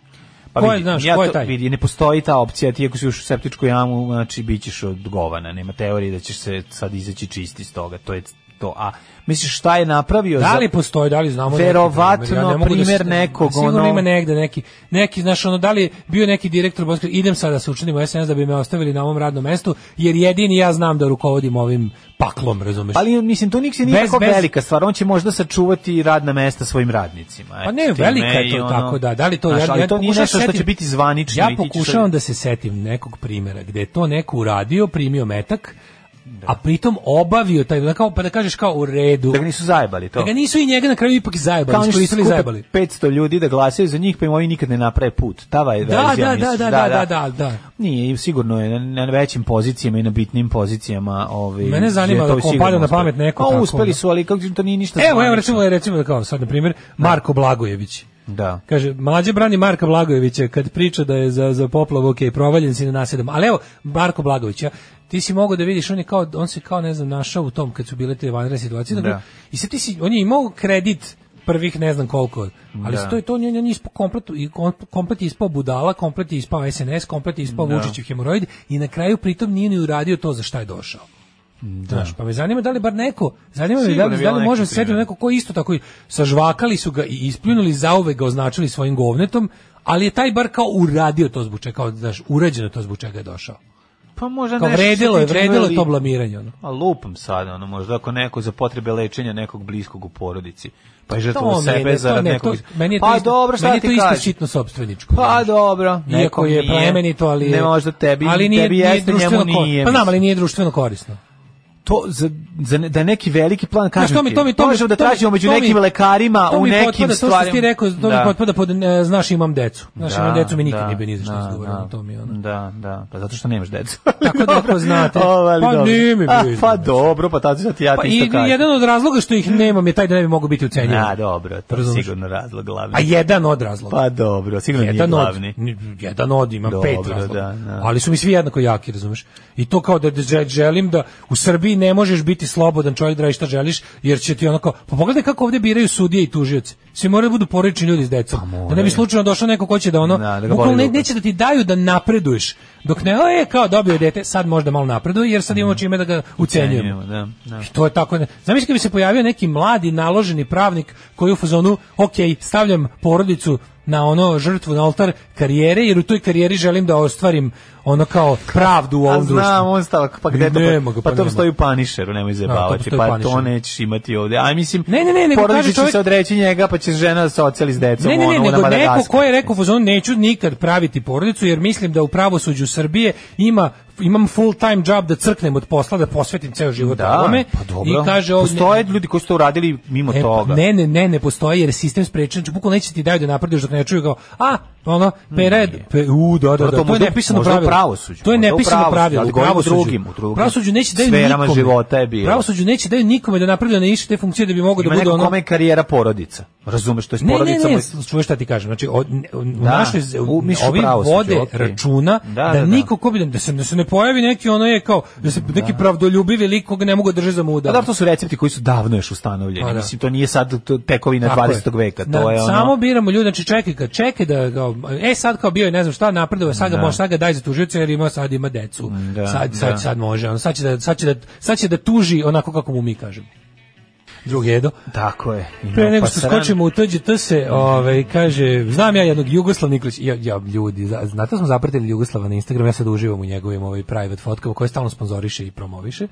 [SPEAKER 6] Pa
[SPEAKER 7] ko je,
[SPEAKER 6] vidi,
[SPEAKER 7] znaš,
[SPEAKER 6] ja
[SPEAKER 7] ko je
[SPEAKER 6] to-
[SPEAKER 7] taj?
[SPEAKER 6] Vidi, ne postoji ta opcija, ti ako si ušao u septičku jamu, znači bit ćeš odgovana, nema teorije da ćeš se sad izaći čist iz toga, to je to. A misliš šta je napravio
[SPEAKER 7] Da
[SPEAKER 6] za-
[SPEAKER 7] li postoji, da li znamo neki
[SPEAKER 6] Verovatno
[SPEAKER 7] primer? ne mogu
[SPEAKER 6] primer
[SPEAKER 7] se-
[SPEAKER 6] nekog,
[SPEAKER 7] Sigurno
[SPEAKER 6] ono-
[SPEAKER 7] ima negde neki, neki, znaš, ono, da li je bio neki direktor Boskri, idem sada da se učinim u SNS da bi me ostavili na ovom radnom mestu, jer jedini ja znam da rukovodim ovim paklom, razumeš?
[SPEAKER 6] Ali mislim to niks nije
[SPEAKER 7] Bez-
[SPEAKER 6] tako
[SPEAKER 7] bez-
[SPEAKER 6] velika stvar, on će možda sačuvati radna mesta svojim radnicima.
[SPEAKER 7] Pa
[SPEAKER 6] eto,
[SPEAKER 7] ne,
[SPEAKER 6] time
[SPEAKER 7] velika je
[SPEAKER 6] i
[SPEAKER 7] to
[SPEAKER 6] ono-
[SPEAKER 7] tako da. Da li to
[SPEAKER 6] Znaš,
[SPEAKER 7] ja,
[SPEAKER 6] ali
[SPEAKER 7] ja
[SPEAKER 6] to nije
[SPEAKER 7] pokušavam
[SPEAKER 6] nešto što
[SPEAKER 7] setim-
[SPEAKER 6] će biti zvanično.
[SPEAKER 7] Ja
[SPEAKER 6] i ti ćeš
[SPEAKER 7] pokušavam
[SPEAKER 6] sad-
[SPEAKER 7] da se setim nekog primjera gde je to neko uradio, primio metak, a pritom obavio taj da kao pa da kažeš kao u redu.
[SPEAKER 6] da ga nisu zajebali to.
[SPEAKER 7] Da ga nisu i njega na kraju ipak zajebali,
[SPEAKER 6] Kao oni što
[SPEAKER 7] iskoristili i
[SPEAKER 6] skupe
[SPEAKER 7] zajebali.
[SPEAKER 6] 500 ljudi da glasaju za njih, pa im ovi nikad ne naprave put. Tava je
[SPEAKER 7] Da,
[SPEAKER 6] verzija,
[SPEAKER 7] da, da,
[SPEAKER 6] mislim.
[SPEAKER 7] da, da, da, da, da.
[SPEAKER 6] Nije, i sigurno je na, na većim pozicijama i na bitnim pozicijama. Ovi,
[SPEAKER 7] Mene zanima
[SPEAKER 6] je to
[SPEAKER 7] da kom
[SPEAKER 6] sigurno
[SPEAKER 7] pada na
[SPEAKER 6] uspelo.
[SPEAKER 7] pamet neko
[SPEAKER 6] Pa
[SPEAKER 7] tako,
[SPEAKER 6] uspeli
[SPEAKER 7] ono.
[SPEAKER 6] su, ali kako to nije ništa
[SPEAKER 7] Evo, evo
[SPEAKER 6] zvanično.
[SPEAKER 7] recimo, recimo da kao sad na primjer Marko Blagojević.
[SPEAKER 6] Da.
[SPEAKER 7] Kaže, mlađe brani Marka Blagojevića kad priča da je za, za poplavu, ok, provaljen si na nasedom. Ali evo, Marko Blagojević, ja, ti si mogao da vidiš, on, je kao, on se kao, ne znam, našao u tom kad su bile te vanredne situacije. Dakle,
[SPEAKER 6] Da.
[SPEAKER 7] I sad ti si, on je imao kredit prvih ne znam koliko, ali
[SPEAKER 6] Da.
[SPEAKER 7] to je to, on je, on je ispao komplet, i kom- komplet je ispao budala, komplet je ispao SNS, komplet je ispao
[SPEAKER 6] Da.
[SPEAKER 7] Vučićev hemoroid i na kraju pritom nije ni uradio to za šta je došao. Znaš, pa me zanima da li bar neko, zanima me da
[SPEAKER 6] Sigurno
[SPEAKER 7] li,
[SPEAKER 6] je
[SPEAKER 7] da
[SPEAKER 6] bilo
[SPEAKER 7] li
[SPEAKER 6] neki
[SPEAKER 7] možemo se setiti
[SPEAKER 6] primer.
[SPEAKER 7] neko ko je isto tako i sažvakali su ga i ispljunuli, zauvek ga označili svojim govnetom, ali je taj bar kao uradio to zbog čega, kao, znaš, urađeno to zbog čega je došao.
[SPEAKER 6] Pa možda
[SPEAKER 7] Kao
[SPEAKER 6] nešto
[SPEAKER 7] vredilo je,
[SPEAKER 6] što se tiče
[SPEAKER 7] vredilo je
[SPEAKER 6] ljudi-
[SPEAKER 7] to blamiranje. Ono.
[SPEAKER 6] A lupam sad, ono, možda ako neko za potrebe lečenja nekog bliskog u porodici, pa je žrtvo
[SPEAKER 7] To
[SPEAKER 6] sebe
[SPEAKER 7] meni, je- to,
[SPEAKER 6] zarad
[SPEAKER 7] ne,
[SPEAKER 6] nekog...
[SPEAKER 7] to, meni je to
[SPEAKER 6] pa
[SPEAKER 7] isto,
[SPEAKER 6] dobro, šta
[SPEAKER 7] meni je
[SPEAKER 6] ti
[SPEAKER 7] to isto
[SPEAKER 6] kažem?
[SPEAKER 7] sitno sobstveničko.
[SPEAKER 6] Pa dobro,
[SPEAKER 7] Iako
[SPEAKER 6] nekom
[SPEAKER 7] je
[SPEAKER 6] nije.
[SPEAKER 7] plemenito, ali...
[SPEAKER 6] Ne možda tebi,
[SPEAKER 7] ali nije,
[SPEAKER 6] tebi
[SPEAKER 7] nije
[SPEAKER 6] jeste, njemu
[SPEAKER 7] društveno kor-
[SPEAKER 6] nije.
[SPEAKER 7] Pa znam,
[SPEAKER 6] mislim.
[SPEAKER 7] ali nije društveno korisno.
[SPEAKER 6] to za, za ne- da je neki veliki plan kažem
[SPEAKER 7] Znaš, to mi-
[SPEAKER 6] ti,
[SPEAKER 7] to mi- to mi-
[SPEAKER 6] možemo da
[SPEAKER 7] to mi-
[SPEAKER 6] tražimo među
[SPEAKER 7] to mi-
[SPEAKER 6] nekim lekarima
[SPEAKER 7] To
[SPEAKER 6] u
[SPEAKER 7] mi
[SPEAKER 6] nekim
[SPEAKER 7] potpada, To što
[SPEAKER 6] stvarima
[SPEAKER 7] ti rekao, to mi potpada pod, e, znaš, imam decu. Znaš, imam decu, mi nikad nije bio ni za što izgovoreno,
[SPEAKER 6] da,
[SPEAKER 7] to mi je ono.
[SPEAKER 6] Da, da, pa zato što nemaš decu.
[SPEAKER 7] Tako da ako znate.
[SPEAKER 6] pa
[SPEAKER 7] Pa nije mi bio
[SPEAKER 6] Pa
[SPEAKER 7] izgovor.
[SPEAKER 6] dobro, pa tad ću ti ja
[SPEAKER 7] Pa
[SPEAKER 6] ti
[SPEAKER 7] i
[SPEAKER 6] isto kažem.
[SPEAKER 7] jedan od razloga što ih nemam je taj da ne bi mogao biti ucenjen.
[SPEAKER 6] Na, dobro, to je
[SPEAKER 7] Razumeš?
[SPEAKER 6] sigurno razlog glavni.
[SPEAKER 7] A jedan od razloga.
[SPEAKER 6] Pa dobro, sigurno nije
[SPEAKER 7] jedan od,
[SPEAKER 6] glavni.
[SPEAKER 7] n- jedan od, imam
[SPEAKER 6] Dobro,
[SPEAKER 7] pet razloga.
[SPEAKER 6] da, da.
[SPEAKER 7] Ali su mi svi jednako jaki, razumeš? I to kao da že- želim da u Srbiji ne možeš biti slobodan čovjek da radiš šta želiš, jer će ti onako, pa pogledaj kako ovdje biraju sudije i tužioci. Svi moraju da budu porodični ljudi s decom. da ne bi
[SPEAKER 6] Pa moraju.
[SPEAKER 7] slučajno došao neko ko će da ono,
[SPEAKER 6] Da, da ga boli
[SPEAKER 7] bukvalno ne-
[SPEAKER 6] dupe.
[SPEAKER 7] neće da ti daju da napreduješ. Dok ne, e, kao dobio je dete, sad možda malo napreduje, jer sad imamo čime da ga ucenjujemo.
[SPEAKER 6] Cenjujemo, Da, da.
[SPEAKER 7] I Pa to je tako. Zamisli kad bi se pojavio neki mladi naloženi pravnik koji je u fazonu, ok, stavljam porodicu na ono žrtvu na oltar karijere, jer u toj karijeri želim da ostvarim ono kao pravdu u
[SPEAKER 6] A
[SPEAKER 7] ovom društvu.
[SPEAKER 6] znam, on stavak, pa gde to,
[SPEAKER 7] Nema ga,
[SPEAKER 6] pa,
[SPEAKER 7] pa
[SPEAKER 6] to
[SPEAKER 7] nema.
[SPEAKER 6] stoji u Punisheru, nemoj zajebavati,
[SPEAKER 7] stoji u
[SPEAKER 6] pa to
[SPEAKER 7] Punisheru.
[SPEAKER 6] nećeš imati ovde. A mislim,
[SPEAKER 7] Ne, ne, ne, nego
[SPEAKER 6] porodice
[SPEAKER 7] kaže
[SPEAKER 6] će
[SPEAKER 7] čovjek-
[SPEAKER 6] se odreći njega, pa će žena da se oceli s decom,
[SPEAKER 7] Ne, ne, ne,
[SPEAKER 6] ono,
[SPEAKER 7] nego
[SPEAKER 6] na
[SPEAKER 7] neko
[SPEAKER 6] Madagaskaru.
[SPEAKER 7] ko je rekao u fazonu neću nikad praviti porodicu jer mislim da u pravosuđu Srbije ima imam full time job da crknem od posla, da posvetim ceo život
[SPEAKER 6] Da,
[SPEAKER 7] ovome.
[SPEAKER 6] pa dobro.
[SPEAKER 7] I kaže ovdje,
[SPEAKER 6] Postoje ljudi koji su to uradili mimo
[SPEAKER 7] E, pa,
[SPEAKER 6] toga.
[SPEAKER 7] Ne, ne, ne, ne postoji jer je sistem sprečen, znači bukvalno neće ti daju da napreduješ dok ne čuju kao, a, ono, pere, pe, u, da,
[SPEAKER 6] Dobro,
[SPEAKER 7] da,
[SPEAKER 6] to
[SPEAKER 7] da, to je
[SPEAKER 6] možda-
[SPEAKER 7] nepisano
[SPEAKER 6] možda u
[SPEAKER 7] pravilo.
[SPEAKER 6] pravosuđu,
[SPEAKER 7] To je
[SPEAKER 6] možda u
[SPEAKER 7] nepisano
[SPEAKER 6] pravosuđu,
[SPEAKER 7] pravilo,
[SPEAKER 6] ali
[SPEAKER 7] u
[SPEAKER 6] govorim u
[SPEAKER 7] pravosuđu.
[SPEAKER 6] drugim, u drugim
[SPEAKER 7] Pravosuđu neće daju
[SPEAKER 6] sferama
[SPEAKER 7] nikome.
[SPEAKER 6] života je bilo.
[SPEAKER 7] Pravosuđu neće daju nikome da napreduje na više te funkcije da bi mogo da
[SPEAKER 6] Ima
[SPEAKER 7] bude
[SPEAKER 6] neko
[SPEAKER 7] ono...
[SPEAKER 6] kome je karijera porodica. Razumeš, to je s
[SPEAKER 7] Ne, ne,
[SPEAKER 6] porodicama. Pa
[SPEAKER 7] ne, čuješ šta ti kažem. Znači, od, ne- u
[SPEAKER 6] Da,
[SPEAKER 7] našoj, z-
[SPEAKER 6] u mišu
[SPEAKER 7] ovi
[SPEAKER 6] pravosuđu,
[SPEAKER 7] vode
[SPEAKER 6] okej.
[SPEAKER 7] računa
[SPEAKER 6] Da,
[SPEAKER 7] da,
[SPEAKER 6] da, da.
[SPEAKER 7] niko ko bi, da se, da se ne pojavi neki ono je kao, da se neki pravdoljubivi lik koga ne mogu držati za muda.
[SPEAKER 6] Pa da, to su recepti koji su davno još ustanovljeni.
[SPEAKER 7] Pa da.
[SPEAKER 6] Mislim, to nije sad to- tekovina
[SPEAKER 7] Tako je.
[SPEAKER 6] 20. veka. To
[SPEAKER 7] Na-
[SPEAKER 6] je ono...
[SPEAKER 7] Samo biramo ljude, znači čekaj, kad čekaj da kao, e sad kao bio je ne znam šta napredovao, sad ga
[SPEAKER 6] Da.
[SPEAKER 7] može sad ga daj za tužioca jer ima sad ima decu.
[SPEAKER 6] Da,
[SPEAKER 7] sad
[SPEAKER 6] da.
[SPEAKER 7] sad sad može, on sad će da sad će da sad će da tuži onako kako mu mi kažemo. Drugi jedo.
[SPEAKER 6] Tako je. pa Ima
[SPEAKER 7] Pre nego što
[SPEAKER 6] pasaran.
[SPEAKER 7] skočimo u tuđe se, ovaj, kaže, znam ja jednog Jugoslav Nikolić, ja, ja ljudi, za- znate da smo zapratili Jugoslava na Instagram, ja sad uživam u njegovim ovaj, private fotkama koje stalno sponzoriše i promoviše.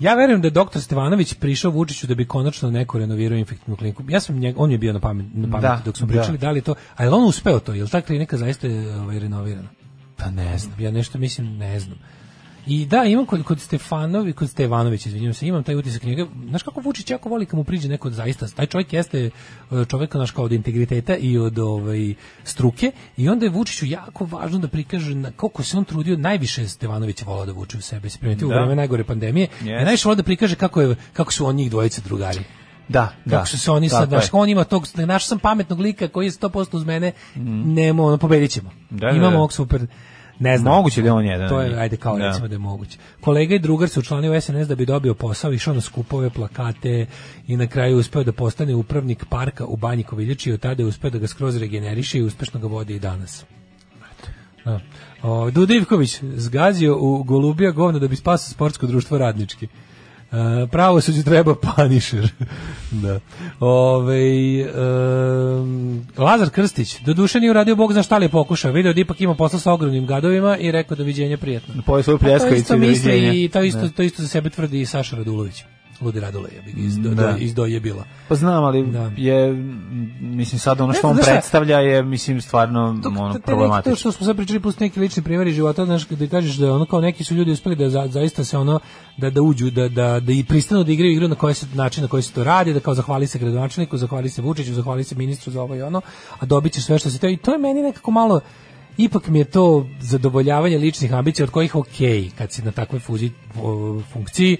[SPEAKER 7] Ja verujem da je doktor Stevanović prišao Vučiću da bi konačno neko renovirao infektivnu kliniku. Ja sam njeg, on je bio na pamet, na pameti
[SPEAKER 6] Da,
[SPEAKER 7] dok smo
[SPEAKER 6] da.
[SPEAKER 7] pričali, da li je to, a je li on uspeo to, je li ta klinika zaista je, ovaj, renovirana?
[SPEAKER 6] Pa ne znam.
[SPEAKER 7] Ja nešto mislim, ne znam. I da, imam kod, kod Stefanovi, kod Stevanovića, izvinjavam se, imam taj utisak njega. Znaš kako Vučić jako voli kad mu priđe neko od zaista, taj čovjek jeste e, čovjek naš kao od integriteta i od ovaj, struke i onda je Vučiću jako važno da prikaže na koliko se on trudio, najviše je Stevanović volao da vuče u sebe, se primetio
[SPEAKER 6] Da.
[SPEAKER 7] u vreme najgore pandemije,
[SPEAKER 6] Jeste.
[SPEAKER 7] i najviše volao da prikaže kako, je, kako su on njih dvojice drugari.
[SPEAKER 6] Da, da.
[SPEAKER 7] Kako su se oni
[SPEAKER 6] Tako
[SPEAKER 7] sad,
[SPEAKER 6] je.
[SPEAKER 7] znaš, on ima tog, naš sam pametnog lika koji je 100% uz mene, nemo, ono, pobedit ćemo.
[SPEAKER 6] Da, da,
[SPEAKER 7] Imamo
[SPEAKER 6] da.
[SPEAKER 7] ovog super, ne znam.
[SPEAKER 6] Moguće da je on jedan.
[SPEAKER 7] To
[SPEAKER 6] od njih.
[SPEAKER 7] je, ajde, kao
[SPEAKER 6] Da.
[SPEAKER 7] recimo da je moguće. Kolega i drugar se učlanio u SNS da bi dobio posao, išao na skupove, plakate i na kraju uspeo da postane upravnik parka u Banji Koviljači i od tada je uspeo da ga skroz regeneriše i uspešno ga vodi i danas. Da. O, Duda Ivković zgazio u Golubija govno da bi spasao sportsko društvo radnički. E, pravo suđu treba panišer. da. Ove, Lazar Krstić, doduše nije uradio Bog zna šta li je pokušao. Video da ipak ima posla sa ogromnim gadovima i rekao doviđenja prijetno.
[SPEAKER 6] Pojeo svoju
[SPEAKER 7] Pa to
[SPEAKER 6] pljeskavicu
[SPEAKER 7] isto
[SPEAKER 6] i
[SPEAKER 7] misli
[SPEAKER 6] doviđenja.
[SPEAKER 7] i to isto,
[SPEAKER 6] Da.
[SPEAKER 7] to isto za sebe tvrdi i Saša Radulović. Ludi Radule je iz, do,
[SPEAKER 6] Da.
[SPEAKER 7] do- iz doje bila.
[SPEAKER 6] Pa znam, ali
[SPEAKER 7] Da.
[SPEAKER 6] je, m, mislim, sad ono
[SPEAKER 7] Ne
[SPEAKER 6] što
[SPEAKER 7] znam,
[SPEAKER 6] on
[SPEAKER 7] znaš šta?
[SPEAKER 6] predstavlja je, mislim, stvarno
[SPEAKER 7] to,
[SPEAKER 6] ono,
[SPEAKER 7] to- te neki, to
[SPEAKER 6] problematično.
[SPEAKER 7] što smo sad pričali plus neki lični primjeri života, znaš, kada kažeš da ono kao neki su ljudi uspeli da za, zaista se ono da da uđu, da, da, da i pristanu da igraju igru na koji se način na koji se to radi, da kao zahvali se gradonačelniku, zahvali se Vučiću, zahvali se ministru za ovo i ono, a dobit će sve što se to i to je meni nekako malo ipak mi je to zadovoljavanje ličnih ambicija od kojih ok, kad si na takvoj fuzi, o, funkciji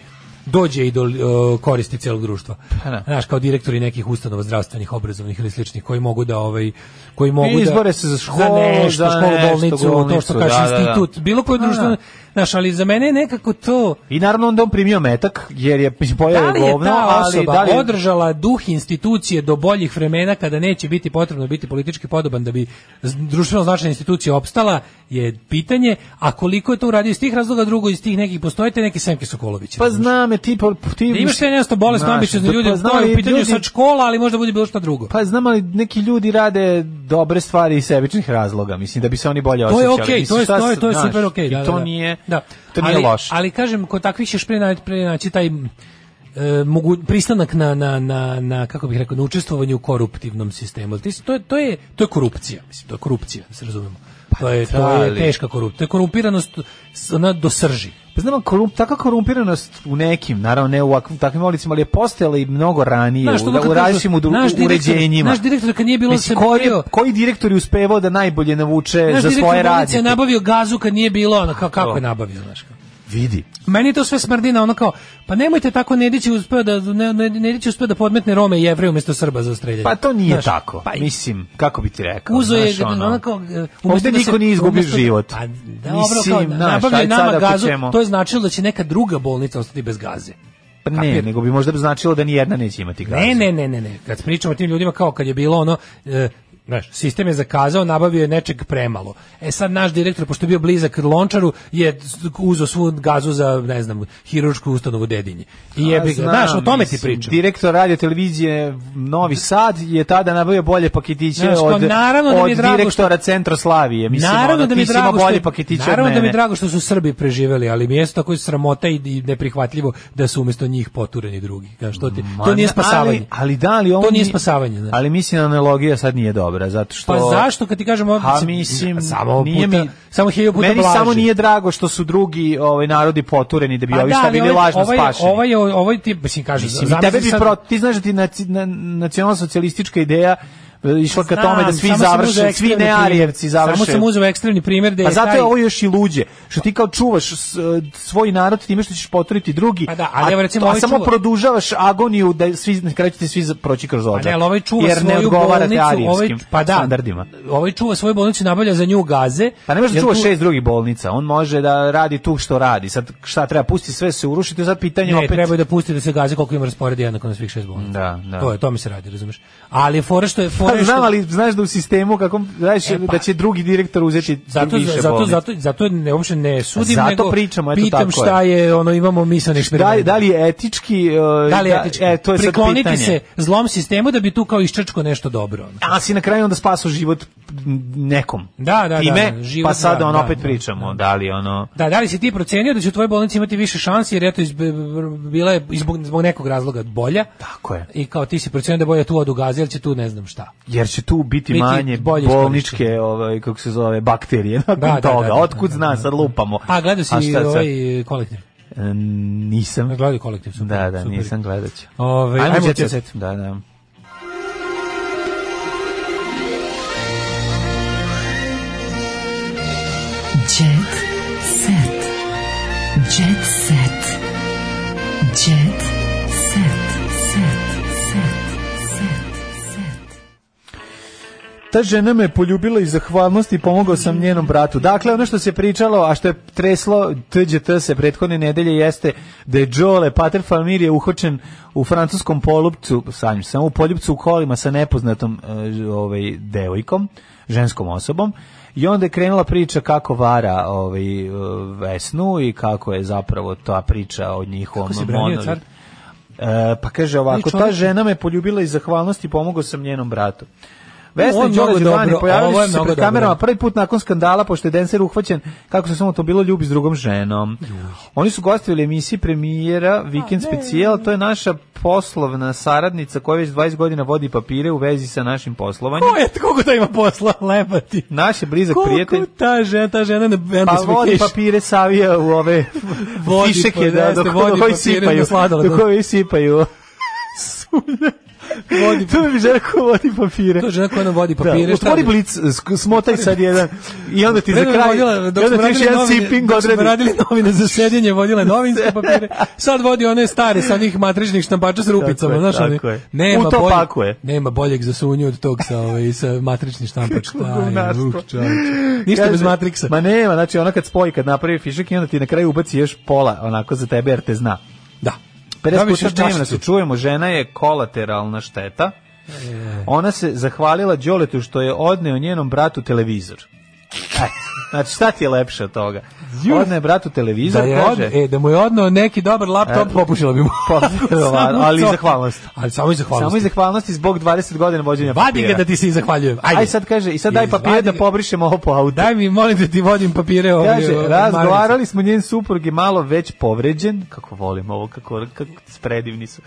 [SPEAKER 7] dođe i do o, koristi celog društva.
[SPEAKER 6] Pa da.
[SPEAKER 7] Znaš, kao direktori nekih ustanova zdravstvenih, obrazovnih ili sličnih koji mogu da ovaj koji mogu da
[SPEAKER 6] Izbore se za školu,
[SPEAKER 7] nešto,
[SPEAKER 6] za
[SPEAKER 7] školu,
[SPEAKER 6] nešto,
[SPEAKER 7] bolnicu, to
[SPEAKER 6] bolnicu,
[SPEAKER 7] što kaže
[SPEAKER 6] da, da, da.
[SPEAKER 7] institut, bilo koje
[SPEAKER 6] Pa
[SPEAKER 7] društveno,
[SPEAKER 6] da.
[SPEAKER 7] znaš, ali za mene je nekako to
[SPEAKER 6] I naravno onda on primio metak, jer je, mislim, pojeo
[SPEAKER 7] da
[SPEAKER 6] je
[SPEAKER 7] li je
[SPEAKER 6] E, govno,
[SPEAKER 7] ta
[SPEAKER 6] ali
[SPEAKER 7] osoba
[SPEAKER 6] da li...
[SPEAKER 7] održala duh institucije do boljih vremena kada neće biti potrebno biti politički podoban da bi z- društveno značajna institucija opstala je pitanje, a koliko je to uradio iz tih razloga, drugo iz tih nekih postojite neki Semke Sokolovića.
[SPEAKER 6] Pa znam je, ti... po- ti
[SPEAKER 7] Da imaš te jednostavno bolesno
[SPEAKER 6] Znaš,
[SPEAKER 7] ambiciozne
[SPEAKER 6] da-
[SPEAKER 7] ljude,
[SPEAKER 6] pa
[SPEAKER 7] pa,
[SPEAKER 6] znam,
[SPEAKER 7] to je
[SPEAKER 6] ali
[SPEAKER 7] u pitanju
[SPEAKER 6] ljudi-
[SPEAKER 7] sad škola, ali možda bude bilo šta drugo.
[SPEAKER 6] Pa znam, ali neki ljudi rade dobre stvari iz sebičnih razloga, mislim, da bi se oni bolje
[SPEAKER 7] to je
[SPEAKER 6] osjećali.
[SPEAKER 7] okej, to
[SPEAKER 6] Mislim,
[SPEAKER 7] je
[SPEAKER 6] šta
[SPEAKER 7] to je
[SPEAKER 6] se-
[SPEAKER 7] to je
[SPEAKER 6] znaš,
[SPEAKER 7] super okej,
[SPEAKER 6] i
[SPEAKER 7] da, da,
[SPEAKER 6] To
[SPEAKER 7] da.
[SPEAKER 6] nije,
[SPEAKER 7] da.
[SPEAKER 6] to nije
[SPEAKER 7] ali,
[SPEAKER 6] loše.
[SPEAKER 7] Ali kažem kod takvih ćeš pre na- pre naći taj m, e, mogu pristanak na, na, na, na kako bih rekao na učestvovanje u koruptivnom sistemu. Ti si- to je to je to je korupcija, mislim, to je korupcija, da se razumemo. to je to je
[SPEAKER 6] Pa ali-
[SPEAKER 7] teška korupcija. To je korumpiranost s- ona do srži.
[SPEAKER 6] Pa znam, korup, taka korumpiranost u nekim, naravno ne u ovakvim- takvim ulicama, ali je postojala i mnogo ranije,
[SPEAKER 7] Znaš,
[SPEAKER 6] u,
[SPEAKER 7] ono
[SPEAKER 6] da,
[SPEAKER 7] kad
[SPEAKER 6] u
[SPEAKER 7] kažu,
[SPEAKER 6] različitim udu-
[SPEAKER 7] naš direktor-
[SPEAKER 6] uređenjima.
[SPEAKER 7] naš direktor kad nije bilo
[SPEAKER 6] Mislim,
[SPEAKER 7] se
[SPEAKER 6] koji, je-
[SPEAKER 7] borio-
[SPEAKER 6] koji direktor je uspevao da najbolje navuče
[SPEAKER 7] Znaš,
[SPEAKER 6] za
[SPEAKER 7] direktor
[SPEAKER 6] svoje
[SPEAKER 7] bolnice
[SPEAKER 6] radnje?
[SPEAKER 7] je nabavio gazu kad nije bilo, ono, kao, kako
[SPEAKER 6] to.
[SPEAKER 7] je nabavio, znaš, kao.
[SPEAKER 6] Vidi.
[SPEAKER 7] Meni je to sve smrdina, ono kao, pa nemojte tako Nedić je uspeo da ne, ne, Nedić je uspeo da podmetne Rome i Jevreje umjesto Srba za streljanje.
[SPEAKER 6] Pa to nije
[SPEAKER 7] Znaš,
[SPEAKER 6] tako.
[SPEAKER 7] Pa
[SPEAKER 6] Mislim, kako bi ti rekao?
[SPEAKER 7] uzo je
[SPEAKER 6] znaš, ono,
[SPEAKER 7] onako e,
[SPEAKER 6] ovde niko nije izgubio život.
[SPEAKER 7] Pa dobro,
[SPEAKER 6] Mislim,
[SPEAKER 7] kao,
[SPEAKER 6] znaš,
[SPEAKER 7] nabavljaju
[SPEAKER 6] ajde sad
[SPEAKER 7] nama
[SPEAKER 6] ako
[SPEAKER 7] gazu,
[SPEAKER 6] ćemo-
[SPEAKER 7] to je značilo da će neka druga bolnica ostati bez gaze.
[SPEAKER 6] Pa ne, nego bi možda značilo da ni jedna neće imati gazu.
[SPEAKER 7] Ne, ne, ne, ne, ne. Kad pričamo o tim ljudima kao kad je bilo ono e, Znaš, sistem je zakazao, nabavio je nečeg premalo. E sad naš direktor, pošto je bio blizak Lončaru, je uzeo svu gazu za, ne znam, hirušku ustanovu dedinje. I je, znaš, o tome ti pričam.
[SPEAKER 6] Direktor radio televizije Novi Sad je tada nabavio bolje paketiće
[SPEAKER 7] Znaš, kao,
[SPEAKER 6] od,
[SPEAKER 7] naravno da mi
[SPEAKER 6] od
[SPEAKER 7] je drago što-
[SPEAKER 6] direktora Centroslavije. Mislim,
[SPEAKER 7] naravno
[SPEAKER 6] ono,
[SPEAKER 7] da
[SPEAKER 6] ti
[SPEAKER 7] mi je
[SPEAKER 6] si imao
[SPEAKER 7] drago
[SPEAKER 6] bolje
[SPEAKER 7] što
[SPEAKER 6] paketiće od
[SPEAKER 7] naravno da mi
[SPEAKER 6] mene.
[SPEAKER 7] je drago što su Srbi preživeli, ali mi je isto tako sramota i, i neprihvatljivo da su umjesto njih potureni drugi. Kao što ti, to
[SPEAKER 6] Ma,
[SPEAKER 7] nije
[SPEAKER 6] ali-
[SPEAKER 7] spasavanje.
[SPEAKER 6] ali da, ali ovo
[SPEAKER 7] to nije
[SPEAKER 6] nije-
[SPEAKER 7] spasavanje, znaš.
[SPEAKER 6] Ali mislim analogija sad nije dobra, zato što...
[SPEAKER 7] Pa zašto kad ti kažem ovo,
[SPEAKER 6] Ha, mislim,
[SPEAKER 7] samo
[SPEAKER 6] nije
[SPEAKER 7] puta-
[SPEAKER 6] mi,
[SPEAKER 7] samo hiljadu puta
[SPEAKER 6] Meni
[SPEAKER 7] blaže.
[SPEAKER 6] samo nije drago što su drugi ovaj, narodi potureni da bi
[SPEAKER 7] Pa
[SPEAKER 6] ovi
[SPEAKER 7] da,
[SPEAKER 6] šta
[SPEAKER 7] ali
[SPEAKER 6] bili
[SPEAKER 7] ovaj-
[SPEAKER 6] lažno
[SPEAKER 7] ovaj,
[SPEAKER 6] spašeni.
[SPEAKER 7] Ovaj, je- ovaj ti, mislim, kažem,
[SPEAKER 6] Mislim, i
[SPEAKER 7] zamisli
[SPEAKER 6] tebe bi
[SPEAKER 7] sad-
[SPEAKER 6] pro- ti znaš da ti naci- na- nacionalsocijalistička ideja e, išla ka
[SPEAKER 7] Znam,
[SPEAKER 6] tome da svi
[SPEAKER 7] samo sam uzeo
[SPEAKER 6] završe, svi
[SPEAKER 7] ekstremni
[SPEAKER 6] nearijevci
[SPEAKER 7] primer.
[SPEAKER 6] završe.
[SPEAKER 7] Samo sam uzeo ekstremni primjer da je
[SPEAKER 6] Pa zato
[SPEAKER 7] taj-
[SPEAKER 6] je ovo još i luđe, što ti kao čuvaš s- e, svoj narod time što ćeš poturiti drugi,
[SPEAKER 7] Pa da, ali evo recimo
[SPEAKER 6] a,
[SPEAKER 7] ovaj
[SPEAKER 6] samo
[SPEAKER 7] čuva-
[SPEAKER 6] produžavaš agoniju da svi, na kraju ćete svi za- proći kroz
[SPEAKER 7] Pa
[SPEAKER 6] ođak.
[SPEAKER 7] ne, ali ovaj čuva
[SPEAKER 6] jer ne
[SPEAKER 7] svoju
[SPEAKER 6] odgovarate
[SPEAKER 7] bolnicu, ovaj,
[SPEAKER 6] arijevskim
[SPEAKER 7] pa da,
[SPEAKER 6] standardima.
[SPEAKER 7] ovaj čuva svoju bolnicu i nabavlja za nju gaze.
[SPEAKER 6] Pa ne može da
[SPEAKER 7] jer
[SPEAKER 6] čuva
[SPEAKER 7] tu-
[SPEAKER 6] šest drugih bolnica, on može da radi tu što radi. Sad šta treba pusti sve se urušiti, sad pitanje
[SPEAKER 7] Ne,
[SPEAKER 6] opet.
[SPEAKER 7] treba da pusti da se gaze koliko ima rasporeda jednako na svih šest bolnica.
[SPEAKER 6] Da, da.
[SPEAKER 7] To je, to mi se radi, razumeš. Ali je fora što je fora
[SPEAKER 6] Pa
[SPEAKER 7] je
[SPEAKER 6] znam,
[SPEAKER 7] što-
[SPEAKER 6] ali znaš da u sistemu kakvom, znaš,
[SPEAKER 7] E, pa.
[SPEAKER 6] da će drugi direktor uzeti
[SPEAKER 7] zato
[SPEAKER 6] više
[SPEAKER 7] zato
[SPEAKER 6] bolnica.
[SPEAKER 7] zato zato ne uopšte ne sudim
[SPEAKER 6] Zato
[SPEAKER 7] nego
[SPEAKER 6] pričamo, eto
[SPEAKER 7] pitam
[SPEAKER 6] tako je.
[SPEAKER 7] šta je. ono imamo misaoni
[SPEAKER 6] Da, li-
[SPEAKER 7] eksperiment.
[SPEAKER 6] da li je etički... e,
[SPEAKER 7] Da li je etički?
[SPEAKER 6] e, to je sad
[SPEAKER 7] Prikloniti
[SPEAKER 6] pitanje.
[SPEAKER 7] se zlom sistemu da bi tu kao iščrčko nešto dobro. ono.
[SPEAKER 6] A si na kraju onda spaso život m, nekom.
[SPEAKER 7] Da, da,
[SPEAKER 6] Time,
[SPEAKER 7] da, život,
[SPEAKER 6] pa sad
[SPEAKER 7] da,
[SPEAKER 6] ono
[SPEAKER 7] da,
[SPEAKER 6] opet
[SPEAKER 7] da,
[SPEAKER 6] pričamo, da li ono...
[SPEAKER 7] Da, da li si ti procenio da će u tvojoj bolnici imati više šansi jer eto iz, bila je iz- zbog, zbog nekog razloga bolja
[SPEAKER 6] Tako je.
[SPEAKER 7] i kao ti si procenio da je bolja tu od ugaze jer će tu ne znam šta.
[SPEAKER 6] Jer će tu biti,
[SPEAKER 7] Biti
[SPEAKER 6] manje
[SPEAKER 7] bolje
[SPEAKER 6] bolničke, ovaj, kako se zove, bakterije nakon
[SPEAKER 7] Da, da,
[SPEAKER 6] toga.
[SPEAKER 7] da, da,
[SPEAKER 6] Otkud
[SPEAKER 7] da,
[SPEAKER 6] zna,
[SPEAKER 7] da,
[SPEAKER 6] sad lupamo.
[SPEAKER 7] A gledao si
[SPEAKER 6] Pa šta sad?
[SPEAKER 7] ovaj e, kolektiv.
[SPEAKER 6] E, Nisam.
[SPEAKER 7] Gledao kolektiv, super.
[SPEAKER 6] Da, da,
[SPEAKER 7] super.
[SPEAKER 6] nisam gledat ću.
[SPEAKER 7] Ovaj,
[SPEAKER 6] Ajmo
[SPEAKER 7] ajmo
[SPEAKER 6] Jet
[SPEAKER 7] Jet
[SPEAKER 6] Set.
[SPEAKER 7] Set.
[SPEAKER 6] Da, da.
[SPEAKER 5] Jet set. Jet set. Jet set. Set.
[SPEAKER 6] Ta žena me poljubila iz zahvalnosti i pomogao sam njenom bratu. Dakle, ono što se pričalo, a što je treslo TGT se prethodne nedelje jeste da je Joe Pater Famir je uhočen u francuskom polupcu, sanjim samo u poljupcu u kolima sa nepoznatom e, ž- ovaj, devojkom, ženskom osobom. I onda je krenula priča kako vara ovaj, e, Vesnu i kako je zapravo ta priča o njihovom
[SPEAKER 7] Kako se branio
[SPEAKER 6] monolitu.
[SPEAKER 7] car?
[SPEAKER 6] E, pa kaže ovako,
[SPEAKER 7] I
[SPEAKER 6] ta
[SPEAKER 7] čovjek-
[SPEAKER 6] žena me poljubila iz zahvalnosti i pomogao sam njenom bratu. Vesna
[SPEAKER 7] Ovo je
[SPEAKER 6] i Đole
[SPEAKER 7] mnogo
[SPEAKER 6] Đivani
[SPEAKER 7] dobro, ovo
[SPEAKER 6] pojavili
[SPEAKER 7] je
[SPEAKER 6] su se
[SPEAKER 7] mnogo
[SPEAKER 6] pred
[SPEAKER 7] dobro.
[SPEAKER 6] kamerama prvi put nakon skandala, pošto je Denser uhvaćen kako se samo to bilo ljubi s drugom ženom. Oni su gostovili u emisiji premijera Vikend specijal, to je naša poslovna saradnica koja već 20 godina vodi papire u vezi sa našim poslovanjem.
[SPEAKER 7] O, eto, koliko da ima posla, lepa ti.
[SPEAKER 6] Naš je blizak prijatelj.
[SPEAKER 7] Koliko ta žena, ta žena ne
[SPEAKER 6] Pa vodi papire savija u ove
[SPEAKER 7] Vodi,
[SPEAKER 6] fišeke
[SPEAKER 7] pa
[SPEAKER 6] da,
[SPEAKER 7] jeste,
[SPEAKER 6] dok
[SPEAKER 7] vodi
[SPEAKER 6] dok koji
[SPEAKER 7] papire
[SPEAKER 6] sipaju.
[SPEAKER 7] na sladoled,
[SPEAKER 6] Dok
[SPEAKER 7] da.
[SPEAKER 6] koji sipaju.
[SPEAKER 7] vodi
[SPEAKER 6] To bi žena koja vodi papire.
[SPEAKER 7] To je žena koja nam vodi papire.
[SPEAKER 6] Da,
[SPEAKER 7] šta
[SPEAKER 6] otvori
[SPEAKER 7] bi-
[SPEAKER 6] blic, sk- smotaj sad jedan i onda ti za
[SPEAKER 7] Vreme je
[SPEAKER 6] kraj,
[SPEAKER 7] vodila,
[SPEAKER 6] i
[SPEAKER 7] dok
[SPEAKER 6] onda
[SPEAKER 7] smo
[SPEAKER 6] ti još
[SPEAKER 7] radili
[SPEAKER 6] jedan
[SPEAKER 7] novine,
[SPEAKER 6] sipping
[SPEAKER 7] dok smo
[SPEAKER 6] odredi.
[SPEAKER 7] radili novine za sedenje, vodila je novinske papire. Sad vodi one stare sa onih matričnih štampača sa rupicama,
[SPEAKER 6] je,
[SPEAKER 7] znaš one.
[SPEAKER 6] tako je.
[SPEAKER 7] Nema
[SPEAKER 6] U to
[SPEAKER 7] boljeg-
[SPEAKER 6] pakuje.
[SPEAKER 7] Nema boljeg za sunju od tog sa ovaj sa matrični štampač. Taj,
[SPEAKER 6] govnarstvo.
[SPEAKER 7] uh, čoveče. Ništa
[SPEAKER 6] Kaže,
[SPEAKER 7] bez matriksa.
[SPEAKER 6] Ma nema, znači ona kad spoji, kad napravi fišak i onda ti na kraju ubaci još pola onako za tebe jer te zna.
[SPEAKER 7] Da.
[SPEAKER 6] 50
[SPEAKER 7] Praviš
[SPEAKER 6] puta
[SPEAKER 7] još
[SPEAKER 6] dnevno se
[SPEAKER 7] čašicu.
[SPEAKER 6] čujemo, žena je kolateralna šteta.
[SPEAKER 7] E.
[SPEAKER 6] Ona se zahvalila Đoletu što je odneo njenom bratu televizor. E, znači šta ti je lepše od toga? Odneo je bratu
[SPEAKER 7] Da,
[SPEAKER 6] televizor,
[SPEAKER 7] je od,
[SPEAKER 6] kaže...
[SPEAKER 7] e, da mu je odnao neki dobar laptop,
[SPEAKER 6] E,
[SPEAKER 7] popušila bi mu.
[SPEAKER 6] pa, verovatno, ali
[SPEAKER 7] to.
[SPEAKER 6] i zahvalnost.
[SPEAKER 7] Ali samo i zahvalnost.
[SPEAKER 6] Samo iz zahvalnosti zbog 20 godina vođenja
[SPEAKER 7] Vadi ga
[SPEAKER 6] papira.
[SPEAKER 7] da ti se i zahvaljujem. Ajde.
[SPEAKER 6] Aj sad kaže, i sad daj papire
[SPEAKER 7] Izvadi
[SPEAKER 6] da
[SPEAKER 7] ga.
[SPEAKER 6] pobrišemo ovo po autu.
[SPEAKER 7] Daj mi, molim te ti vodim papire ovdje.
[SPEAKER 6] Kaže,
[SPEAKER 7] ovaj, Marinica.
[SPEAKER 6] razgovarali smo njen suprug je malo već povređen, kako volim ovo, kako, kako spredivni su.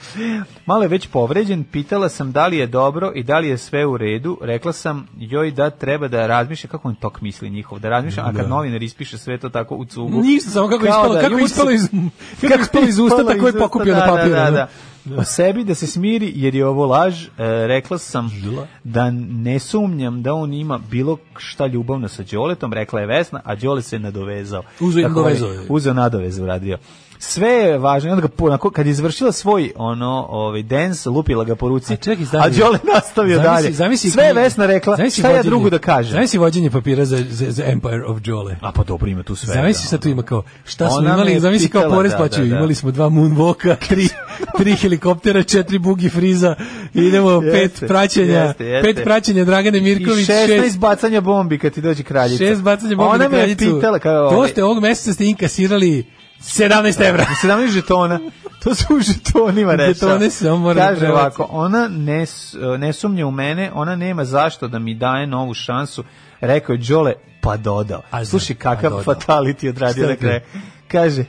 [SPEAKER 6] Malo je već povređen, pitala sam da li je dobro i da li je sve u redu, rekla sam joj da treba da razmišlja, kako on tok misli njihov, da razmišlja, a kad novinar ispiše sve to tako u cugu.
[SPEAKER 7] Ništa, samo kako je
[SPEAKER 6] Kao
[SPEAKER 7] ispalo,
[SPEAKER 6] da,
[SPEAKER 7] kako je
[SPEAKER 6] ljudi su-
[SPEAKER 7] ispalo iz, kako je ispalo iz usta,
[SPEAKER 6] ispalo
[SPEAKER 7] tako je
[SPEAKER 6] iz usta,
[SPEAKER 7] pokupio
[SPEAKER 6] da,
[SPEAKER 7] na papiru.
[SPEAKER 6] Da, da,
[SPEAKER 7] ono.
[SPEAKER 6] da. O sebi da se smiri jer je ovo laž, e, rekla sam da ne sumnjam da on ima bilo šta ljubavno sa Đoletom, rekla je Vesna, a Đole se nadovezao.
[SPEAKER 7] Uzeo i
[SPEAKER 6] Tako
[SPEAKER 7] nadovezao
[SPEAKER 6] on je
[SPEAKER 7] je.
[SPEAKER 6] Uzeo nadovez uradio. Sve je važno, i onda ga po- onako, kad je izvršila svoj ono ovaj dance, lupila ga po ruci.
[SPEAKER 7] A čekaj,
[SPEAKER 6] a
[SPEAKER 7] zamisli-
[SPEAKER 6] Đole nastavio
[SPEAKER 7] zamisli-
[SPEAKER 6] dalje.
[SPEAKER 7] zamisli-
[SPEAKER 6] Sve je Vesna rekla,
[SPEAKER 7] zamisli
[SPEAKER 6] šta ja
[SPEAKER 7] vođenje-
[SPEAKER 6] drugo da kažem?
[SPEAKER 7] Zamisli vođenje papira za, za, za Empire of Jole.
[SPEAKER 6] A pa dobro ima tu sve.
[SPEAKER 7] Zamisli
[SPEAKER 6] da. ono.
[SPEAKER 7] sad tu ima kao, šta smo
[SPEAKER 6] Ona me je
[SPEAKER 7] imali, zamisli kao
[SPEAKER 6] pitala,
[SPEAKER 7] porez
[SPEAKER 6] da,
[SPEAKER 7] plaćaju,
[SPEAKER 6] da, da.
[SPEAKER 7] imali smo dva moonwalka, tri, tri helikoptera, četiri bugi friza, idemo
[SPEAKER 6] Jeste,
[SPEAKER 7] pet praćenja,
[SPEAKER 6] jeste, jeste.
[SPEAKER 7] pet praćenja Dragane Mirković,
[SPEAKER 6] I 16 bacanja bombi kad ti dođe kraljica.
[SPEAKER 7] šest bacanja bombi
[SPEAKER 6] Ona
[SPEAKER 7] na
[SPEAKER 6] me je
[SPEAKER 7] kraljicu.
[SPEAKER 6] pitala kao... ovaj,
[SPEAKER 7] To ste ovog meseca ste inkasirali 17 evra.
[SPEAKER 6] 17 žetona. To su u žetonima rešava.
[SPEAKER 7] Žetone samo moram da
[SPEAKER 6] Kaže
[SPEAKER 7] prebacim.
[SPEAKER 6] ovako, ona ne, s- ne sumnja u mene, ona nema zašto da mi daje novu šansu. Rekao je Đole, pa dodao.
[SPEAKER 7] A,
[SPEAKER 6] Slušaj
[SPEAKER 7] pa
[SPEAKER 6] kakav
[SPEAKER 7] dodao.
[SPEAKER 6] fatality odradio
[SPEAKER 7] Šta
[SPEAKER 6] na
[SPEAKER 7] je
[SPEAKER 6] kraju. Kaže,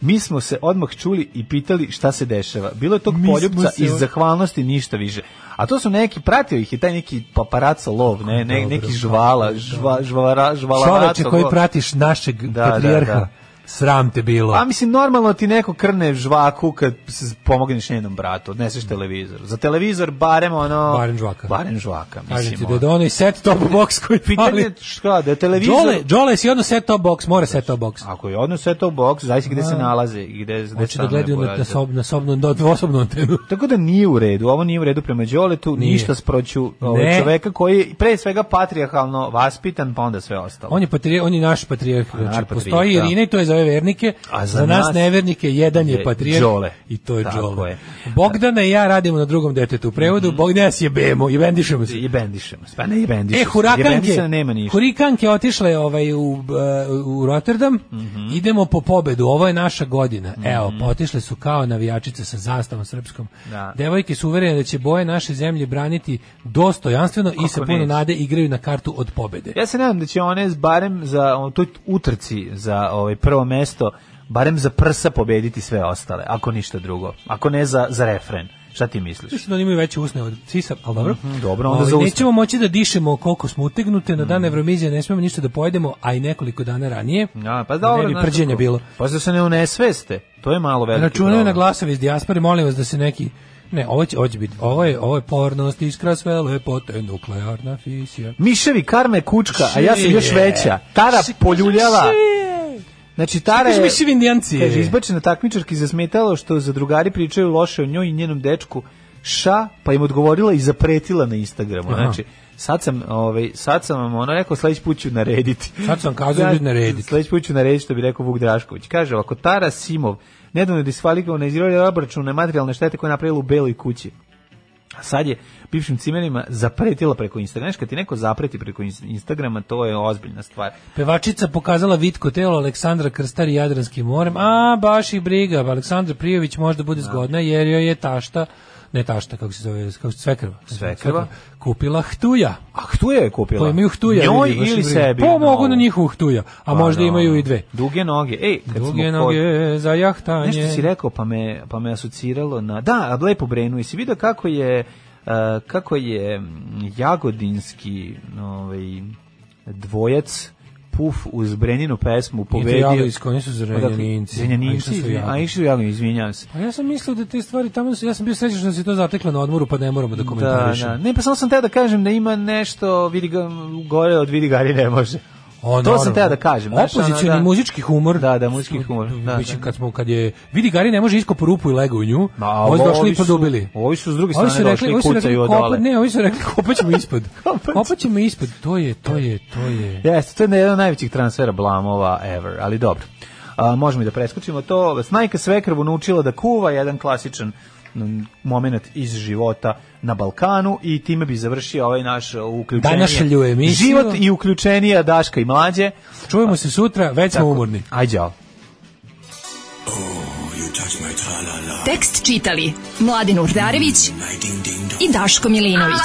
[SPEAKER 6] Mi smo se odmah čuli i pitali šta se dešava. Bilo je tog
[SPEAKER 7] Mi smo
[SPEAKER 6] poljubca
[SPEAKER 7] se-
[SPEAKER 6] iz zahvalnosti ništa više. A to su neki, pratio ih i taj neki paparaco lov, ne, ne,
[SPEAKER 7] Dobro,
[SPEAKER 6] neki žvala, žva, žvara, žvalaraco
[SPEAKER 7] Čoveče koji
[SPEAKER 6] lov.
[SPEAKER 7] pratiš našeg
[SPEAKER 6] Da, da,
[SPEAKER 7] patrijarha,
[SPEAKER 6] da.
[SPEAKER 7] sram te bilo.
[SPEAKER 6] A Pa mislim, normalno ti neko krne žvaku kad s- pomogneš njenom bratu, odneseš televizor. Za televizor barem ono...
[SPEAKER 7] Barem žvaka.
[SPEAKER 6] Barem žvaka,
[SPEAKER 7] Kažem ti
[SPEAKER 6] mislim.
[SPEAKER 7] da
[SPEAKER 6] ono.
[SPEAKER 7] je da onaj set top box koji
[SPEAKER 6] Pitanje
[SPEAKER 7] fali.
[SPEAKER 6] je šta, da je televizor...
[SPEAKER 7] Đole, Đole, si odno set top box, mora set top box.
[SPEAKER 6] Ako je odnos set top box, zavisi gde se
[SPEAKER 7] Da.
[SPEAKER 6] nalaze i gde, gde
[SPEAKER 7] Hoće da
[SPEAKER 6] stanove
[SPEAKER 7] gledaju na, na,
[SPEAKER 6] porađaju.
[SPEAKER 7] sob, na sobnu, na dvosobnu antenu.
[SPEAKER 6] Tako da nije u redu, ovo nije u redu prema Đoletu,
[SPEAKER 7] Nije.
[SPEAKER 6] ništa sproću ovaj
[SPEAKER 7] Ne.
[SPEAKER 6] čoveka koji je pre svega patrijarhalno vaspitan, pa onda sve ostalo.
[SPEAKER 7] On je, patrijarh, on je naš patrijarh. Znači,
[SPEAKER 6] Pa patrijarh,
[SPEAKER 7] postoji
[SPEAKER 6] da.
[SPEAKER 7] Irina i to je za ove vernike.
[SPEAKER 6] A
[SPEAKER 7] za,
[SPEAKER 6] za
[SPEAKER 7] nas,
[SPEAKER 6] nas
[SPEAKER 7] nevernike jedan je
[SPEAKER 6] je
[SPEAKER 7] patrijarh.
[SPEAKER 6] Đole.
[SPEAKER 7] I to je
[SPEAKER 6] Tako
[SPEAKER 7] Đole.
[SPEAKER 6] je. Mhm.
[SPEAKER 7] Bogdana i ja radimo na drugom detetu u prevodu. Bogdana nas jebemo i vendišemo se.
[SPEAKER 6] I bendišemo se. Pa ne i bendišemo
[SPEAKER 7] E,
[SPEAKER 6] se.
[SPEAKER 7] hurakanke,
[SPEAKER 6] Jebendišena nema ništa.
[SPEAKER 7] hurikanke otišle ovaj, u, e, u Rotterdam,
[SPEAKER 6] Mhm.
[SPEAKER 7] idemo po pobedu, ovo je naša godina. Evo, pa otišle su kao navijačice sa zastavom srpskom.
[SPEAKER 6] Da.
[SPEAKER 7] Devojke su uverene da će boje naše zemlje braniti dostojanstveno i sa
[SPEAKER 6] Kako
[SPEAKER 7] puno
[SPEAKER 6] neće?
[SPEAKER 7] nade igraju na kartu od pobede.
[SPEAKER 6] Ja se nadam da će one s- barem za o, toj utrci za ovaj prvo mesto barem za prsa pobediti sve ostale, ako ništa drugo. Ako ne za za refren. Šta ti misliš?
[SPEAKER 7] Mislim da oni imaju veće usne od sisa, ali dobro.
[SPEAKER 6] Mhm, dobro, onda Mhm.
[SPEAKER 7] Ovaj,
[SPEAKER 6] za usne.
[SPEAKER 7] Nećemo moći da dišemo koliko smo utegnute, na dan Evromizije ne smemo ništa da pojedemo, a i nekoliko dana ranije.
[SPEAKER 6] Ja, pa
[SPEAKER 7] Da ne
[SPEAKER 6] dobro,
[SPEAKER 7] bi
[SPEAKER 6] znaš
[SPEAKER 7] prđenja
[SPEAKER 6] kako.
[SPEAKER 7] bilo.
[SPEAKER 6] Pa da se ne unesveste. To je malo veliki.
[SPEAKER 7] Računaju na
[SPEAKER 6] problem.
[SPEAKER 7] glasove iz dijaspore, molim vas da se neki Ne, ovo će, ovo će biti, ovo je, ovo je pornost, iskra sve lepote, nuklearna fisija.
[SPEAKER 6] Miševi karme kučka, a ja sam još
[SPEAKER 7] Šije.
[SPEAKER 6] veća. Tara
[SPEAKER 7] Šije.
[SPEAKER 6] poljuljala. Znači Tara
[SPEAKER 7] Kaže
[SPEAKER 6] je
[SPEAKER 7] mi šivi indijanci.
[SPEAKER 6] kaže izbačena takmičarki zasmetalo što za drugari pričaju loše o njoj i njenom dečku. Ša, pa im odgovorila i zapretila na Instagramu.
[SPEAKER 7] Aha.
[SPEAKER 6] Znači, sad sam, ovaj, sad sam vam ono rekao, sledeći put ću narediti.
[SPEAKER 7] Sad sam kazao da ću narediti.
[SPEAKER 6] Sledeći put ću narediti, što bi rekao Vuk Drašković. Kaže, ovako, Tara Simov, nedavno je diskvalikovao na izgledaju obračune materijalne štete koje je napravila u Beloj kući. A sad je bivšim cimerima zapretila preko Instagrama. Znaš, kad ti neko zapreti preko ins- Instagrama, to je ozbiljna stvar.
[SPEAKER 7] Pevačica pokazala vitko telo Aleksandra Krstar i Jadranskim morem. A, baš ih briga, Aleksandra Prijović možda bude zgodna jer joj je tašta, ne tašta, kako se zove, kako se svekrva.
[SPEAKER 6] Svekrva.
[SPEAKER 7] Kupila htuja.
[SPEAKER 6] A htuja je kupila.
[SPEAKER 7] Pa imaju htuja.
[SPEAKER 6] Njoj
[SPEAKER 7] vidi, baš
[SPEAKER 6] ili
[SPEAKER 7] ih briga.
[SPEAKER 6] sebi. ono,
[SPEAKER 7] Pa mogu
[SPEAKER 6] novu.
[SPEAKER 7] na njihovu htuja, a
[SPEAKER 6] Pa
[SPEAKER 7] možda
[SPEAKER 6] da.
[SPEAKER 7] imaju i dve.
[SPEAKER 6] Duge noge. Ej, kad
[SPEAKER 7] Druge
[SPEAKER 6] smo kod-
[SPEAKER 7] noge za jahtanje.
[SPEAKER 6] Nešto si rekao, pa me, pa me asociralo na... Da, a lepo brenu. I si vidio kako je, e, kako je mm, jagodinski ovaj, dvojac Puf uz Breninu pesmu pobedio...
[SPEAKER 7] Jagodinsko, oni su Zrenjaninci.
[SPEAKER 6] Odakle?
[SPEAKER 7] A
[SPEAKER 6] Zrenjaninci,
[SPEAKER 7] išli su
[SPEAKER 6] izvinjam- a
[SPEAKER 7] Jagodinci.
[SPEAKER 6] išli u Jagodin, izvinjam se.
[SPEAKER 7] Pa ja sam mislio da te stvari tamo su, ja sam bio srećan što se to zateklo na odmoru, pa ne moramo da
[SPEAKER 6] Da,
[SPEAKER 7] komentarišemo.
[SPEAKER 6] da. Ne, pa samo sam teo da kažem da ima nešto vidi ga, gore od vidi gari ne može.
[SPEAKER 7] O,
[SPEAKER 6] to sam
[SPEAKER 7] naravno.
[SPEAKER 6] teo da kažem. znaš, ono,
[SPEAKER 7] Opozicioni
[SPEAKER 6] da.
[SPEAKER 7] muzički humor.
[SPEAKER 6] Da, da, muzički humor, da,
[SPEAKER 7] Mislim,
[SPEAKER 6] da.
[SPEAKER 7] kad, smo, kad je, vidi Gari ne može iskopu rupu i lego u nju,
[SPEAKER 6] Ma, a
[SPEAKER 7] ovi su došli
[SPEAKER 6] ovi
[SPEAKER 7] i
[SPEAKER 6] su-
[SPEAKER 7] produbili.
[SPEAKER 6] ovi su s druge
[SPEAKER 7] Ovi su
[SPEAKER 6] strane
[SPEAKER 7] rekli-
[SPEAKER 6] došli i
[SPEAKER 7] ovi su
[SPEAKER 6] kucaju
[SPEAKER 7] rekli,
[SPEAKER 6] od
[SPEAKER 7] "Kopa-
[SPEAKER 6] dole."
[SPEAKER 7] Ne, ovi su rekli kopaćemo ispod.
[SPEAKER 6] Kopat-
[SPEAKER 7] kopaćemo ispod, to je, to je, to je.
[SPEAKER 6] Jeste, to je jedan od najvećih transfera blamova ever, ali dobro. A, možemo i da preskočimo to. Snajka Svekrvu naučila da kuva jedan klasičan moment iz života na Balkanu i time bi završio ovaj naš uključenje.
[SPEAKER 7] Današnju emisiju.
[SPEAKER 6] Život i uključenija Daška i Mlađe.
[SPEAKER 7] Čujemo se sutra, već smo umorni.
[SPEAKER 6] Aj, đao.
[SPEAKER 5] Tekst čitali Mladin Urdarević i Daško Milinović.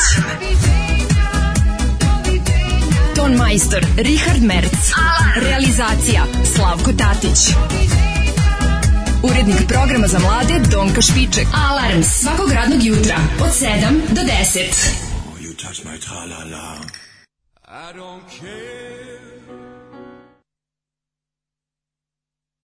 [SPEAKER 5] Ton majstor Richard Merc. Realizacija Slavko Tatić. Urednik programa za mlade Donka Špiček. Alarms svakog radnog jutra od 7 do 10.
[SPEAKER 1] You touch my tra-la-la. I don't care